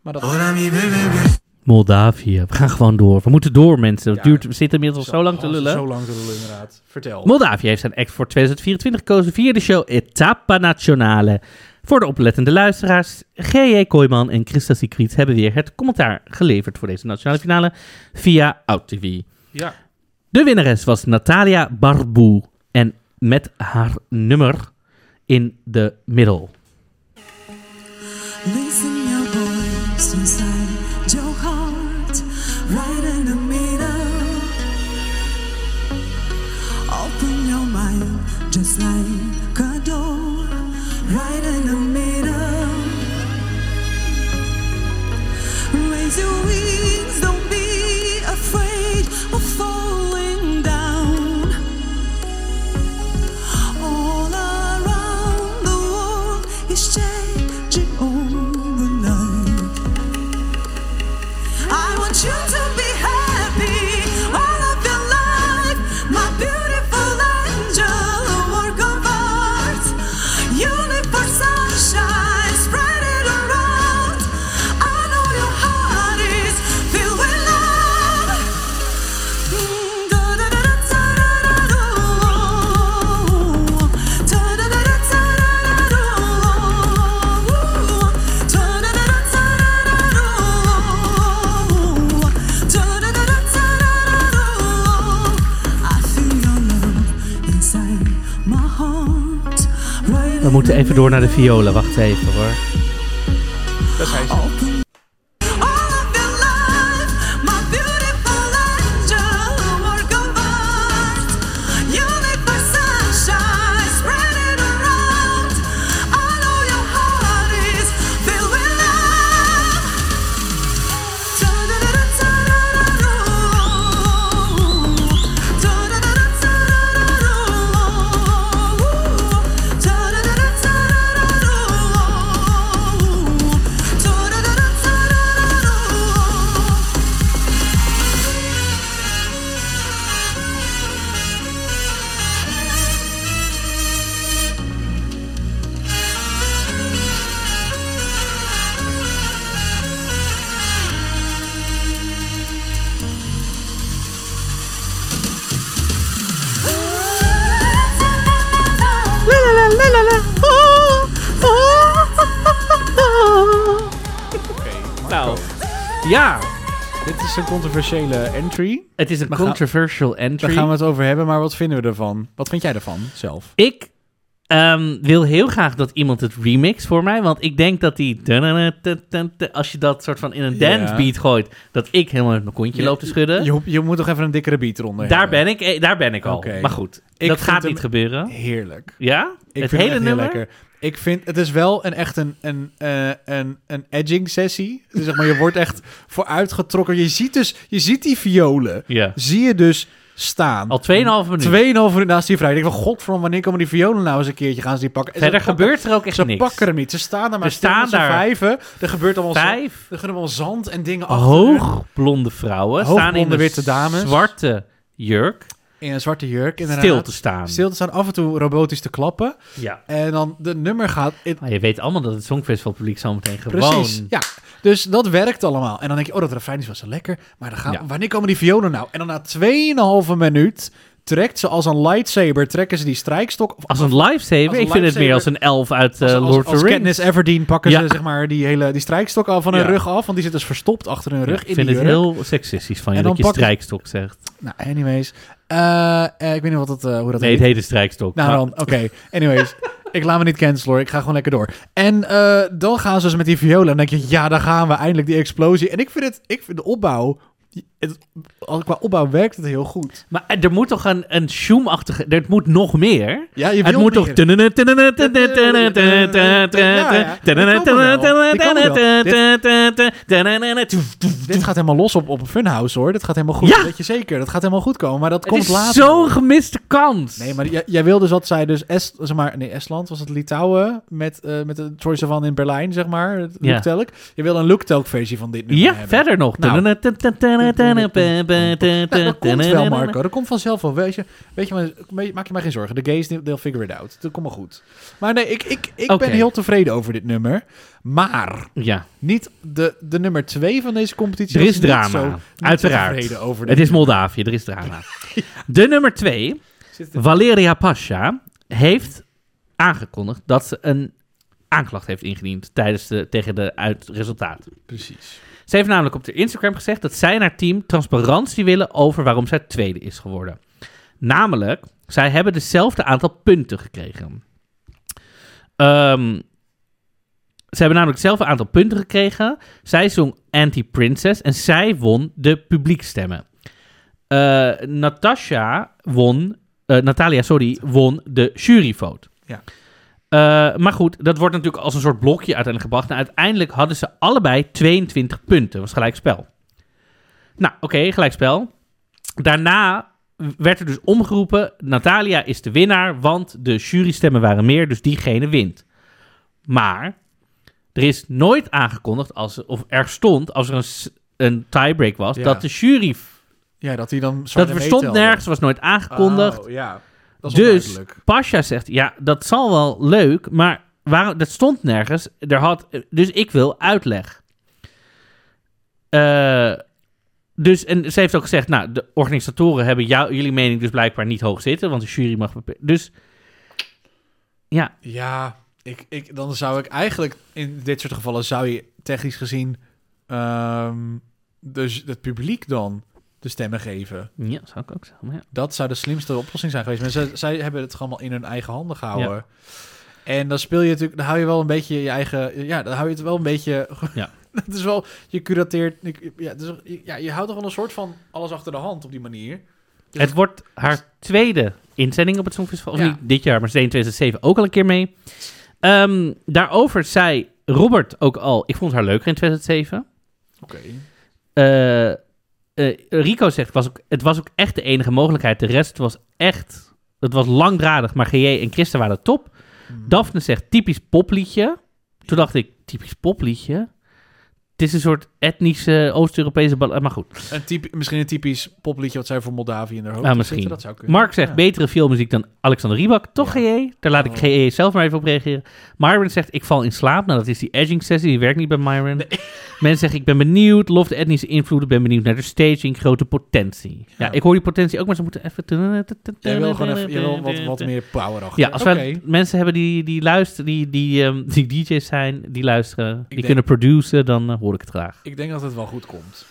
[SPEAKER 2] Maar
[SPEAKER 1] Oh,
[SPEAKER 2] dat...
[SPEAKER 6] Hola mi bebé.
[SPEAKER 1] Moldavië. We gaan gewoon door. We moeten door, mensen. Het
[SPEAKER 2] Ja.
[SPEAKER 1] duurt, we zitten inmiddels al zo lang te
[SPEAKER 2] Oh,
[SPEAKER 1] lullen.
[SPEAKER 2] Zo lang te lullen, inderdaad. Vertel.
[SPEAKER 1] Moldavië heeft zijn act voor 2024 gekozen via de show Etapa Nationale. Voor de oplettende luisteraars, G.J. Kooijman en Christa Siegfried hebben weer het commentaar geleverd voor deze nationale finale via OutTV.
[SPEAKER 2] Ja.
[SPEAKER 1] De winnares was Natalia Barboe en met haar nummer in de middel.
[SPEAKER 4] Listen your voice inside your heart, right in the middle. Open your mind, just like a door, right in the middle. Raise your wings, don't be afraid of falling down. All around the world is changing overnight. I want you to be happy all of your life, my beautiful angel, a work of art. You live for sunshine, spread it around. I know your heart is filled with love.
[SPEAKER 1] We moeten even door naar de violen. Wacht even hoor.
[SPEAKER 4] All of your life, my beautiful angel, a work of art. You live for sunshine, spread it around. I know your heart is filled with love.
[SPEAKER 1] Nou, ja.
[SPEAKER 2] Dit is een controversiële entry.
[SPEAKER 1] Het is een
[SPEAKER 2] We gaan-
[SPEAKER 1] controversial entry.
[SPEAKER 2] Daar gaan we het over hebben, maar wat vinden we ervan? Wat vind jij ervan zelf?
[SPEAKER 1] Ik ehm, wil heel graag dat iemand het remix voor mij. Want ik denk dat die. Als je dat soort van in een
[SPEAKER 2] Ja.
[SPEAKER 1] dance beat gooit. dat ik helemaal met mijn kontje loop te schudden.
[SPEAKER 2] Je, je moet toch even een dikkere beat eronder
[SPEAKER 1] daar,
[SPEAKER 2] hebben.
[SPEAKER 1] ben ik, eh, daar ben ik al.
[SPEAKER 2] Oké.
[SPEAKER 1] Maar goed,
[SPEAKER 2] Ik
[SPEAKER 1] dat
[SPEAKER 2] vind
[SPEAKER 1] gaat
[SPEAKER 2] hem-
[SPEAKER 1] niet gebeuren.
[SPEAKER 2] Heerlijk.
[SPEAKER 1] Ja?
[SPEAKER 2] Ik
[SPEAKER 1] het
[SPEAKER 2] vind
[SPEAKER 1] hele
[SPEAKER 2] echt heel
[SPEAKER 1] nummer.
[SPEAKER 2] lekker. Ik vind, het is wel een echt een, een, eh, een, een edging sessie. Dus zeg maar, je wordt echt vooruitgetrokken. Je ziet dus, je ziet die violen.
[SPEAKER 1] Ja.
[SPEAKER 2] Zie je dus staan.
[SPEAKER 1] Al 2,5 minuut.
[SPEAKER 2] Tweeënhalve minuut naast die vrij. Ik denk van, god, van wanneer komen die violen nou eens een keertje, gaan ze die pakken. En
[SPEAKER 1] Verder
[SPEAKER 2] ze pakken-
[SPEAKER 1] gebeurt er ook echt
[SPEAKER 2] Ze
[SPEAKER 1] niks.
[SPEAKER 2] pakken hem niet. Ze staan daar maar
[SPEAKER 1] Ze
[SPEAKER 2] stil met
[SPEAKER 1] staan
[SPEAKER 2] z'n
[SPEAKER 1] daar.
[SPEAKER 2] vijven. Er gebeurt allemaal, zand-
[SPEAKER 1] Vijf.
[SPEAKER 2] er gebeurt allemaal zand en dingen achter.
[SPEAKER 1] Hoogblonde vrouwen staan in
[SPEAKER 2] Hoogblonde
[SPEAKER 1] een
[SPEAKER 2] witte dames.
[SPEAKER 1] zwarte jurk
[SPEAKER 2] In een zwarte jurk, inderdaad.
[SPEAKER 1] stil te staan.
[SPEAKER 2] Stil te staan, af en toe robotisch te klappen.
[SPEAKER 1] Ja.
[SPEAKER 2] En dan de nummer gaat... in-
[SPEAKER 1] Maar je weet allemaal dat het Songfestivalpubliek zo meteen gewoon...
[SPEAKER 2] Precies, ja. Dus dat werkt allemaal. En dan denk je, oh, dat refrein is wel zo lekker. Maar dan gaan,
[SPEAKER 1] Ja.
[SPEAKER 2] wanneer komen die violen nou? En dan na 2,5 minuut trekt ze als een lightsaber... trekken ze die strijkstok... Of
[SPEAKER 1] Als een lifesaver?
[SPEAKER 2] Als een
[SPEAKER 1] ik vind het meer als een elf uit eh,
[SPEAKER 2] als, als,
[SPEAKER 1] Lord of
[SPEAKER 2] als
[SPEAKER 1] the Rings.
[SPEAKER 2] Katniss Everdeen pakken
[SPEAKER 1] Ja.
[SPEAKER 2] ze zeg maar, die, hele, die strijkstok al van hun
[SPEAKER 1] Ja.
[SPEAKER 2] rug af. Want die zit dus verstopt achter hun rug
[SPEAKER 1] ik
[SPEAKER 2] in
[SPEAKER 1] vind
[SPEAKER 2] die
[SPEAKER 1] het
[SPEAKER 2] jurk.
[SPEAKER 1] heel seksistisch van je
[SPEAKER 2] En
[SPEAKER 1] dat
[SPEAKER 2] dan
[SPEAKER 1] je
[SPEAKER 2] pakken-
[SPEAKER 1] strijkstok zegt.
[SPEAKER 2] Nou, anyways. Eh, eh, ik weet niet wat dat, eh, hoe dat
[SPEAKER 1] Nee, het
[SPEAKER 2] heet.
[SPEAKER 1] heet Ah. een strijkstok.
[SPEAKER 2] Nou
[SPEAKER 1] maar-
[SPEAKER 2] dan, oké. Anyways, ik laat me niet cancelen hoor. Ik ga gewoon lekker door. En eh, dan gaan ze dus met die violen. En dan denk je, ja, daar gaan we eindelijk die explosie. En ik vind het, ik vind de opbouw, het, als- qua opbouw werkt het heel goed.
[SPEAKER 1] Maar er moet toch een, een Shoom-achtige... Er moet nog meer?
[SPEAKER 2] Ja, je
[SPEAKER 1] het
[SPEAKER 2] wilt
[SPEAKER 1] moet
[SPEAKER 2] meer.
[SPEAKER 1] toch...
[SPEAKER 2] Dit gaat helemaal los op, op een funhouse hoor. Dit gaat helemaal goed.
[SPEAKER 1] Ja!
[SPEAKER 2] Dat weet je zeker. Dat gaat helemaal goed komen. Maar dat
[SPEAKER 1] Het
[SPEAKER 2] komt
[SPEAKER 1] is
[SPEAKER 2] later.
[SPEAKER 1] zo'n gemiste kans.
[SPEAKER 2] Nee, maar jij, jij wil dus wat zij dus Est, zeg maar, nee, Estland was het Litouwen met, eh, met de Troy Sivan in Berlijn, zeg maar. Het
[SPEAKER 1] Ja.
[SPEAKER 2] Looktelk. Je wil een Looktelk versie van dit nummer
[SPEAKER 1] Ja,
[SPEAKER 2] hebben.
[SPEAKER 1] verder nog.
[SPEAKER 2] Nou. Nou, dat komt wel, Marco. Dat komt vanzelf wel. Weet je, weet je, maar- weet- maak je maar geen zorgen. De gays, they'll figure it out. Dat komt wel goed. Maar nee, ik, ik, ik
[SPEAKER 1] Oké.
[SPEAKER 2] ben heel tevreden over dit nummer. Maar
[SPEAKER 1] Ja,
[SPEAKER 2] niet de, de nummer twee van deze competitie.
[SPEAKER 1] er is
[SPEAKER 2] was ik niet zo-
[SPEAKER 1] drama.
[SPEAKER 2] niet zo
[SPEAKER 1] Uiteraard.
[SPEAKER 2] tevreden over dit
[SPEAKER 1] Het is
[SPEAKER 2] nummer.
[SPEAKER 1] Moldavië, er is drama. De nummer twee,
[SPEAKER 2] Zit er-
[SPEAKER 1] Valeria Pasha, heeft aangekondigd dat ze een aanklacht heeft ingediend tijdens de, tegen de uitresultaat.
[SPEAKER 2] Precies.
[SPEAKER 1] Ze heeft namelijk op haar Instagram gezegd dat zij en haar team transparantie willen over waarom zij tweede is geworden. Namelijk, zij hebben dezelfde aantal punten gekregen. Ehm, ze hebben namelijk hetzelfde aantal punten gekregen. Zij zong Anti-Princess en zij won de publiekstemmen. Eh Natasha won, eh, Natalia, sorry, won de juryvote.
[SPEAKER 2] Ja.
[SPEAKER 1] Eh, maar goed, dat wordt natuurlijk als een soort blokje uiteindelijk gebracht. Nou, uiteindelijk hadden ze allebei 22 punten. Dat was gelijk spel. Nou, oké, gelijk spel. Daarna werd er dus omgeroepen... Natalia is de winnaar, want de jurystemmen waren meer... dus diegene wint. Maar er is nooit aangekondigd... Als, of er stond, als er een, s- een tiebreak was...
[SPEAKER 2] Ja.
[SPEAKER 1] dat de jury...
[SPEAKER 2] Ja, dat hij dan zo
[SPEAKER 1] Dat er stond nergens, was nooit aangekondigd.
[SPEAKER 2] ja. Oh, Dat is
[SPEAKER 1] Dus
[SPEAKER 2] onduidelijk.
[SPEAKER 1] Pasha zegt, ja, dat zal wel leuk, maar waarom, dat stond nergens. Er had, dus ik wil uitleg. Eh, dus, en ze heeft ook gezegd, nou, de organisatoren hebben jou, jullie mening dus blijkbaar niet hoog zitten, want de jury mag... bepe- Dus, ja,
[SPEAKER 2] Ja, ik, ik, dan zou ik eigenlijk in dit soort gevallen zou je technisch gezien ehm, dus het publiek dan de stemmen geven.
[SPEAKER 1] ja, zou ik ook zeggen, maar ja.
[SPEAKER 2] Dat zou de slimste oplossing zijn geweest. Maar ze, zij hebben het gewoon allemaal in hun eigen handen gehouden. En dan speel je natuurlijk, dan hou je wel een beetje je eigen, ja, dan hou je het wel een beetje.
[SPEAKER 1] Ja.
[SPEAKER 2] Het is wel, je curateert, ik- ja, het is- ja, je houdt toch wel een soort van alles achter de hand op die manier. Dus-
[SPEAKER 1] Het wordt haar tweede inzending op het Songfestival. Of
[SPEAKER 2] Ja.
[SPEAKER 1] niet dit jaar, maar ze deed in 2007 ook al een keer mee. Ehm, daarover zei Robert ook al, ik vond haar leuker in 2007.
[SPEAKER 2] Oké.
[SPEAKER 1] Eh, eh, Rico zegt, was ook, het was ook echt de enige mogelijkheid. De rest was echt... Het was langdradig, maar GJ en Christa waren top. Daphne zegt, typisch popliedje. Toen dacht ik, typisch popliedje? Het is een soort etnische Oost-Europese... bal- eh, Maar goed.
[SPEAKER 2] Een typ, misschien een typisch popliedje wat zij voor Moldavië in haar hoofd
[SPEAKER 1] Nou,
[SPEAKER 2] heeft
[SPEAKER 1] misschien.
[SPEAKER 2] zitten, Oh, Dat zou kunnen.
[SPEAKER 1] Mark zegt
[SPEAKER 2] Ja. Oh.
[SPEAKER 1] betere filmmuziek dan Alexander Riebak. Toch GE? Daar laat ik GE zelf maar even op reageren. Myron zegt ik val in slaap. Nou, dat is die edging sessie. Die werkt niet bij Myron. Mensen zeggen ik ben benieuwd. Lof de etnische invloeden. Ben benieuwd naar de staging. Grote potentie. Ja,
[SPEAKER 2] Ja.
[SPEAKER 1] ik hoor die potentie ook, maar ze moeten even...
[SPEAKER 2] Jij wil gewoon even, je wil wat, wat meer power achter.
[SPEAKER 1] Ja, als
[SPEAKER 2] Oké.
[SPEAKER 1] wij mensen hebben die, die luisteren, die, die, ehm, die DJ's zijn, die luisteren, die
[SPEAKER 2] denk-
[SPEAKER 1] kunnen produceren, dan eh, hoor ik het graag.
[SPEAKER 2] Ik denk dat het wel goed komt.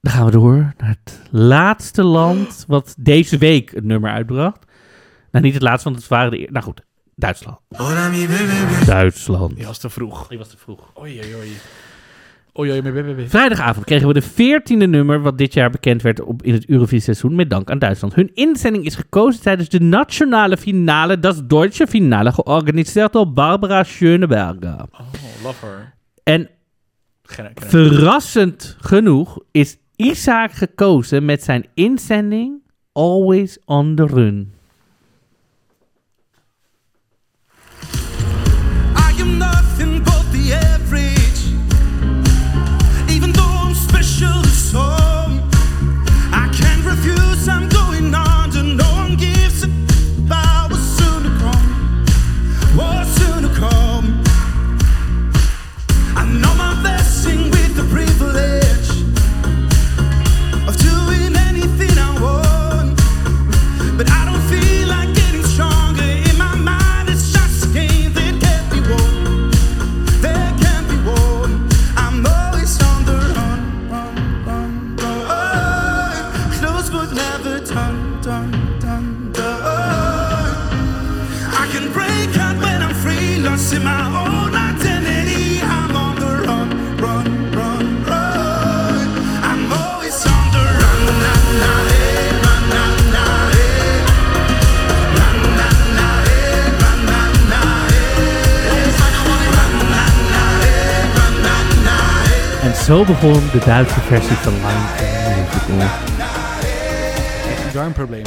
[SPEAKER 1] Dan gaan we door naar het laatste land wat deze week het nummer uitbracht. Nou, niet het laatste, want het waren de... eer- Nou goed, Duitsland. Duitsland.
[SPEAKER 2] Ja, was te vroeg.
[SPEAKER 1] Die was te vroeg.
[SPEAKER 2] Oei, oei, oei. Oei, oei, oei, oei, oei.
[SPEAKER 1] Vrijdagavond kregen we de veertiende nummer wat dit jaar bekend werd op, in het Eurovisie-seizoen met dank aan Duitsland. Hun inzending is gekozen tijdens de nationale finale, das Deutsche Finale, georganiseerd door Barbara Schöneberger.
[SPEAKER 2] Oh, lover.
[SPEAKER 1] En
[SPEAKER 2] Ken- ken-
[SPEAKER 1] verrassend genoeg is Isaac gekozen met zijn inzending Always on the Run.
[SPEAKER 6] I am nothing but the average. Even though I'm special in some, I can't refuse. I'm going under. No one gives a f- I was soon to come. Was soon to come. I know my blessing with the privilege of doing anything I want. But I don't feel like getting stronger. In my mind, it's just a game that can't be won. That can't be won. I'm always on the run, run, run, run. Oh, close but never done, done, done, done. I can break out when I'm free, lost in my own identity. I'm on the run, run, run, run. I'm always on the run, na, na, eh, run, na, na, eh.
[SPEAKER 1] En zo begon de Duitse versie van Lion Musical.
[SPEAKER 2] Een darmprobleem.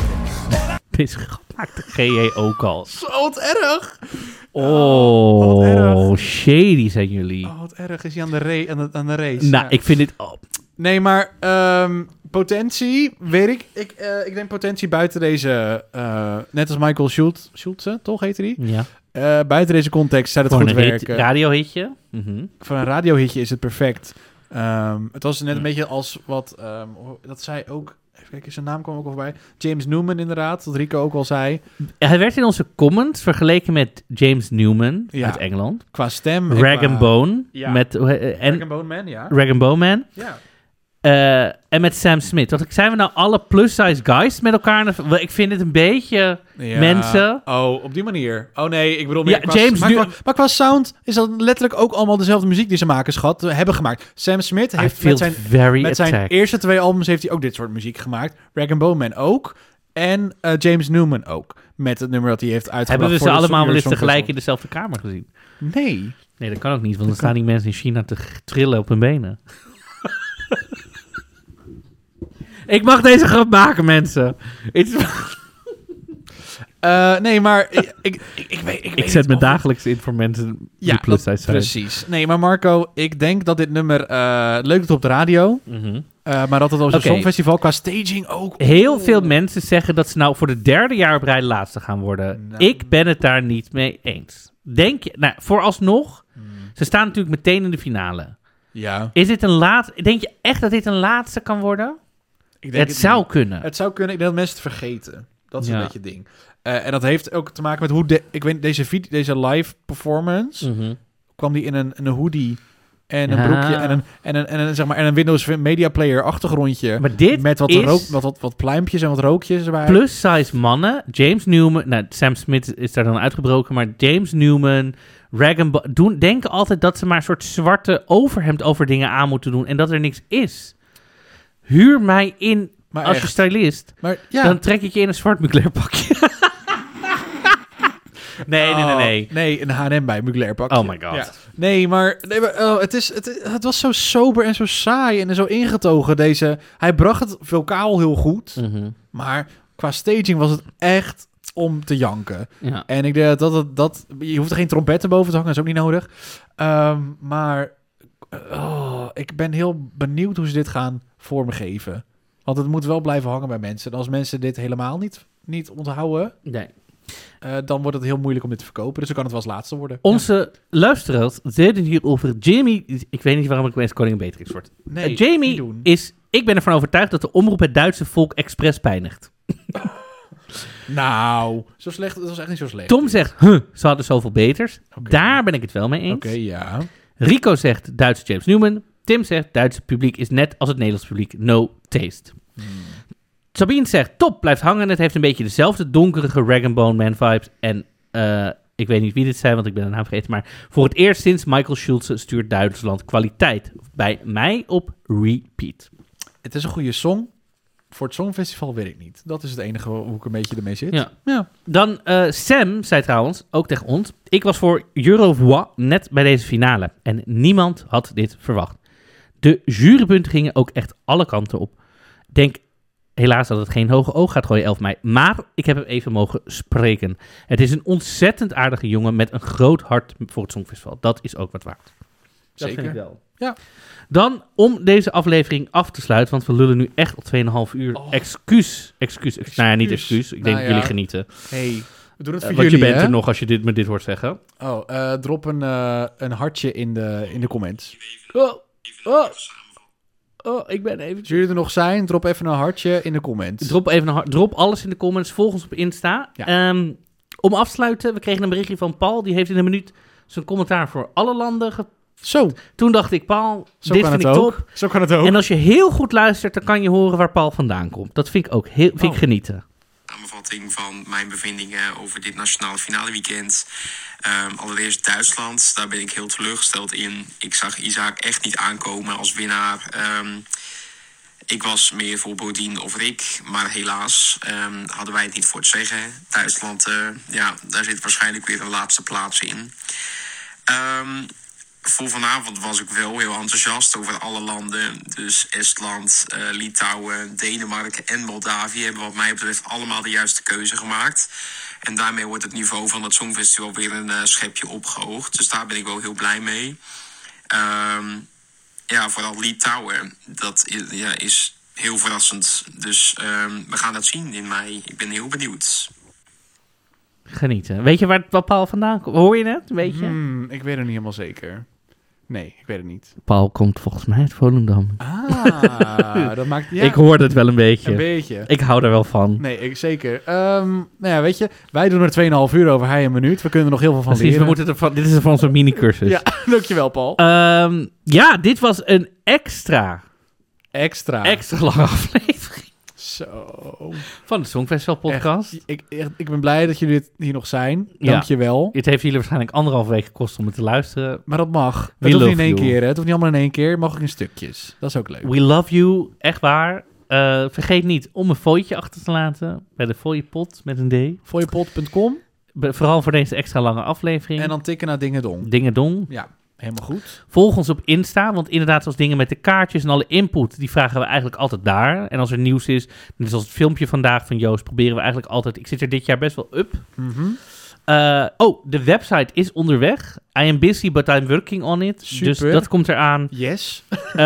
[SPEAKER 1] Het is gemaakt door G.J. ook al.
[SPEAKER 2] Oh, wat erg! wat
[SPEAKER 1] Oh,
[SPEAKER 2] erg.
[SPEAKER 1] shady zijn jullie.
[SPEAKER 2] Oh, wat erg is hij aan de, ra- aan de, aan de race.
[SPEAKER 1] nou,
[SPEAKER 2] Ja.
[SPEAKER 1] ik vind dit... Oh,
[SPEAKER 2] Nee, maar ehm, potentie, weet ik. Ik, eh, ik denk potentie buiten deze... eh, net als Michael Schultz, Schultze, toch heette die?
[SPEAKER 1] ja.
[SPEAKER 2] Eh, buiten deze context zou het
[SPEAKER 1] Voor
[SPEAKER 2] goed
[SPEAKER 1] een hit,
[SPEAKER 2] werken.
[SPEAKER 1] radiohitje. Mhm.
[SPEAKER 2] Voor een radiohitje is het perfect. Ehm, het was net een beetje als wat... ehm, dat zij ook... Even kijken, zijn naam kwam ook al voorbij. James Newman inderdaad, dat Rico ook al zei.
[SPEAKER 1] Hij werd in onze comments vergeleken met James Newman
[SPEAKER 2] Ja.
[SPEAKER 1] uit Engeland.
[SPEAKER 2] Qua stem... en
[SPEAKER 1] Rag
[SPEAKER 2] qua-
[SPEAKER 1] and Bone.
[SPEAKER 2] Ja.
[SPEAKER 1] Met, hoe he- eh,
[SPEAKER 2] Rag and
[SPEAKER 1] en,
[SPEAKER 2] Bone Man, ja.
[SPEAKER 1] Rag and Bone Man.
[SPEAKER 2] ja.
[SPEAKER 1] Eh, en met Sam Smith. Dacht ik, zijn we nou alle plus-size guys met elkaar? aan het- Ik vind het een beetje...
[SPEAKER 2] Ja.
[SPEAKER 1] Mensen.
[SPEAKER 2] Oh, op die manier. Oh nee, ik bedoel meer
[SPEAKER 1] Ja,
[SPEAKER 2] qua-
[SPEAKER 1] James
[SPEAKER 2] maar,
[SPEAKER 1] Nu-
[SPEAKER 2] qua, maar qua sound is dat letterlijk ook allemaal dezelfde muziek die ze maken, schat, eh, hebben gemaakt. Sam Smith
[SPEAKER 1] I
[SPEAKER 2] heeft
[SPEAKER 1] feel
[SPEAKER 2] met zijn,
[SPEAKER 1] very
[SPEAKER 2] met zijn
[SPEAKER 1] attacked.
[SPEAKER 2] eerste twee albums heeft hij ook dit soort muziek gemaakt. Rag and Bone Man ook. En eh, James Newman ook. Met het nummer dat hij heeft uitgebracht.
[SPEAKER 1] Hebben we ze
[SPEAKER 2] voor de
[SPEAKER 1] allemaal wel eens
[SPEAKER 2] Songfestival.
[SPEAKER 1] tegelijk in dezelfde kamer gezien?
[SPEAKER 2] Nee.
[SPEAKER 1] Nee, dat kan ook niet, want dan staan die mensen in China te g- trillen op hun benen. Ik mag deze grap maken, mensen. It's-
[SPEAKER 2] Eh, nee, maar ik, ik, ik, ik weet, ik,
[SPEAKER 1] ik
[SPEAKER 2] weet
[SPEAKER 1] zet
[SPEAKER 2] niet
[SPEAKER 1] me
[SPEAKER 2] of-
[SPEAKER 1] dagelijks in voor mensen die plus
[SPEAKER 2] dat-
[SPEAKER 1] size zijn.
[SPEAKER 2] precies. Nee, maar Marco, ik denk dat dit nummer eh, leuk doet op de radio.
[SPEAKER 1] Mhm.
[SPEAKER 2] eh, maar dat het als een
[SPEAKER 1] Oké.
[SPEAKER 2] songfestival qua staging ook...
[SPEAKER 1] Heel veel mensen zeggen dat ze nou voor het derde jaar op rij laatste gaan worden.
[SPEAKER 2] Nou.
[SPEAKER 1] Ik ben het daar niet mee eens. Denk je, nou, vooralsnog, ze staan natuurlijk meteen in de finale.
[SPEAKER 2] Ja.
[SPEAKER 1] Is dit een laatste, denk je echt dat dit een laatste kan worden?
[SPEAKER 2] Ik denk
[SPEAKER 1] Het, zou
[SPEAKER 2] niet.
[SPEAKER 1] kunnen.
[SPEAKER 2] Het zou kunnen. Ik denk dat mensen het vergeten. Dat is
[SPEAKER 1] Ja.
[SPEAKER 2] een beetje het ding. Eh, en dat heeft ook te maken met hoe... De, ik weet deze, video, deze live performance...
[SPEAKER 1] Mhm. Ah.
[SPEAKER 2] kwam die in een, in een hoodie... En een
[SPEAKER 1] Ja.
[SPEAKER 2] broekje en een, en een, en een, zeg maar, en een Windows Media Player achtergrondje.
[SPEAKER 1] Maar dit
[SPEAKER 2] met wat,
[SPEAKER 1] is-
[SPEAKER 2] rook, wat, wat, wat pluimpjes en wat rookjes erbij.
[SPEAKER 1] plus size mannen. James Newman. Nou, Sam Smith is daar dan uitgebroken. Maar James Newman. Rag and Bo- doen, denken altijd dat ze maar een soort zwarte overhemd over dingen aan moeten doen. En dat er niks is. Huur mij in
[SPEAKER 2] Maar
[SPEAKER 1] als je
[SPEAKER 2] echt.
[SPEAKER 1] stylist.
[SPEAKER 2] Maar ja.
[SPEAKER 1] Dan trek ik je in een zwart mugler pakje. nee, nee, nee, nee.
[SPEAKER 2] Oh, nee, een H&M bij Mugler pakje.
[SPEAKER 1] Oh my god.
[SPEAKER 2] Ja. Nee, maar, nee, maar, oh, het, is, het, het was zo sober en zo saai en zo ingetogen. Deze, hij bracht het vocaal heel goed.
[SPEAKER 1] Mhm.
[SPEAKER 2] Maar qua staging was het echt om te janken.
[SPEAKER 1] Ja.
[SPEAKER 2] En ik denk dat dat... dat je hoeft er geen trompetten boven te hangen, is ook niet nodig. Ehm, maar oh, ik ben heel benieuwd hoe ze dit gaan vormgeven. Want het moet wel blijven hangen bij mensen. En als mensen dit helemaal niet, niet onthouden,
[SPEAKER 1] Nee.
[SPEAKER 2] eh, dan wordt het heel moeilijk om dit te verkopen. Dus dan kan het wel als laatste worden.
[SPEAKER 1] Onze luisteraars deden hier over Jimmy. Ik weet niet waarom ik opeens koningin Beatrix word.
[SPEAKER 2] Ja. nee,
[SPEAKER 1] Eh,
[SPEAKER 2] niet
[SPEAKER 1] Jamie
[SPEAKER 2] doen.
[SPEAKER 1] is, ik ben ervan overtuigd dat de omroep het Duitse volk expres pijnigt.
[SPEAKER 2] Nou, zo slecht. Het was echt niet zo slecht.
[SPEAKER 1] Tom zegt, huh, ze hadden zoveel beters. Daar ben ik het wel mee eens.
[SPEAKER 2] Oké, ja.
[SPEAKER 1] Rico zegt, Duitse James Newman. Tim zegt, Duitse publiek is net als het Nederlands publiek, no taste. Sabine zegt, top, blijft hangen. Het heeft een beetje dezelfde donkerige Rag and Bone Man vibes. En eh, ik weet niet wie dit zijn, want ik ben de naam vergeten. Maar voor het eerst sinds Michael Schulze stuurt Duitsland kwaliteit. Bij mij op repeat.
[SPEAKER 2] Het is een goede song. Voor het Songfestival weet ik niet. Dat is het enige hoe ik een beetje ermee zit.
[SPEAKER 1] Ja.
[SPEAKER 2] ja.
[SPEAKER 1] Dan eh, Sam zei trouwens, ook tegen ons, ik was voor Eurovoix net bij deze finale. En niemand had dit verwacht. De jurypunten gingen ook echt alle kanten op. Denk Helaas dat het geen hoge oog gaat gooien, 11 mei. Maar ik heb hem even mogen spreken. Het is een ontzettend aardige jongen met een groot hart voor het Songfestival. Dat is ook wat waard.
[SPEAKER 2] Zeker.
[SPEAKER 1] vind ik wel.
[SPEAKER 2] Ja.
[SPEAKER 1] Dan, om deze aflevering af te sluiten, want we lullen nu echt al 2,5 uur.
[SPEAKER 2] Oh.
[SPEAKER 1] Excuus, excuus, excuus. Nou ja, niet
[SPEAKER 2] Excuus.
[SPEAKER 1] excuus. Ik denk
[SPEAKER 2] Nou
[SPEAKER 1] dat jullie
[SPEAKER 2] ja.
[SPEAKER 1] genieten. Eh,
[SPEAKER 2] Hey, we doen het voor
[SPEAKER 1] want
[SPEAKER 2] jullie,
[SPEAKER 1] je bent
[SPEAKER 2] hè?
[SPEAKER 1] er nog als je dit, me dit hoort zeggen.
[SPEAKER 2] Oh, eh, drop een, eh, een hartje in de, in de comments.
[SPEAKER 1] Oh, oh, oh, ik ben even...
[SPEAKER 2] Als jullie er nog zijn, drop even een hartje in de comments.
[SPEAKER 1] Drop, even een, hart- drop alles in de comments. Volg ons op Insta.
[SPEAKER 2] Ja.
[SPEAKER 1] Ehm, om af te sluiten, we kregen een berichtje van Paul. Die heeft in een minuut zijn commentaar voor alle landen. ge-
[SPEAKER 2] Zo,
[SPEAKER 1] Toen dacht ik, Paul,
[SPEAKER 2] zo
[SPEAKER 1] dit
[SPEAKER 2] kan
[SPEAKER 1] vind
[SPEAKER 2] het
[SPEAKER 1] ik
[SPEAKER 2] ook.
[SPEAKER 1] top.
[SPEAKER 2] Zo kan het ook.
[SPEAKER 1] En als je heel goed luistert, dan kan je horen waar Paul vandaan komt. Dat vind ik ook heel
[SPEAKER 2] Oh.
[SPEAKER 1] vind ik genieten.
[SPEAKER 10] samenvatting van mijn bevindingen over dit nationale finale weekend. Ehm, allereerst Duitsland, daar ben ik heel teleurgesteld in. Ik zag Isaac echt niet aankomen als winnaar. Ehm, ik was meer voor Bodien of Rick, maar helaas ehm, hadden wij het niet voor te zeggen. Duitsland, eh, ja, daar zit waarschijnlijk weer een laatste plaats in. Ehm, voor vanavond was ik wel heel enthousiast over alle landen. Dus Estland, eh, Litouwen, Denemarken en Moldavië hebben wat mij betreft allemaal de juiste keuze gemaakt. En daarmee wordt het niveau van het Songfestival weer een eh, schepje opgehoogd. Dus daar ben ik wel heel blij mee. Ehm, ja, vooral Litouwen. Dat i- ja, is heel verrassend. Dus ehm, we gaan dat zien in mei. Ik ben heel benieuwd.
[SPEAKER 1] Genieten. Weet je waar, waar Paul vandaan komt? Hoor je het? Weet je?
[SPEAKER 2] Hmm, ik weet het niet helemaal zeker. Nee, ik weet het niet.
[SPEAKER 1] Paul komt volgens mij uit Volendam.
[SPEAKER 2] Ah, dat maakt... Ja,
[SPEAKER 1] Ik hoor het wel een beetje.
[SPEAKER 2] een beetje.
[SPEAKER 1] Ik hou daar wel van.
[SPEAKER 2] Nee, ik, zeker. Ehm, nou ja, weet je, wij doen er 2,5 uur over, hij een minuut. We kunnen er nog heel veel van
[SPEAKER 1] Precies,
[SPEAKER 2] leren.
[SPEAKER 1] we moeten dus- er van, dit is van onze mini-cursus.
[SPEAKER 2] Ja, dankjewel Paul.
[SPEAKER 1] Ehm, ja, dit was een extra,
[SPEAKER 2] Extra.
[SPEAKER 1] extra lange aflevering
[SPEAKER 2] Zo.
[SPEAKER 1] van de Songfestival podcast.
[SPEAKER 2] Echt, ik, echt, ik ben blij dat jullie dit hier nog zijn.
[SPEAKER 1] Ja.
[SPEAKER 2] Dankjewel.
[SPEAKER 1] Het heeft jullie waarschijnlijk anderhalf week gekost om het te luisteren.
[SPEAKER 2] Maar dat mag.
[SPEAKER 1] We
[SPEAKER 2] Het hoeft
[SPEAKER 1] love
[SPEAKER 2] niet in één
[SPEAKER 1] you.
[SPEAKER 2] keer. hè. Het hoeft niet allemaal in één keer. Mag ook in stukjes. Dat is ook leuk.
[SPEAKER 1] We love you, echt waar. Eh, vergeet niet om een fooitje achter te laten bij de fooiepot met een D.
[SPEAKER 2] Fooiepot.com
[SPEAKER 1] Be- vooral voor deze extra lange aflevering.
[SPEAKER 2] en dan tikken naar Dingedong.
[SPEAKER 1] Dingedong.
[SPEAKER 2] Ja, helemaal goed.
[SPEAKER 1] Volg ons op Insta, want inderdaad, als dingen met de kaartjes en alle input, die vragen we eigenlijk altijd daar. En als er nieuws is, net zoals het filmpje vandaag van Joost, proberen we eigenlijk altijd. Ik zit er dit jaar best wel up.
[SPEAKER 2] Mhm.
[SPEAKER 1] Eh, oh, de website is onderweg. I am busy, but I'm working on it. Dus
[SPEAKER 2] Super.
[SPEAKER 1] dat komt eraan.
[SPEAKER 2] Yes.
[SPEAKER 1] Eh,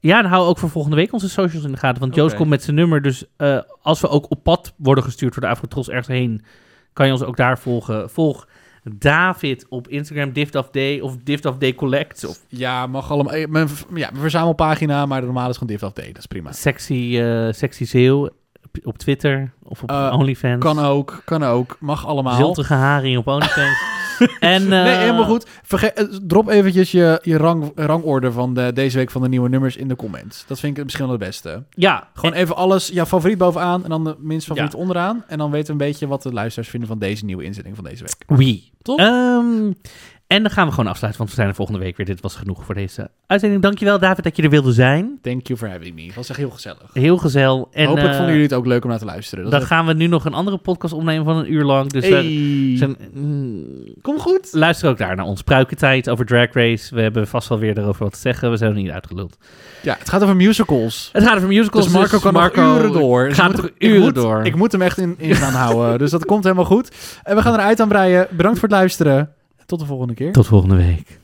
[SPEAKER 1] ja, en hou ook voor volgende week onze socials in de gaten. Want Joost
[SPEAKER 2] Oké.
[SPEAKER 1] komt met zijn nummer. Dus eh, als we ook op pad worden gestuurd door de Afrotros ergens heen, kan je ons ook daar volgen. Volg David op Instagram, DiftafD of DiftafD Collect. Of
[SPEAKER 2] Ja, mag allemaal. eh, Mijn, v- ja, mijn verzamelpagina, maar de normale is gewoon div af D. Dat is prima.
[SPEAKER 1] Sexy, eh, sexy Zeeuw op- op Twitter of op
[SPEAKER 2] Eh,
[SPEAKER 1] OnlyFans.
[SPEAKER 2] Kan ook, kan ook. Mag allemaal.
[SPEAKER 1] Ziltige haring op OnlyFans. en, eh,
[SPEAKER 2] Nee, helemaal goed. Verge- eh, drop eventjes je, je rang, rangorde van de, deze week van de nieuwe nummers in de comments. Dat vind ik misschien wel het beste.
[SPEAKER 1] Ja,
[SPEAKER 2] Gewoon even alles, jouw favoriet bovenaan en dan de minst favoriet
[SPEAKER 1] Ja.
[SPEAKER 2] onderaan. En dan weten we een beetje wat de luisteraars vinden van deze nieuwe inzending van deze week.
[SPEAKER 1] Wie.
[SPEAKER 2] Toch?
[SPEAKER 1] Ehm, en dan gaan we gewoon afsluiten, want we zijn er volgende week weer. Dit was genoeg voor deze uitzending. Dankjewel, David, dat je er wilde zijn.
[SPEAKER 2] Thank you for having me. Was echt heel gezellig.
[SPEAKER 1] Heel gezellig. En
[SPEAKER 2] Hopelijk
[SPEAKER 1] eh,
[SPEAKER 2] vonden jullie het ook leuk om naar te luisteren.
[SPEAKER 1] dan gaan we nu nog een andere podcast opnemen van een uur lang. Dus
[SPEAKER 2] Hey.
[SPEAKER 1] we zijn, mm,
[SPEAKER 2] Kom goed.
[SPEAKER 1] luister ook daar naar ons. Pruikentijd over Drag Race. We hebben vast wel weer erover wat te zeggen. We zijn nog niet uitgeluld.
[SPEAKER 2] Ja, het gaat over musicals.
[SPEAKER 1] Het gaat over musicals.
[SPEAKER 2] Dus Marco kan nog uren door. Dus
[SPEAKER 1] Gaat
[SPEAKER 2] ik moet-
[SPEAKER 1] er
[SPEAKER 2] ik
[SPEAKER 1] uren
[SPEAKER 2] moet-
[SPEAKER 1] door.
[SPEAKER 2] Ik moet hem echt in, in gaan houden. Dus dat komt helemaal goed. En we gaan eruit aan breien. Bedankt voor het luisteren. Tot de volgende keer.
[SPEAKER 1] Tot volgende week.